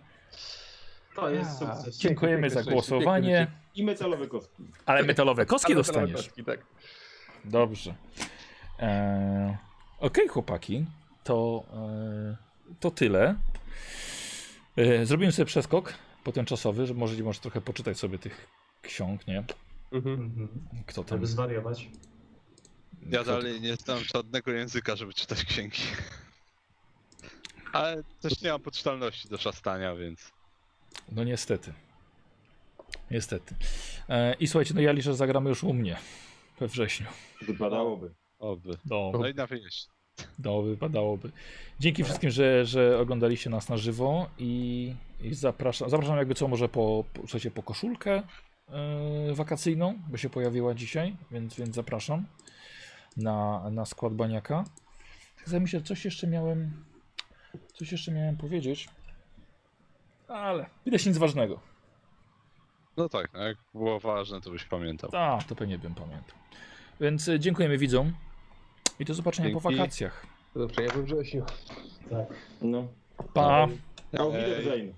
Speaker 4: To jest
Speaker 2: A,
Speaker 4: sukces.
Speaker 1: Dziękujemy za
Speaker 2: Piękne
Speaker 1: głosowanie.
Speaker 2: szczęście,
Speaker 5: I metalowe kostki.
Speaker 1: Ale metalowe kostki
Speaker 2: Ale metalowe
Speaker 1: dostaniesz.
Speaker 2: kostki, Tak.
Speaker 1: Dobrze. Eee, Okej, chłopaki, to, eee, to tyle. Eee, zrobimy sobie przeskok potem czasowy, że możecie może trochę poczytać sobie tych ksiąg, nie?
Speaker 2: Mhm.
Speaker 4: Mhm.
Speaker 1: Kto tam.
Speaker 4: Żeby zwariować.
Speaker 3: Ja
Speaker 1: kto-
Speaker 3: dalej nie znam żadnego języka, żeby czytać księgi. Ale też nie mam poczytalności do szastania, więc...
Speaker 1: No niestety. Niestety. Eee, I słuchajcie, no ja liczę, że zagramy już u mnie we wrześniu.
Speaker 5: Wypadałoby.
Speaker 3: Oby.
Speaker 1: No,
Speaker 3: No i na wieś.
Speaker 1: no wypadałoby. Dzięki wszystkim, że, że oglądaliście nas na żywo i, i zapraszam, zapraszam jakby co może po, po, słuchajcie, po koszulkę yy, wakacyjną, bo się pojawiła dzisiaj, więc, więc zapraszam na, na skład baniaka. Tak sobie myślę, coś jeszcze miałem coś jeszcze miałem powiedzieć, ale widać nic ważnego.
Speaker 3: No tak, no jak było ważne, to byś pamiętał.
Speaker 1: Tak, to pewnie bym pamiętał. Więc y, dziękujemy widzom i do zobaczenia po
Speaker 3: Dzięki.
Speaker 1: wakacjach.
Speaker 2: Dobrze, ja we wrześniu.
Speaker 5: No.
Speaker 1: Pa!
Speaker 5: A o widzę
Speaker 3: Ej.
Speaker 5: wzajemnie.